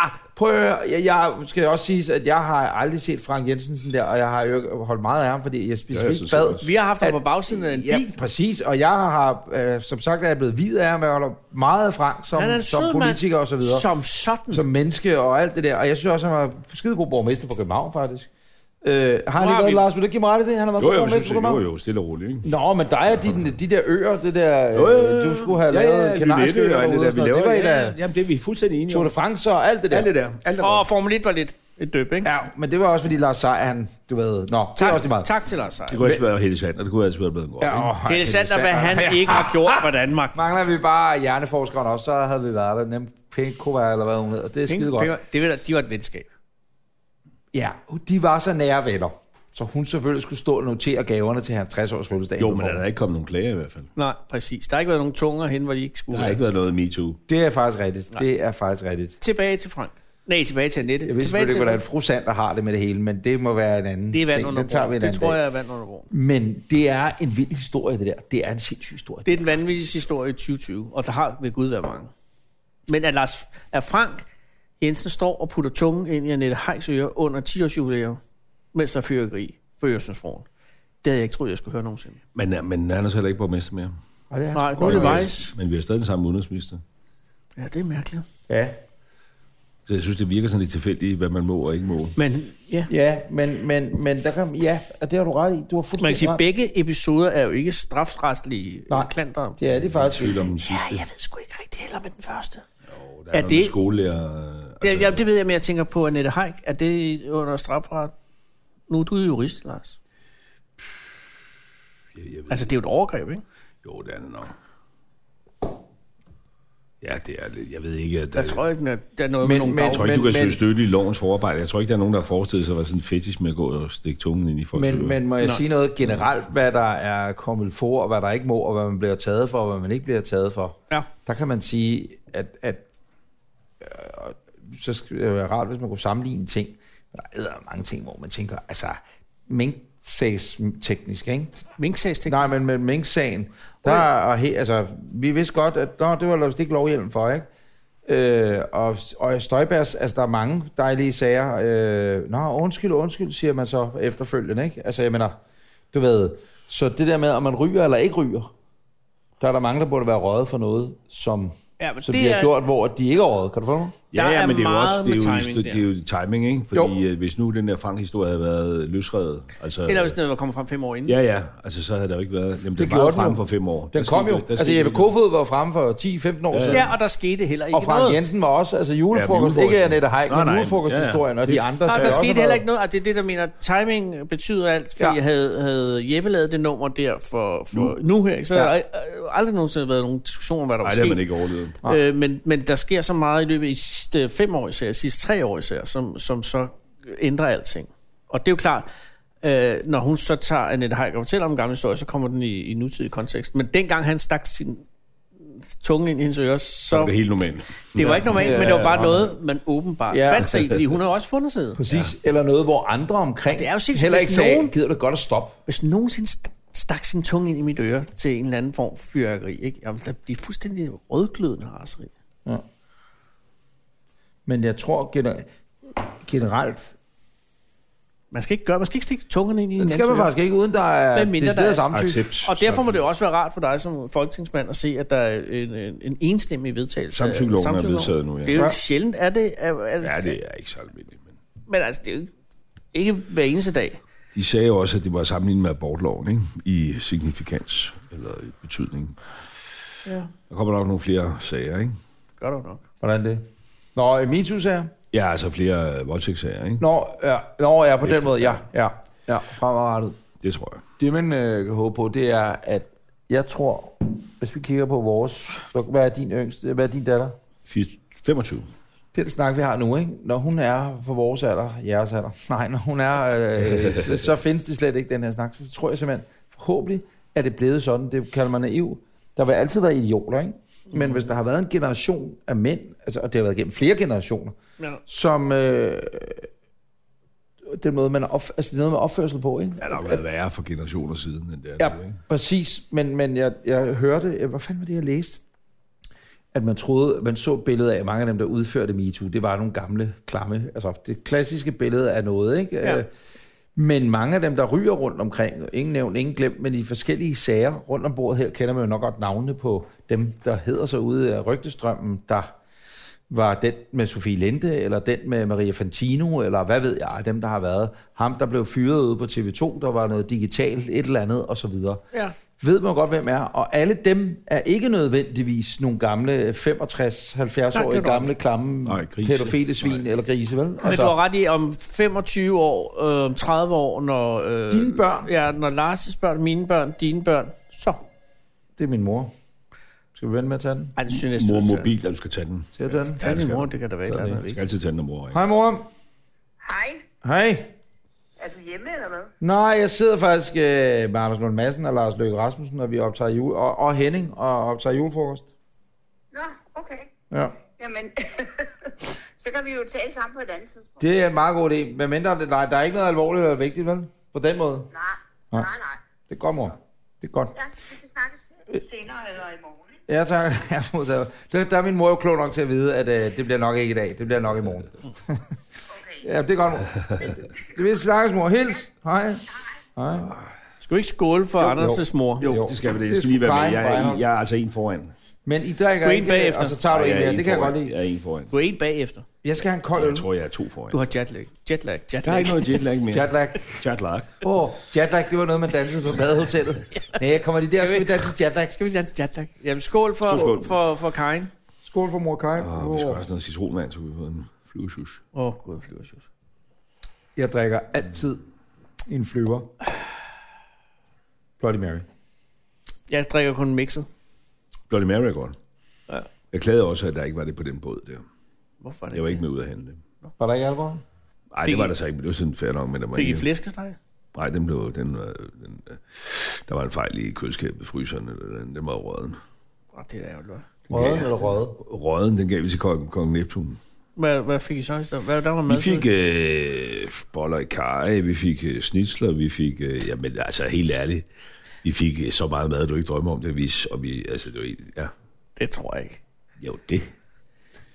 ah. Prøv at høre, jeg, jeg skal også sige, at jeg har aldrig set Frank Jensen sådan der, og jeg har jo ikke holdt meget af ham, fordi jeg specifikt
synes
bad.
også.
Vi har haft ham
At-
på bagsiden af en
Ja,
bil.
præcis, og jeg har, øh, som sagt, er jeg blevet videt af ham, og jeg holder meget af Frank
Han er
som,
en
som
sød mand.
politiker og så videre
Som sådan.
som menneske og alt det der. Og jeg synes også, han var skidegod borgmester for København, faktisk. Øh, har han
har
ikke
vi-
været, Lars? Vil du ikke give mig ret i det? Han har været
Jo,
god
jo,
borgmester
synes,
for
jeg, jo,
København.
jo, stille og roligt, ikke?
Nå, men dig og de, de der øer, det der,
Jo, jo, jo,
øh,
jo.
du skulle have
Ja, ja,
lavet kanariske
Lynette
øer
og alt
derude.
det der,
og
vi
sådan noget.
laver.
Det var et
Ja,
af
ja, Jamen, det er vi fuldstændig enige
Tour de France og alt det der.
Alt det der. Alt det
Og
der.
Formel 1 var lidt et døb, ikke?
Ja, men det var også fordi Lars Seier, han, du ved... Nå, det er også lige
tak,
meget.
tak til Lars Seier.
Det kunne altid være Helle Sander, det kunne altid være blevet en god.
Ja, åh,
Det er sandt, at hvad han ikke har gjort for Danmark.
Mangler vi bare hjerneforskeren også, så havde vi været der. Nem Pinkova eller hvad hun hedder. Det er skide godt.
Penge- penge- Det ved jeg, de var et venskab.
Ja, de var så nære venner. Så hun selvfølgelig skulle stå og notere gaverne til hans 60-års fødselsdag.
Jo, men der er ikke kommet nogen klager i hvert fald.
Nej, præcis. Der har ikke været nogen tunger hen, hvor de ikke skulle
Der har
være.
ikke været noget MeToo.
Det er faktisk rigtigt. Nej. Det er faktisk rigtigt.
Tilbage til Frank. Nej, tilbage til Annette.
Jeg ved
tilbage
selvfølgelig ikke, hvordan fru Sander har det med det hele, men det må være en anden
Det er vand
ting.
under
Den tager vi
broen.
en
Det
anden
tror
dag.
jeg er vand under broen.
Men det er en vild historie, det der. Det er en sindssyg historie.
Det er den vanvittigste historie i 2020, og der har ved Gud været mange. Men at, Lars, at Frank Jensen står og putter tungen ind i Annette Heiks øre under 10-års jubilæum, mens der er fyrkeri på Øresundsbroen. Det havde jeg ikke troet, jeg skulle høre nogensinde.
Men, øh, men han er så heller ikke borgmester mere.
Og det er
Nej, nu er det
Men vi har-
Weiss.
Men vi har stadig den samme udenrigsminister.
Ja, det er mærkeligt.
Ja.
Så jeg synes, det virker sådan lidt tilfældigt, hvad man må og ikke må.
Men ja,
Ja, men, men, men der kan, ja, og det har du ret i. Du har
man kan
fuldstændig
sige, at
ret.
begge episoder er jo ikke strafretslige
Nej.
klanter.
Ja, det er faktisk
Tvivl om den sidste.
ved sgu ikke rigtig heller med den første.
Jo, der
Er
er, er
det-
det... skolelærer... øh,
Ja,
Altså,
jamen, det ved jeg, men jeg tænker på Annette Heik. Er det under strafret? Nu er du jo jurist, Lars.
jeg, jeg ved,
Altså, det er jo et overgreb, ikke?
jo, det er det nok. Ja, det er lidt... Jeg ved ikke, at...
Der tror jeg, den er, der er noget
Men-
men, med nogle
men-
Jeg
daglige.
tror ikke, du
Men-
kan
men-
søge støtte i lovens forarbejde. Jeg tror ikke, der er nogen, der har forestillet sig at være sådan en fetish med at gå og stikke tungen ind i folks
Men,
ører.
men må jeg
Nå.
sige noget generelt, hvad der er kommet for, og hvad der ikke må, og hvad man bliver taget for, og hvad man ikke bliver taget for?
Ja.
Der kan man sige, at, at øh, så skal det være rart, hvis man kunne sammenligne ting. Men der er mange ting, hvor man tænker, altså, mink teknisk, ikke?
Mink-sagsting.
Nej, men med mink-sagen, der er, og he, altså, vi vidste godt, at nå, det var der vist ikke lovhjelm for, ikke? Øh, og, og Støjbergs, altså der er mange dejlige sager. Øh, nå, undskyld, undskyld, siger man så efterfølgende, ikke? Altså, jeg mener, du ved, så det der med, om man ryger eller ikke ryger, der er der mange, der burde være røget for noget, som,
Ja, men
som
det
de har
er-
gjort, hvor de ikke er røget. Kan du få mig?
Der
ja, ja,
er
men det er jo
meget
også det er
med
jo, timing,
timing
det er jo timing, ikke? Fordi jo. hvis nu den der Frank-historie havde været løsredet... Altså,
Eller hvis den var kommet frem fem år inden.
Ja, ja. Altså, så havde der jo ikke været... Jamen, det, var
gjorde
jo
den jo.
frem for fem år. Der
Den kom
skete-
jo.
der
Altså,
skete
Jeppe
jo-
Kofod var fremme for 10-15 år siden.
ja, og der skete heller ikke
Og Frank
noget.
Jensen var også, altså julefrokost,
Ja,
ja, ikke
julefrokosten.
Annette Heik,
Nej,
men
nej.
julefrokosthistorien og de andre.
Og
sagde
der
også
skete
noget.
heller ikke noget, og det er det, der mener, timing betyder alt, fordi ja.
Ja.
jeg havde, havde Jeppe lavet det nummer der for, for nu. nu her, ikke? så ja.
Ja.
der har øh, aldrig nogensinde været nogen diskussion om, hvad der
Nej,
var
det havde
sket.
man ikke overlevet.
Øh, men, men der sker så meget i løbet af de sidste fem år især, sidste tre år især, som, som så ændrer alting. Og det er jo klart, øh, når hun så tager Annette Heik og fortæller om en gammel historie, så kommer den i, i nutidig kontekst. Men dengang han stak sin tunge ind i hendes ører,
Så var det
så...
helt normalt.
Det var ikke normalt,
Ja,
men det var bare
ja.
noget, man åbenbart ja.
Ja.
fandt sig i, fordi hun har jo også fundet sig i det.
Præcis, ja. eller noget, hvor andre omkring
Det er jo sindssygt,
heller
hvis
ikke sagde,
nogen-
nogen... gider du godt at stoppe.
Hvis nogensinde st- stak sin tunge ind i mit øre til en eller anden form for fyrværkeri, ikke? Jamen, der bliver fuldstændig rødglødende raseri.
Men jeg tror gener- generelt,
Man skal ikke gøre, man skal ikke stikke tungerne ind i en
det skal man faktisk ikke, uden der er
Hvad mindre
decideret
der er-
samtykke.
Accept.
Og derfor må det jo også være rart for dig som folketingsmand at se, at der er en, en, en enstemmig vedtagelse. af
Samtykkeloven er
samtykkeloven.
vedtaget nu, ja.
Det er jo ikke sjældent, er det? Er,
Ja,
er,
det er ikke så almindeligt. Men...
Men altså, det er jo ikke Ikke hver eneste dag.
De sagde jo også, at det var sammenlignet med abortloven, ikke? I signifikans eller i betydning.
Ja.
Der kommer nok nogle flere sager, ikke?
Godt nok.
Hvordan det? Nå, øh, MeToo-sager?
Ja, altså flere øh, voldtægtssager, ikke?
Nå, ja, Nå, ja på den måde, ja. Ja, ja fremadrettet.
Det tror jeg.
Det, man øh, kan håbe på, det er, at jeg tror, hvis vi kigger på vores... så- Hvad er din yngste? Hvad er din datter?
4, 25.
Den snak, vi har nu, ikke? Når hun er på vores alder, jeres alder, <laughs> nej, når hun er, øh, så, så findes det slet ikke, den her snak. Så tror jeg simpelthen, forhåbentlig er det blevet sådan, det kalder man naiv. Der vil altid være idioter, ikke? Men hvis der har været en generation af mænd, altså, og det har været gennem flere generationer,
Ja.
som... Øh, den måde, man er opf- altså, det er noget med opførsel på, ikke?
Ja, der har været værre for generationer siden, end det er
Ja,
nu, ikke?
præcis. Men, men jeg, jeg hørte, jeg- hvad fanden var det, jeg læste? At man troede, man så billedet af, at mange af dem, der udførte MeToo, det var nogle gamle, klamme, altså det klassiske billede af noget, ikke?
Ja.
Øh, Men mange af dem, der ryger rundt omkring, ingen nævnt, ingen glemt, men i forskellige sager rundt om bordet her, kender man jo nok godt navnene på dem, der hedder sig ude af rygtestrømmen, der var den med Sofie Linde, eller den med Maria Fantino, eller hvad ved jeg, dem der har været. Ham, der blev fyret ude på TV2, der var noget digitalt, et eller andet, og så videre.
Ja.
Ved man godt, hvem er, og alle dem er ikke nødvendigvis nogle gamle 65-70-årige
Nej, det er
gamle, klamme,
Nej, grise.
pædofile svin Nej. eller grise, vel? Altså,
Men
Altså-
du har ret i, om 25 år, øh, om 30 år, når... Øh,
Dine børn.
Ja, når Lars' børn, mine børn, dine børn, så.
det er min mor. Skal vi vende med at tage den?
Ej, det synes jeg, du
Mor
skal-
mobil, ja, du skal tage den.
Skal jeg tage den?
Tag din mor, det kan da være. et eller andet,
Du
ikke?
skal altid tage den, når mor er.
Hej mor.
Hej,
Hej.
er du hjemme eller hvad?
Nej, jeg sidder faktisk øh, med Anders Lund Madsen og Lars Løkke Rasmussen, og vi optager jule, og, og Henning, og optager julefrokost.
Nå, okay.
Ja.
Jamen, <laughs> så kan vi jo tale sammen på et andet tidspunkt.
Det er en meget god idé, men mindre det, nej, der er ikke noget alvorligt eller vigtigt, vel? På den måde.
Nej,
Ja.
nej, nej.
Det er godt, mor. Det er godt.
Ja, vi kan snakkes senere eller i morgen. ikke?
Ja, tak. <laughs> Jeg har modtaget. Der, der er min mor jo klog nok til at vide, at øh, det bliver nok ikke i dag. Det bliver nok i morgen.
Okay.
Ja, det er <laughs> godt, mor. Det vil snakkes, mor. Hils. Hej. Hej.
Skal du ikke skåle for Anders' mor?
Jo,
Jo.
det skal vi det.
Det
Jeg skal lige være med.
skulle
Jeg er,
Brian.
en- jeg er altså en foran.
Men I drikker
Du er en
ikke, øh,
bagefter.
og så tager du en
Nej, jeg er
mere.
en
Det kan jeg
foran.
godt lide.
Jeg er en foran.
Du er en bagefter.
Jeg skal have en kold øl.
Jeg tror, jeg er to foran.
Du har jetlag. Jetlag, jetlag.
Der er ikke noget jetlag mere.
Jetlag.
Jetlag.
Åh, oh, jetlag, det var noget, man dansede på
<laughs>
badehotellet. Nej, jeg kommer lige der, skal vi danse jetlag.
Skal vi danse jetlag? Jamen, skål for,
Skål, skål.
for, for Karin.
Skål for mor Karin.
Og vi skal også have noget citronvand, så vi får en flyvesus.
Åh, oh, gud, flyversus.
Jeg drikker altid en <sighs> flyver. Bloody Mary.
Jeg drikker kun mixet.
Bloody Mary er godt. Jeg klagede også, at der ikke var det på den båd der.
Hvorfor er det?
Jeg var ikke med ud at handle.
Var der ikke alvor?
Nej,
Fik
det var
I-
der så ikke, men det var sådan fair nok. Men der var
Fik I
ikke-
flæskesteg?
Nej, den blev, den, øh, den, øh, der var en fejl i køleskabet, fryseren, eller den, den var røden.
Oh, det er da ærgerligt.
Røde eller røde?
Røden, den gav vi til kongen, kongen Neptun.
Hvad, hvad fik I så i stedet? Hvad der var
Vi
mad?
fik øh, boller i kaj, vi fik øh, snitsler, vi fik, øh, jamen altså helt ærligt, vi fik øh, så meget mad, du ikke drømmer om det, vis, og vi, altså det var, helt- ja,
Det tror jeg ikke.
jo det.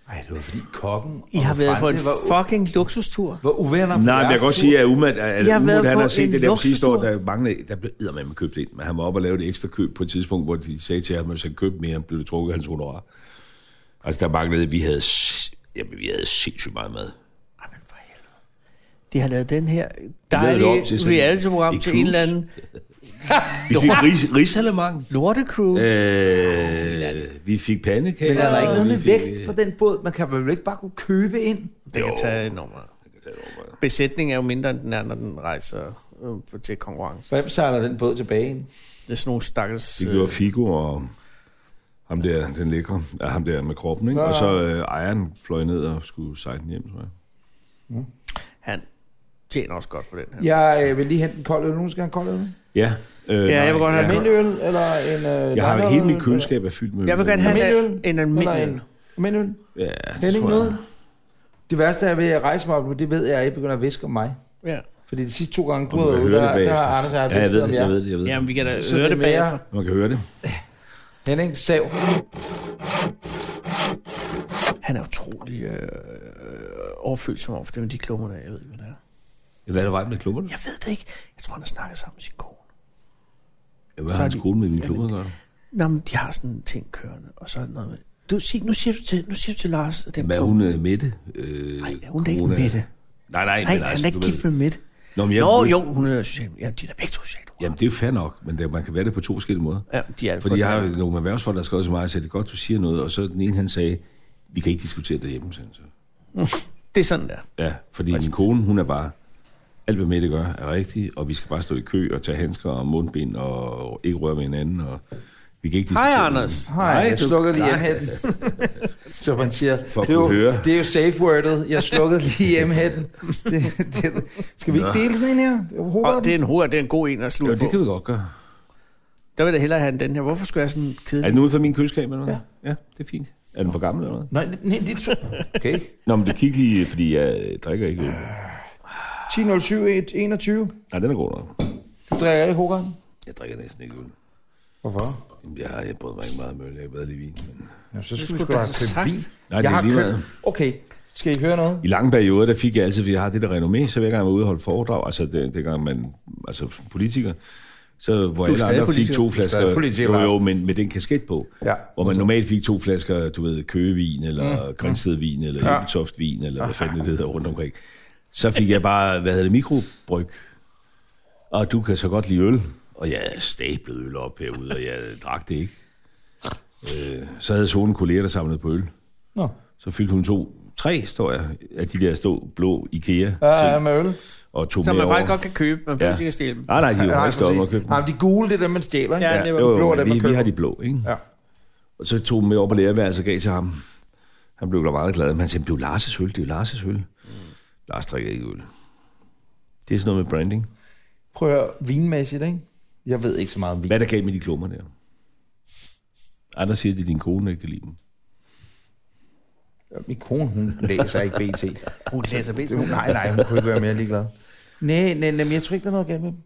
Nej, det var fordi kokken...
I har været på en
var,
fucking luksustur.
var uvenner på
Nej, men jeg kan
jeres
godt
tur.
sige, at Umad, at
Jeg har været
Umad han
på
har set
en
det der på sidste år,
luksustur.
der, mange, der blev eddermame købt ind, men han var oppe og lave et ekstra køb på et tidspunkt, hvor de sagde til ham, at hvis han købte mere, blev det trukket af hans honorar. Altså der manglede, vi havde, s- jamen, vi havde sindssygt meget mad.
Ej, men for helvede. De har lavet den her
lavede det om til
dejlige
sådan en-
reality-program
en
til en
cruise.
eller anden
Vi fik ris, risalemang.
lortecruise.
Øh, vi fik pandekager.
Men er der ikke noget med
vi fik,
vægt på den båd? Man kan vel ikke bare kunne købe ind?
det kan
jo.
tage enormt meget.
øh,
Besætningen er jo mindre, end den er, når den rejser øh, til konkurrence.
Hvem sejler den båd tilbage ind?
Det er sådan nogle stakkels...
Det gjorde Figo og ham der, den lækre, ja, ham der med kroppen, ikke? Og så øh, ejeren fløj ned og skulle sejle den hjem, tror jeg.
øh, han tjener også godt på den her.
Jeg øh, vil lige hente en kold øl. Nogen skal have en kold øl.
Ja, øh,
Ja, jeg vil godt have
En
Ja.
mindre øl, eller en... Øh,
Jeg har
lagerøl,
hele mit
eller-
køleskab er fyldt med
Jeg vil
øl.
gerne have
Almindelig
en,
øl?
en
Eller
almindelig
en
øl.
mindre øl.
Ja, det
Henning
tror
noget?
jeg.
Det værste er ved at rejse mig op, det ved jeg, at I begynder at viske om mig.
Ja.
Fordi de sidste to gange, du
Og
har været
man kan
ude,
høre
der,
det
der
bagefter.
har Anders og jeg
Ja, jeg
visket
ved det,
om
jeg
jer.
ved det, jeg ved det.
Jamen, vi kan da
Så
høre
det er
det
mere-
bagefter.
Man kan høre det.
Henning, sav.
Han er utrolig øh, overfølsom over for det med de klummer, der. jeg ved ikke, hvad det er.
Hvad er der vej med klubberne?
Jeg ved det ikke. Jeg tror, han har snakket sammen med sin kone.
Hvad har hans kone med mine klubber, gør
Nå, men de har sådan en ting kørende, og så er det noget med... Du, sig, nu, siger du til, nu siger du til Lars, at den
Hvad er
kone-
hun øh, Mette? Øh,
Nej, hun er ikke
corona-
Mette.
Nej, nej,
Nej,
men
han
altså,
er ikke
du ved-
gift med Mette.
Nå, men jeg,
Nå, jo, hun er social. Ja, de er da begge to social.
Jamen, det er fair nok, men det, man kan være det på to forskellige måder.
Ja, de er det
Fordi jeg
godt.
har nogle erhvervsfolk, der har skrevet til mig og sagde, det er godt, du siger noget, og så den ene, han sagde, vi kan ikke diskutere det hjemme, sagde han så.
Det er sådan der.
Ja, fordi min kone, hun er bare, alt hvad Mette gør, er rigtigt, og vi skal bare stå i kø og tage handsker og mundbind og ikke røre ved hinanden, og vi kan ikke
Hej,
diskutere
Anders.
Nej, jeg slukkede lige
<laughs>
M-hætten. Så man siger, det
For at
er, jo,
kunne høre.
det er jo safe wordet. Jeg slukkede lige M-hætten. <laughs> Det, det, skal vi ikke dele sådan en her? Det er jo
Og det er
hovedet.
en hurtig, det er en god en at
Jo,
slutte
det
på.
kan vi godt gøre.
Der vil jeg da hellere have end den her. Hvorfor skulle jeg sådan
Er
kedelig?
den ude for min køleskab eller noget? Ja. ja, det er fint. Er den for gammel eller noget?
Nej, nej, det er to- Okay.
Nå, men du kig lige, fordi jeg drikker ikke. øl.
10.07.21.
Nej, den er god nok.
Du drikker ikke hovedet.
Jeg drikker næsten ikke øl.
Hvorfor?
Jamen, Jeg, har- jeg bryder mig ikke meget om øl. Jeg kan bedre lide vin. Men...
Ja, så
skulle
skulle vi sgu da
du have
have købt
sagt.
vin.
Nej, det
jeg
er
har
lige
købt...
meget.
Okay, skal I høre noget?
I lange perioder, der fik jeg altid, fordi jeg har det der renommé, så hver gang jeg var ude og holde foredrag, altså det, det gang man, altså som politiker, så hvor alle
stadig
andre fik
politiker.
to
stadig
flasker,
politiker,
jo,
Lars.
jo, men med den kasket på,
Ja.
hvor man normalt fik to flasker, du ved, køgevin, eller mm. grænstedvin, eller ja. ebetoftvin, eller hvad fanden det hedder rundt omkring. Så fik jeg bare, hvad hedder det, mikrobryg. Og du kan så godt lide øl. Og jeg stablede øl op herude, og jeg drak det ikke. Øh, så havde solen kolleger, der samlede på øl.
Nå.
Så fyldte hun to, tre, står jeg, af de der stå blå Ikea
Ja, ja,
ting,
med øl.
og tog
Som
med
man faktisk
over.
godt kan købe, man
Ja. Ah,
kan ikke stjæle dem.
Nej, nej, de var
Nej,
ikke stoppet og
præcis.
købte dem.
Nej, men de gule, det er dem, man stjæler. ikke?
Ja, det var
jo,
blå,
jo,
dem,
men
man
vi, vi
køber.
har de blå, ikke?
Ja.
Og så tog hun med op på lærerværelset og gav til ham. Han blev da meget glad, men han sagde, det er jo Lars' øl, det er jo Lars' øl. Mm. Lars drikker ikke øl. Det er sådan noget med branding.
Prøv at høre, vinmæssigt, ikke? Jeg ved ikke så meget om vin.
Hvad er der galt med de klummer der? Andre siger, det er din kone, der ikke kan lide dem.
Min kone, hun læser ikke
<laughs>
BT.
Hun læser bedst.
Det, hun, nej, nej, hun kunne ikke være mere ligeglad. Nej, nej, nej, men jeg tror ikke, der er noget galt med dem.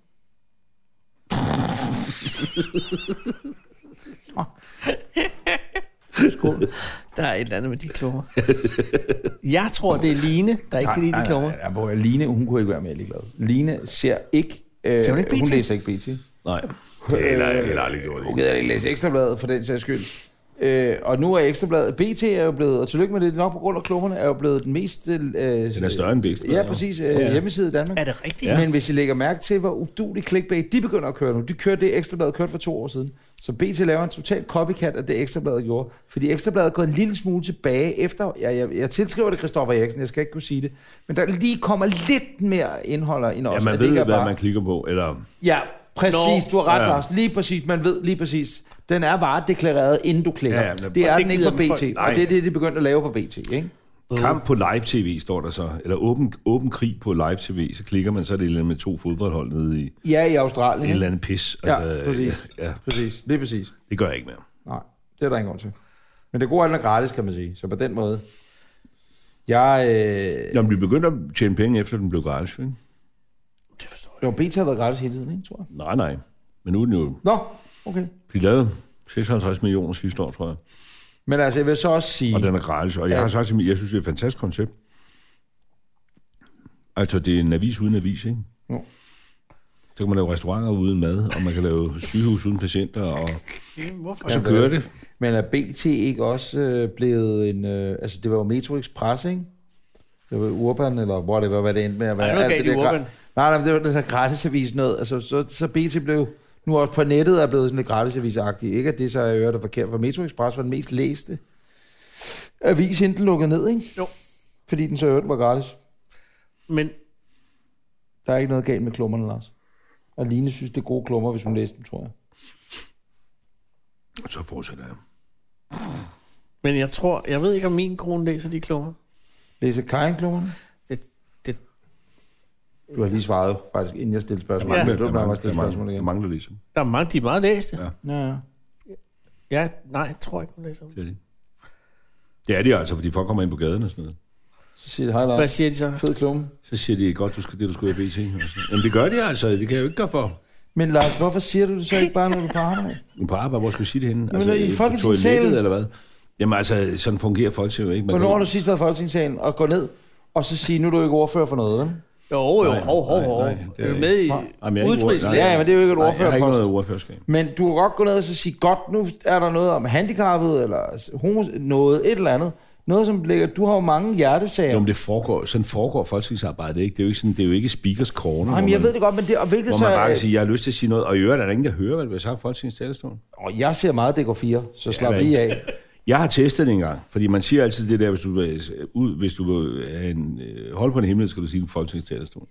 Der er et eller andet med de klummer. Jeg tror, det er Line, der ikke kan lide de klummer.
Ja, hvor Line, hun kunne ikke være mere ligeglad. Line ser ikke... Øh,
Ser hun ikke
Hun
BT?
læser ikke BT.
Nej, det er heller, heller aldrig gjort.
Hun
Okay.
gider ikke læse Ekstrabladet, for den sags skyld. Øh, og nu er Ekstrabladet... BT er jo blevet, og tillykke med det, nok på grund af klummerne, er jo blevet den mest... Øh,
Den er større end Bækst.
Ja, præcis. Øh,
Ja.
Hjemmeside i Danmark.
Er det rigtigt?
Ja. Men hvis I lægger mærke til, hvor udulig clickbait de begynder at køre nu. De kørte det ekstrabladet kørte for to år siden. Så BT laver en total copycat af det ekstrabladet gjorde. Fordi ekstrabladet er gået en lille smule tilbage efter... Jeg, jeg, jeg tilskriver det Christoffer Eriksen, jeg skal ikke kunne sige det. Men der lige kommer lidt mere indhold ind også.
Ja,
at
man
det ikke
ved,
er
hvad
bare-
man klikker på, eller
Ja, præcis.
Nå.
Du har ret,
Ja.
ja. Lars. Lige præcis. Man ved lige præcis. Den er varedeklareret, inden du klikker.
Ja, ja,
Ja,
men-
det
Og
er
det
den ikke på
gider
BT.
folk-
Nej.
Og det er det, de begyndte at lave på BT, ikke?
Kamp på live-tv, står der så. Eller åben, åben krig på live-tv. Så klikker man, så er det et eller andet med to fodboldhold nede i et
Ja, i Australien.
eller
Ikke?
andet pis.
Ja,
Altså,
præcis.
Ja, ja,
Præcis. Lige præcis.
det gør jeg ikke mere.
Nej, det er der ingen grund til. Men det gode er, at den er gratis, kan man sige. Så på den måde. Jeg, øh...
Nå, men vi begyndte at tjene penge, efter den blev gratis, ikke?
Jo, beta har været gratis hele tiden, ikke, tror jeg.
Nej, nej. Men nu er den jo...
Nå, okay.
De lavede 56 millioner sidste år, tror jeg.
Men altså, jeg vil så også sige...
Og den er gratis. Og jeg
Ja.
har sagt til mig, jeg synes, det er et fantastisk koncept. Altså, det er en avis uden avis, ikke?
Jo.
Så kan man lave restauranter uden mad, og man kan lave sygehus uden patienter, og
Hvorfor?
så kører det.
Men er BT ikke også øh, blevet en... Øh... Altså, det var jo Metro Express, ikke? Det var Urban, eller hvor det var, hvad det endte med at være.
Ej, nu
Alt
gav de
der gra-
Urban.
Nej, nej, men det var den der gratisavis noget. Altså, så, så BT blev nu også på nettet er blevet sådan lidt gratisavisagtigt. Ikke at det så er øret er forkert, for Metro Express var den mest læste avis, inden den lukkede ned, ikke?
Jo.
Fordi den så øvrigt var gratis.
Men
Der er ikke noget galt med klummerne, Lars. Og Line synes, det er gode klummer, hvis hun læser dem, tror jeg.
Og så fortsætter jeg.
Men jeg tror, jeg ved ikke, om min kone læser de klummer.
Læser Karin klummerne?
Det, det,
Du har lige svaret faktisk, inden jeg stillede spørgsmål. Ja.
Ja.
Du
der,
bliver mig at
mangler, der,
stille spørgsmål
mangler, der
igen.
mangler ligesom.
der er mange, de er meget læste.
Ja.
Ja,
Ja.
ja.
ja nej, jeg tror ikke, hun læser dem.
Det er det. Det er det altså, fordi folk kommer ind på gaden og sådan noget.
Så siger det, hej
Hvad
Lars.
siger de så?
Fed klumme.
Så siger de, godt, du skal, det du skal i BT. Og sådan. Jamen det gør de altså, det kan jeg jo ikke gøre for.
Men Lars, hvorfor siger du det så ikke bare, når du er på arbejde?
<laughs> Men på arbejde, hvor skal jeg sige det henne? Altså,
når I er i
på
Folketingssalen.
toilettet eller hvad? Jamen altså, sådan fungerer folk jo ikke. Man
Hvornår har
kan-
du sidst været i Folketingssalen og gå ned og så sige, nu er du ikke ordfører for noget, vel?
Jo, jo,
Nej,
hov, hov,
nej,
hov.
nej, det er
Er du
ikke.
med i
Jamen, jeg er ikke
udtrykslæg?
ordfører.
Ja, men det er jo ikke et
Nej, jeg har ikke
ordførerpost.
noget ordførerskab.
Men du kan godt gå ned og så sige, godt, nu er der noget om handicappet, eller homo, noget, et eller andet. Noget, som ligger... Du har jo mange hjertesager.
Jo, men det foregår, sådan foregår folketingsarbejdet, ikke? Det er jo ikke, sådan, det er jo ikke speakers corner,
Nej, men
hvor,
jeg
man,
ved det godt, men det... Og hvilket
hvor
så...
man bare kan sige, jeg har lyst til at sige noget, og i øvrigt er der ingen, der hører, hvad der bliver sagt fra folketingets talerstol.
Og jeg ser meget DK4, så slap
Ja,
lige af.
Jeg har testet det engang, fordi man siger altid det der, hvis du vil, ud, hvis du vil have en, øh, holde på en himmel, skal du sige en folketingstalerstol.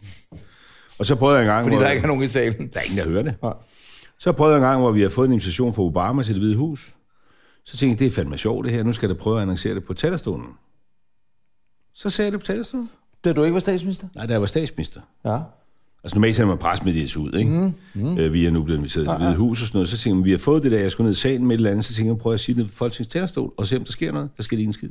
Og så prøvede jeg en gang,
Fordi
hvor,
der ikke er nogen i salen.
der er ingen, der hører det.
Nej.
Så prøvede jeg en gang, hvor vi har fået en invitation fra Obama til det hvide hus. Så tænkte jeg, det er fandme sjovt det her, nu skal jeg da prøve at annoncere det på talerstolen. Så sagde jeg det på talerstolen.
Da du ikke var statsminister?
Nej, da jeg var statsminister.
Ja.
Altså normalt sender man presmeddelelse ud, ikke? Mm. Mm. Øh, vi er nu blevet inviteret til det hvide hus og sådan noget. Så tænker man, vi har fået det der, jeg skulle ned i salen med et eller andet, så tænker jeg, prøv at sige det på folketingets talerstol, og se om der sker noget. Der sker lige en skid.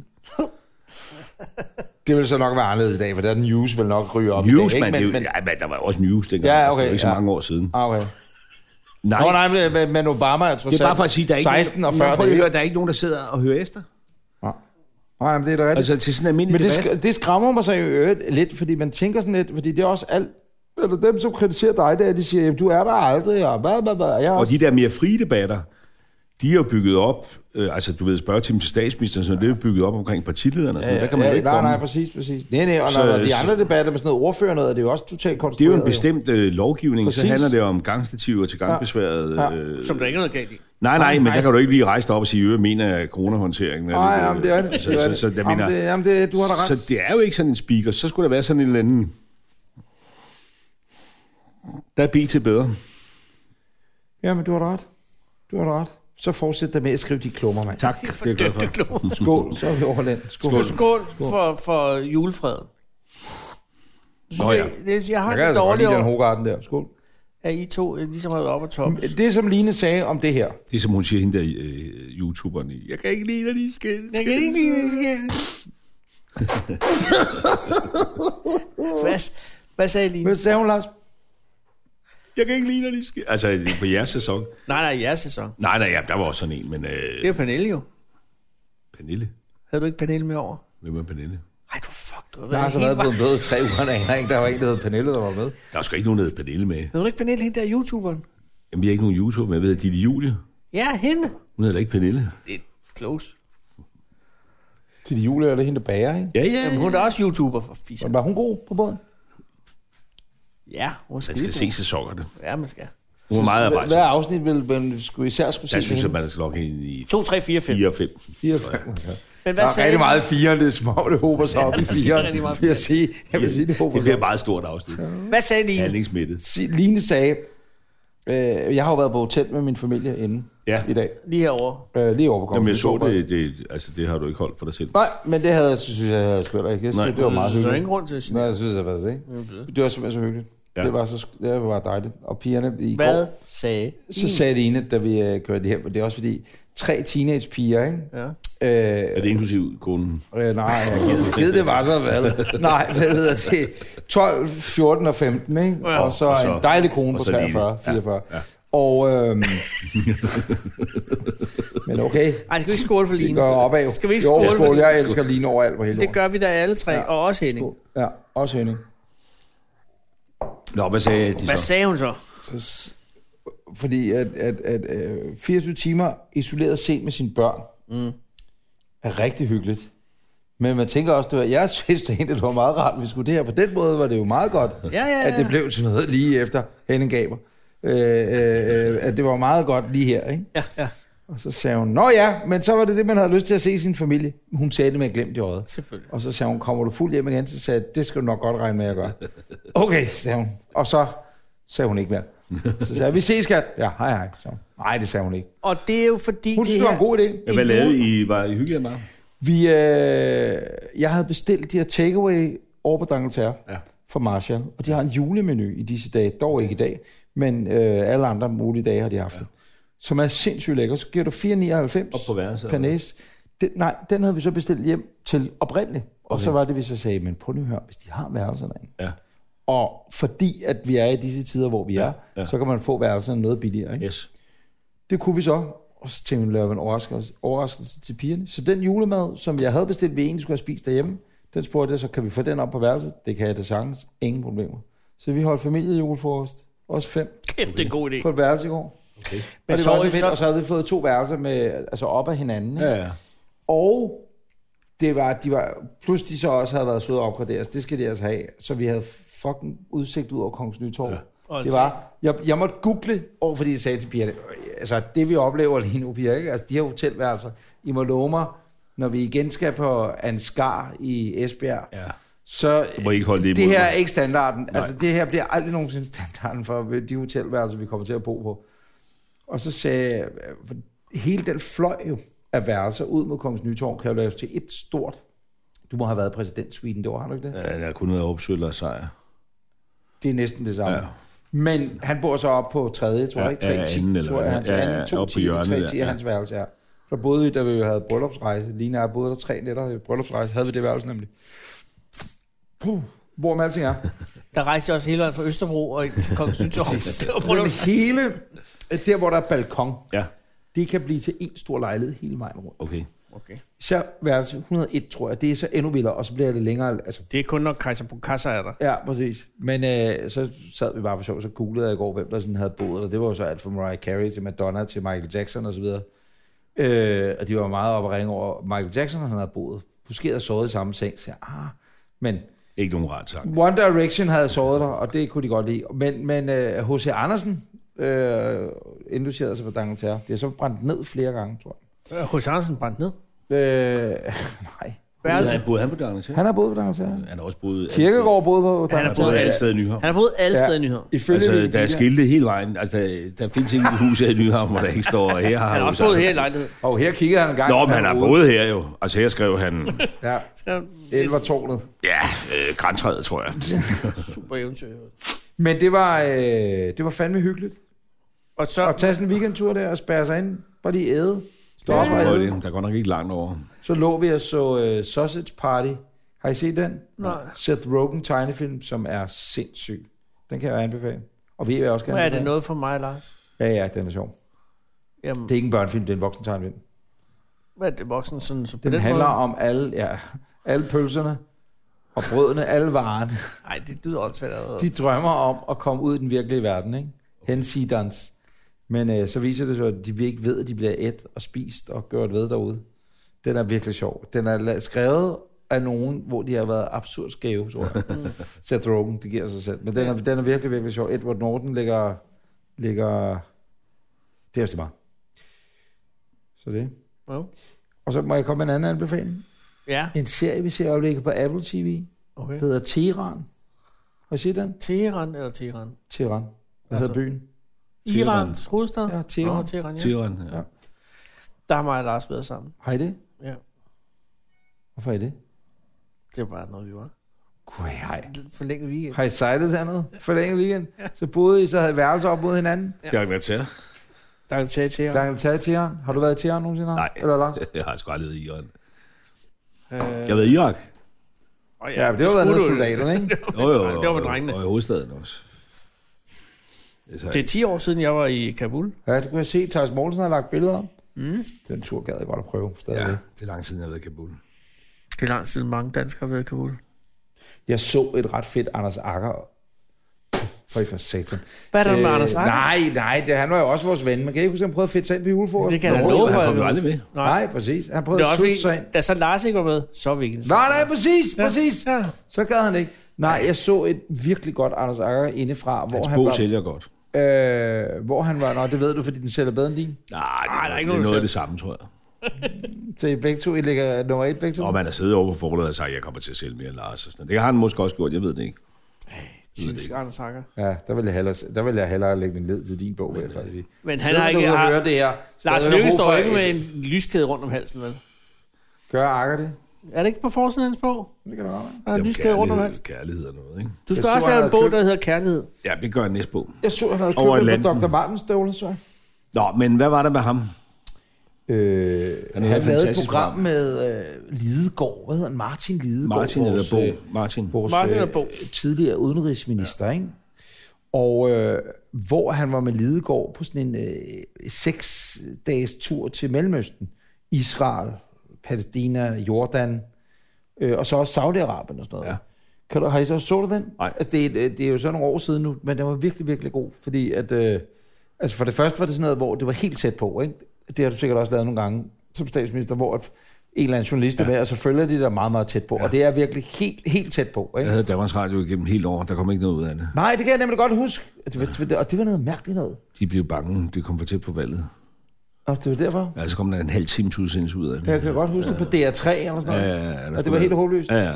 Det vil så nok være anderledes i dag, for der er den news vel nok ryger op i
News,
dag,
man, det,
ikke?
er jo- ja, men der var jo også news dengang,
Ja,
altså,
okay,
det er jo ikke så
ja.
mange år siden.
Ah, okay.
Nej,
Nå, nej, men- øh, men, men Obama er trods
det er bare
alt
for at sige, der er ikke,
16 og
nogen,
40.
Nå, prøv lige
det er-
at høre, der er ikke nogen, der sidder og hører efter.
Nej, men det er da rigtigt.
Altså til sådan en almindelig
Men det,
debat.
sk- det skræmmer mig så i øvrigt lidt, fordi man tænker sådan lidt, fordi det er også alt... Eller dem, som kritiserer dig, der, de siger, jamen, du er der aldrig, og hvad, hvad, hvad. og Jeg er
Og
også,
de der mere frie debatter, de er jo bygget op, øh, altså du ved, spørgetimen til statsministeren, så det er jo bygget op omkring partilederne, ja, ja, der kan man ja, jo ikke
nej,
komme.
nej, præcis, præcis. Nej, nej, og
Så-
når, når de
så-
andre debatter med sådan noget ordfører noget, er det jo også totalt
Det er
konstrueret.
jo en bestemt øh, lovgivning, Præcis. så
Præcis.
handler det om gangstativer til gangbesværet.
Ja.
Ja.
Ja.
Øh,
Som der ikke er noget galt i.
nej, nej, men
nej.
der kan du ikke lige rejse dig op og sige, at mener jeg, at coronahåndteringen. er
Nej,
lidt, øh,
jamen, det er det.
Så,
det, er
så,
det.
så, der
jamen,
mener,
det, jamen, det, du har da ret.
så det er jo ikke sådan en speaker. Så skulle der være sådan en eller anden... Der er BT bedre.
Jamen, du har da ret. Du har da ret. Så fortsæt da med at skrive de klummer, mand.
Tak, det er jeg glad for.
Skål, så er vi over den. Skål.
Skål, skål for, for julefred.
Nå ja.
Jeg, jeg har
Jeg kan
det
altså godt
dårligt
lide den
over,
hovedgarden der. Skål.
at I to øh, ligesom har været oppe og toppes.
Det, som Line sagde om det her,
Det er som hun siger, hende der øh, YouTuberen. i. Jeg kan ikke lide, at de skal. Jeg kan ikke lide.
<laughs> Hvad, hvad sagde Line?
hvad sagde hun, Lars?
Jeg kan ikke lide, at de skal. Altså, på jeres sæson.
Nej, nej, jeres sæson.
Nej, nej, ja, der var også sådan en, men... Øh,
Det er Pernille jo.
Pernille.
Havde du ikke Pernille med over?
Hvem er Pernille?
Ej, du fuck, du har
Der har
været
så
helt
været
var-
blevet bøde i tre uger, og jeg ikke, der var en, der hed Pernille, der var med.
Der er sgu ikke nogen, der hedder Pernille med.
Havde du ikke Pernille, hende der YouTuberen?
Jamen, vi har ikke nogen YouTuber, men jeg ved, at Ditte Julie,
Ja, hende.
hun hedder da ikke Pernille.
Det er close.
Til de jule, er det hende, der bager, ikke?
Ja, ja,
Jamen, hun er da også YouTuber for fisk.
Men var hun god på båden?
Ja, hun er
Man skal
skidegod.
se sæsonerne.
Ja, man skal.
Hun var meget
Hva- Hvad
arbejdsam.
afsnit ville man skulle især skulle se?
Jeg synes, at man skal logge ind i
2, 3, 4, 5.
4 og 5.
Fire, fem. Ja.
Men
Der
hvad
er
sagde
rigtig
du?
meget fire, det er små, det håber sig op i
der sker
fire.
rigtig meget
Vil jeg sige, jeg vil sige, det håber
Det
sig
bliver et
op.
meget stort afsnit.
Hvad sagde Line?
Handlingsmættet.
Si- Line sagde, øh, jeg har jo været på hotel med min familie inden
Ja.
i dag.
Lige herovre.
Øh, lige over på
Jamen, jeg
Kongens
så
Nytorv.
det, det, altså, det har du ikke holdt for dig selv.
Nej, men det havde jeg, synes jeg, havde spillet ikke. Jeg synes,
Nej.
det var meget
Så er der
hyggeligt.
ingen grund til at sige
Nej, jeg synes jeg faktisk ikke. Det var simpelthen så hyggeligt.
Ja.
Det var så sk- det var dejligt. Og pigerne i
Hvad
går,
sagde
så sagde det ene, da vi øh, kørte hjem, og det er også fordi, tre teenagepiger, ikke?
Ja.
Øh,
Er det inklusiv konen?
Øh, nej, jeg gider det var så, hvad? Nej, hvad hedder det? 12, 14 og 15, ikke?
Ja.
Og så,
Og så-
en dejlig kone
og
på
så lige-
43,
ja,
44.
ja.
Og,
<laughs>
øhm, men okay,
Ej, skal vi ikke skåle for
det
Line?
går opad.
Skal vi ikke
jo,
skåle for
skål,
Line?
jeg elsker Line overalt på hele
Det
jorden.
gør vi da alle tre, ja. og også Henning.
Ja, også Henning.
Nå, hvad sagde de
Hvad
så?
sagde hun så?
Så, s- fordi at, at, at øh, 24 timer isoleret set med sine børn mm. er rigtig hyggeligt. Men man tænker også, det var, jeg synes det egentlig, det var meget rart, at vi skulle det her. På den måde var det jo meget godt,
Ja, ja,
at det
ja.
blev til noget lige efter Henning Gaber. Øh, øh, øh, at det var meget godt lige her, ikke?
Ja, ja,
Og så sagde hun, nå ja, men så var det det, man havde lyst til at se i sin familie. Hun sagde det med glemt i øjet.
selvfølgelig.
Og så sagde hun, kommer du fuld hjem igen? Så sagde jeg, det skal du nok godt regne med, at jeg
<laughs>
gør. Okay, sagde hun. Og så sagde hun ikke mere. Så sagde jeg, vi ses, skat. Ja, hej, hej. Så, nej, det sagde hun ikke.
Og det er jo fordi...
Hun
det
synes, det var
her-
en god idé.
Ja, hvad lavede I? Var I hyggelige meget?
Vi, øh, jeg havde bestilt de her takeaway over på D'Angleterre
Ja.
ja. for Marshall, og de har en julemenu i disse dage, dog ikke i dag, men øh, alle andre mulige dage har de haft ja. som er sindssygt lækker. Så giver du 4,99
Op på værelset,
per næse. Den, nej, den havde vi så bestilt hjem til oprindeligt. Og så var det, vi så sagde, men prøv nu at høre, hvis de har værelser derinde.
Ja.
Og fordi at vi er i disse tider, hvor vi er,
ja.
ja. så kan man få værelserne noget billigere. Ikke?
Yes.
Det kunne vi så. Og så tænkte vi, laver vi en overraskelse, overraskelse til pigerne. Så den julemad, som jeg havde bestilt, vi egentlig skulle have spist derhjemme, den spurgte jeg, så kan vi få den op på værelset? Det kan jeg da sagtens. Ingen problemer. Så vi holdt familiejulefrokost. Også fem
Kæft, det er en god idé.
på et værelse i går.
Okay.
Men og det var
sov
også
I
fedt,
så-
og så havde vi fået to værelser med, altså op af hinanden. Ikke?
Ja,
Ja.
ja.
Og det var, de var, plus de så også havde været søde og opgraderes, det skal de altså have, så vi havde fucking udsigt ud over Kongens Nytorv. Ja.
Og
Det var, jeg, jeg måtte google over, fordi jeg sagde til pigerne, "Øh, altså det vi oplever lige nu, piger, ikke? altså de her hotelværelser, I må love mig, når vi igen skal på Ansgar i Esbjerg, ja. så
Du må ikke holde det
det
imod
her er
mig.
ikke standarden. Nej. Altså, det her bliver aldrig nogensinde standarden for de hotelværelser, vi kommer til at bo på. Og så sagde jeg, for hele den fløj jo af værelser ud mod Kongens Nytorv kan jo laves til et stort... Du må have været præsident Sweden, det var, har du ikke det? Ja.
Ja, der har kun været opsøgt og sejr.
Det er næsten det samme.
Ja.
Ja. Men han bor så op på tredje, tror jeg,
Ja,
ikke? Tre
ja,
ti,
anden, eller
tror jeg,
hvad?
hans
Ja, ja,
anden, to
oppe på
ti,
hjørnet
tre
der,
ti
ja.
af hans værelse, ja. Så boede vi, da vi havde bryllupsrejse, lige når jeg boede der tre nætter i bryllupsrejse, havde vi det værelse nemlig. Puh, hvor med alting er.
Der rejste jeg også hele vejen fra Østerbro og ind til Kongens
<laughs>
Nytorv. Det var på
Men
den-
hele, øh, der hvor der er balkon,
Ja,
det kan blive til en stor lejlighed hele vejen rundt.
okay.
Især værelse 101, tror jeg, det er så endnu vildere, og så bliver det længere. Altså,
Det er kun, når Kaiser Bukasa er der.
ja, præcis. Men øh, så sad vi bare for sjov, så googlede jeg i går, hvem der sådan havde boet, og det var jo så alt fra Mariah Carey til Madonna til Michael Jackson osv. Øh, og de var meget oppe at ringe over Michael Jackson, han havde boet. Måske havde sovet i samme seng, så jeg, ah, men
Ikke nogen ret sang.
One Direction havde såret dig, og det kunne de godt lide. Men, men øh, H.C. Andersen øh, inducerede sig for Dangleterre. Det er så brændt ned flere gange, tror jeg.
Øh, Hos Andersen brændt ned.
Øh, <laughs> nej.
Hvad er det?
Han boede han på Dangleterre?
Han har boet på Dangleterre.
Han har også boet... altså,
Kirkegaard boede på
Han har boet alle steder i Nyhavn.
Han har boet alle
Ja.
steder i Nyhavn.
Ifølge
Altså, der
Wikipedia-
er skilte hele vejen. Altså, der, der findes ikke et hus her i Nyhavn, hvor der ikke står, her har
Han har
Hos
også boet
Andersen."
her i lejligheden.
Og her kigger han en gang.
Nå, men han har
boet.
boet her jo. Altså, her skrev han,
Ja, Elvertårnet.
ja, øh, grantræet, tror jeg.
Super eventyr.
Men det var, øh, det var fandme hyggeligt.
Og så,
At tage sådan en weekendtur der og spære sig ind. Bare lige æde. Det var også meget æde.
Der er godt nok ikke langt over.
Så lå vi og så øh, Sausage Party. Har I set den?
Nej.
Seth Rogen tegnefilm, som er sindssyg. Den kan jeg anbefale. Og vi er også gerne
hvad er det noget for mig, Lars?
Ja, ja, den er sjov.
Jamen,
Det er ikke en børnefilm, det er en voksen tegnefilm.
hvad er det voksen sådan? Så på
Den, den handler
måde?
om alle, ja, alle pølserne og brødene, alle varerne.
Nej, det lyder åndssvagt allerede.
De drømmer om at komme ud i den virkelige verden, ikke? Hensidans. Men øh, så viser det sig, at de vil ikke ved, at de bliver et og spist og gjort ved derude. Den er virkelig sjov. Den er la- skrevet af nogen, hvor de har været absurd skæve, tror jeg. Seth Rogen, det giver sig selv. Men den er, den er virkelig, virkelig sjov. Edward Norton ligger... ligger det er også det bare. Så det.
Jo.
Og så må jeg komme med en anden anbefaling.
Ja,
En serie, vi ser i øjeblikket på Apple TV.
okay.
Det hedder Teheran. Har I set den?
Teheran eller Teheran?
Teheran. Hvad hedder
Altså-
byen?
Teheran.
Irans hovedstad?
Ja,
Nå,
Teheran.
Teheran, ja.
Tiran, ja.
Ja.
Der har mig og Lars været sammen.
Har I det?
Ja.
Hvorfor er I det?
Det var bare noget, vi var.
Gud, hej.
Forlænget weekend.
Har I sejlet dernede for længe weekend? Så boede I, så havde I værelser op mod hinanden.
Det har ikke været til.
Der er til Teheran.
Der kan tage i Teheran. Har du været i Teheran nogensinde, Anders?
Nej.
Eller Lars?
<laughs> Jeg har sgu aldrig været i Iran.
Øh,
Jeg har været i Irak.
og
Ja, men det har været noget
skulle du jo.
soldaterne, ikke?
Jo, jo,
drengene. Det var med
og-
drengene.
Og i hovedstaden også. Altså, Det er
Det
så-
er 10 år siden, jeg var i Kabul.
<laughs> Ja, du kan se, at Thijs Mogensen har lagt billeder om. Mm. Den tur gad jeg godt at prøve stadig.
Ja,
Ja.
det er lang tid, jeg har været i Kabul.
Det er lang tid, mange danskere har været i Kabul.
Jeg så et ret fedt Anders Akker. For i for satan.
Hvad er der med Anders Agger?
Øh, Nej, nej, det, han var jo også vores ven. Man kan ikke huske, at han prøvede at fedte sig ind på julefrokosten.
Det kan jeg da
Nå,
love
Han
for.
kom jo
jeg ved.
aldrig med.
Nej.
Nej, præcis. Han
Det
prøvede
er
at
også
sutte sig ind.
fordi, da så Lars ikke var med, så var vi ikke en
Nej, nej, præcis,
Ja,
præcis.
Ja.
Så gad han ikke. Nej, jeg så et virkelig godt Anders Akker indefra, hvor
Hans
han,
bog
var,
sælger godt.
øh, hvor han var... Nå, det ved du, fordi den sælger bedre end din.
Nej, det,
der er
er,
ikke
det er
nogen, der
noget af
sælger.
det samme, tror jeg.
Så I begge to, I ligger nummer et begge to.
Og man har siddet over på forholdet og sagt, at jeg kommer til at sælge mere end Lars. Og sådan. noget. Det har han måske også gjort, jeg ved det ikke.
Typisk Anders Agger.
Ja, der vil jeg hellere, der vil jeg hellere lægge min led til din bog, vil jeg faktisk sige.
Men han
Sidder
har
derude
ikke...
og
Har,
hører det her.
Lars
stadig har
Løkke
brug
står
for
ikke
et-
med en lyskæde rundt om halsen, vel?
Gør Akker det?
Er det ikke på forsiden af hans bog?
Det kan da godt være.
Der er en
Jamen,
lyskæde rundt om halsen.
kærlighed, kærlighed og noget, ikke?
Du skal
Jeg så,
også lave
han
en bog,
havde
der hedder Kærlighed.
Ja, det gør jeg næste bog.
Jeg så, han havde
Over
købt den på
Atlanten.
Dr. Martens støvle, så jeg.
Nå, men hvad var der med ham?
Øh, han, han
Han havde et
lavede et
fantastisk
program
program.
med øh, Lidegaard. Hvad hedder han? Martin Lidegaard.
Martin eller
vores,
Bo?
øh,
Martin.
Vores,
Martin
øh,
eller Bo?
tidligere udenrigsminister, ja. ikke? Og øh, hvor han var med Lidegaard på sådan en øh, seks dages tur til Mellemøsten. Israel, Palæstina, Jordan, øh, og så også Saudi-Arabien og sådan noget.
Ja.
Ja. Kan du, har I så, så du den?
Nej.
Altså, det, er, et- det er jo så nogle år siden nu, men den var virkelig, virkelig god, fordi at, øh, altså for det første var det sådan noget, hvor det var helt tæt på, ikke? Det har du sikkert også lavet nogle gange som statsminister, hvor at en eller anden journalist ja. med, og så følger de der meget, meget tæt på. Ja. Og det er virkelig helt, helt tæt på. Ikke?
Jeg havde Danmarks Radio igennem hele år, der kom ikke noget ud af det.
Nej, det kan jeg nemlig godt huske. Og det, var- og det var noget mærkeligt noget.
De blev bange, det kom for tæt på valget.
Og det var derfor.
Ja, så kom der en halv times udsendelse ud af det.
Jeg kan godt huske det på DR3 eller sådan noget.
Ja, ja, der
Og det
skulle
var helt
være-
håbløst.
Ja, ja.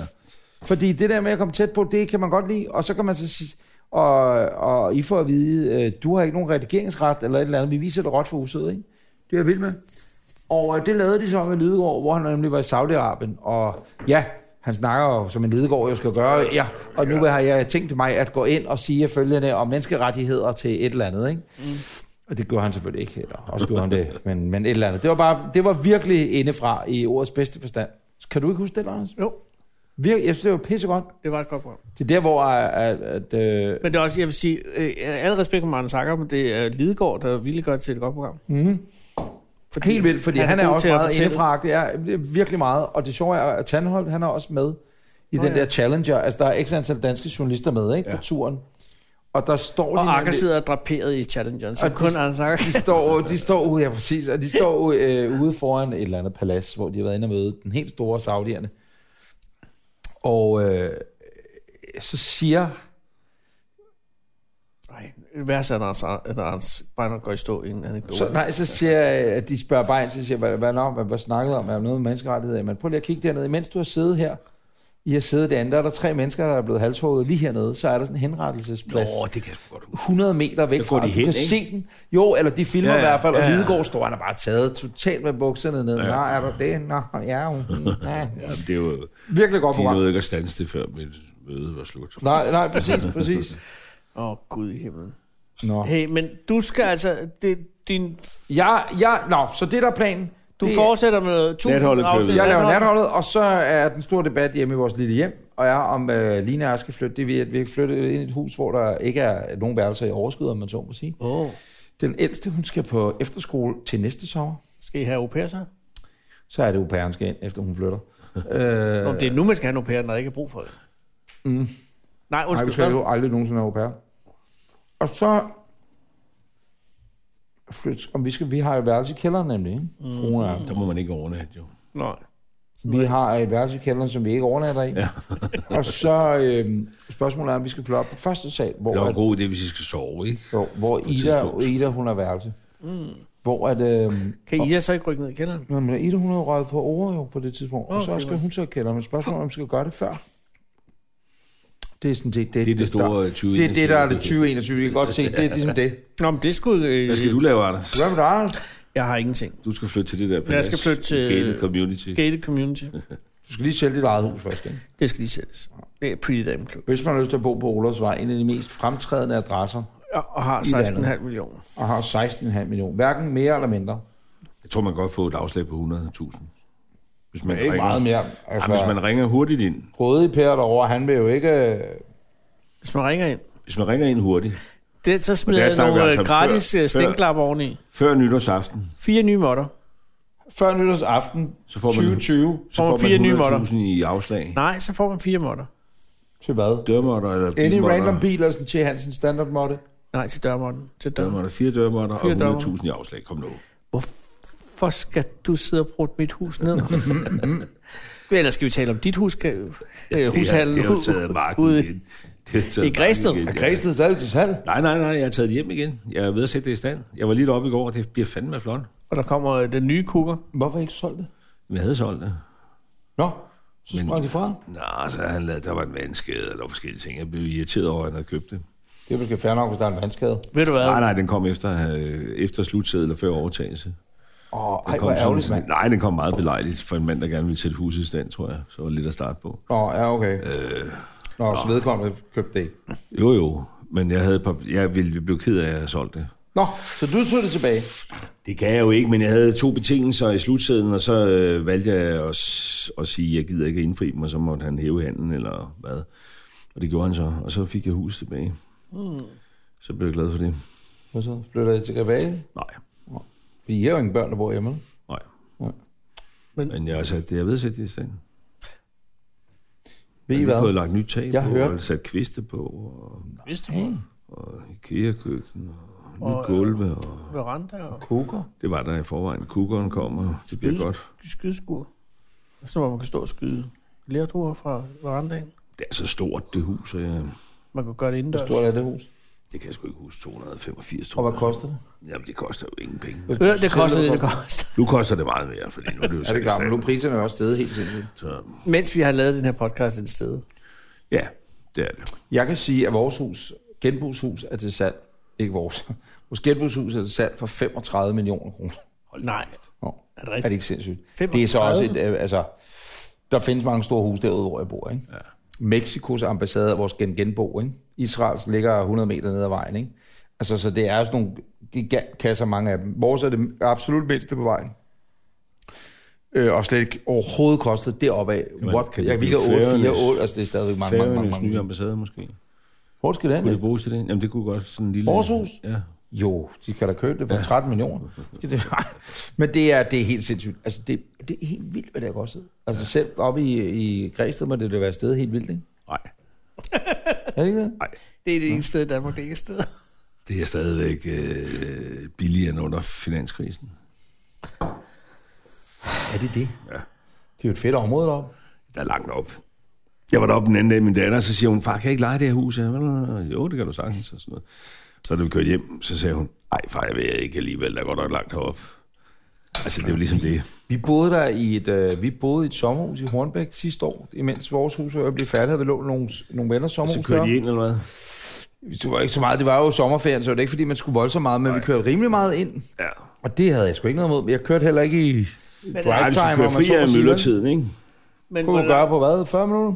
Fordi det der med at komme tæt på, det kan man godt lide. Og så kan man så sige, og, og I får at vide, øh, du har ikke nogen redigeringsret eller et eller andet. Vi viser det råt for huset, ikke? Det er jeg vild med. Og øh, det lavede de så med Lidegaard, hvor han nemlig var i Saudi-Arabien. Og ja, han snakker jo, som en Lidegaard jo skal gøre. Ja, og nu har jeg tænkt mig at gå ind og sige følgende om menneskerettigheder til et eller andet, ikke? Mm. Og det gjorde han selvfølgelig ikke heller. Også gjorde han det, <laughs> men, men et eller andet. Det var, bare, det var virkelig indefra i ordets bedste forstand. Kan du ikke huske det, Anders?
Jo.
Virkelig, jeg synes, det var pissegodt.
Det var et godt program.
Det er der, hvor... At, at, øh,
Men det er også, jeg vil sige, øh, alle respekt for Martin Sakker, men det er Lidegaard, der virkelig godt til et godt program.
mm,
Fordi
helt vildt, fordi han, han er
god
også
til at
meget
fortælle.
indefra. Det er virkelig meget. Og det sjove er, at Tandholt, han er også med i
Nå,
den
ja.
der Challenger. Altså, der er x antal danske journalister med, ikke? Ja. På turen. Og der står de...
Og Akker
nemlig-
sidder draperet i Challengeren, så
Og
kun
de-
Anders Akker.
de står, de står ude, ja præcis, og de står øh, ude foran et eller andet palads, hvor de har været inde og møde den helt store saudierne. Og øh, så siger
Nej, værst er, når Anders, når Anders Beiner går i stå i en anekdote.
Så, nej, så siger jeg, at de spørger bare ind, så siger jeg, hvad, hvad, nå, hvad, hvad snakkede om? Er der noget med menneskerettigheder? Men prøv lige at kigge dernede. Mens du har siddet her, I har siddet derinde, der er der tre mennesker, der er blevet halshugget lige hernede. Så er der sådan en henrettelsesplads.
Nå, det kan jeg sgu godt huske.
100 meter væk
Der går
fra,
de
og du
hen,
kan
ikke?
se den. Jo, eller de filmer
Ja,
ja,
ja,
i hvert fald, og
ja,
ja,
ja.
Lidegaard står, han er bare taget totalt med bukserne ned. Ja. Nå, er der det? Nå, ja,
<laughs>
mm, ja.
Jamen, det var,
Virkelig godt
de
program.
nåede ikke at stanse det, før mit møde var slut.
Nej, nej, præcis,
<laughs>
præcis.
Åh, oh, Gud i himlen.
Nå.
Hey, men du skal altså... Det, din,
Jeg, jeg, nå, så det der er planen.
du
Det-
fortsætter med 1000
Natholdet kører
afsnit.
videre.
Jeg laver
Natholdet.
natholdet, og så er den store debat hjemme i vores lille hjem, og jeg om øh, Line og jeg skal flytte. Det er ved, at vi flytter ind i et hus, hvor der ikke er nogen værelser i overskud, om man så må sige.
Åh, oh,
Den ældste, hun skal på efterskole til næste sommer.
skal I have au pair, så? Øh,
Så er det au pairen skal ind, efter hun flytter. øh,
Om det er nu, man skal have en au pair, når der ikke er brug for det.
Mm.
Nej,
nej, vi
undskyld.
skal
Nej,
jo aldrig nogensinde have au pair. Og så... Flyt, om vi, skal, vi har et værelse i kælderen nemlig, ikke? Fruen og jeg.
Der må man ikke overnatte, jo.
Nej.
Vi har et værelse i kælderen, som vi ikke overnatter i. Ja. og så øh, spørgsmålet er, om vi skal flytte op på første sal, hvor,
Det var
at,
en god idé, hvis I skal sove, ikke?
hvor, hvor
et tidspunkt.
Ida, Ida, hun har værelse. Mm. Hvor at, øh,
Kan I da så ikke rykke ned i kælderen?
nå, men Ida, hun har røget på over jo på det tidspunkt, og
Okay.
så skal hun så i kælderen, men spørgsmålet er, om vi skal gøre det før. Det er sådan set det.
Det er det
Der,
store 20
det er det, der er det 2021. Jeg kan godt se, det er ligesom det.
Nå, men det skulle... Øh,
Hvad skal du lave, Anders?
Hvad med dig? Anders?
Jeg har ingenting.
Du skal flytte til det der palads.
skal flytte til-
Gated Community.
Gated community.
Du skal lige sælge dit eget hus først, ikke?
<laughs> Det skal lige sættes. Det er pretty damn klub.
Hvis man har lyst til at bo på Olofsvej, en af de mest fremtrædende adresser,
Og, og har 16,5 millioner.
og har 16,5 millioner. Hverken mere eller mindre.
Jeg tror, man kan godt få et afslag på 100.000. Hvis man
Ikke
ringer.
meget mere.
Ej,
Altså,
men hvis man ringer hurtigt ind.
Røde Per derovre, han vil jo ikke... øh,
Hvis man ringer ind.
Hvis man ringer ind hurtigt.
Det, så
Og
smider
der
jeg
snakker vi
nogle
altså
altså
om
gratis
før-
før, stænklapper oveni.
Før nytårsaften,
Fire nye måtter.
Før nytårsaften
så får man,
2020
så
får man
får
fire nye
man
måtter.
100.000 i afslag.
Nej, så får man fire måtter.
til hvad?
Dørmåtter eller
Any
bilmåtter.
random bil eller sådan til Hansen standardmåtte.
Nej, til dørmåtten. Til dørmåtten.
Dørmåtter, fire dørmåtter og
Fire dørmåtter.
100.000 i afslag. Kom nu.
Hvorfor skal du sidde og bruge mit hus
<laughs>
ned? Eller skal vi tale om dit hus? Kan, øh, hushallen
Det er jo taget af marken
ude
igen. Det er taget af marken
Græsted.
igen,
Er
ja.
Græsted stadig til salg?
Nej, nej, nej, jeg har taget det hjem igen. Jeg er ved at sætte det i stand. Jeg var lige deroppe i går, og det bliver fandme flot.
Og der kommer øh, den nye kukker.
Hvorfor ikke solgt det?
Vi havde solgt det.
Nå, så
Men-
sprang de fra.
Nå, så han lavede, der var en vandskade, og der var forskellige ting. Jeg blev irriteret over, at han havde købt det.
Det er måske fair nok, hvis der er en vandskade.
Ved du hvad?
Nej, nej, den kom efter, øh, efter slutseddel og før overtagelse.
Åh,
Den
ej,
kom
hvor ærgerligt,
sådan,
mand.
nej, den kom meget belejligt for en mand, der gerne ville sætte huset i stand, tror jeg. Så var det lidt at starte på.
Nå, ja, okay. Øh. Nå, så vedkommende købte det ikke.
Jo, jo, men jeg, havde et par, jeg ville blive ked af, at jeg havde solgt det.
Nå, så du tog det tilbage.
Det kan jeg jo ikke, men jeg havde to betingelser i slutsedlen, og så øh, valgte jeg at, s- at sige, at jeg gider ikke indfri dem, og så måtte han hæve handen eller hvad. Og det gjorde han så, og så fik jeg huset tilbage. Mm.
Hmm.
Så blev jeg glad for det.
Og så flytter jeg til tilbage.
Nej,
Fordi I er jo ingen børn, der bor hjemme.
nej.
Nej.
Men,
Men-
men jeg har sat det, jeg ved at sætte det i stand.
Ved I
Jeg har fået
hvad?
lagt nyt tag
Jeg
på,
hørte-
og sat kviste på, og,
Vidste du?
og IKEA-køkken, og nyt
Og, øh,
gulve, og
Veranda og
Koger?
det var der i forvejen. Kukkeren kommer, det bliver
Spil-
godt.
skydeskur.
Sådan, hvor man kan stå og skyde lærduer fra verandaen.
Det er så stort, det hus. Jeg,
Man kan gøre det indendørs.
Hvor er det hus?
det kan jeg sgu ikke huske. 285,
Og
tror
hvad koster det?
Jamen, det koster jo ingen penge.
Øh, det koster det, det koster.
Nu koster det meget mere, fordi nu er det jo
Er det klart, men nu
salgsstand,
er priserne jo også stedet helt sindssygt.
så,
Mens vi har lavet den her podcast et sted.
Ja, det er det.
Jeg kan sige, at vores hus, genbrugshus, er til salg. Ikke vores. <laughs> Vores genbrugshus er til salg for 35 millioner kroner.
Nej,
Nå,
er det
er det
rigtigt?
ikke sindssygt?
35?
Det er så også et, øh, altså, der findes mange store huse derude, hvor jeg bor, ikke? Ja. Mexikos ambassade er vores gen genbo, ikke? Israels ligger 100 meter ned ad vejen, ikke? Altså, så det er jo sådan nogle gigantkasser, mange af dem. Vores er det absolut mindste på vejen. Øh, og slet ikke overhovedet kostet deroppe af.
man-
What?
kan
Kan
det
jeg
blive
vi kan 8, 4,
Færøernes-
8, altså det er stadigvæk mange, mange, mange,
Færøernes
mange.
nye
mange.
ambassade måske.
Hvor skal den
Kunne
hen?
det bruges til det? Jamen, det kunne godt sådan en lille...
Aarhus?
Ja.
Jo, de kan da købe det for 13 millioner. Det, det, men det er, det er helt sindssygt. Altså, det, det er helt vildt, hvad det har kostet. Altså, selv oppe i, i Græsted må det da være stedet helt vildt, ikke?
Nej,
Er det ikke det?
Det er det eneste sted i Danmark, det ikke er et sted.
det er stadigvæk øh, billigere end under finanskrisen.
Er det det?
Ja.
Det er jo et fedt område deroppe.
Der er langt op. Jeg var deroppe den anden dag med min datter, så siger hun, far, kan jeg ikke lege det her hus? Jeg, jo, det kan du sagtens. Og sådan noget. Så da vi kørte hjem, så sagde hun, nej far, jeg vil ikke alligevel, der går nok langt herop. Altså, det er jo ligesom det.
Vi boede der i et, øh, vi boede i et sommerhus i Hornbæk sidste år, imens vores hus var ved at blive færdigt, havde vi lånt nogle, nogle venners sommerhus
Så kørte de ind eller hvad?
deroppe. Det var ikke så meget, det var jo sommerferien, så det var ikke, fordi man skulle voldsomt meget, men Nej. vi kørte rimelig meget ind.
Ja.
Og det havde jeg sgu ikke noget imod. Jeg kørte heller ikke i
Ej,
drive
hvis
time,
du kører
om man
fri
så må
af
sige. vel?
myldretiden, ikke?
<laughs> Men
Kunne du gøre på hvad? 40 minutter?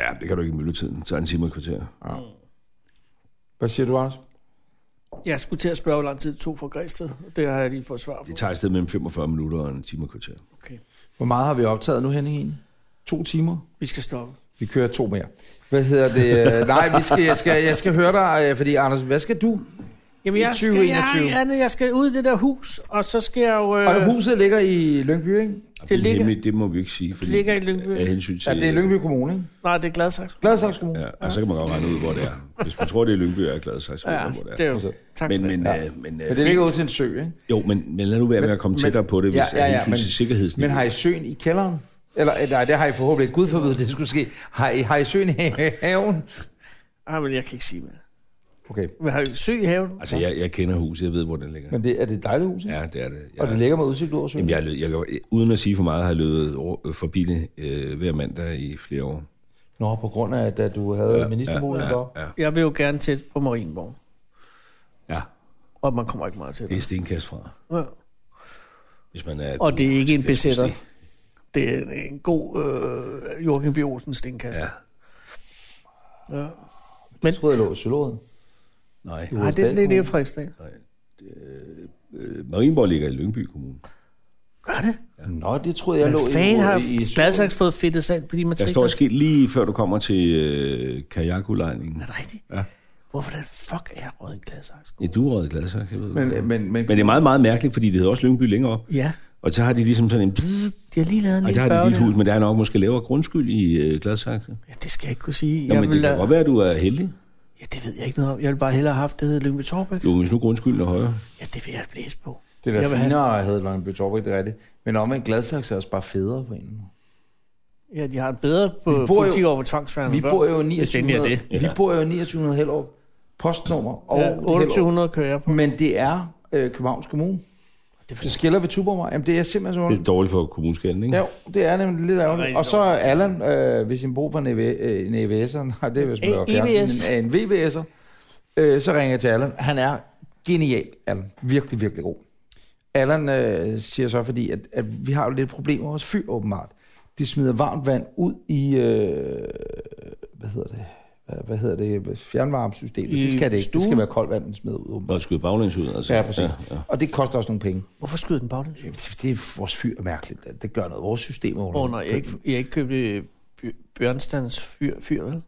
Ja, det kan du ikke i myldretiden. Så er det en time og et kvarter.
Hvad siger du, Anders?
Jeg skulle til at spørge, hvor lang tid det tog fra Græsted. Det har jeg lige fået svar på.
Det tager et sted mellem 45 minutter og en time og et kvarter.
Hvor meget har vi optaget nu, Henning? egentlig? To timer?
Vi skal stoppe.
Vi kører to mere. Hvad hedder det? Øh, Nej, vi skal, jeg, skal, jeg skal høre dig, øh, fordi Anders, hvad skal du?
Jamen,
I
jeg skal,
2021.
jeg, Anne, jeg skal ud i det der hus, og så skal jeg jo... Øh,
Og det huset ligger i Lyngby, ikke?
Det,
ligger-
ligger, hemmeligt, det må vi ikke sige, fordi
ligger i Lyngby.
af hensyn til...
Ja, det er Lyngby Kommune, ikke?
Nej, det er Gladsaxe.
Gladsaxe Kommune.
Ja, og så kan man godt regne ud, hvor det er. Hvis man tror, det er Lyngby, er jeg glad, så er jeg
Ja,
glad, hvor det
det
er.
er jo... Tak
Men,
for det.
men, ja. øh, men, øh,
Men det ligger ud til en sø, ikke?
jo, men, men lad nu være med at komme tættere på det, hvis ja, ja, ja, hensyn
men-
til sikkerhedsniveau.
Men har I søen i kælderen? Eller, øh, nej, det har I forhåbentlig ikke. Gud forbyde, det skulle ske. Har I, har I søen i haven?
Ah, men jeg kan ikke sige mere.
Okay.
Vi har jo sø i haven.
Altså, jeg, jeg kender huset, jeg ved, hvor det ligger.
Men det, er det et dejligt hus, ikke?
Ja, det er det. Jeg,
Og det ligger med udsigt ud over søen.
jamen, jeg, er løbet- jeg, jeg, uden at sige for meget, har jeg løbet over- forbi det øh, hver mandag i flere år.
Nå, på grund af, at du havde ministerboligen
ja,
deroppe.
ja,
Jeg vil jo gerne tæt på Marienborg,
ja.
og man kommer ikke meget til
Det er
det.
stenkast fra,
Ja.
hvis man er...
Og det er ikke en besætter. Det er en- en god øh, Joachim B. Olsen stenkast.
Ja,
Ja. Ja.
Men... Jeg troede, jeg lå i Sølåden.
nej.
Nej, det, det, det er Frederiksdag.
Øh, Marienborg ligger i Lyngby Kommune.
Gør det?
Nå, det troede jeg lå
Men fanden har
i, i, i
Gladsaxe fået fedtet sand på de
Der står
matrikler?
et skilt lige før du kommer til øh, kajakulejningen.
Er det rigtigt?
Ja.
Hvorfor den fuck er jeg røget i Gladsaxe?
Ja, du er røget glad, så jeg ved. Men,
Men, men, men,
men det er meget, meget mærkeligt, fordi det hedder også Lyngby længere op.
Ja,
Og så har de ligesom sådan en... bzzz,
de har lige lavet en
Og der
lille
har de dit
børge
hus, men der er nok måske lavere grundskyld i øh, Gladsaxe.
Ja, det skal jeg ikke kunne sige.
Nå,
jeg
men det kan
ville,
godt være, at du er heldig.
ja, det ved jeg ikke noget om. Jeg vil bare hellere have haft, det hedder Lyngby Torbæk.
Jo, hvis nu grundskylden er højere.
Ja, det vil jeg blæse på.
det er
jeg
da
vil have-
finere at hedde Lønby Torbæk, det er rigtigt. Men om en Gladsaxe er også bare federe på en. eller anden måde.
Ja, de har en bedre på
bor jo-
politik over tvangsfærende
Vi bor jo i
Hvis det endelig er
2900,
det.
vi bor jo i 2900 Hellerup. Postnummer og
Ja,
ja,
2800 kører jeg på.
Men det er øh, Københavns Kommune. Det så skiller ved Tuborg. Jamen, det er simpelthen så
Det er dårligt for kommuneskatten, ikke?
Ja, det er nemlig lidt ærgerligt.
rigtig
Og så er Allan, øh, hvis han bruger for en, EV, øh, en EVS'er, <laughs> nej, det er hvis man
En
laver fjernsyn,
EVS.
men en VVS'er, øh, så ringer jeg til Allan. Han er genial, Allan. Virkelig, virkelig god. Allan øh, siger så, fordi at, at vi har jo lidt problemer med vores fyr, åbenbart. De smider varmt vand ud i, øh, hvad hedder det, hvad, hvad hedder det, fjernvarmesystemet.
I
Det skal det ikke. Det skal
stuen?
være koldt vand, den smider ud, åbenbart.
Og skyde baglæns ud, altså.
Ja, præcis.
Ja, ja.
Og det koster også nogle penge.
Hvorfor skyder den baglæns?
Jamen, Det, det er vores fyr er mærkeligt. Det- Det gør noget. Vores system er under-
Åh, nej, jeg har ikke, jeg har ikke købt øh, Bj- Bjørnstans fyr, fyr vel?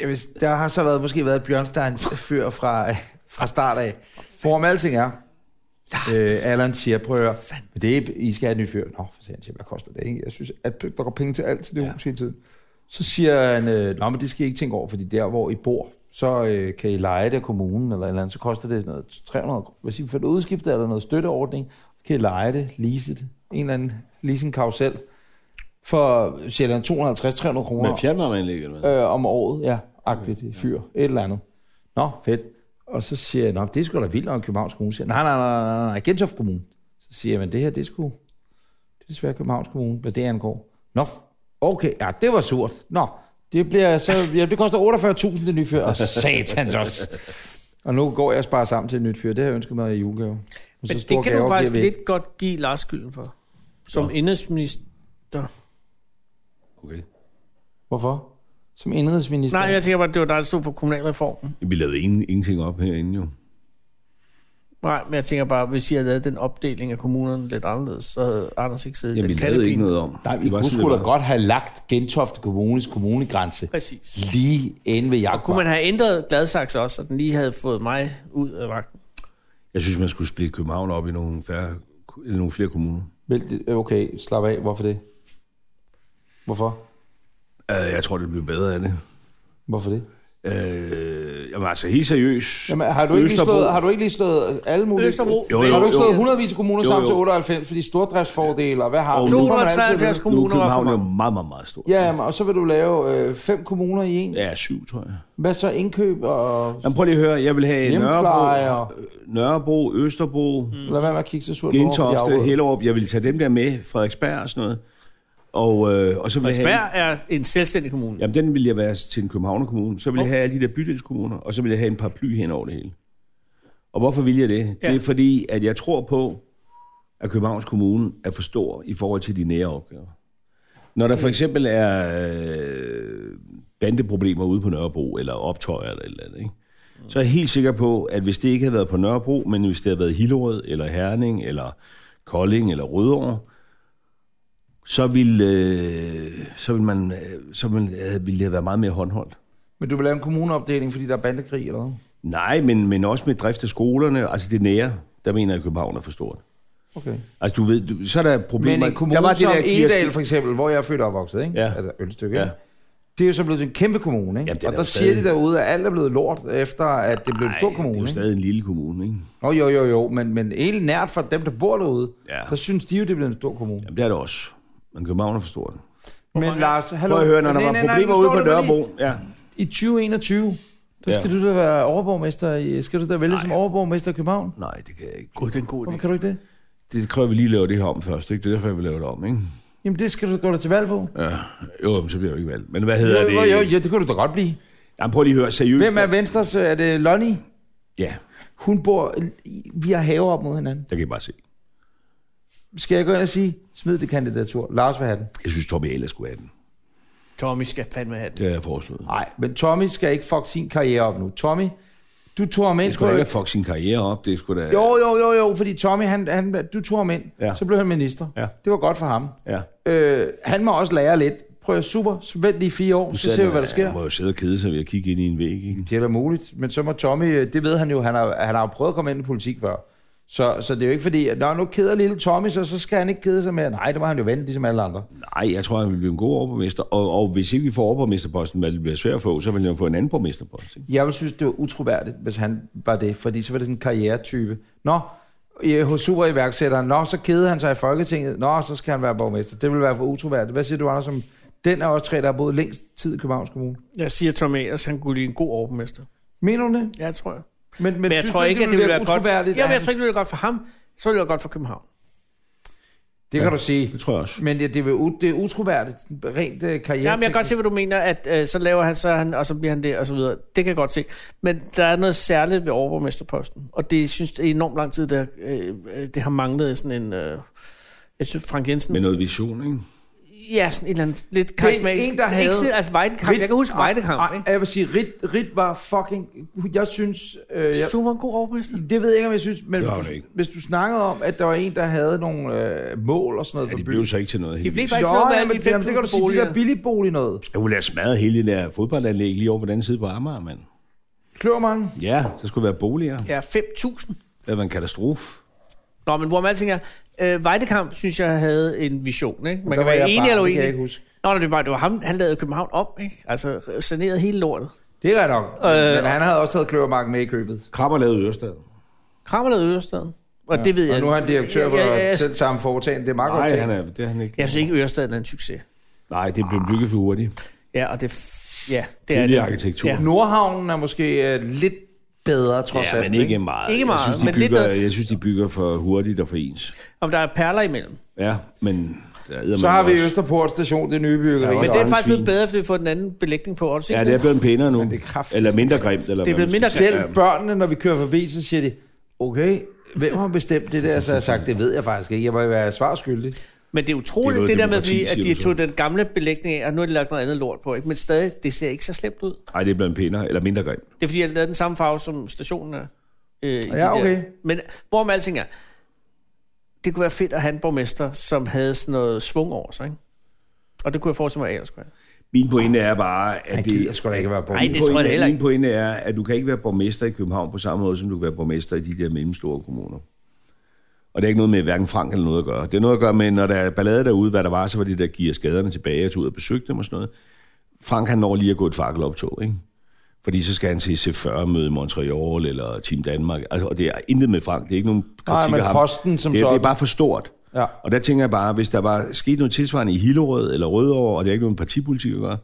Jeg vil, der har så været, måske været Bjørnsteins fyr fra, øh, fra start af. Forum alting er, øh, Allan siger, prøv at høre, men det er, I skal have et nyt fyr. Nå, for siger han siger, hvad koster det? Ikke? Jeg synes, at der går penge til alt til det ja. hus hele tiden. Så siger han, øh, nå, men det skal I ikke tænke over, fordi der, hvor I bor, så øh, kan I lege det af kommunen eller et eller andet, så koster det sådan noget 300 kroner. Hvis I får det udskiftet, er der noget støtteordning, kan I lege det, lease det, en eller anden leasing karusel for sjældent 250-300
Med
kroner
fjernvarmeanlæg, eller hvad?
øh, om året, ja, agtigt fyr, et eller andet. Nå, fedt. Og så siger jeg, Nå, det er sgu da vildt, og Københavns Kommune siger, nej, nej, nej, nej, nej, Gentofte Kommune. Så siger jeg, men det her, det er sgu, det er desværre Københavns Kommune, hvad det angår. Nå, okay, ja, det var surt. Nå, det bliver så, ja, det koster 48.000 det nye fyr, og satans også. Og nu går jeg og sparer sammen til et nyt fyr, det har jeg ønsket mig i julegave. Men,
Men det kan du faktisk lidt godt give Lars skylden for. Som ja. indrigsminister.
Okay.
Hvorfor? Som indrigsminister?
Nej, jeg tænker bare, det var dig, der stod for kommunalreformen.
Vi lavede ingen, ingenting op herinde, jo.
Nej, men jeg tænker bare, hvis I havde lavet den opdeling af kommunerne lidt anderledes, så havde Anders ikke siddet i
Jamen, vi
den
lavede
kattepine.
ikke noget om.
Nej, vi
Det var
kunne
sådan,
sgu
det
da
var.
godt have lagt Gentofte Kommunes kommunegrænse
Præcis.
lige inde ved Jakob.
Kunne man have ændret Gladsaxe også, så den lige havde fået mig ud af vagten?
Jeg synes, man skulle splitte København op i nogle, færre, eller nogle flere kommuner.
Vel, det- øh, Okay, slap af. Hvorfor det? Hvorfor?
Uh, jeg tror, det bliver bedre af det.
Hvorfor det?
Uh, jamen altså, helt seriøst.
Jamen, har, du ikke lige
Østerbro-
slået, har du ikke lige slået øh, alle mulige...
Østerbro.
Jo,
har
jo,
du ikke
jo.
slået hundredvis af kommuner
Jo,
sammen
jo.
til 98, fordi stordriftsfordele, og hvad har
Og
du?
nu-
Så får man altid at vide.
273
Nu er
kommuner var for
København jo
mange.
meget, meget, meget stor.
Ja, jamen, og så vil du lave øh, fem kommuner i en.
Ja, syv, tror jeg.
Hvad så indkøb og...
Jamen, prøv lige at høre. Jeg vil have
Hjemmepleje
Nørrebro, Nørrebro, Østerbro, mm.
Lad være med at kigge så surt på, hvorfor de
Gentofte,
afråder.
Hellerup. Jeg vil tage dem der med, Frederiksberg og sådan noget. Og, øh, og så vil jeg have...
Frederiksberg er en selvstændig kommune.
Jamen, den vil jeg være til en Københavnerkommune. Så vil jeg have alle de der bydelskommuner, og så vil jeg have en paraply hen over det hele. Og hvorfor vil jeg det? Ja.
Ja.
Det er fordi, at jeg tror på, at Københavns Kommune er for stor i forhold til de nære opgaver. Når der for eksempel er øh, bandeproblemer ude på Nørrebro, eller optøjer eller et eller andet, ikke? så er jeg helt sikker på, at hvis det ikke havde været på Nørrebro, men hvis det havde været Hillerød, eller Herning, eller Kolding, eller Rødovre, så ville, øh, så ville man, øh, så ville, øh, ville det have været meget mere håndholdt.
Men du vil lave en kommuneopdeling, fordi der er bandekrig eller hvad?
Nej, men, men også med drift af skolerne, altså det nære, der mener jeg, at København er for stort.
Okay.
Altså du ved, du, så er der problemer.
Men en
der
kommune
var det
som
der Kirsty-
Egedal for eksempel, hvor jeg er født og opvokset, ikke?
Ja.
altså Ølstykke,
Ja.
ikke? det er jo så blevet til en kæmpe kommune, ikke?
Jamen, det er
og
da
der
stadig-
siger de derude, at alt er blevet lort, efter at det blev en stor
Ej,
kommune.
det er jo
ikke?
stadig en lille kommune, ikke?
Nå, jo, jo, jo, men, men helt nært for dem, der bor derude,
Ja.
der synes de jo, det er blevet en stor kommune.
Jamen det er det også. Men København er for stort.
Men Lars, hallo.
Prøv at høre, når der
Nej,
var
nej, nej,
problemer
nu
ude
står
på
det bare
Nørrebro. Ja.
lige- I 2021, der
Ja.
skal du da være overborgmester. i- Skal du da vælge som overborgmester i København?
Nej, det kan jeg ikke.
Gud, det er en god idé.
Hvorfor kan du ikke det?
Det kræver, at vi lige laver det her om først, ikke? Det er derfor, jeg vil lave det om, ikke?
Jamen, det skal du gå da til valg på.
Ja. Jo, men så bliver jeg jo ikke valgt. Men hvad hedder
Jo,
det?
jo, jo, det kunne du da godt blive.
Jamen, prøv lige at høre, seriøst.
Hvem er Venstres? Er det Lonnie?
Ja,
Hun bor... i- Vi har haver op mod hinanden.
der kan I bare se.
Skal jeg gå ind og sige, smid det kandidatur. Lars vil have den.
Jeg synes, Tommy Ahlers skulle have den.
Tommy skal fandme have den.
Det har jeg foreslået.
Nej, men Tommy skal ikke fuck sin karriere op nu. Tommy, du tog ham
Det
ind på...
skulle da ikke have fuck sin karriere op. Det skulle da...
Jo, jo, jo, jo, fordi Tommy, han, han, du tog ham ind,
Ja.
ja. så blev han minister.
Ja.
Det var godt for ham.
Ja.
Øh, han må også lære lidt. Prøv at super, så vent lige fire år, så ser vi, hvad der sker.
Jeg må jo sidde og kede sig ved at kigge ind i en væg, ikke?
Det er da muligt, men så må Tommy, øh, det ved han jo, han har, han har jo prøvet at komme ind i politik før. Så, så det er jo ikke fordi, at når nu keder lille Tommy, så, så skal han ikke kede sig med, nej, det må han jo vente, ligesom alle andre.
Nej, jeg tror, han vil blive en god overborgmester. Og, og hvis ikke vi får overborgmesterposten, hvad det bliver svært at få, så vil han jo få en anden borgmesterpost. Ikke?
Jeg ville synes, det var utroværdigt, hvis han var det, fordi så var det sådan en karrieretype. Nå, i- hos superiværksætteren, nå, så kede han sig i Folketinget, nå, så skal han være borgmester. Det ville være for utroværdigt. Hvad siger du, Anders, om den er også tre, der har boet længst tid i Københavns Kommune?
Jeg siger Tommy Ahlers, han kunne blive en god overborgmester.
Mener du det?
Ja, det tror jeg.
Men, men,
Men jeg
synes
tror
du
ikke, at det ville være godt for...
utroværdigt,
Ja,
at
men jeg
han-
tror ikke, det ville være godt for ham. Så ville det være godt for København.
Det kan du sige.
Det tror jeg også.
Men ja, det, er, jo u- det er utroværdigt, sådan rent øh, karriere.
Ja, men jeg kan godt se, hvad du mener, at øh, så laver han, så er han, og så bliver han det, og så videre. Det kan jeg godt se. Men der er noget særligt ved overborgmesterposten, og det synes det er enormt lang tid, der, øh, øh, det har manglet sådan en... Øh, jeg synes, Frank Jensen...
Med noget vision, ikke?
ja, sådan en eller anden lidt karismatisk...
en, der havde-
Ikke sådan, altså Weidenkamp. Jeg kan huske Weidenkamp, ikke?
Jeg vil sige, Rit, Rit var fucking... Jeg synes... Øh, jeg,
Du var en god overborgmester.
Det ved jeg ikke, om jeg synes, men
Det var
hvis
hun
du,
ikke.
hvis du snakkede om, at der var en, der havde nogle øh, mål og sådan noget
Ja,
for
det
byen.
blev så ikke til noget.
Det blev
heldigvis.
bare
Jo,
ikke sådan noget med alle
jamen,
de
jamen, det kan du sige,
5.000
det der
boliger.
billigbolig noget.
Jeg ville have smadret hele det der fodboldanlæg lige over på den anden side på Amager, mand.
Kløvermange.
Ja, der skulle være boliger.
Ja, 5.000.
Det var en katastrofe.
Nå, men hvor man alting er, øh, Weidekamp, synes jeg, havde en vision, ikke? Man
Der
kan
var
være
jeg
enig
barn,
eller
det kan jeg
uenig.
ikke huske.
Nå, nej, det var bare, det var ham, han lavede København op, ikke? Altså, sanerede hele lortet.
Det er rigtigt nok. Øh, men han havde også taget Kløvermark med i købet.
Krabber lavede Ørestad.
Krammer lavede Ørestaden. Og ja. det ved jeg.
Og nu er han direktør for
Ja, ja, ja.
selv samme foretagende. Det er meget godt
Nej,
tænkt.
han er, det er han ikke.
Jeg synes ikke, Ørestaden er en succes.
Nej, det blev bygget for hurtigt.
Ja, og det... f- Ja, det er
Billig
det.
arkitektur.
Ja.
Nordhavnen er måske øh, lidt bedre, trods
Ja,
alt.
men ikke meget.
Ikke meget,
jeg, synes, de
men lidt
bygger,
bedre.
jeg synes, de bygger for hurtigt og for ens.
Om der er perler imellem.
Ja, men... Der
Så har vi
jo...
Østerport station, det nye byggeri.
Ja,
Ja,
Men
det,
også-
det er faktisk
svin.
blevet bedre, fordi vi får den anden belægning på. Har du set
Ja,
den?
det er blevet pænere nu.
Men det er kraftigt.
Eller mindre grimt. Eller
det
hvad
er blevet
man
mindre
skal sige.
Selv børnene, når vi kører forbi, så siger de, okay, hvem har bestemt det der? Så har jeg sagt, det ved jeg faktisk ikke. Jeg må jo være svarskyldig.
Men det er
Det er
utroligt, det,
noget
det der med,
demokrati,
fordi,
siger
at de
du så.
tog den gamle belægning af, og nu har de lagt noget andet lort på. Ikke? Men stadig, det ser ikke så slemt ud.
Nej, det er blevet pænere. Eller mindre grimt.
Det er fordi, jeg lavede den samme farve, som stationen er. Øh, i de
Ja, okay.
Der. Men hvorom alting er, det kunne være fedt at have en borgmester, som havde sådan noget svung over sig. Ikke? Og det kunne jeg forestille mig, at jeg skulle have.
Min pointe er bare, at
Han
det...
gider sgu da ikke være på.
Ej, det
Min
tror jeg
pointe-
heller ikke.
Min pointe er, at du kan ikke være borgmester i København på samme måde, som du kan være borgmester i de der mellemstore kommuner. Og det er ikke noget med hverken Frank eller noget at gøre. Det er noget at gøre med, når der er ballade derude, hvad der var, så var det der giver skaderne tilbage, og tog ud og besøgte dem og sådan noget. Frank han når lige at gå et fakkeloptog, ikke? Fordi så skal han til C40-møde Montreal eller Team Danmark. Altså, og det er intet med Frank. Det er ikke nogen kritik
Nej, men
af ham.
posten som
det, er, det er
sådan.
bare for stort.
Ja.
Og der tænker jeg bare, hvis der var sket noget tilsvarende i Hillerød eller Rødovre, og det er ikke nogen partipolitik at gøre,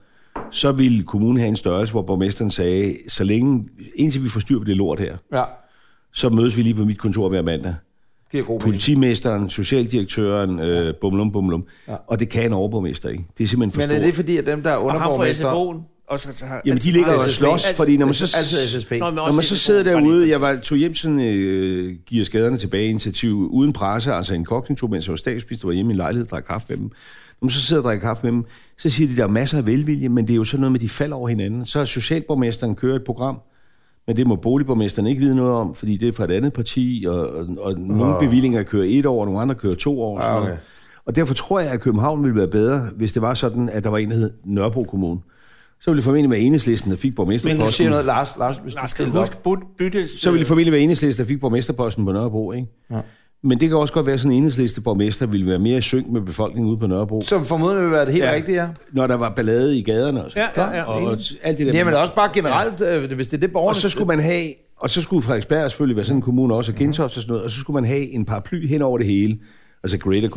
så ville kommunen have en størrelse, hvor borgmesteren sagde, så længe, indtil vi får styr på det lort her,
Ja,
så mødes vi lige på mit kontor hver mandag.
giver god mening.
Politimesteren, socialdirektøren, øh, bumlum, bumlum. Ja. Og det kan en overborgmester ikke. Det er simpelthen for
Men er
stort.
det fordi, at dem, der er
Og ham fra
underborgmester...
SFO'en. Og så, så har,
Jamen, de ligger jo og
SSB.
slås, fordi når man så,
Altid SSB.
Nå, men
altså, når
også
man så
SFO'en,
sidder
bare lige for
derude,
at
jeg var, tog hjem sådan, øh, giver skaderne tilbage initiativ uden presse, altså en kognito, mens jeg var statsminister, var hjemme i en lejlighed og drak kaffe med dem. Når man så sidder og drikker kaffe med dem, så siger de, der er masser af velvilje, men det er jo sådan noget med, at de falder over hinanden. Så har socialborgmesteren kører et program, men det må boligborgmesteren ikke vide noget om, fordi det er fra et andet parti, og, og, og nogle bevillinger kører et år, og nogle andre kører to år. og Sådan noget. Og derfor tror jeg, at København ville være bedre, hvis det var sådan, at der var en, der hed Nørrebro Kommune. Så ville det formentlig være enhedslisten, der fik
Men du siger
borgmesterposten.
noget, Lars, Lars, hvis du
Lars, skal
stiller
du
op.
huske but- bytte...
Så ville det formentlig være enhedslisten, der fik borgmesterposten på Nørrebro, ikke? Ja. Men det kan også godt være, at sådan en enhedslisteborgmester ville være mere i synk med befolkningen ude på Nørrebro.
Som formodentlig vil være det helt
Ja.
rigtige, ja.
Når der var ballade i gaderne og,
Ja, ja, ja.
og, og alt det der.
Jamen også bare generelt, øh, hvis det er det, borgerne...
Og så skulle man have, og så skulle Frederiksberg selvfølgelig være sådan en kommune også, og Gentofte og sådan noget, og så skulle man have en paraply hen over det hele, altså Greater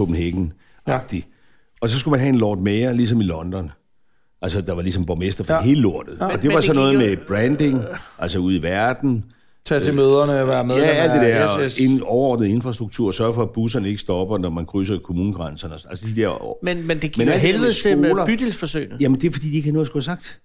Copenhagen-agtig. Ja. Og så skulle man have en Lord Mayor, ligesom i London. Altså, der var ligesom borgmester for ja. hele lortet. Ja. Og det
Men
var
det
så noget
gik jo-
med branding, altså ude i verden.
tage til møderne, være med.
Ja, alt det der
Yes, yes.
ind, overordnet infrastruktur, sørge for, at busserne ikke stopper, når man krydser kommunegrænserne. og sådan- Altså, de der...
Men, men det
Men
gik jo
alt det der med
helvede til
skoler-
med bydelsforsøgene.
Jamen, det er fordi, de ikke har noget at skulle have sagt.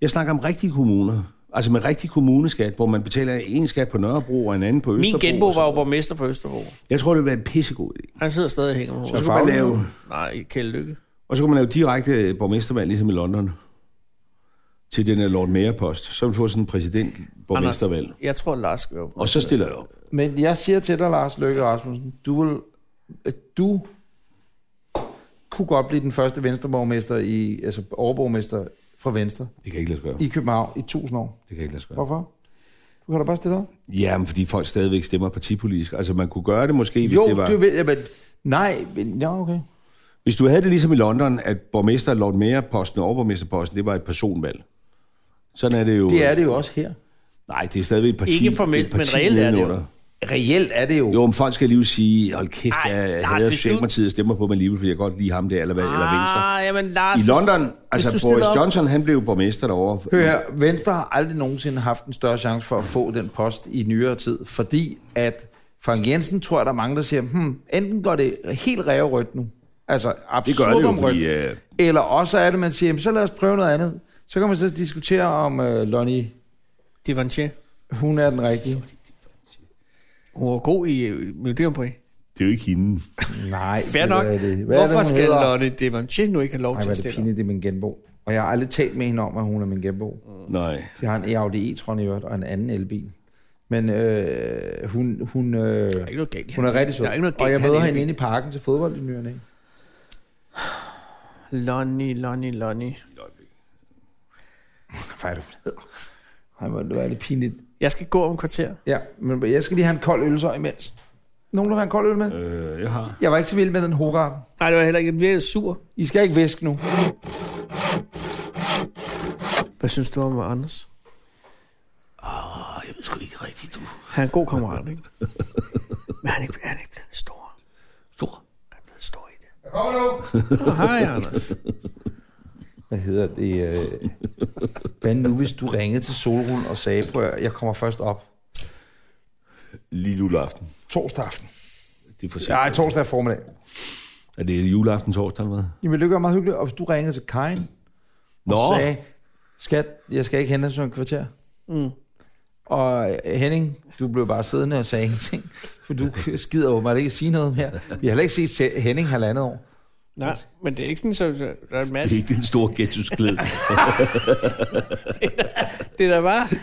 Jeg snakker om rigtige kommuner. Altså med rigtig kommuneskat, hvor man betaler en skat på Nørrebro og en anden på Østerbro.
Min genbo
og sådan
var jo borgmester for Østerbro.
Jeg tror, det ville være en pissegod idé.
Han sidder stadig og hænger med
Og så,
hovedet.
kunne man lave,
Nej, Kjeld Lykke.
og så kunne man lave direkte borgmestervalg, ligesom i London, til den her Lord Mayor-post. Så ville du få sådan en præsident-borgmestervalg.
Jeg tror, Lars skal være
Og så stiller jeg op.
Men jeg siger til dig, Lars Løkke Rasmussen, du, vil, at du kunne godt blive den første venstreborgmester, i, altså overborgmester fra Venstre
Det kan jeg ikke lade sig gøre.
i København i tusind år.
Det kan jeg ikke lade sig gøre.
Hvorfor? Du kan da bare stille op.
Ja, men fordi folk stadigvæk stemmer partipolitisk. Altså, man kunne gøre det måske, hvis
Jo,
det var...
du vil, ja, men, nej, men, ja, okay.
Hvis du havde det ligesom i London, at borgmester, Lord Mayor-posten og overborgmesterposten, det var et personvalg. Sådan er det jo...
Det er det jo også her.
Nej, det er stadigvæk et parti.
Ikke formelt,
et parti
men reelt er det jo.
nedenunder.
Reelt er det jo.
Jo, men folk skal lige sige, hold kæft,
Ej,
jeg
Lars,
Lars, hader
hvis du-
Socialdemokratiet og stemmer på mig alligevel, fordi jeg godt lige ham der, eller, hvad, eller Venstre.
Ah, jamen Lars...
I London, altså
du stiller
Boris
op-
Johnson, han blev borgmester derovre.
Hør her, Venstre har aldrig nogensinde haft en større chance for at få den post i nyere tid, fordi at Frank Jensen tror jeg, der er mange, der siger, hmm, enten går det helt ræverødt nu, altså
Det gør
absurd
det jo,
om
fordi...
rødt,
Øh,
Eller også er det, man siger, "Jamen, så lad os prøve noget andet. Så kan man så diskutere, om øh, Lonnie,
Divanché.
hun er den rigtige.
Hun var god i øh, Melodi Grand Prix.
det er jo ikke hende.
Nej,
Fair nok. Hvorfor skal Lotte Divanché nu ikke have lov
Nej, hvad er
til at
det
stille? op?
pinligt, det er min genbo. Og jeg har aldrig talt med hende om, at hun er min genbo.
Nej.
De har en Audi e-tron i øvrigt, og en anden elbil. Men øh, hun, hun,
Der
øh,
er ikke noget galt. i
hun er
hende.
rigtig sød.
Der er ikke noget galt.
Og jeg
i
møder
hende.
hende inde i parken til fodbold i ny og næ.
Lonnie, Lonnie, Lonnie.
Hvad er du blevet? Ej, hvor er det var lidt pinligt.
Jeg skal gå om et kvarter.
Ja, men jeg skal lige have en kold øl så imens. Nogen, der vil have en kold øl med?
Øh, jeg har...
Jeg var ikke så vild med den hurra.
Nej, det var heller ikke. Jeg bliver sur.
I skal ikke væske nu.
Hvad synes du om Anders?
Jeg ved sgu ikke rigtigt, du.
Han er en god kammerat, ikke? <laughs> Men han er ikke, han er ikke blevet stor.
Stor.
Han er blevet stor i det.
Jeg kommer nu!
Åh, hej, Anders.
Hvad hedder det? Øh, hvad nu, hvis du ringede til Solrun og sagde, prøv at høre, jeg kommer først op
Lige juleaften.
torsdag aften.
Det er for sent.
Nej, torsdag formiddag.
Er det juleaften torsdag eller hvad?
Jamen, det gør meget hyggeligt. Og hvis du ringede til Karin
Nå,
og sagde, skat, jeg skal ikke hente dig som en kvarter.
Mm.
Og øh, Henning, du blev bare siddende og sagde <laughs> ingenting, for du skider åbenbart ikke at sige noget mere. Vi har heller ikke set Se- Henning halvandet år.
Nej, men det er ikke sådan, så så- der er en
det er
masse.
ikke den store ghetto-glæde.
Det der var.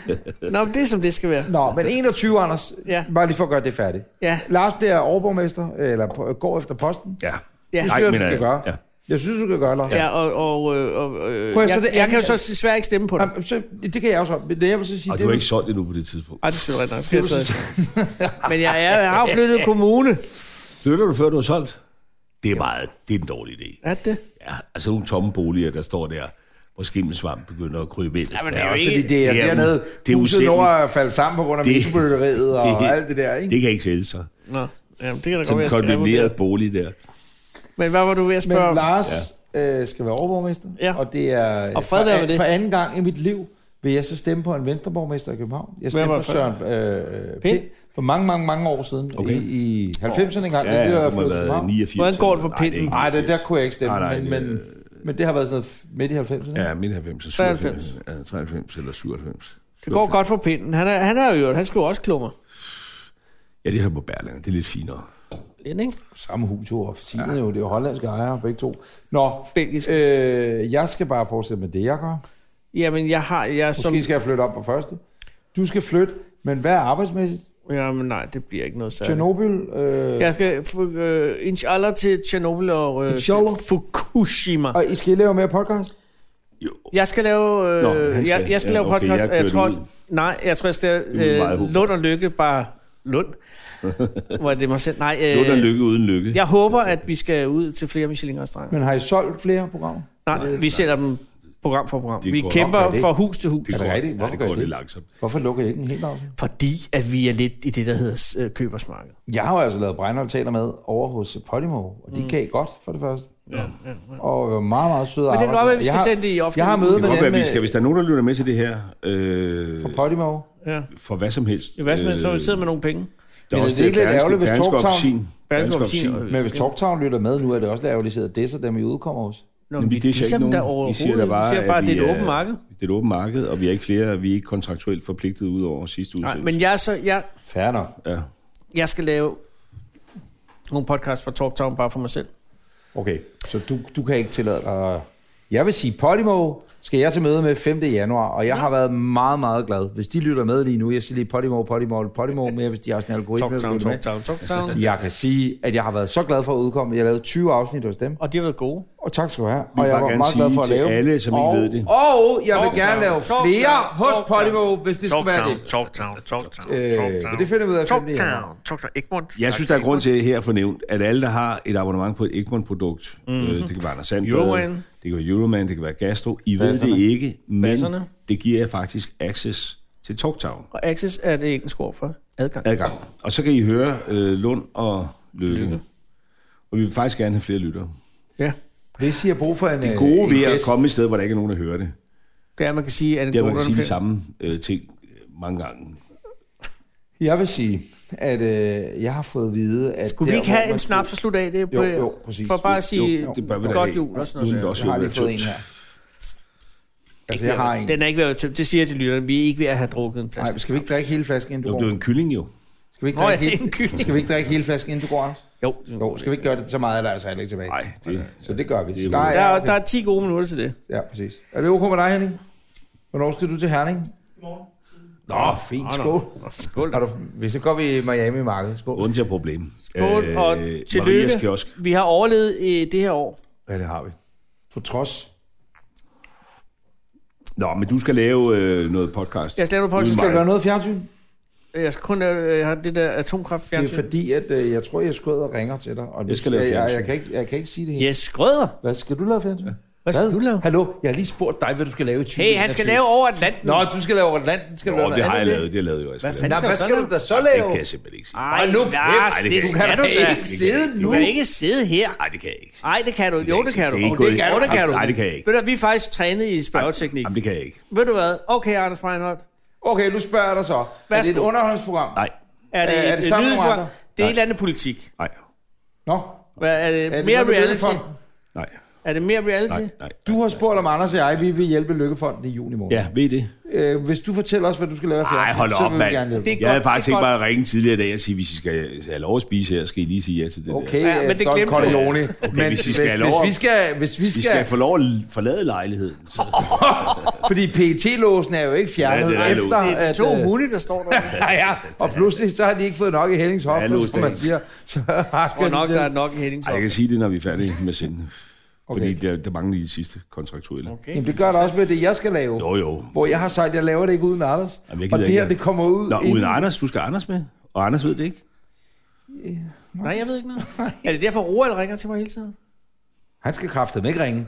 Nå, men det er som det skal være.
Nå, men 21, Anders.
Ja.
Bare lige for at gøre det færdigt.
Ja,
Lars bliver overborgmester, eller på- går efter posten.
ja. øh,
ja.
Det synes jeg, du skal gøre.
ja.
Jeg synes, du skal gøre, Lars.
Ja, og, og, øh, og øh,
Prøv at
jeg,
så
jeg,
det
jeg kan jo
andet-
så desværre ikke stemme på dig.
Jamen, så, det kan jeg også. Men jeg vil så sige,
Og
det,
du er ikke solgt endnu på det tidspunkt.
Ej, det er selvfølgelig rigtigt nok. Skal jeg stadig.
<laughs>
Men jeg, er, jeg har jo flyttet kommune.
Flytter du, før du er solgt? Det er meget, det er en dårlig idé.
Er det?
Ja, altså nogle tomme boliger, der står der, hvor skimmelsvamp begynder at krybe ind. Ja,
men det er jo
fordi det er,
det er
dernede,
u- det
det
er
er huset
usædvanligt.
når at falde sammen på grund af
Det-
metrobyggeriet og
det-
alt det der, ikke?
Det kan ikke sælge sig.
Nå, jamen, det kan da godt
Sådan
være,
en
jeg skal revurdere.
kondemneret bolig der.
Men hvad var du ved at
Men
spørge om?
Lars ja. øh, skal være overborgmester,
Ja.
og det er
Og fred
for,
være
an-
med det.
for anden gang i mit liv vil jeg så stemme på en venstreborgmester i København. Jeg stemte
var
på
det
Søren øh,
Pind?
Pind for mange, mange, mange år siden.
Okay.
Okay. I, i 90'erne engang.
Ja, ja,
var
det må have været 89.
Hvordan går det for
Nej, er
pinden?
ikke
Nej, det, der kunne jeg ikke stemme,
Nej, nej,
men,
det-
men, men det har været sådan noget midt i 90'erne. ikke?
Ja, midt 90, 97, ja, 93 eller 97.
Det går godt for pinden. Han er, han er jo, han skal jo også klummer.
Ja, det er så på Berlin. Det er lidt finere.
Lidt, ikke?
Samme hus jo, og ja. jo, det er jo hollandske ejere, begge to. Nå,
Belgisk.
øh, jeg skal bare fortsætte med det, jeg gør.
Jamen, jeg har... Jeg er som,
Måske skal jeg flytte op på første. Du skal flytte, men hvad er arbejdsmæssigt?
Jamen, nej, det bliver ikke noget særligt.
Tjernobyl? Øh,
Jeg skal f- øh, inshallah til Tjernobyl og øh, til
Inshallah.
Fukushima.
<laughs> Og I skal lave mere podcast?
Jo.
Jeg skal lave, øh,
Nå, han skal-
jeg, jeg skal
ja,
lave
okay,
podcast.
jeg
jeg,
kører
tror,
den ud.
nej, jeg tror, jeg skal
Det er
lave
meget
øh,
håbløst.
Lund og Lykke, bare
<laughs>
Lund. Hvor er det mig selv? Nej, øh,
Lund og lykke uden lykke.
jeg håber, at vi skal ud til flere Michelin-restauranter.
Men har I solgt flere programmer?
Nej, vi sælger dem program for program.
Det
Vi
går
kæmper
nok, er det
fra hus til hus.
Det
det
går,
rigtigt?
ja,
Hvorfor
det
gør
går
I
lidt
det?
langsomt.
Hvorfor lukker I ikke en helt afsnit?
Fordi at vi er lidt i det, der hedder øh, købersmarked.
Jeg har jo altså lavet Breinholt taler med over hos Podimo, og de gav godt for det første. Mm. Ja, ja, ja. Og var meget, meget søde
Men det kan godt være, at vi
jeg
skal
har,
sende det i offentlig
Jeg har
udbud.
møde
Det
med
kan godt
dem
være,
med,
vi skal, hvis der er nogen, der lytter med til det her, øh,
på Podimo.
Ja.
for hvad som helst.
Hvad øh, så vi sidder med nogle penge?
Der
Men
også
er det ikke lidt
Berlingske-
ærgerligt, hvis
Berlingske
Torgtown-
Opsin-
Berlingske
Berlingske
Opsin-
Opsin.
Men hvis TalkTown lytter med nu, er det også lavet, at de sidder og disser dem, I udkommer hos.
Nå,
Jamen,
vi,
vi
vi
disser
ser
ikke
dem der
nogen. Vi
overhovedet.
siger da bare,
vi siger bare,
at
at det er
vi
et
er-
åbent marked.
Det er et åbent marked, og vi er ikke flere, vi er ikke kontraktuelt forpligtet ud over sidste
Nej,
udsendelse.
men jeg, er så, jeg,
Færre nok.
Ja.
jeg skal lave nogle podcast for TalkTown bare for mig selv.
Okay, så du, du kan ikke tillade dig... Jeg vil sige, Podimo skal jeg til møde med 5. januar, og jeg har været meget, meget glad. Hvis de lytter med lige nu, jeg siger lige Podimo, Podimo, Podimo, men hvis de har sådan en algoritme, der
TalkTown,
lytter med.
TalkTown, TalkTown.
Jeg kan sige, at jeg har været så glad for at udkomme. Jeg lavede 20 afsnit hos dem,
Og de har været gode.
og tak skal du have.
vil
Og jeg
bare
var
gerne
meget glad
sige
for at
til
lave.
alle, som ikke
og,
ved det.
Og jeg vil
Talk
gerne
Town,
lave
Talk
flere
Town,
hos
Talk
Podimo, hvis det skulle være det.
TalkTown, TalkTown,
Øh, men det finder vi ud af 5. januar.
TalkTown, Egmont.
Jeg synes, der er grund til at her at få nævnt, at alle, der har et abonnement på et Egmont-produkt, mm-hmm. øh, det kan være Anders Sandberg,
Euroman.
det kan være Euroman, det kan være Gastro, I ved det
Basserne.
ikke, men
Basserne.
det giver jer faktisk access til TalkTown.
Og Access er det engelske ord for adgang.
Adgang. Og så kan I høre øh, Lund og Løkke. Lykke. Og vi vil faktisk gerne have flere lyttere.
Ja.
Hvis I har brug for en
Det gode
øh, en
ved at
gæst-
komme et sted, hvor der ikke er nogen, der hører det,
Det er, at man kan sige, at
det er, at man kan sige de samme øh, ting øh, mange gange.
Jeg vil sige, at øh, jeg har fået at vide, at...
Skulle vi
der,
ikke
hvor
have
man
en snaps
skulle-
og slutte af det?
Jo, jo, præcis.
For bare at
Jo,
sige
det bør vi da
godt
have.
jul og sådan
Nu er
noget.
det også
Jeg har
ved at
lige fået
være
en
tømt.
her. Altså,
Ikke
jeg har
ved-
en.
Den er ikke ved at være tømt. Det siger jeg til lytterne. Vi er ikke ved at have drukket en flaske.
Nej, skal vi ikke drikke hele flasken, inden du
Jo,
går?
det er jo en kylling jo.
Skal vi ikke
Nå, ja,
drikke,
det er en
hele...
kylling.
skal vi ikke drikke hele flasken, inden du går, Anders?
Jo,
Jo, skal vi ikke gøre det så meget, er der er altså heller ikke tilbage.
Nej, det,
Så det gør vi.
Det er
Nej,
der,
ja,
er-
okay.
der er 10 gode minutter til det.
ja, præcis. Er det okay med dig, Henning? Hvornår skal du til Herning? Nå, fint. Skål.
Skål.
Har du... Hvis så går vi i Miami marked. Skål.
Uden til problem. Øh,
Skål, og tillykke.
Marias kiosk.
Vi har overlevet øh, det her år.
Ja, det har vi. For trods.
Nå, men du skal lave øh, noget podcast.
Jeg skal lave noget podcast.
Uden
Skal
mig.
du gøre noget fjernsyn?
Jeg skal kun lave øh, jeg har det der atomkraft
Det er
fjernsyn.
fordi, at øh, jeg tror, jeg skød og ringer til dig. Og nu-
Jeg skal lave
jeg, jeg,
fjernsyn.
jeg, kan ikke, jeg kan ikke sige det helt.
Yes, skrøder.
Hvad skal du lave fjernsyn?
Hvad skal du lave?
Hallo, jeg har lige spurgt dig, hvad du skal lave i 2021.
Hey, han skal lave over Atlanten.
Nå, du skal lave over Atlanten. Skal du lave
Nå, det
noget
har
andet,
jeg lavet. Det har jeg lavet jo. Jeg
Hvad
lave.
fanden
Nå,
skal
hvad
du så
skal du
lave?
da så
det
lave?
kan jeg simpelthen ikke sige.
Ej,
nu
nu, Lars,
kæft, ej, det
det,
kan jeg
det
ikke.
skal du
Det
da.
ikke
kan jeg
sidde
Du
nu.
kan ikke sidde her.
Nej, det kan jeg ikke.
Nej, det kan du.
jeg
Jo, det
ikke sige.
kan du.
Det er ikke
Jo,
gået i-
jo, det kan du.
Nej, det kan jeg ikke.
Ved du, vi er faktisk trænet i spørgeteknik.
Jamen, det kan jeg ikke.
Ved du hvad? Okay, Anders Breinholt.
Okay, nu spørger jeg dig så. Er det et
Værsgo.
underholdningsprogram?
Nej,
Er det,
Øh, er
et,
det sammen med
nyhedsprogram?
andre?
Det er et eller andet politik.
nej,
Nå,
Hvad, er, det
er det
mere
noget med
reality?
Lykkefonden?
nej,
Er det mere reality?
nej, nej.
Du har spurgt om Anders og jeg, vi vil hjælpe Lykkefonden i juni måned.
Ja, ved I det?
Øh, hvis du fortæller os, hvad du skal lave af
Nej,
fjernsyn,
hold
så
op,
vil vi
mand.
gerne hjælpe.
Det er
Jeg havde
godt,
faktisk
det er
ikke
godt.
bare ringet tidligere i dag og sige, hvis I skal have lov at spise her, skal I lige sige ja til det
Okay,
der.
ja, men det Don
glemte du.
Corleone.
Okay,
men
hvis I skal have
hvis,
lov at-
hvis, vi skal, hvis vi
Vi skal
skal,
få lov at forlade lejligheden. Så.
fordi pt låsen er jo ikke fjernet ja,
Ja, det er
efter,
låst.
Det er to
at, øh,
hunde, der står
<laughs>
der. Jeg
ja, ja, og pludselig så har de ikke fået nok i Hellings
Ja,
hofte,
låst
som man
af.
siger. Så har
tror nok, der er nok i Hennings
Ej, jeg kan sige det, når vi er færdige med senden.
Okay.
Okay. Fordi der, der mangler lige de sidste kontraktuelle. Okay.
Jamen, det gør det også med det, jeg skal lave.
Jo, jo.
Hvor jeg har sagt, at jeg laver det ikke uden Anders.
Jamen, jeg
og
gider
det her,
ikke.
det kommer ud
Nå, uden
inden-
Anders. Du skal have Anders med. Og Anders ved det ikke.
<laughs> Nej, jeg ved ikke noget. Er det derfor, Roald ringer til mig hele tiden?
Han skal kraftedeme ikke ringe.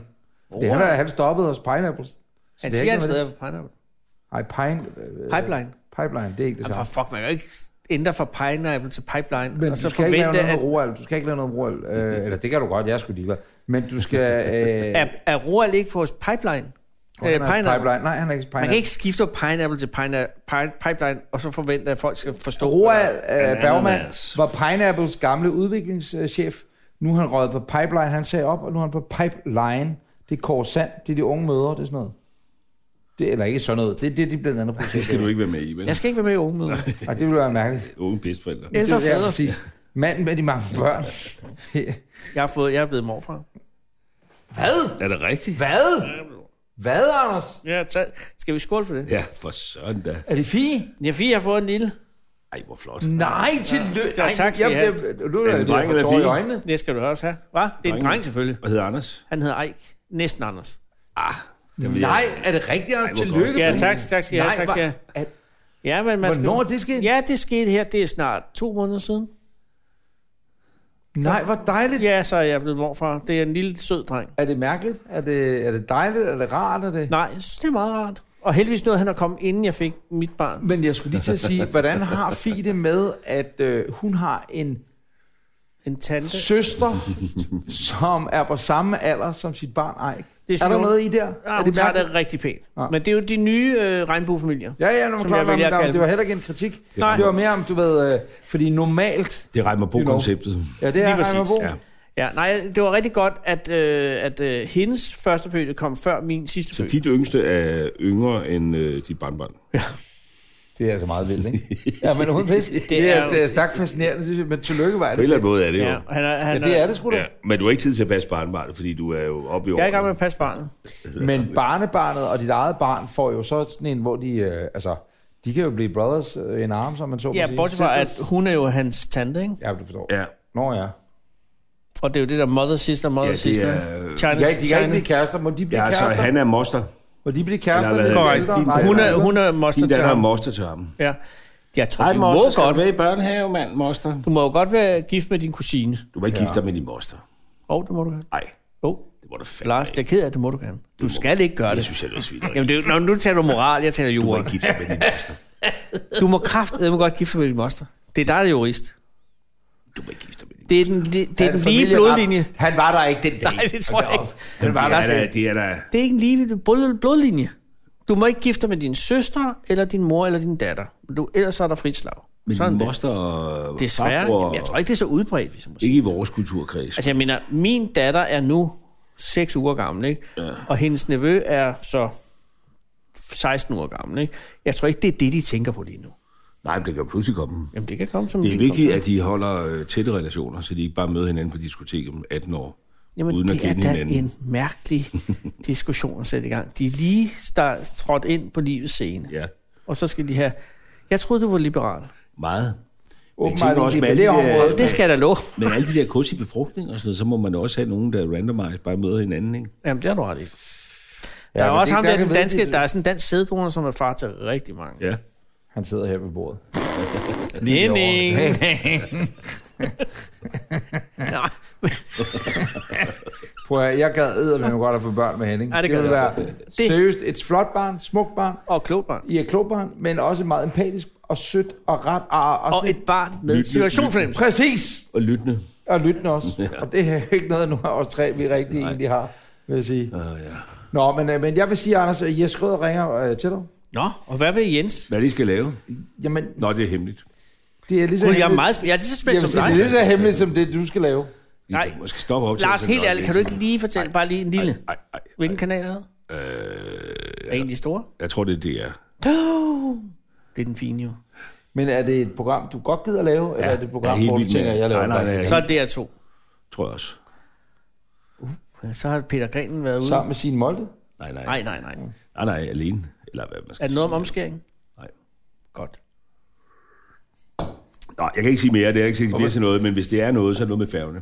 Det er han, der- han stoppede hos Pineapples. Så
Han
det er
siger,
ikke
han
noget med
stadig
det.
er på Pineapple.
Ej, pine, øh,
Pipeline.
pipeline, det er ikke det
Jamen, for
samme.
altså, fuck, man kan jo ikke ændre fra Pineapple til Pipeline,
Men
og så
du skal ikke lave
forvente,
noget
at,
med Roald. Du skal ikke lave noget med Roald.
<laughs>
Øh, eller det kan du godt, jeg skulle ligeglad. Men du skal... Øh,
at, at Roald ikke får hos Pipeline.
han
Øh,
er
pineapple.
pipeline. Nej, han er ikke
Man kan
Pineapple.
ikke skifte fra Pineapple til pine, pine, Pipeline, og så forvente, at folk skal forstå.
Roald øh, Bergman
Ananas.
var Pineapples gamle udviklingschef. Nu er han røget på Pipeline. Han sagde op, og nu er han på Pipeline. Det er Kåre Sand. Det er de unge mødre. Det er sådan noget. Det, eller ikke sådan noget. Det er det, de blandt andet
<laughs>
Det skal
producerer.
du ikke være med i, vel?
Jeg skal ikke være med i
<laughs>
ungemøder.
Og det vil være mærkeligt.
Unge pistforældre.
Ældre
det er
fædre.
præcis. Manden med de mange børn.
Jeg, har fået, jeg er blevet morfar.
Hvad?
Er det rigtigt?
Hvad? Hvad, Anders?
Ja, så skal vi skåle for det?
Ja, for søren da.
Er det fie?
Ja, fordi jeg har fået en lille.
Ej, hvor flot.
Nej, tillykke.
Ja,
Nej,
tak skal
jeg
I have.
bliver- Nu er
Er det
jeg
en
lige
dreng
for
eller
tår i
pige?
øjnene.
Det skal du også have. Hvad? Det er en
Drenge.
dreng selvfølgelig.
Hvad hedder Anders?
Han hedder Eik. Næsten Anders. Ah,
Jamen,
Mm. Nej, er det rigtigt, Anders?
hvor godt.
Tillykke.
Ja,
fordi-
tak, tak skal jeg have.
Nej,
Tak skal jeg
hvor-
have. Ja, men man
Hvornår er
skal...
det sket?
Ja, det skete her. Det er snart to måneder siden.
Nej, hvor dejligt.
Ja, så er jeg blevet morfar. Det er en lille sød dreng.
Er det mærkeligt? Er det, er det dejligt? Er det rart? Er det...
Nej, jeg synes, det er meget rart. Og heldigvis nåede han at komme, inden jeg fik mit barn.
Men jeg skulle lige til at
<laughs>
sige, hvordan har Fie det med, at øh, hun har en
En tante.
søster, som er på samme alder som sit barn Eik?
synes
Er der
hun-
noget i der?
Ja,
er
Ah, hun tager
mærkeligt? Ah.
det rigtig pænt.
Ja.
Men det er jo de nye øh, regnbuefamilier.
Ja, ja, nu
som
klar,
jeg vælger at
jeg
kalde
det var heller ikke en kritik.
Nej.
Det var mere om, du ved, øh, fordi normalt...
Det regner på
You know.
konceptet.
Ja, det er
Lige præcis,
Reimer Bo.
ja.
Ja, nej, det var rigtig godt, at, øh, at øh, hendes førstefødte kom før min sidste
Så
fødte.
dit yngste er yngre end øh, dit barnbarn.
Det er altså meget vildt, ikke? <laughs> Ja, men uden pis. Det, det
er
er, altså,
jo-
det er stærkt fascinerende, synes jeg, men tillykke var
På en
det.
eller anden måde er det jo.
Ja, og han er,
Ja,
han
det er det sgu da.
Ja, men du har ikke tid til at passe barnbarnet, fordi du er jo oppe i
Jeg er i gang med
årene.
at passe barnet.
Men barnebarnet og dit eget barn får jo så sådan en, hvor de... Øh, altså, de kan jo blive brothers øh, in arms, om man så må
Ja,
sige.
bortset fra, at
Sisters.
hun er jo hans tante, ikke?
Ja, du forstår.
Ja,
Nå ja.
Og det er jo det der mother sister, mother
Ja, det
sister.
er, øh,
China's
Ja, de kan ikke
China.
blive kærester. Må de blive
ja så
kærester?
han er moster.
Må de blive kærester?
Eller hvad
lidt
hedder
ældre?
det? Din-
Nej,
Hun
nej,
er,
nej.
hun er moster
Din
til
datter er
ham.
moster til ham.
Ja. Jeg tror, du må, godt,
med i børnehave, mand, moster.
du må jo godt være gift med din kusine.
Du må ikke gifte dig med din moster.
Åh, oh, det må du gerne.
Nej,
Oh.
det må du fandme
Lars, jeg
ikke.
er ked af, at det må du gerne. Du skal ikke gøre
Det
det.
synes jeg, det er
<laughs>
svineri.
Jamen, det er, jo- nå, nu taler du moral, jeg taler
Du må
jura.
ikke gifte dig med din moster.
Du må kraftedeme godt gifte dig med din moster. Det er dig, der er jurist.
Du må ikke gifte dig med din
Det er den, det, det er
Han
den lige
familieret.
blodlinje.
Han var der ikke den dag.
Nej, det tror jeg ikke.
moster.
var
Det er
der
da- Det er da...
Det er ikke en lige blod- blodlinje. Du må ikke gifte dig med din søster, eller din mor, eller din datter. Du, ellers er der frit slag.
Men
Sådan
din
det.
moster og
Desværre.
farbror-
Jamen, jeg tror ikke, det er så udbredt, hvis jeg må sige.
Ikke i vores kulturkreds.
Altså, jeg mener, min datter er nu 6 uger gammel, ikke? Og hendes nevø er så 16 uger gammel, ikke? Jeg tror ikke, det er det, de tænker på lige nu.
Nej, men det kan jo pludselig komme.
Jamen, det kan komme som en
Det er
vild
vigtigt,
kom.
at de holder øh, tætte relationer, så de ikke bare møder hinanden på diskotek om 18 år.
Jamen,
uden at
det er
kende
da
hinanden.
en
<laughs>
mærkelig diskussion at sætte i gang. De er lige start, trådt ind på livets scene.
Ja,
Og så skal de have... Jeg troede, du var liberal.
meget.
Åbenbart
tænker
ikke
også
lige
med
på
alle
det
de, øh,
område.
Det skal jeg da love.
Men alle de der kunstige befrugtninger og sådan noget, så må man også have nogen, der randomized bare møder hinanden, ikke?
Jamen, det har du ret i.
Ja,
Der er
men
også
det-
ham der,
kan
den
vide,
danske,
det-
der er sådan en dansk sæddonor, som er far til rigtig mange.
Ja.
Han sidder her ved bordet.
Henning! <laughs> Nej, men-
Prøv at, jeg gad eddermame godt at få børn med Henning.
Ja, det
det
gad
vil
jeg
være seriøst et flot barn, smukt barn.
Og klogt barn.
I er klogt barn, men også meget empatisk og sødt og ret. Og, og,
Og
sådan
et barn med
Lyt-
situationsfornemmelse.
Præcis!
Og lyttende.
Og lyttende også. Ja. Og det er jo ikke noget, nu os tre vi rigtig Nej. egentlig har, vil jeg sige.
Uh, ja.
Nå, men, øh, men jeg vil sige, Anders, at Jes Rød ringer øh, til dig.
Nå, og hvad vil Jens?
Hvad de skal lave?
Jamen,
Nå, det er hemmeligt.
det er lige så
Gud, jeg er
hemmeligt-
meget spændt. Jeg er lige så
jeg
spændt
vil
som
sige,
dig.
det er lige så hemmeligt, som det, du skal lave.
I
Nej.
kan måske stoppe op
Lars, helt ærligt, kan du ikke lige fortælle, bare lige en lille,
Nej, nej.
hvilken kanal er det? Er
Øh,
en af de store?
jeg tror, det er det, er.
Det er den fine jo.
Men er det et program, du godt gider lave, ja, eller er det et program,
helt
hvor du
vild med-
tænker, jeg laver
Nej, nej, nej,
det
jeg
Så er DR2.
tror jeg også.
Ja, Så har Peter Grenen været ude.
sammen med sin Molde?
Nej, nej.
Nej, nej, nej.
Nej, nej, alene. Eller hvad man skal
Er det noget om
sige.
omskæring?
Nej.
Godt.
Nå, jeg kan ikke sige mere, det er jeg ikke sikkert, det bliver til noget, men hvis det er noget, så er det noget med færgerne.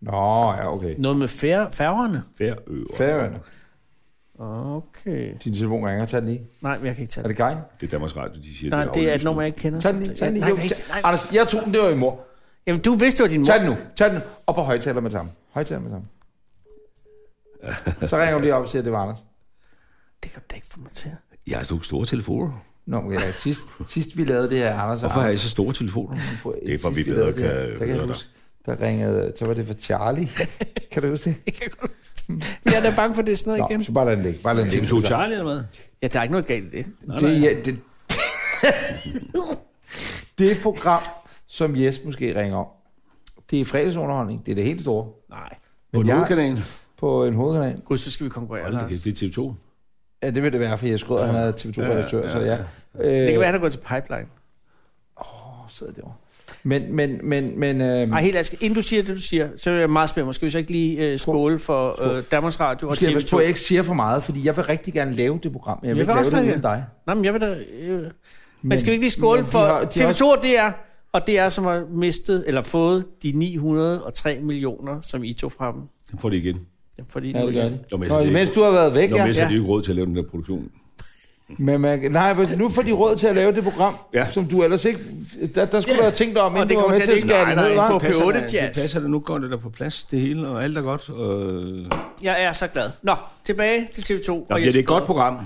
Nå, ja, okay.
Noget med fær- færgerne?
Færøer.
Færøerne.
Okay.
Din telefon ringer, tag den lige.
Nej, men jeg kan ikke tage
Er
det.
det Gein?
Det er Danmarks Radio, de siger,
Nej, det er et
aflyst.
nummer, jeg ikke kender.
Tag den lige, tag den lige.
Nej,
Jo,
jeg kan ikke-
tag,
nej.
Anders, jeg tog den, det var i mor.
Jamen, du vidste jo, din mor...
Tag den nu, tag den nu. Og på højtaler med sammen. Højtaler med
<laughs>
sammen. Så ringer hun lige op og siger, at det var Anders.
Det kan du da ikke få mig til.
Jeg har sådan nogle store telefoner.
Nå, men ja, sidst, sidst vi lavede det her, Anders og
Hvorfor har I
Anders,
så store telefoner? Det er for,
sidst
vi bedre
lavede det
kan
her, Der kan jeg
høre dig.
huske, der ringede, så var det for Charlie. kan du huske det?
Det kan godt Jeg er da bange for, det er sådan
Nå, så bare lad den ligge. Bare lad den ligge.
TV2 Charlie eller hvad?
Ja, der er ikke noget galt i det.
Det, ja, det, det program, som Jes måske ringer om, det er fredagsunderholdning. Det er det helt store.
Nej.
På
jeg-
Nordkanalen?
På en hovedkanal.
Gud, så skal vi konkurrere, Lars.
Det er TV2.
Ja, det vil det være, for Jes Grød, han er TV2-redaktør, så ja. Øh,
Det kan være, han er gået til pipeline.
Mm. sidder derovre. Men, men, men, men... Øh,
Nej, helt ærligt. Inden du siger det, du siger, så er jeg meget spændt. Skal vi så ikke lige øh, skåle for øh, Danmarks Radio og
Måske jeg passe på, at
TV2?
jeg ikke siger for meget, fordi jeg vil rigtig gerne lave det program, men jeg vil
Jeg
ikke
vil også
lave det
gerne-
uden dig.
Nej, men jeg vil da... Øh,
Men-
men skal vi ikke lige skåle
men de
for
har- de har
TV2 og DR? Og DR, som har mistet eller fået de 903 millioner, som I tog fra dem.
Den får det igen.
Ja, Fordi
Ja,
nu-
det gør det.
Nå, men
Nå,
det er
mens
ikke-
du har været væk,
Nå,
ja.
men så er
Ja.
det jo ikke råd til at lave den der produktion.
Men man, nej, hvis- nu får de råd til at lave det program,
Ja.
som du ellers ikke... Der, der skulle du have tænkt dig om, inden
det
du var
kommer
med
til
til
at
at skære det ned, hva'?
på P8 Jazz.
Det passer det nu godt, det der på plads, det hele, og alt er godt. Og...
Jeg er så glad. Nå, tilbage til TV2.
Nå, ja, det er et godt program.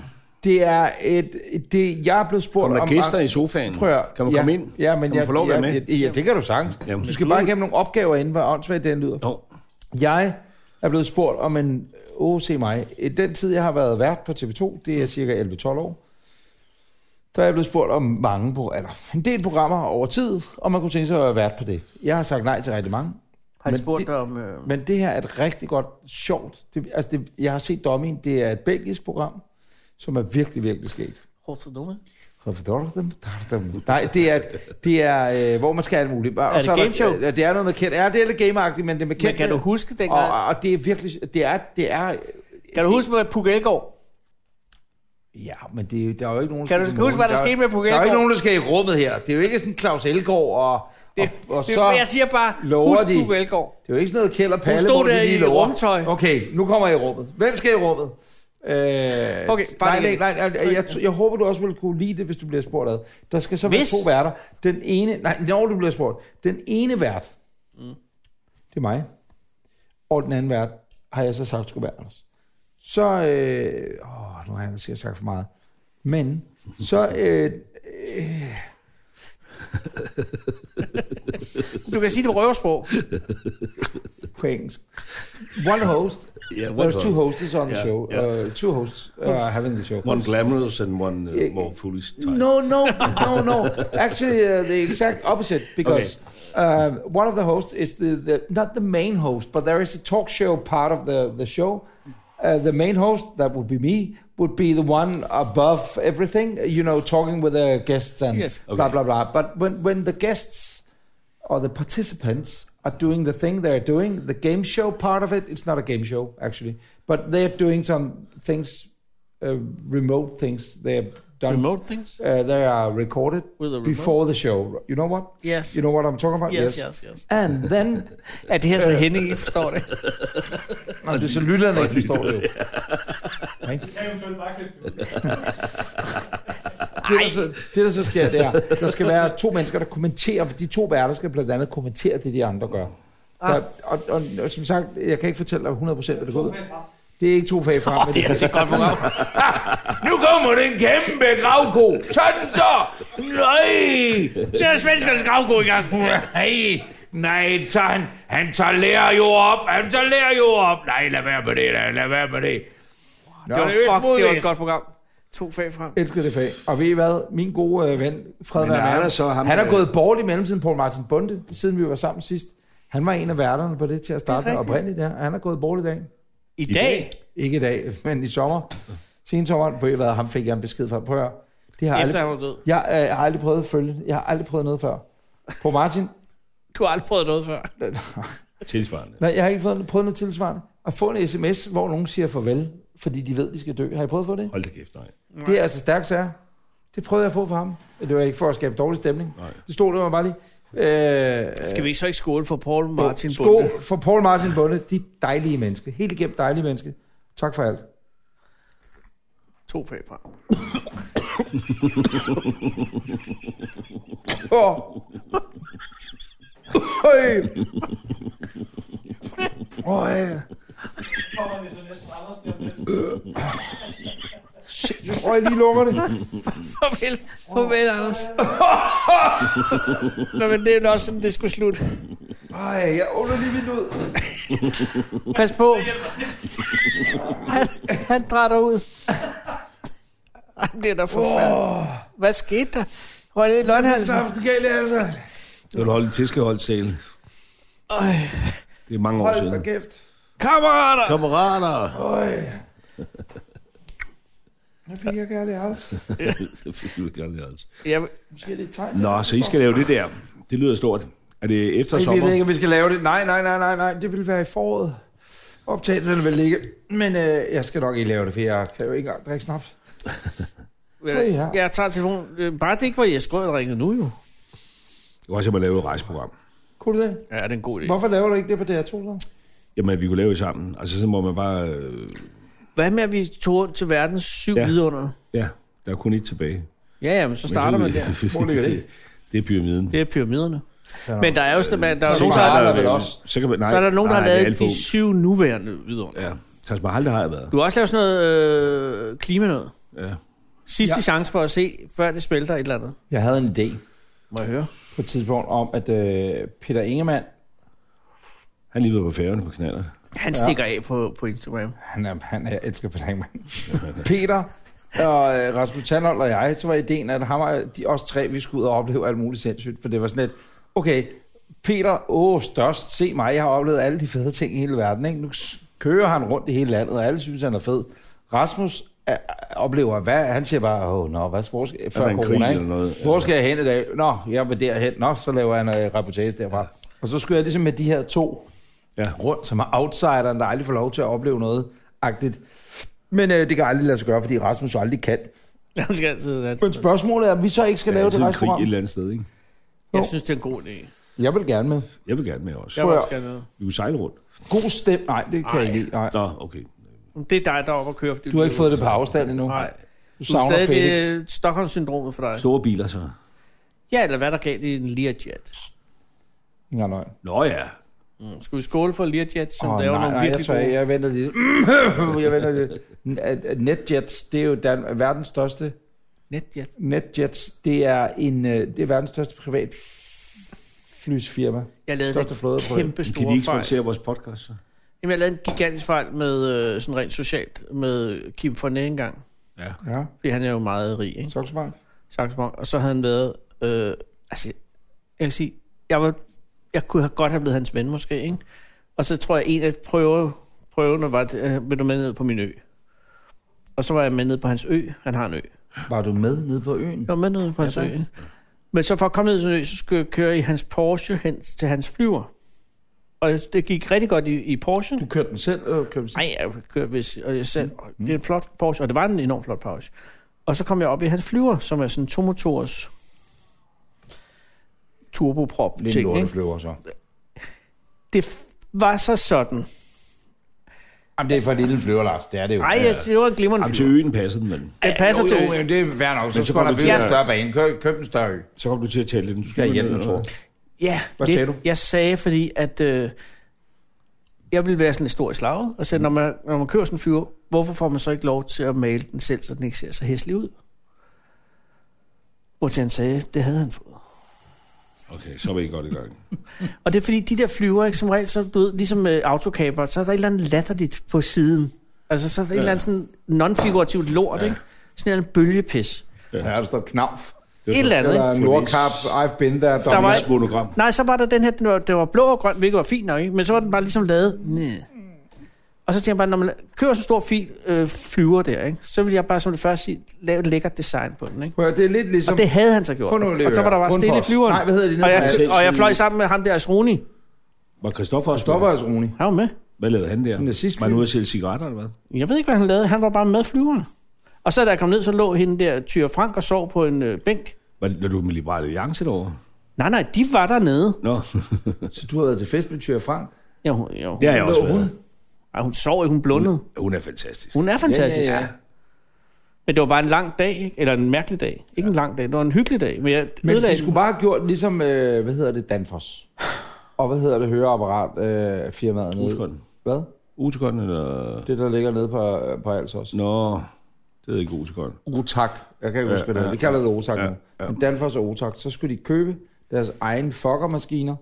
Det er et... Det, jeg er blevet spurgt
Kommer
om...
der gæster i sofaen?
Prøv at høre.
Kan man
ja,
komme ind?
Ja, men
kan man
jeg,
få lov at
ja,
være med?
Ja, ja, det kan du sagtens.
Jamen,
Du skal bare igennem nogle opgaver inden, hvor åndssvagt den lyder.
Nå,
Jeg er blevet spurgt om en... Åh, se mig. I den tid, jeg har været vært på TV2, det er cirka 11-12 år, der er jeg blevet spurgt om mange på, eller en del programmer over tid, og man kunne tænke sig at være vært på det. Jeg har sagt nej til rigtig mange.
Har de
Men
spurgt
det-
dig om... Øh,
Men det her er et rigtig godt, sjovt. Det, altså det, jeg har set Dommien, det er et belgisk program, som er virkelig, virkelig skægt.
Horst og Dumme?
Nej, det er, det er øh, hvor man skal alt muligt. Og
Er det
så der-
gameshow?
Ja, det er noget med kendt. Ja, det er lidt gameagtigt, men det er med
Men
kendt.
kan du huske
og,
dengang?
og- og, det er virkelig... Det er, det er,
Kan du huske med Puk Elgård?
ja, men det, er jo- der er jo ikke nogen...
Kan du
skal-
huske, hvad der
er-
skete med Puk
Der er jo ikke
Elgård?
nogen, der skal i rummet her. Det er jo ikke sådan Claus Elgaard og, det, og, og
Det-
så...
Jeg siger bare,
lover
husk
de-
Puk Elgård.
Det er jo ikke sådan noget Kjeld og Palle,
stod
hvor de
der
lige
i
lover.
rumtøj.
Okay, nu kommer jeg i rummet. Hvem skal i rummet? Øh, okay,
bare
nej, nej,
lige-
nej, nej, jeg, jeg, jeg håber, du også vil kunne lide det, hvis du bliver spurgt ad. Der skal så være
Hvis?
to værter. Den ene, nej, når du bliver spurgt. Den ene vært, mm. det er mig. Og den anden vært, har jeg så sagt, skulle være Anders. Så, øh, åh, nu har jeg sikkert sagt for meget. Men, så, øh, øh,
Du kan sige det på røversprog.
på engelsk. One host,
ja, one,
There's two hostess on the
Yeah,
show.
yeah.
Uh, two hosts uh, having the show.
one glamorous and one uh,
Yeah.
more foolish type.
No, no, no, no. Actually, uh, the exact opposite because uh, one of the hosts is the, the not the main host, but there is a talk show part of the the show. Uh, the main host, that would be me, would be the one above everything. You know, talking with the guests and
Yes.
blah
Okay.
blah blah. But when when the guests or the participants are doing the thing they're doing, the game show part of it, it's not a game show actually, but they're doing some things, uh, remote things. They're done
Remote things?
uh, they are recorded
With a remote?
before the show. You know what?
Yes.
You know what I'm talking about?
Yes, yes, yes.
And then,
<laughs> Er det her så Henning ikke forstår det?
og det er så lytterne, ikke forstår
<laughs>
det jo.
Jeg kan eventuelt bare klippe det ud.
Det der, så, det, der så sker, det er, der skal være to mennesker, der kommenterer, for de to værter skal blandt andet kommentere det, de andre gør. Der, og, og, og, som sagt, jeg kan ikke fortælle dig 100% hvad det går ud. Det er ikke to fag frem. men det er altså godt program. <laughs> nu kommer den kæmpe gravko. Sådan så! Nej!
Så er svenskernes gravgå i gang.
Nej, nej, så han, han tager lærer jo op, han tager lærer jo op. Nej, lad være med det, lad, lad være med det. Nå,
Oh,
fuck,
fuck, det var et godt program. To fag frem.
elsker det fag. Og ved I hvad? Min gode øh, ven, Fred
Men er
Werner,
der så ham,
han er
øh,
gået bort i mellemtiden, Paul Martin Bunde, siden vi var sammen sidst. Han var en af værterne på det til at starte med
rigtigt.
oprindeligt, ja. Han er gået bort i dag.
I dag?
Ikke i dag, <laughs> men i sommer. Sen sommeren, ved I hvad? Ham fik jeg en besked fra. Prøv at høre. Det har jeg
Efter
aldrig,
han var død.
jeg, øh, jeg har aldrig prøvet at følge. Jeg har aldrig prøvet noget før. På Martin,
Du har aldrig prøvet noget før.
Tilsvarende.
Nej, jeg har ikke fået, prøvet noget tilsvarende. At få en sms, hvor nogen siger farvel, fordi de ved, de skal dø. Har I prøvet at få det?
Hold da kæft, nej.
Det er altså stærkt sager. Det prøvede jeg at få fra ham. Det var ikke for at skabe dårlig stemning.
Nej.
Det stod der var bare lige. Øh,
Skal vi ikke så ikke skåle for Paul Martin
sko
Bunde?
for Paul Martin Bunde. De dejlige menneske. Helt igennem dejlige menneske. Tak for alt.
To fag frem.
Åh. Øj. <laughs> Øj.
Kommer vi så næsten Anders der
<laughs>
næste.
Øj, lige lukker det.
Farvel, farvel Anders. <laughs> Nå, men det er jo også sådan, det skulle slutte.
Øj, jeg åbner lige vinduet.
Pas på. Han, han drætter ud. Ej, det er da forfærdeligt. Hvad skete der? Røg ned i løgnhalsen.
Gale, altså.
Det var holde tiskeholdt sale.
Øj.
Det er mange år
Hold da
siden.
kæft.
Kammerater!
Kammerater!
Øj. Nu fik jeg gerne altså.
det fik vi ikke aldrig altså.
Jeg,
Måske lidt tegn.
Nå, så I skal lave det der. Det lyder stort. Er det efter
Vi
sommer?
ved ikke, om vi skal lave det. Nej, nej, nej, nej, nej. Det vil være i foråret. Optagelserne vil ligge. Men øh, jeg skal nok ikke lave det, for jeg kan jo ikke engang drikke snaps.
jeg, jeg tager telefonen. Øh, Bare det ikke var Jes Grøn ringet nu jo.
Det var også, at man lavede et rejseprogram.
Kunne du det?
Ja, det er en god idé.
Hvorfor laver du ikke det på DR2? Så?
Jamen, vi kunne lave det sammen. Altså, så må man bare... Øh,
Hvad med, at vi tog rundt til verdens syv
Ja.
ja. vidunder?
ja, der er kun et tilbage.
Ja, ja, men så starter
<laughs>
man der.
Hvor ligger det? Det er pyramiden.
Det er pyramiderne. Men der er jo stadig, der er jo
Så
nogen,
kan
der,
man-
er der
øh,
vel også.
Så, kan man, nej,
så er der nogen, der
nej,
har
det er
lavet
alt for-
de syv nuværende vidunder.
Ja, Taj Mahal, der har jeg været.
Du har også lavet sådan noget øh, klima noget.
Ja.
Sidste ja. chance for at se, før det spælter et eller andet.
Jeg havde en idé
Må jeg høre?
på et tidspunkt om, at øh, Peter Ingemann,
Han er lige ved på færgerne på knaller.
Han stikker af på, på Instagram. <laughs>
han er, han er elsker Peter Ingemann, <laughs> Peter og øh, Rasmus Tandholt og jeg, så var ideen, at ham og de os tre, vi skulle ud og opleve alt muligt sindssygt, for det var sådan et, okay, Peter, åh, størst, se mig, jeg har oplevet alle de fede ting i hele verden, ikke? Nu s- kører han rundt i hele landet, og alle synes, han er fed. Rasmus er, er- oplever, hvad, han siger bare, åh, nå, hvad, hvor skal, før
der en
corona,
krig
ikke?
eller noget?
Hvor skal jeg hen i dag? Nå, jeg vil derhen. Nå, så laver jeg en øh, reportage derfra. Og så skulle jeg ligesom med de her to
Ja.
rundt, som er outsideren, der aldrig får lov til at opleve noget agtigt. Men øh, det kan aldrig lade sig gøre, fordi Rasmus jo aldrig kan.
Han skal altid være et
Men
sted.
spørgsmålet er, om vi så ikke skal
Der er
lave det
altid en
resten
krig
program.
et eller andet sted, ikke?
Jeg synes, det er en god idé.
Jeg vil gerne med.
Jeg vil gerne med også.
Jeg
Prøv
vil
at-
også gerne noget.
Vi kunne sejle rundt.
God stem. Nej, det kan Ej. jeg ikke. Nej.
Nå, okay.
Men Det er dig, der er oppe og kører. Fordi
Du har ikke fået det på afstand endnu.
Nej.
Du
Du er
savner
stadig øh,
Felix.
det Stockholm-syndromet for dig.
Store biler så.
Ja, eller hvad der galt i en Learjet.
Nej, nej.
Nå ja.
Mm. Skal vi skåle for Learjet, som
Åh,
oh,
nej,
laver nogle
nej, jeg
virkelig
tror,
gode...
jeg, jeg venter lidt. <laughs> jeg venter lidt. Netjets, det er jo Dan- verdens største
Netjet.
Netjets, det er, en, øh, det er verdens største privat flysfirma.
Jeg lavede
Største flåde
en
på
kæmpe
Kan de
store
ikke
fejl.
sponsere vores podcast så?
Jamen, jeg lavede en gigantisk fejl med, øh, sådan rent socialt med Kim Fornæ engang.
Ja.
Ja,
Fordi han er jo meget rig, ikke?
Soxbank.
Saxbank, og så havde han været, øh, altså, jeg vil sige, jeg, var, jeg kunne have godt have blevet hans ven måske, ikke? Og så tror jeg, en af prøve, prøverne var, øh, vil du med ned på min ø? Og så var jeg med ned på hans ø, han har en ø.
Var du med nede på øen?
Jeg var med ned på hans ø, ikke? Men så for at komme ned til hans ø, så skulle jeg køre i hans Porsche hen til hans flyver. Og det gik rigtig godt i, i Porsche.
Du kørte den selv, eller kørte den selv?
Nej, jeg kørte hvis, og jeg selv,
Mm.
det er en flot Porsche, og det var en enormt flot Porsche. Og så kom jeg op i hans flyver, som er sådan en tomotors turboprop
Lidt en
ting. Ikke?
lorteflyver så.
Det f- var så sådan.
Jamen, det er for en lille flyver, Lars. Det er det jo.
Ej, jeg, det var en glimrende
Jamen, til
flyver.
øen passede den, men
Den passer til.
jo, jo, det er fair nok. Så,
så
skal
kom
der
du til
bygge en
at-
større bane. Køb, køb en større ø.
så kom du til at tale lidt. Du
Skal jeg
ned
hjælpe,
og-
tror jeg.
Ja,
Hvad
lidt.
sagde du?
Jeg sagde, fordi at øh, jeg ville være sådan lidt stor i slaget, og så
Mm.
når man, når man kører sådan en flyver, hvorfor får man så ikke lov til at male den selv, så den ikke ser så hæslig ud? Hvor han sagde, det havde han fået.
Okay, så var I godt i gang.
Og det er fordi, de der flyver, ikke, som regel, så, du ved, ligesom øh, autocaper, så er der et eller andet latterligt på siden. Altså, så er der et eller andet sådan non-figurativt lort, ja. ikke? Sådan en eller anden bølgepis.
Ja, der står knavf.
Et eller andet, ikke?
Eller Nordkap, I've been there.
Der var,
Hans monogram.
Nej, så var der den her, den var, den var blå og grøn, hvilket var fint nok, ikke? men så var den bare ligesom lavet. Næh.
Mm.
Og så tænker jeg bare, når man kører så stor fil, øh, flyver der, ikke? så vil jeg bare som det første sige, lave et lækkert design på den. Ikke?
Prøv at høre, det er lidt ligesom...
Og det havde han så gjort.
Prøv nu lige
og så var der bare
Grundfos.
stille i flyveren.
Nej, hvad hedder det?
og, jeg,
Nede på-
og jeg fløj sammen med ham der, Asroni.
Var Christoffer også
Stopper os, Rune.
Han var med.
Hvad lavede han der?
Den nazist-
Var han ude at sælge cigaretter, eller hvad?
Jeg ved ikke, hvad han lavede. Han var bare med flyveren. Og så da jeg kom ned, så lå hende der, Tyre Frank, og sov på en øh, bænk.
Var, var du med Liberale Alliance derovre?
Nej, nej, de var dernede.
Nå,
Så du har været til fest med Tyre Frank?
Jo, hun- jo.
det har jeg også
Lå hun?
været.
Ej, hun sov ikke, hun blundede.
Hun er fantastisk.
Hun er fantastisk.
Ja, ja, ja.
Men det var bare en lang dag, ikke? eller en mærkelig dag. Ikke ja. en lang dag, det var en hyggelig dag. Men, jeg
Men
ødelagde
de
den.
skulle bare have gjort ligesom, øh, hvad hedder det, Danfoss. Og hvad hedder det, høreapparat øh, firmaet nede?
Husgården.
Hvad?
Utekotten, eller...
Det, der ligger nede på, øh, på Als også.
Nå, det hedder ikke Utekotten.
Otak. Jeg kan ikke
Ja,
huske, hvad det
ja,
hedder. Vi kalder det Otak
ja,
nu.
ja.
Men Danfoss og Otak, så skulle de købe deres egen fuckermaskiner.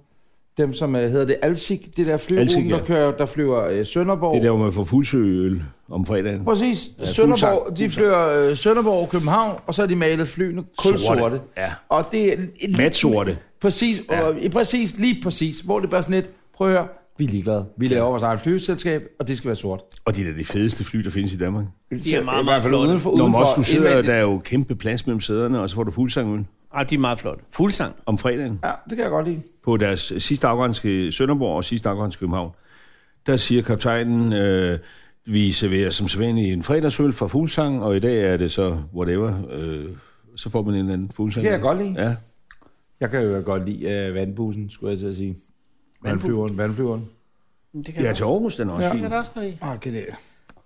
Dem, som øh, hedder det Alsik, det der
Alsik,
flyveruten,
ja.
der, kører, der flyver øh, Sønderborg.
Det er der, hvor man får fuldsøøl om fredagen.
Præcis. Ja,
fuglsang,
Sønderborg, de
fuglsang.
flyver øh, Sønderborg og København, og så har de malet flyene kulsorte. Sorte.
Ja.
Og det er... en-
Matsorte.
Præcis, ja. og, præcis, lige præcis, hvor det bare sådan lidt, prøv at høre, vi er ligeglade. Vi laver vores eget flyselskab, og det skal være sort.
Og det er da det fedeste fly, der findes i Danmark.
Det er
meget,
i hvert fald
meget
udenfor,
Når
udenfor,
man også du sidder,
indvendigt.
der er jo kæmpe plads mellem sæderne, og så får du fuldsang ud
Ej, Ah, de er meget flotte. Fuldsang.
om fredagen
Ja, det kan jeg godt lide.
på deres sidste afgrænske Sønderborg og sidste afgrænske København. Der siger kaptajnen, øh, vi serverer som sædvanligt en fredagsøl fra fuldsang, og i dag er det så whatever. Øh, så får man en eller anden fuldsang.
Det kan jeg godt lide.
Ja.
Jeg kan jo godt lide uh, vandbussen, skulle jeg til at sige. Vandflyveren, vandflyveren.
Men Det kan
Ja,
jeg
til Aarhus, den er også ja.
godt.
fin.
Det, også noget i.
Åh, genialt.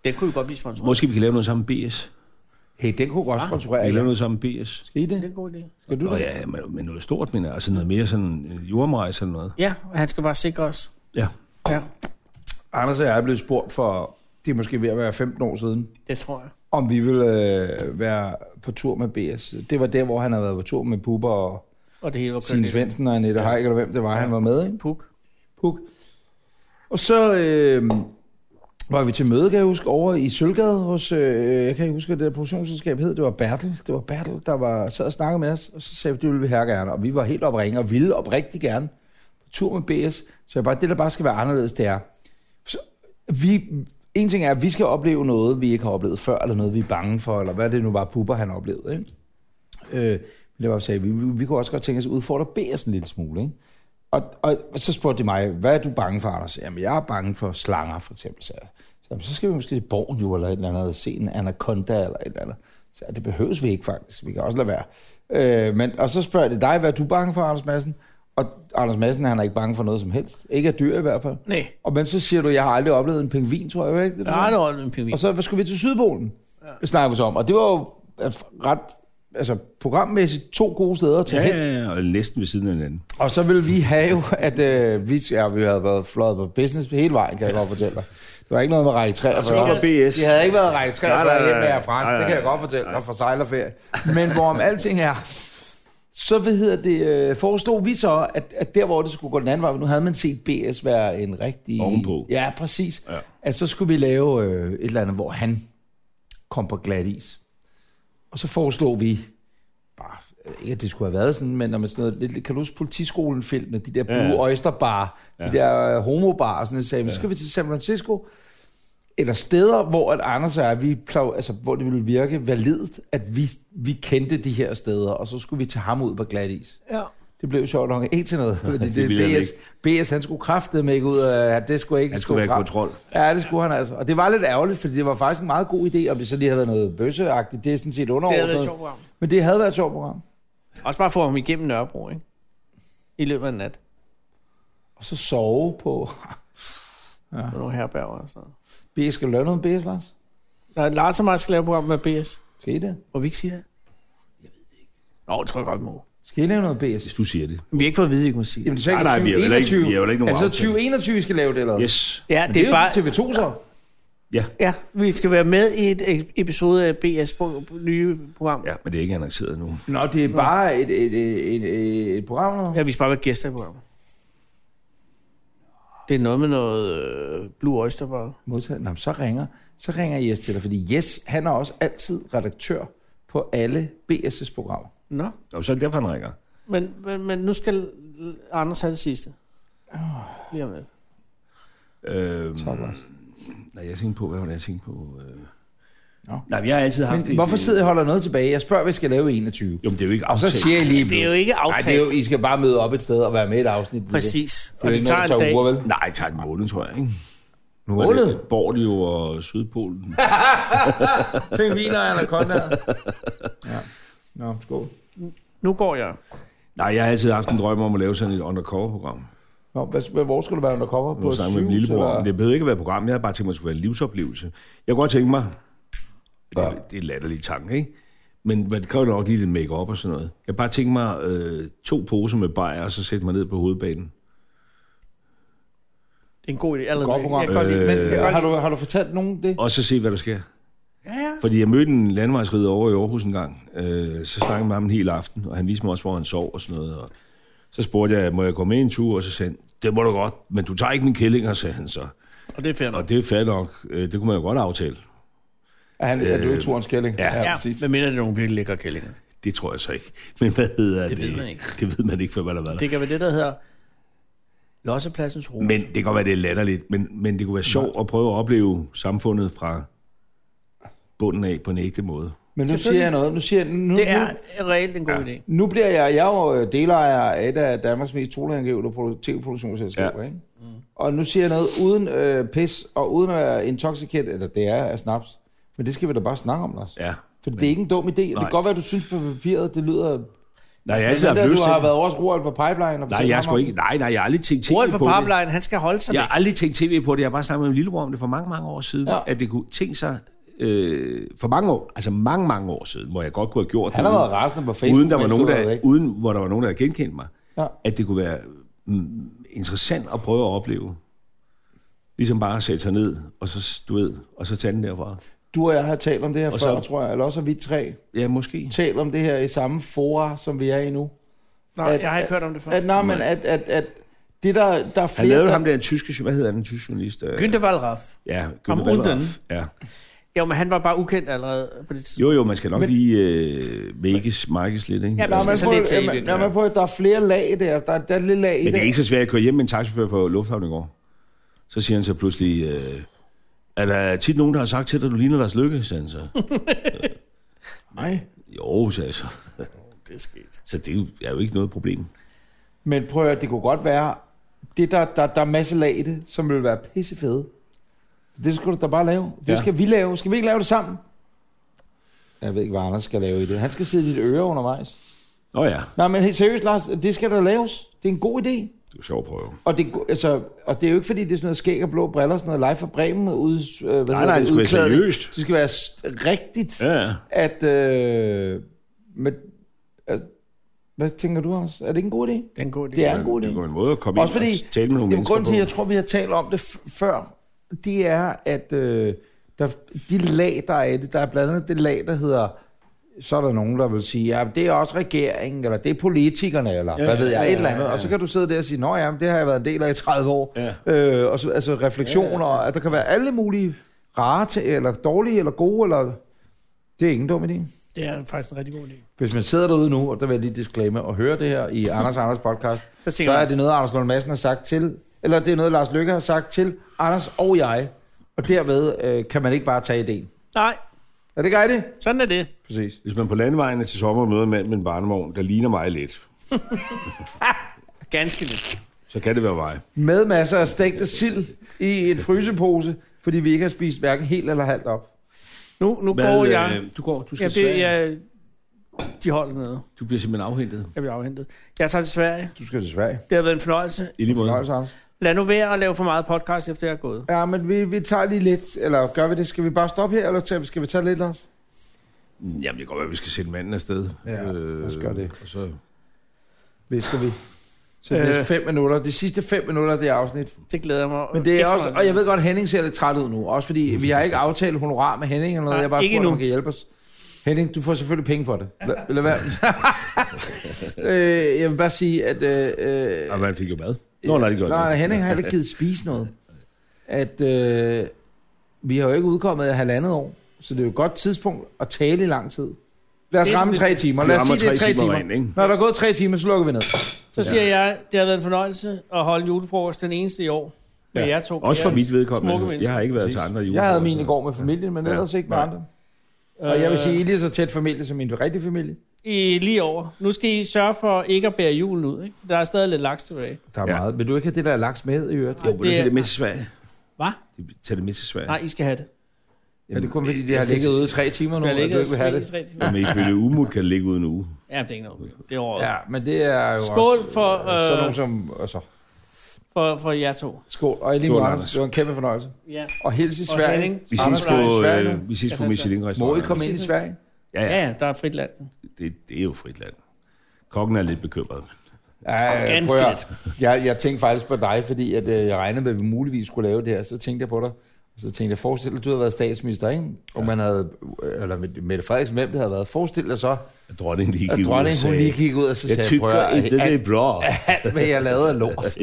det kunne vi godt blive sponsoreret.
Måske vi kan lave noget sammen med BS.
Hey, den kunne godt
Vi
sponsorere.
kan lave
jer.
noget sammen med BS.
Skal I
Det er
det?
en god idé.
Skal du
Nå
det?
ja, men, men noget stort, mener jeg. Altså noget mere sådan øh, jordomrejse eller noget.
Ja, og han skal bare sikre os.
Ja.
Ja,
Anders og jeg er blevet spurgt for, det er måske ved at være 15 år siden,
det tror jeg.
om vi ville øh, være på tur med BS. Det var der, hvor han havde været på tur med Puber og
Og det hele var
Signe
planlagt.
Svendsen og Annette Heik, eller hvem det var, han var med, ikke?
Puk.
Puk. Og så øh, var vi til møde, kan jeg huske, over i Sølvgade hos, øh, jeg kan ikke huske, hvad det der produktionsselskab hed, det var Bertel, det var Bertel, der var, sad og snakkede med os, og så sagde vi, det ville vi her gerne, og vi var helt opringe og ville oprigtig gerne på tur med BS, så jeg bare, det der bare skal være anderledes, det er, så, vi, en ting er, at vi skal opleve noget, vi ikke har oplevet før, eller noget, vi er bange for, eller hvad det nu var, Puber han oplevede, ikke? Øh, men det var sagde, vi, vi, vi kunne også godt tænke os at udfordre BS en lille smule, ikke? Og, og, og så spurgte de mig, hvad er du bange for, Anders? Jamen, jeg er bange for slanger, for eksempel. Så, jeg, så, jamen, så skal vi måske til Borgen jo, eller et eller andet, og se en anaconda, eller et eller andet. Så jeg, det behøves vi ikke, faktisk. Vi kan også lade være. Øh, men, og så spørger de dig, hvad er du bange for, Anders Madsen? Og Anders Madsen, han er ikke bange for noget som helst. Ikke af dyr i hvert fald.
Nej,
Og men så siger du, jeg har aldrig oplevet en pingvin, tror jeg, var ikke? Det, du
der
sagde?
er det også en pingvin.
Og så hvad skulle vi til Sydpolen, ja. snakker vi så om. Og det var jo altså, ret, altså programmæssigt to gode steder at tage hen.
Ja, ja, ja, og næsten ved siden af hinanden.
Og så ville vi have, at øh, vi, ja, vi havde været fløjet på business hele vejen, kan jeg godt fortælle dig. Det var ikke noget med række 43.
Så var BS.
De havde ikke været række 43
Nej, nej,
hjemme med
nej.
Air France,
Nej, nej,
det kan jeg
nej.
godt fortælle dig fra sejlerferie. Men hvorom alting er, så hvad hedder det, øh, foreslog vi så, at, at der hvor det skulle gå den anden vej, nu havde man set BS være en rigtig...
Ovenpå.
Ja, præcis.
Ja.
Ja. At så skulle vi lave øh, et eller andet, hvor han kom på glat is. Og så foreslog vi, bare, øh, ikke at det skulle have været sådan, men når man sådan noget, lidt, kan du huske politiskolen filmene, de der Blue
Ja, ja.
ja. Oyster Bar, de
Ja.
der øh, homobar og sådan noget, sagde, ja. skal vi til San Francisco, eller steder, hvor at Anders og jeg, vi, plov- altså, hvor det ville virke validt, at vi, vi kendte de her steder, og så skulle vi tage ham ud på glat is.
Ja.
Det blev sjovt nok ikke til
<laughs>
noget, fordi det,
ville han
det BS, BS, han skulle kraftedeme ikke ud, af, det skulle ikke
Han
gå
skulle være i
frem.
kontrol.
Ja, det skulle han altså. Og det var lidt ærgerligt, fordi det var faktisk en meget god idé, om det så lige havde været noget bøsseagtigt. Det er sådan set
Det
underordnet.
havde været et sjovt program.
Men det havde været et sjovt program.
Også bare få ham igennem Nørrebro, ikke? I løbet af en nat.
Og så sove på... <laughs>
På nogle herberger og sådan noget.
B, skal du lave noget med BS, Lars?
Nej, Lars og mig skal lave et program med BS.
Skal I det?
Må vi ikke sige det? Jeg ved det ikke. Nå, det tror jeg godt, vi må.
Skal I lave noget BS?
hvis du siger det.
Vi har ikke fået at vide, I kan sige.
Jamen, det er så ikke
Nej, nej, vi har jo heller ikke-
2021.
vi har jo heller ikke nogen
Er det så
aftale.
2021, I skal lave det, eller? hvad?
Yes.
Ja,
Men
det er bare...
TV2 så.
Ja.
Ja, vi skal være med i et e- episode af BS nye program. Ja.
ja, men det er ikke annonceret nu.
Nå, det er bare et, et, et, et, et program, eller?
ja, vi skal bare være gæster i programmet. Det er noget med noget øh, Blue Oyster bare.
modtaget. Nå, men så ringer, så ringer Jes til dig, fordi Jes, han er også altid redaktør på alle BS' programmer.
Nå,
Og så er det derfor, han ringer.
men, men, men nu skal Anders have det sidste. Lige om lidt.
Øhm,
Tak, Lars.
nej, jeg tænkte på, hvad var det, jeg tænkte på? Øh...
Nå.
Nej, men jeg har altid haft...
Men
et-
hvorfor sidder I og holder noget tilbage? Jeg spørger, hvad I skal lave i 21.
Jo, men det er jo ikke
Og så
aftalt.
siger I lige...
Det er jo ikke
Nej, det er
aftalt.
jo, I skal bare møde op et sted og være med i et afsnit. Det er det.
Præcis.
Det er
Og
jo
det
ikke noget,
tager
der
en
tager
dag.
uger, vel?
Nej, det tager en måned, tror jeg, ikke?
Måned?
Var det Borneo og
<laughs>
Sydpolen.
Pingviner og anaconda. <laughs> Ja. Nå, skål.
Nu går jeg.
Nej, jeg har altid haft en drøm om at lave sådan et undercover-program.
Nå, hvad, hvad, hvor skulle du være undercover?
Nu
På et
snakker jeg med min
sygehus,
lillebror om
eller?
det. Det behøver ikke at være et program. Jeg har bare tænkt mig, at det skulle være en livsoplevelse. Jeg kunne godt tænke mig... Det, er- det er latterlig tanke, ikke? Men men det kræver nok lige lidt make-up og sådan noget. Jeg har bare tænkt mig øh, to poser med bajer, og så sætte mig ned på hovedbanen.
Det er en god idé. Allerede.
Godt program.
Jeg kan godt lide-
Men øh, har, du, har du fortalt nogen det?
Og så se, hvad der sker. Ja, ja. Fordi jeg mødte en landvejsrider over i Aarhus en gang. Øh, så snakkede jeg med ham en hel aften, og han viste mig også, hvor han sov og sådan noget. Og så spurgte jeg, må jeg komme med en tur? Og så sagde han, det må du godt, men du tager ikke min kællinger, sagde han så.
Og det er fair nok.
Og det er fair nok. Øh, det kunne man jo godt aftale.
Er, han, er du i Torens Kælling?
Øh, ja.
Ja, men mindre det er nogle virkelig lækre kællinger.
Det tror jeg så ikke. <laughs> Men hvad hedder det?
Det ved man ikke.
Det ved man ikke, før man har været der.
Det kan være det, der hedder Lossepladsens Rose.
Men det kan godt være, det er latterligt, men, men det kunne være sjovt at prøve at opleve samfundet fra bunden af på en ægte måde.
Men nu siger jeg noget. Nu, siger, jeg- nu,
det
nu,
er reelt en god idé.
Nu bliver jeg, jeg er jo øh, delejer af et af Danmarks mest tolangivelige tv-produktionsselskaber,
Ja.
ja. ikke? Og nu siger jeg noget uden øh, pis og uden at være intoxicant, eller det er af snaps. Men det skal vi da bare snakke om, Lars.
Ja.
For det er ikke en dum idé. og Det
Nej.
kan godt være, du synes på papiret, det lyder...
Nej, jeg har altid haft
der,
lyst
du
til
har
det.
været over hos Roald på Pipeline. Og
Nej, jeg har sgu ikke. Nej, nej, jeg har aldrig tænkt tv
Roald for
på det.
Parblind, han skal holde sig
Jeg
ja.
har aldrig tænkt tv på det. Jeg har bare snakket med min lillebror om det for mange, mange år siden, ja.
Ja.
at det kunne tænke sig øh, for mange år, altså mange, mange år siden, hvor jeg godt kunne have gjort
Han
det.
har
uden-
været rasende på Facebook.
uden, der var
mens
nogen,
du været
der,
væk.
uden, hvor der var nogen, der havde genkendt mig, ja.
Ja.
at det kunne være mm, interessant at prøve at opleve. Ligesom bare at sætte sig ned, og så, du ved, og så tage den derfra.
Du og jeg har talt om det her
Og
før,
så-
tror jeg. Eller også har vi tre
Ja, måske.
talt om det her i samme fora, som vi er i nu.
Nej,
at-
jeg har ikke hørt om det før.
At, nej, men at, at, at det der, der er flere,
Han lavede
der...
ham der tyske, hvad hedder han, en tysk journalist? øh,
Günther Wallraff.
Ja,
Ham
Günther Wallraff.
Runden.
Ja.
Jo, men han var bare ukendt allerede på det tidspunkt.
Jo, jo, man skal nok men... lige øh, vækkes, markes lidt, ikke?
Ja,
Altså, Ja,
men-
men...
Nå,
skal tage
man på,
lidt til i
jamen,
virkeligheden.
jamen, på, at der er flere lag der. Der, der er lidt lag i
men det er
det.
ikke så svært at køre hjem med en taxachauffør fra Lufthavnen i går. Så siger han så pludselig, øh, er der tit nogen, der har sagt til dig, at du ligner Lars Lykke, sagde han så.
Nej.
jo, sagde jeg så.
Det er sket.
Så det er jo- er jo ikke noget problem.
Men prøv at høre, det kunne godt være, det der, der, der er masse lag i det, som ville være pissefede. Det skulle du da bare lave. Det
Ja.
skal vi lave. Skal vi ikke lave det sammen? Jeg ved ikke, hvad Anders skal lave i det. Han skal sidde i dit øre undervejs.
Nå ja,
Nej, men helt seriøst, Lars, det skal der laves. Det er en god idé.
det er sjovt at prøve.
Og det, er go- altså, og det er jo ikke, fordi det er sådan noget skæg og blå briller, sådan noget live fra Bremen. Ude, øh, hvad hedder
nej, det skulle være
udklædning.
seriøst.
Det skal være st- rigtigt.
Ja, ja.
at... Øh, med, at hvad tænker du, Anders? Er det ikke en god idé?
Det er en god idé.
Det er en god
Det
idé.
var en måde at komme
Også
ind
fordi,
og tale med nogle
jamen,
mennesker
grunden til,
på.
at jeg tror, vi har talt om det f- før, det er, at øh, der, de lag, der er i det, der er blandt andet det lag, der hedder, så er der nogen, der vil sige, ja, det er også regeringen, eller det er politikerne, eller ja, hvad ved jeg, ja, et eller andet. Ja, ja. Og så kan du sidde der og sige, nå ja, men det har jeg været en del af i 30 år. Ja. Øh, og så, altså refleksioner, ja, ja, ja. at der kan være alle mulige rare, til- eller dårlige, eller gode, eller... Det er ingen dum idé.
Det er faktisk en rigtig god idé.
Hvis man sidder derude nu, og der vil jeg lige disclaimer, og hører det her i Anders og Anders podcast,
Så
<laughs> så,
tænker
så er
man-
det noget, Anders Lund Madsen har sagt til, eller det er noget, Lars Lykke har sagt til Anders og jeg, og derved øh, kan man ikke bare tage ideen.
Nej,
Er det ikke rigtigt?
sådan er det.
Præcis.
Hvis man på landevejene til sommer møder en mand med en barnevogn, der ligner mig lidt,
Ganske lidt.
så kan det være mig.
Med masser af stegte sild i en frysepose, fordi vi ikke har spist hverken helt eller halvt op.
Nu, nu går
øh,
jeg.
Du går, du
Ja,
skal
det,
ja.
jeg de holder nede.
Du bliver simpelthen afhentet.
Jeg bliver afhentet. Jeg tager til Sverige.
Du skal til Sverige.
Det har været en fornøjelse.
I lige måde.
Fornøjelse, Anders.
Lad nu være at lave for meget podcast, efter jeg er gået.
Ja, men vi, vi tager lige lidt, eller gør vi det? Skal vi bare stoppe her, eller tager- skal vi tage lidt, Lars?
Jamen, det kan godt være, at vi skal sætte manden afsted. Øh,
Ja, lad os gøre det.
Og så
visker vi. Så det er
Øh.
fem minutter. De sidste fem minutter af det afsnit.
Det glæder jeg mig.
Men det er
ekstra
også,
meget
og
til.
jeg ved godt, at Henning ser lidt træt ud nu. Også fordi vi har ikke aftalt honorar med Henning eller noget.
Nej,
jeg har bare
ikke
spurgt, om
endnu.
han kan hjælpe os. Henning, du får selvfølgelig penge for det. Lad, lad være. øh, jeg vil bare sige, at... Øh, øh,
Og man Ah, fik jo mad. Nå, nej, det gjorde
Nej,
det.
Henning
<laughs>
har heller ikke givet spise noget. At øh, vi har jo ikke udkommet i halvandet år, så det er jo et godt tidspunkt at tale i lang tid. Lad os
Det er
ramme
som
tre timer. Lad os sige, det er tre timer.
Rent, ikke?
Når der er gået tre timer, så lukker vi ned.
Så siger jeg, det har været en fornøjelse at holde julefrokost den eneste i år. Med
Ja.
ja. jer to.
Også for
Ja.
mit
Smukke
vedkommende.
mennesker.
Jeg har ikke været til andre jule.
Jeg havde min i går med familien, men
Ja.
ellers ikke med
Nej.
andre. Og
Øh,
jeg vil sige, I er lige så tæt familie som min rigtige familie.
Øh, I lige over. Nu skal I sørge for ikke at bære julen ud. Ikke? For Der er stadig lidt laks tilbage.
Der er
Ja.
meget. Vil du ikke have det der laks med i øvrigt?
Jo, men
Det
det
er-
er det med til Sverige.
Hvad?
Tag det med til Sverige.
Nej, I skal have det.
Er det kun fordi, de har
Jeg skal
ligget ude i tre timer nu,
Jeg
og du ikke
ligger
vil have
i
det?
tre timer.
Men ifølge Umut kan det ligge uden uge.
Ja, det er ikke noget. Det er over.
Ja, men det er jo
Skål
også,
for,
øh, sådan
øh,
nogen som... Altså,
For, for jer to.
skål. Og i lige
Skål,
måde, Anders,
Anders.
det var en kæmpe fornøjelse.
Ja,
Og hils i
Og
Sverige.
Henning.
Vi
Anders,
ses på,
du er i Sverige nu.
øh, vi ses
Jeg
på
tager
Michelin-restaurant.
Må I komme ind i Sverige?
Ja, ja.
ja, ja der er frit land.
Det, det er jo frit land. Kokken er lidt bekymret.
Ja,
Ganske
prøv at-
lidt.
Jeg, jeg tænkte faktisk på dig, fordi at, øh, jeg regnede med, at vi muligvis skulle lave det her. Så tænkte jeg på dig. Og så tænkte jeg, forestil dig, du havde været statsminister, ikke? Og man havde, eller Mette Frederiksen, hvem det havde været. Forestil dig så,
At dronningen lige
at
gik ud og
dronningen hun
sagde,
lige gik ud og så
jeg
sagde, prøv
tykker
at,
ikke, det
alt,
er bra.
alt, hvad jeg lavede af
<laughs>
lort.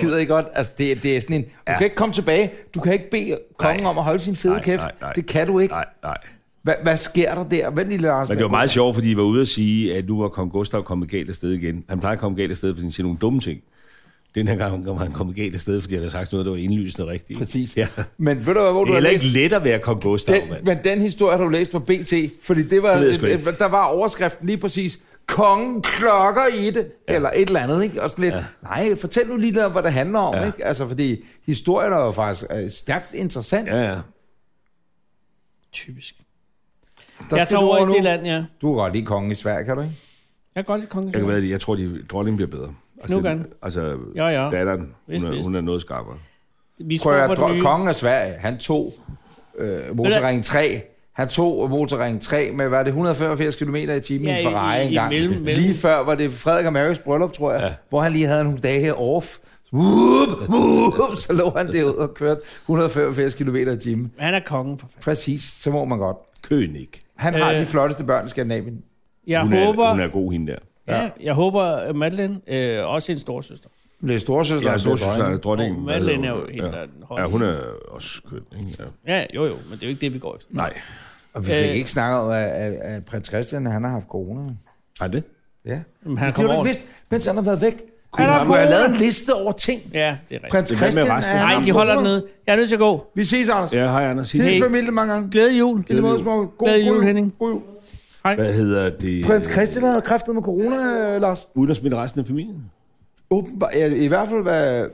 Gider I godt? Altså, det, det er sådan en, du kan ikke komme tilbage. Du kan ikke bede kongen
Nej.
om at holde sin fede
Nej,
kæft.
nej, nej.
Det kan du ikke.
Nej, nej.
Hva, hvad sker der der? Vent lige, Lars.
Men det var meget sjovt, fordi I var ude at sige, at nu var kong Gustav kommet galt afsted igen. Han plejer at komme galt afsted, fordi han siger nogle dumme ting. Den her gang var han kommet galt afsted, fordi han havde sagt noget, der var indlysende rigtigt.
Præcis.
Ja.
Men ved du hvad, hvor
Det
du
er
har
heller
læst?
ikke let at være kong Gustav,
Den,
mand.
men den historie har du læst på BT, fordi det var,
Det ved jeg sgu ikke.
der var overskriften lige præcis, kongen klokker i det, ja. eller et eller andet, ikke? Og sådan lidt, ja. nej, fortæl nu lige noget, hvad det handler om, ja. ikke? Altså, fordi historien er jo faktisk øh, stærkt interessant. Ja.
Ja, ja.
Typisk.
Der
jeg
skal
tager
du
over i
nu.
det land, ja.
Du er godt lige kongen i Sverige, kan du ikke?
Jeg kan godt lide kongen.
Jeg, kan være, det. jeg tror, at dronningen bliver bedre.
Knukkeren.
altså
Ja, ja.
datteren, hun
Vist,
er,
vist.
hun er noget skarpere.
Vi tror
Prøv at
på det
dro-
nye.
kongen af Sverige, han tog øh, motorring 3, han tog motorring 3 med, hvad er det, 185 km i timen ja, i en Ferrari
i- i
engang.
mellem- mellem.
Lige før var det Frederik og Marys bryllup, tror jeg, ja. hvor han lige havde nogle dage off. Whoop, whoop, så lå han derud og kørte 185 km i timen.
Han er kongen, for fanden.
Præcis, så må man godt.
König.
Han har
Øh.
de flotteste børn i Skandinavien.
Jeg
Hun,
håber,
er, hun er god, hende der.
ja, jeg håber at Madeleine øh, også er en storsøster.
Det er storsøster.
Jeg er
der bliver
storsøster
dronning.
af dronningen.
Åh,
hvad
Madeleine er
hedder
jo
hun?
hende, der er den
ja.
høje.
ja, hun er også køn. Ikke? Ja.
Ja, jo jo, men det er jo ikke det, vi går efter.
Nej.
Og vi fik
Øh.
ikke snakket om, at, at, at prins Christian, han har haft corona.
Har det?
Ja.
Jamen, han
Det har
kommer
du ikke
over.
vidst, mens han har været væk.
Kunne
han
han
har
have
skulle have
corona?
lavet en liste over ting.
Ja, det er rigtigt.
Prins
Men hvad med
Christian
resten?
er-
Nej, de holder den nede. Jeg er nødt til at gå.
Vi ses, Anders. Ja.
Ja, hej Anders.
Hils
Hey.
familie mange gange.
Glædelig jul.
I lige måde, små. God,
Glædelig
god
jul, Henning.
God jul.
Hvad hedder det?
Prins Christian havde kræftet med corona, øh, Lars.
Uden at smitte resten af familien?
Åbenbart, ja, i hvert fald, hvad...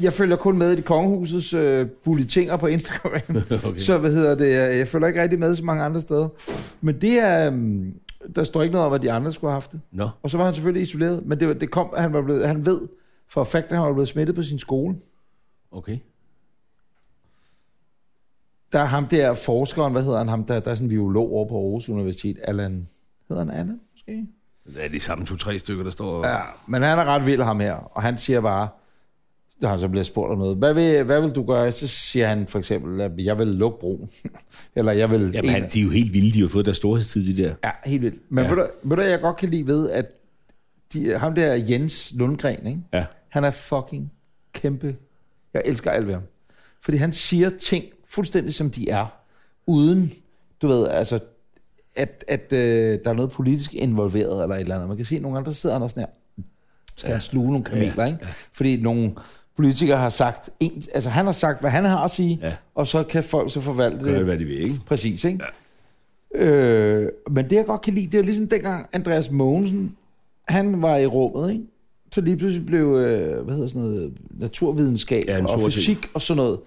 Jeg følger kun med i det kongehusets øh, bulletinger på Instagram. <laughs> okay. Så hvad hedder det? øh, Jeg følger ikke rigtig med så mange andre steder. Men det er... Øh, der står ikke noget om, at de andre skulle have haft det.
Nå.
Og så var han selvfølgelig isoleret. Men det, var- det kom, at han, var blevet, han ved for fakt, at han var blevet smittet på sin skole.
Okay.
Der er ham der forskeren, hvad hedder han? Ham, der, der er sådan en biolog over på Aarhus Universitet. Allan, hedder han Allan måske?
Det er de samme to-tre stykker, der står...
Ja, men han er ret vild ham her, og han siger bare, da han så bliver spurgt om noget, hvad vil, hvad vil du gøre? Så siger han for eksempel, at jeg vil lukke broen. <laughs> Eller jeg vil...
Jamen, han, de er jo helt vilde. De har jo fået deres storhedstid, de der.
Ja, helt vildt. Men ja.
Ja.
ved, du, ved du, hvad jeg godt kan lide ved, at de, ham der Jens Lundgren, ikke?
Ja.
han er fucking kæmpe. Jeg elsker alt ved ham. Fordi han siger ting fuldstændig som de er, uden, du ved, altså, at, at øh, der er noget politisk involveret eller et eller andet. Man kan se, at nogle andre sidder han også sådan her, skal ja. han sluge nogle kameler, ja. ikke? Fordi nogle politikere har sagt, en, altså han har sagt, hvad han har at sige, ja.
Ja.
og så kan folk så forvalte
Gør det,
det
hvad de vil, ikke?
Præcis, ikke? Ja. Øh, men det, jeg godt kan lide, det er jo ligesom dengang Andreas Mogensen, han var i rummet, ikke? Så lige pludselig blev, øh, hvad hedder sådan noget, naturvidenskab
Ja,
ja,
en
og
sort ting.
fysik og sådan noget.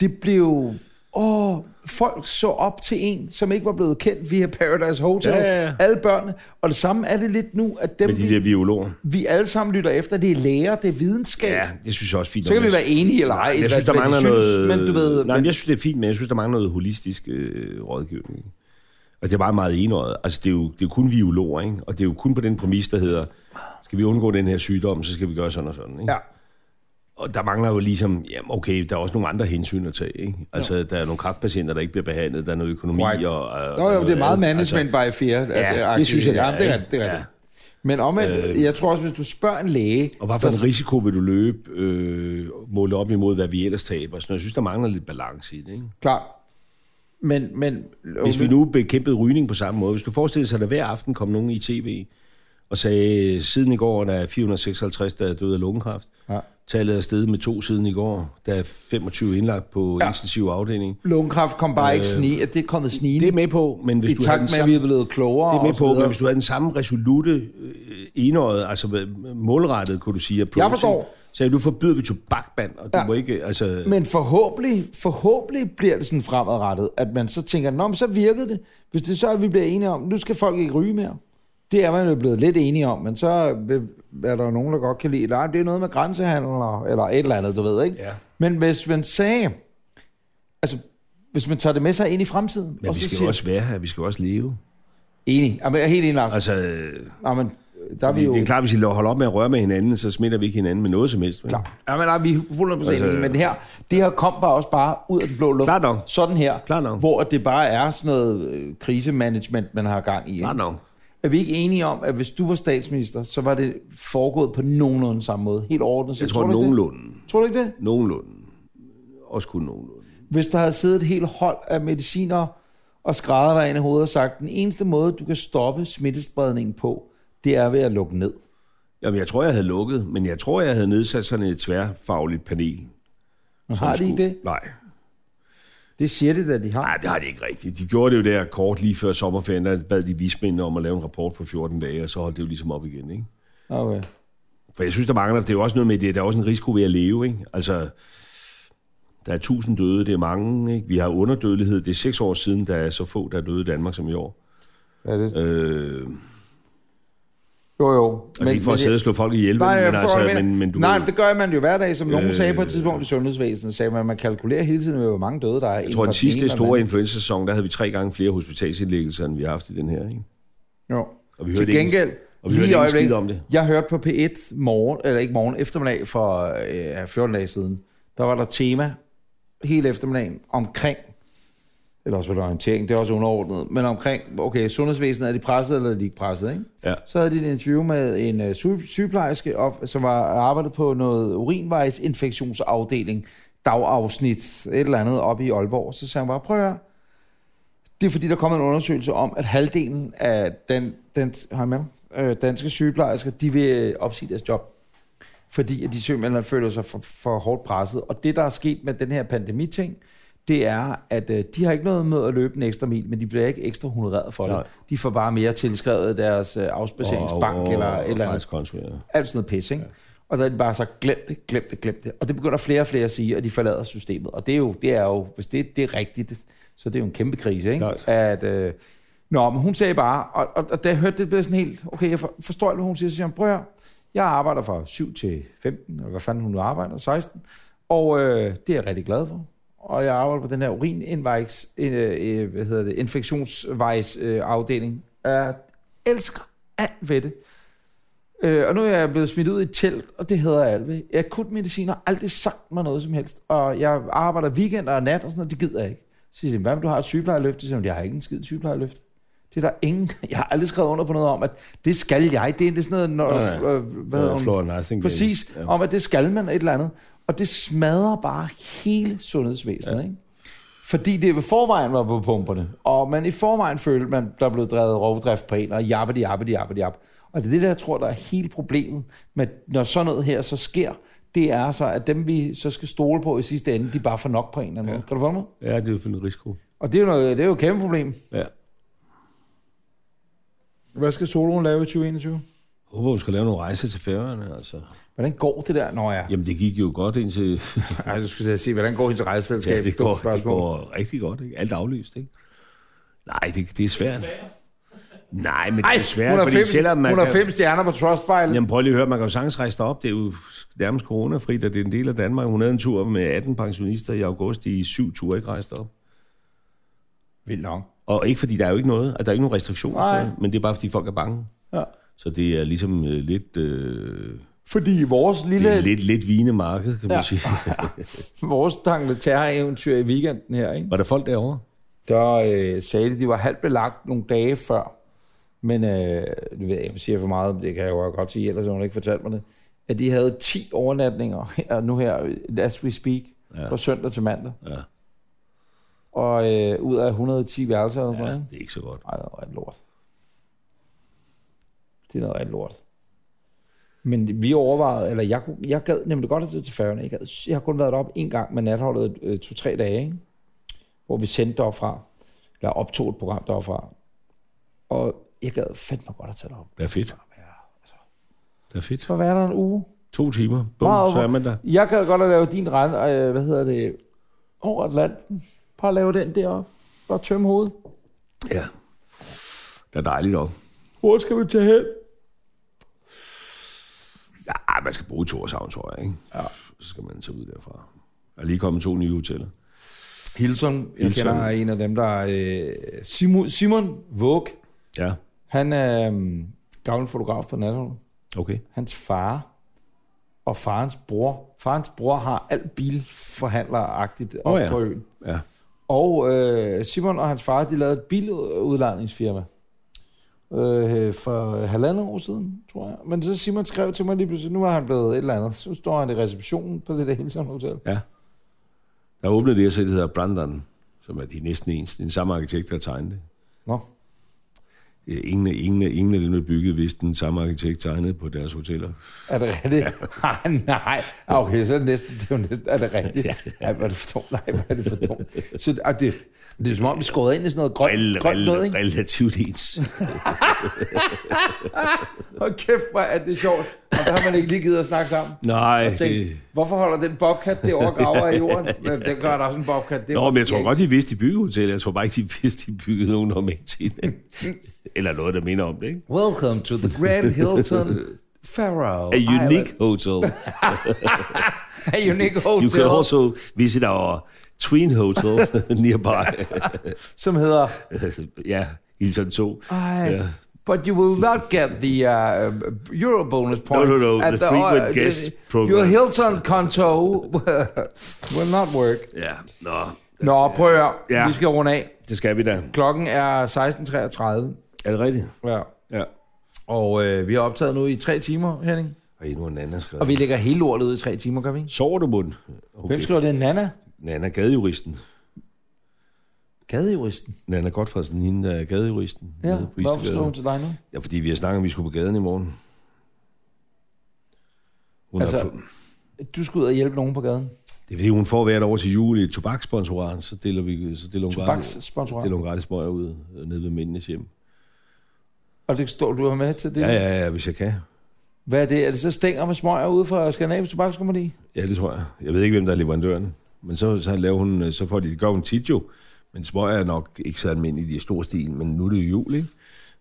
Det blev, åh, folk så op til en, som ikke var blevet kendt via Paradise Hotel.
Ja, ja, ja.
Alle børnene. Og det samme er det lidt nu, at dem,
Med de der
de
biologer.
vi alle sammen lytter efter, det er læger, det er videnskab.
Ja,
Ja.
det synes jeg også er fint.
Så kan vi være enige eller ej,
Nej,
hvad-
jeg synes, der
hvad de
mangler
synes,
noget...
men du ved...
Nej,
men-
men jeg synes, det er fint, men jeg synes, der mangler noget holistisk øh, rådgivning. Altså, det er bare meget enøjet. Altså, det er jo, det er jo kun biologer, ikke? Og det er jo kun på den præmis, der hedder, skal vi undgå den her sygdom, så skal vi gøre sådan og sådan, ikke?
Ja.
Og der mangler jo ligesom, jamen okay, der er også nogle andre hensyn at tage, ikke? Altså, der er nogle kraftpatienter, der ikke bliver behandlet, der er noget økonomi
Right.
og... og
Nå, jo, det er meget
andet.
management altså, by fear. at-
Ja, det
agtigt.
synes jeg, det er,
ja, det er
ikke?
rigtigt. Det er
Ja. Øhm.
rigtigt. Men omvendt, jeg tror også, hvis du spørger en læge...
Og hvad for
der-
en risiko vil du løbe, øh, måle op imod, hvad vi ellers taber? Så jeg synes, der mangler lidt balance i det, ikke?
Klart. Men, men...
Hvis vi nu bekæmpede rygning på samme måde, hvis du forestillede sig, at der hver aften kom nogen i tv og sagde, siden i går, der er 456, der er døde af lungekræft.
Ja.
Tallet er steget med to siden i går. Der er 25 indlagt på ja.
Ja.
intensiv afdeling.
Lungekræft kom bare øh, ikke sni, at det er kommet snigende.
Det er med på, men hvis
I
du
takt
havde
med,
den
at
samme,
vi er blevet klogere
det er med
og så
på, men
videre.
hvis du havde den samme resolute øh, enøjet, altså hvad- målrettet, kunne du sige, approach,
Jeg forstår.
ikke? Så du forbyder vi tobakband, og du
Ja.
må ikke, altså...
Men forhåbentlig, forhåbentlig bliver det sådan fremadrettet, at man så tænker, Nå, men så virkede det. Hvis det så er, at vi bliver enige om, nu skal folk ikke ryge mere. Det er man jo blevet lidt enige om, men så vil- er der jo nogen, der godt kan lide, nej, det er noget med grænsehandel og- eller et eller andet, du ved, ikke?
Ja.
Men hvis man sagde, altså hvis man tager det med sig ind i fremtiden,
Men
og
vi
så
skal jo
siger,
også være her, vi skal jo også leve.
enig, Jamen, jeg er helt enig, Lars.
Altså, øh,
Jamen, der er vi jo...
det er klart, hvis vi holder op med at røre med hinanden, så smitter vi ikke hinanden med noget som helst. vel?
Klar. Ja, men nej, vi er 100% altså, enige,
Altså-
men det her, det her kom bare også bare ud af den blå luft.
Klart nok.
Sådan her,
Klart nok.
hvor det bare er sådan noget øh, krisemanagement, man har gang i. ikke?
Klart nok.
Er vi ikke enige om, at hvis du var statsminister, så var det foregået på nogenlunde samme måde? Helt ordentligt. set.
Jeg tror,
du ikke det?
nogenlunde.
Tror du ikke det?
Nogenlunde. Også kun nogenlunde.
Hvis der havde siddet et helt hold af mediciner og skrædder dig ind i hovedet og sagt, den eneste måde, du kan stoppe smittespredningen på, det er ved at lukke ned.
Jamen, jeg tror, jeg havde lukket, men jeg tror, jeg havde nedsat sådan et tværfagligt panel. som
Har de
skulle-
ikke det?
Nej.
Det siger det, at de har.
Nej, det har de ikke rigtigt. De gjorde det jo der kort lige før sommerferien, der bad de vismændene om at lave en rapport på 14 dage, og så holdt det jo ligesom op igen, ikke?
Okay.
For jeg synes, der mangler, det er jo også noget med det, der er også en risiko ved at leve, ikke? Altså, der er tusind døde, det er mange, ikke? Vi har underdødelighed, det er seks år siden, der er så få, der er døde i Danmark som i år.
Hvad er det?
Øh,
Jo, jo.
og men, det er ikke for at sidde og slå folk ihjel,
Nej,
men,
jeg forstår,
altså,
hvad du
men, men du
Nej,
ved,
det gør man jo hver dag, som nogen
Øh.
sagde på et tidspunkt i sundhedsvæsenet, sagde man, man kalkulerer hele tiden med, hvor mange døde der er.
jeg tror, den sidste store influenza-sæson, der havde vi tre gange flere hospitalsindlæggelser, end vi har haft i den her, ikke?
Jo.
Og vi
Til
ikke-
gengæld,
og vi
lige
hørte
i
ikke en
øjeblikket,
skid om det.
jeg hørte på P1 morgen, eller ikke morgen, eftermiddag for øh, 14 dage siden, der var der tema hele eftermiddagen omkring, eller også var der orientering, det er også underordnet, men omkring, okay, sundhedsvæsenet, er de presset, eller er de ikke presset, ikke?
Ja.
Så havde de et interview med en øh, syge- sygeplejerske, op, som var arbejdet på noget urinvejsinfektionsafdeling, dagafsnit, et eller andet, oppe i Aalborg. Så sagde han bare, prøv at høre. Det er fordi, der er kommet en undersøgelse om, at halvdelen af den, den, har jeg med dig? øh, danske sygeplejersker, de vil øh, opsige deres job. Fordi at de simpelthen føler sig for, for hårdt presset. Og det, der er sket med den her pandemiting, det er, at øh, de har ikke noget med at løbe en ekstra mil, men de bliver ikke ekstra honoreret for det.
Nej.
De får bare mere tilskrevet deres øh, afspaceringsbank
Og- og-
eller
og
et eller andet.
rejsekonto, ja.
Alt sådan noget pis, ikke? Ja. Og der er de bare så, glem det, glem det, glem det. Og det begynder flere og flere at sige, at de forlader systemet. Og det er jo, det er jo hvis det, det er rigtigt, så det er jo en kæmpe krise, ikke?
Klart.
At, øh, nå, men hun sagde bare, og, og, og da jeg hørte det, blev jeg sådan helt, okay, jeg for, forstår alt, hvad hun siger, så siger hun, prøv at høre, jeg arbejder fra 7 til 15, eller hvad fanden hun nu arbejder, 16, og øh, det er jeg rigtig glad for. Og jeg arbejder på den her urinindvejs, øh, øh, hvad hedder det, infektionsvejs øh, afdeling. Jeg elsker alt ved det. Øh, og nu er jeg blevet smidt ud i et telt, og det hedder jeg alt ved. Akutmedicin har aldrig sagt mig noget som helst. Og jeg arbejder weekender og nat og sådan noget, det gider jeg ikke. Så siger de, hvad med, du har et sygeplejerløft? Så siger de, jeg har ikke en skid sygeplejerløft. Det er der ingen, <laughs> jeg har aldrig skrevet under på noget om, at det skal jeg. Det er det er sådan noget, når,
Nej, nej.
øh, hvad hedder
Ja,
hun?
Florian Icing,
Præcis,
ja.
om at det skal man et eller andet. Og det smadrer bare hele sundhedsvæsenet, ja. ikke? Fordi det i forvejen var på pumperne, og man i forvejen følte, at man der blev drevet rovdrift på en, og jabbedi, jabbedi, jabbedi, jab. Og det er det, der jeg tror, der er hele problemet med, når sådan noget her så sker, det er så, at dem vi så skal stole på i sidste ende, de bare får nok på en eller anden ja. måde. Kan du få mig?
Ja, det er jo for en risiko.
Og det er jo, noget, det er jo et kæmpe problem.
Ja.
Hvad skal soloen lave i 2021?
Jeg håber, hun skal lave nogle rejser til færøerne, altså.
Hvordan går det der? Nå ja.
Jamen, det gik jo godt indtil...
Ej, så skulle jeg sige, hvordan går hendes rejseselskab?
<laughs> ja, det, går, det går rigtig godt, ikke? Alt er aflyst, ikke? Nej, det, det er svært. Nej, men det er jo svært,
hun har
fordi
fem,
selvom man
hun har
kan-
fem stjerner på Trustpilot.
Jamen prøv lige at høre, man kan jo sagtens rejse op. Det er jo nærmest coronafrit, og det er en del af Danmark. Hun havde en tur med 18 pensionister i august i syv ture, ikke rejst op.
Vildt nok.
Og ikke fordi der er jo ikke noget, at der er ikke nogen restriktioner,
Nej.
sådan noget, men det er bare fordi folk er bange.
Ja.
Så det er ligesom øh, lidt, øh,
Fordi vores
det er
lille,
lidt, lidt vinemarked, kan man
Ja. <laughs>
ja. sige.
vores Dangleterre-eventyr i weekenden her, ikke?
Var der folk derovre?
der øh, sagde de, de var halvt belagt nogle dage før. Men øh, nu ved jeg, jeg siger for meget, men det kan jeg jo godt sige, ellers har hun ikke fortalt mig det. At de havde 10 overnatninger her, nu her, as we speak, ja. fra søndag til mandag.
Ja.
Og øh, ud af 110 værelser eller sådan
Ja,
noget.
det er ikke så godt.
Nej, det er noget rigtig lort. Det er noget rigtig lort. Men vi overvejede, eller jeg, kunne- jeg gad nemlig godt at tage til færgerne. Jeg, gad, jeg har kun været deroppe en gang med natholdet øh, to-tre dage, ikke? hvor vi sendte deropfra, eller optog et program deropfra. Og jeg gad fandme godt at tage derop.
Det er fedt. Det er fedt.
Så var der en uge.
To timer. Bum,
Meget
så er man der.
Jeg gad godt at lave din rand, øh, hvad hedder det, over Atlanten. Bare lave den deroppe. Bare tømme hovedet.
Ja. Det er dejligt op.
Hvor skal vi tage hen?
Ja, man skal bruge Torshavn, tror jeg, ikke? Ja. Så skal man tage ud derfra. Der er lige kommet to nye hoteller.
Hilton, jeg
Hilton.
kender en af dem, der er øh, Simon, Simon Våg.
Ja,
Han er øh, gammel fotograf på Natholdet.
okay.
Hans far og farens bror. Farens bror har alt bilforhandleragtigt op
Åh,
oh,
ja.
ja. på øen.
Ja.
Og øh, Simon og hans far, de lavede et biludlejningsfirma. Øh, for halvandet år siden, tror jeg. Men så Simon skrev til mig lige pludselig, nu er han blevet et eller andet. Så står han i receptionen på det der Hilton Hotel.
Ja. Der åbnede det, jeg selv, der hedder Brandon, som er de næsten ens, den samme arkitekt, der tegnede det.
Nå,
Øh, Ingen, af- ingen, af- ingen af dem, der byggede, vidste den samme arkitekt tegnede på deres hoteller.
Er det
<laughs>
rigtigt? Ja. nej. Ah, Okay, så er det næsten, det er jo næsten, er det rigtigt? Ja. Ej, hvor er det for dumt. Nej, hvor er det for dumt. Så og det, det er som om, vi er skåret ind i sådan noget grønt, grønt noget, ikke?
relativt ens.
Og kæft, hvor er det sjovt. Og der har man ikke lige givet at snakke sammen.
<laughs> Nej,
Jeg tænkte,
det...
hvorfor holder den bobcat det over graver i
<laughs>
jorden? Men den gør der også en bobcat. Det
Nå,
var-
men jeg tror godt, de vidste, de byggede hoteller. Jeg tror bare ikke, de <laughs> vidste, de byggede nogen om en
<laughs>
Eller noget, der minder om det, ikke?
Welcome to the Grand
<laughs>
Hilton Pharaoh.
A unique
<laughs>
hotel.
Island. A unique hotel,
You can also visit our twin
<laughs>
hotel nearby. <laughs>
som hedder...
ja, Hilton 2.
Ej,
Ja.
But you will not get the uh, Euro bonus point.
no, no, the frequent guest
Your
program.
Hilton konto <laughs> will not work.
ja, nå,
Nå, prøv at høre.
Ja.
Vi skal runde af.
det skal vi da.
Klokken er 16.33.
Er det rigtigt?
Ja.
Ja.
Og øh, vi har optaget nu i tre timer, Henning.
Og endnu en anden skrevet.
Og vi lægger hele lortet ud i tre timer, gør vi ikke?
Sover du på den?
Hvem skriver det? Nana?
Nana Gadejuristen.
Gadejuristen.
Nana Godfredsen, hende der er gadejuristen.
Ja,
nede på
hvorfor
Istedgade.
skriver hun til dig nu?
Ja, fordi vi har snakket om, at vi skulle på gaden i morgen. Hun altså...
Altså-
har fået...
Du skal ud og hjælpe nogen på gaden.
Det er fordi, hun får hvert år til jul i et tobakssponsorat, så deler, vi, så deler hun gratis,
Tobakssponsorat.
deler hun gratis smøger ud øh, nede ved mændenes hjem.
Og det står du er med til det?
Ja, ja, ja, hvis jeg kan.
Hvad er det? Er det så stænger med smøger ude fra Skandinavisk Tobakskompagni?
Ja, det tror jeg. Jeg ved ikke, hvem der er leverandøren. Men så, så laver hun, øh, så får de, gør hun tit jo. Men smøger er nok ikke så almindeligt i stor stil, men nu er det jo jul, ikke?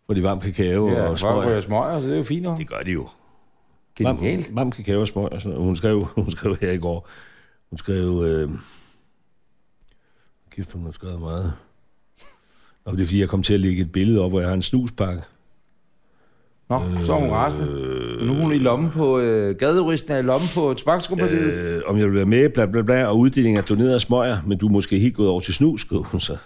Hvor de varm kakao ja,
Ja,
og
smøger.
smøger.
ryger smøger, så det er jo fint nok.
Det gør de jo.
Genialt.
Varm, varm kakao og smøg og sådan noget. Hun skrev, <laughs> hun skrev her i går, hun skrev, øh, kæft, hun har skrevet meget. Og det er fordi, jeg kom til at lægge et billede op, hvor jeg har en snuspakke.
Nå, så er hun rasende.
Øh,
Nu er hun i lommen på øh, gaderisten, er i lommen på tobakskompaniet. Øh,
Øh, om jeg vil være med, bla bla bla, og uddeling af donerede smøger, men du er måske helt gået over til snus, skrev hun så.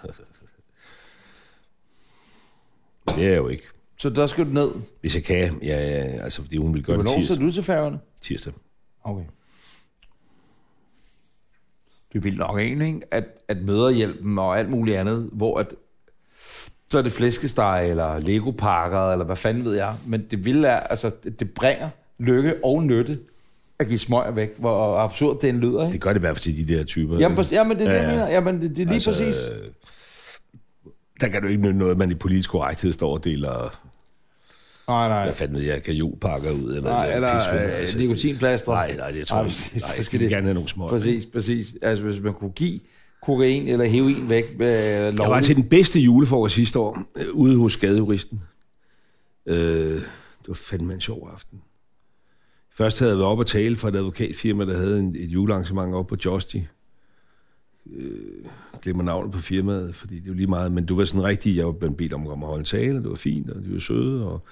Men Det er jeg jo ikke.
så der skal du ned.
Hvis jeg kan, ja, ja, altså fordi hun vil gøre det
Hvornår så
tirsdag.
du til færgerne?
tirsdag.
Okay. Det er vildt nok egentlig, ikke? At, at møderhjælpen og alt muligt andet, hvor at, så er det flæskesteg eller legopakker, eller hvad fanden ved jeg. Men det vilde er, altså, det, det bringer lykke og nytte at give smøger væk, hvor absurd det end lyder, ikke?
Det gør det i hvert fald til de der typer.
Jamen, præ- jamen, det er det,
Ja,
jeg
ja.
mener. Jamen, det, det er lige altså, præcis.
øh, Der kan du ikke nytte noget, at man i politisk korrekthed står og deler
Nej, nej.
hvad fanden ved jeg, kajolpakker ud, eller,
Nej, eller
pis med det,
øh,
altså.
nikotinplaster.
Nej, nej, det tror jeg ikke.
præcis,
Nej,
så
skal de gerne have nogle små.
Præcis, præcis. Altså, hvis man kunne give kokain eller heroin væk med øh,
Jeg var
lovligt.
til den bedste julefrokost sidste år, øh, ude hos skadejuristen. Øh, det var fandme en sjov aften. Først havde jeg været op og tale for et advokatfirma, der havde en, et julearrangement oppe på Josti. øh, glemmer navnet på firmaet, fordi det er jo lige meget, men du var sådan rigtig, jeg var blevet bedt om at komme og holde en tale, og det var fint, og de var søde, og,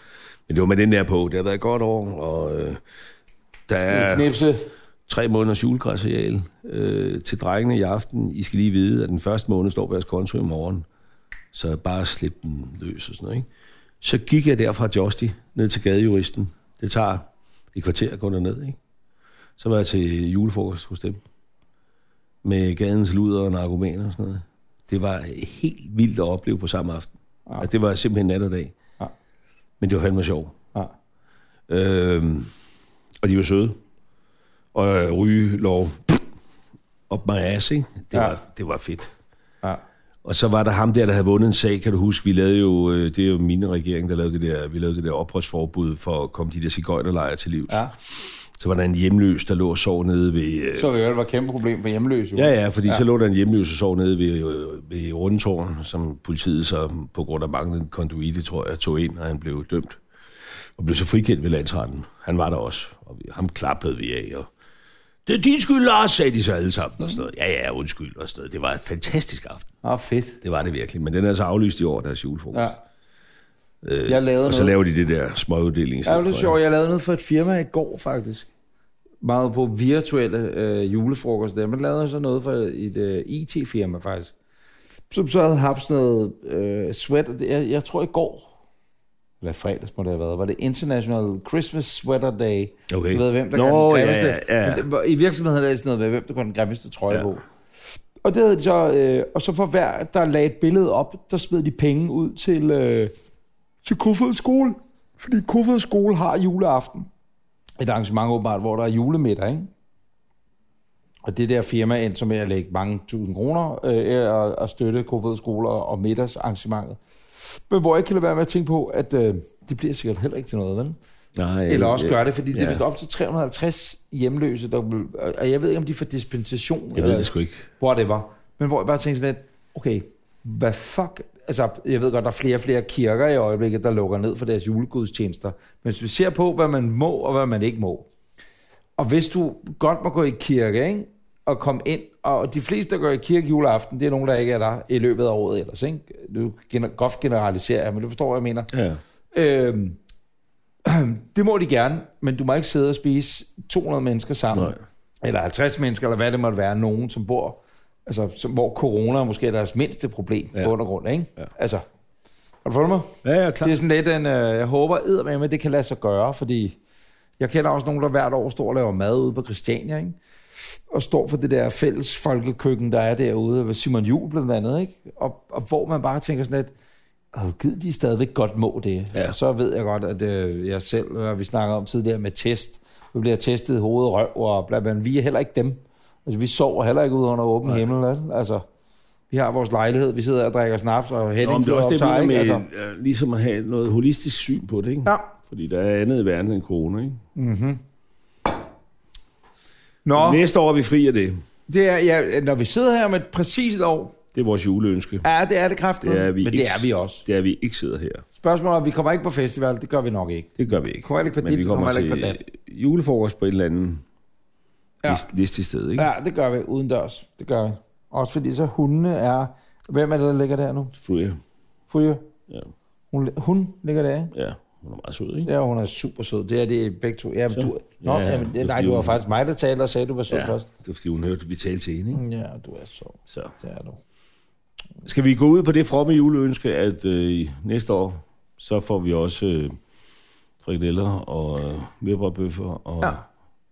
men det var med den der på, det har været et godt år, og øh, der er
Knipse.
tre måneders julegræsreal øh, til drengene i aften. I skal lige vide, at den første måned står på jeres konto i morgen. Så bare slip den løs og sådan noget, ikke? Så gik jeg derfra Josti ned til gadejuristen. Det tager et kvarter at gå derned, ikke? Så var jeg til julefrokost hos dem. Med gadens luder og narkomaner og sådan noget. Det var helt vildt at opleve på samme aften. Ja. Altså, det var simpelthen nat og dag.
Ja.
Men det var fandme sjovt.
Ja.
Øhm, og de var søde og øh, rygelov op my ass, ikke? Det, ja.
Ja.
var, det var fedt.
Ja.
Og så var der ham der, der havde vundet en sag, kan du huske, vi lavede jo, øh, det er jo mine regering, der lavede det der, vi lavede det der opholdsforbud for at komme de der cigøjnerlejre til livs.
Ja.
Så var der en hjemløs, der lå og sov nede ved... øh,
Så vi jo, det var et kæmpe problem for hjemløse. jo.
Ja, ja, fordi ja. så lå der en hjemløs og sov nede ved, øh, ved Rundetårn, som politiet så på grund af manglende konduite, tror jeg, tog ind, og han blev dømt. Og blev så frikendt ved landsretten. Han var der også, og vi, ham klappede vi af, og det er din skyld, Lars, sagde de så alle sammen, og sådan noget. Ja, ja, undskyld, og sådan noget. Det var en fantastisk aften.
Åh, Ah, fedt.
Det var det virkelig, men den er så aflyst i år, deres julefrokost.
Ja.
Ja. Øh,
Jeg lavede
og så
noget.
laver de det der småuddeling. i
Ja,
stedet
det er
for,
sjovt. Jeg lavede noget for et firma i går, faktisk. Meget på virtuelle øh, julefrokost der. Men lavede så noget for et øh, IT-firma, faktisk. Som så havde haft sådan noget øh, sweater. Det- Jeg, jeg tror i går, eller fredags må det have været, var det International Christmas Sweater Day.
Okay.
Du ved, hvem der
Nå,
gør den
ja,
grimmeste.
ja, ja.
Men det var- I virksomheden havde det sådan noget med, hvem der gør den grimmeste trøje
Ja.
ja. på. Og det havde de så, øh, og så for hver, der lagde et billede op, der smed de penge ud til, øh, til Kofods skole. Fordi Kofods skole har juleaften. Et arrangement åbenbart, hvor der er julemiddag, ikke? Og det der firma endte så med at lægge mange tusind kroner øh, og, og støtte Kofods skoler og middagsarrangementet. Men hvor jeg ikke kan lade være med at tænke på, at øh, det bliver sikkert heller ikke til noget, vel?
Nej,
Eller også
øh,
gør det, fordi det er
ja.
vist op til 350 hjemløse, der vil, og- og jeg ved ikke, om de får dispensation.
Jeg ved det sgu ikke.
Whatever. Men hvor jeg bare tænkte sådan lidt, okay, hvad fuck? Altså, jeg ved godt, der er flere og flere kirker i øjeblikket, der lukker ned for deres julegudstjenester. Men hvis vi ser på, hvad man må og hvad man ikke må. Og hvis du godt må gå i kirke, ikke? og komme ind, og de fleste, der går i kirke juleaften, det er nogen, der ikke er der i løbet af året ellers. Ikke? Du gener- groft generaliserer jeg, men du forstår, hvad jeg mener.
Ja.
Øhm, <clears throat> det må de gerne, men du må ikke sidde og spise 200 mennesker sammen.
Nej.
Eller 50 mennesker, eller hvad det måtte være. Nogen, som bor... Altså, som, hvor corona er måske deres mindste problem
Ja.
ja. på undergrund, ikke?
Ja.
Altså, har du fået mig?
Ja, ja, klar.
Det er sådan lidt en... Øh, jeg håber eddermame, at det kan lade sig gøre, fordi jeg kender også nogen, der hvert år står og laver mad ude på Christiania, ikke? Og står for det der fælles folkekøkken, der er derude, ved Simon Juhl blandt andet, ikke? Og, og hvor man bare tænker sådan lidt, Åh, gid de stadigvæk godt må det.
Ja.
Ja. Så ved jeg godt, at øh, jeg selv, øh, vi snakker om tidligere med test, vi bliver testet i hoved og røv, og bla, bla, bla. vi er heller ikke dem. Altså, vi sover heller ikke ud under åben Nej. himmel. vel? Altså, vi har vores lejlighed, vi sidder og drikker snaps, og
Nå,
Henning
men det er
sidder og
også det, jeg
optager,
mener
ikke?
med
Altså,
altså. ligesom at have noget holistisk syn på det, ikke?
ja.
Fordi der er andet i verden end corona, ikke?
Nå,
Næste år er vi fri af det.
det er, ja, når vi sidder her med et præcist år,
Det er vores juleønske.
ja, det er det kraftigt,
Det er vi
men det
ikke,
er vi også.
Det er vi ikke sidder her.
Spørgsmålet er, vi kommer ikke på festival, det gør vi nok ikke.
Det gør vi ikke.
Kommer ikke på dit,
vi
kommer
kommer
heller
til
ikke
øh, julefrokost på et eller andet
Ja.
ja. liste sted, ikke? Ja.
Ja, det gør vi udendørs, det gør vi. Også fordi så hundene er... Hvem er det, der ligger der nu? Fulje?
Ja.
Hun, hun ligger der, ikke?
ja, hun er meget sød, ikke?
Ja, hun er super sød. Det er det begge to. Ja, men du, nå,
Ja,
ja, jamen,
det er
det, nej,
fordi,
du var
hun-
faktisk mig, der talte og Mm. sagde, at du var sød ja. først.
det var fordi hun hørte, vi talte til hende, ikke?
Ja, du er sød.
Så.
Det er du.
Skal vi gå ud på det fromme juleønske, at øh, næste år, så får vi også øh, frikadeller og øh, mørbrødbøffer og... Ja.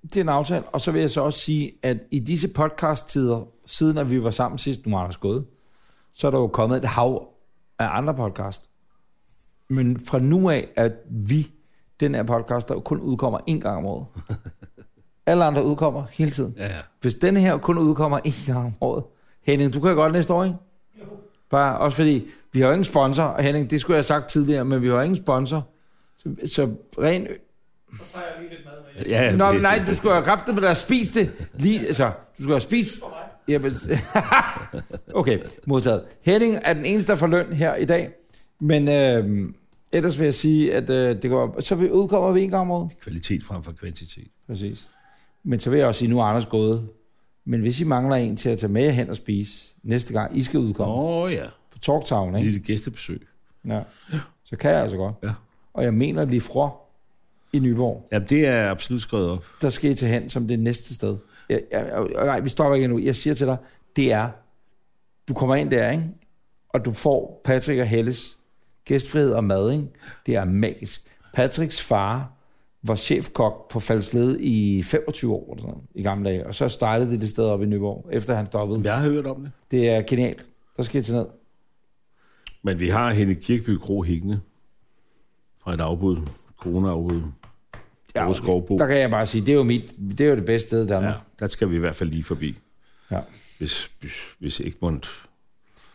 Det er en aftale. Og så vil jeg så også sige, at i disse podcast-tider, siden at vi var sammen sidst, nu er Anders gået, så er der jo kommet et hav af andre podcast. Men fra nu af, at vi, den her podcast, der jo kun udkommer én gang om
<laughs>
året. Alle andre udkommer hele tiden.
ja.
Hvis den her kun udkommer en gang om året. Henning, du kan godt næste år, ikke? Bare, også fordi, vi har jo ingen sponsor. Og Henning, det skulle jeg have sagt tidligere, men vi har jo ingen sponsor. Så, så ren...
Så tager jeg lige lidt mad med.
ja
Nå,
det-
men nej, du skulle have kraftet med dig at spise det. Lige, altså, du skulle have spist... Jamen, <laughs> okay, modtaget. Henning er den eneste, der får løn her i dag. Men øh, ellers vil jeg sige, at øh, det går, så vi udkommer vi en gang om året.
Kvalitet frem for kvantitet.
Præcis. Men så vil jeg også sige, nu er Anders gået. Men hvis I mangler en til at tage med hen og spise næste gang, I skal udkomme oh.
Åh oh, ja,
på Talktown,
et
ikke?
lille gæstebesøg.
Ja. Så kan jeg altså godt.
Ja.
Og jeg mener lige fra i Nyborg,
Ja, det er absolut skrevet op.
der skal I tage hen som det næste sted. Jeg, jeg, jeg, nej, vi stopper ikke endnu. Jeg siger til dig, det er, du kommer ind der, ikke? og du får Patrick og Helles gæstfrihed og mad. Ikke? Det er magisk. Patricks far var chefkok på Falsled i 25 år eller sådan noget, i gamle dage, og så startede det det sted op i Nyborg, efter han stoppede.
Jeg har hørt om det.
Det er genialt. Der skal I tage ned.
Men vi har Henne Kirkby Kro hængende fra et afbud, corona-afbud. Ja, okay. Skovbo.
Der kan jeg bare sige, det er jo, mit, det er jo det bedste sted i Danmark.
Ja,
Ja.
der skal vi i hvert fald lige forbi.
Ja.
Hvis, hvis, hvis Egmont...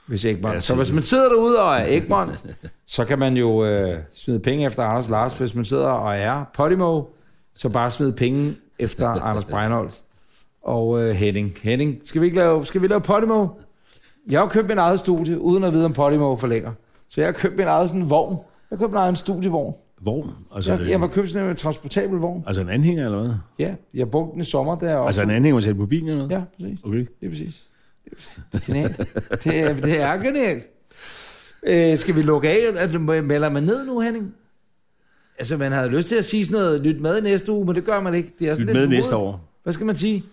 Hvis Egmont.
Ja,
Ja, så
så-
hvis man sidder derude og er Egmont, så kan man jo øh, smide penge efter Anders Lars. Hvis man sidder og er Podimo, så bare smid penge efter Anders Breinholt og øh, Henning. Henning, skal vi ikke lave, skal vi lave Podimo? Jeg har jo købt min eget studie, uden at vide om Podimo for længere. Så jeg har købt min eget sådan en vogn. Jeg har købt min egen studievogn.
Vogn? Altså,
Jeg, jeg
øh,
har købt sådan en transportabel vogn.
altså en anhænger eller hvad?
Ja, jeg brugte den i sommer deroppe.
Altså en anhænger, man sætter på bilen eller hvad?
Ja, præcis.
Okay.
Det er præcis. Det er genialt. det, er, det er genialt. Øh, skal vi lukke af? Altså, må- Melder man ned nu, Henning? Altså, man havde lyst til at sige sådan noget, lyt med næste uge, men det gør man ikke. Altså, Det er også
Lyt
lidt
med næste
formodet.
år.
Hvad skal man sige?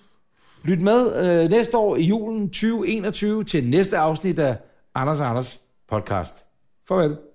Lyt med øh, næste år i julen 2021 til næste afsnit af Anders og Anders podcast. Farvel.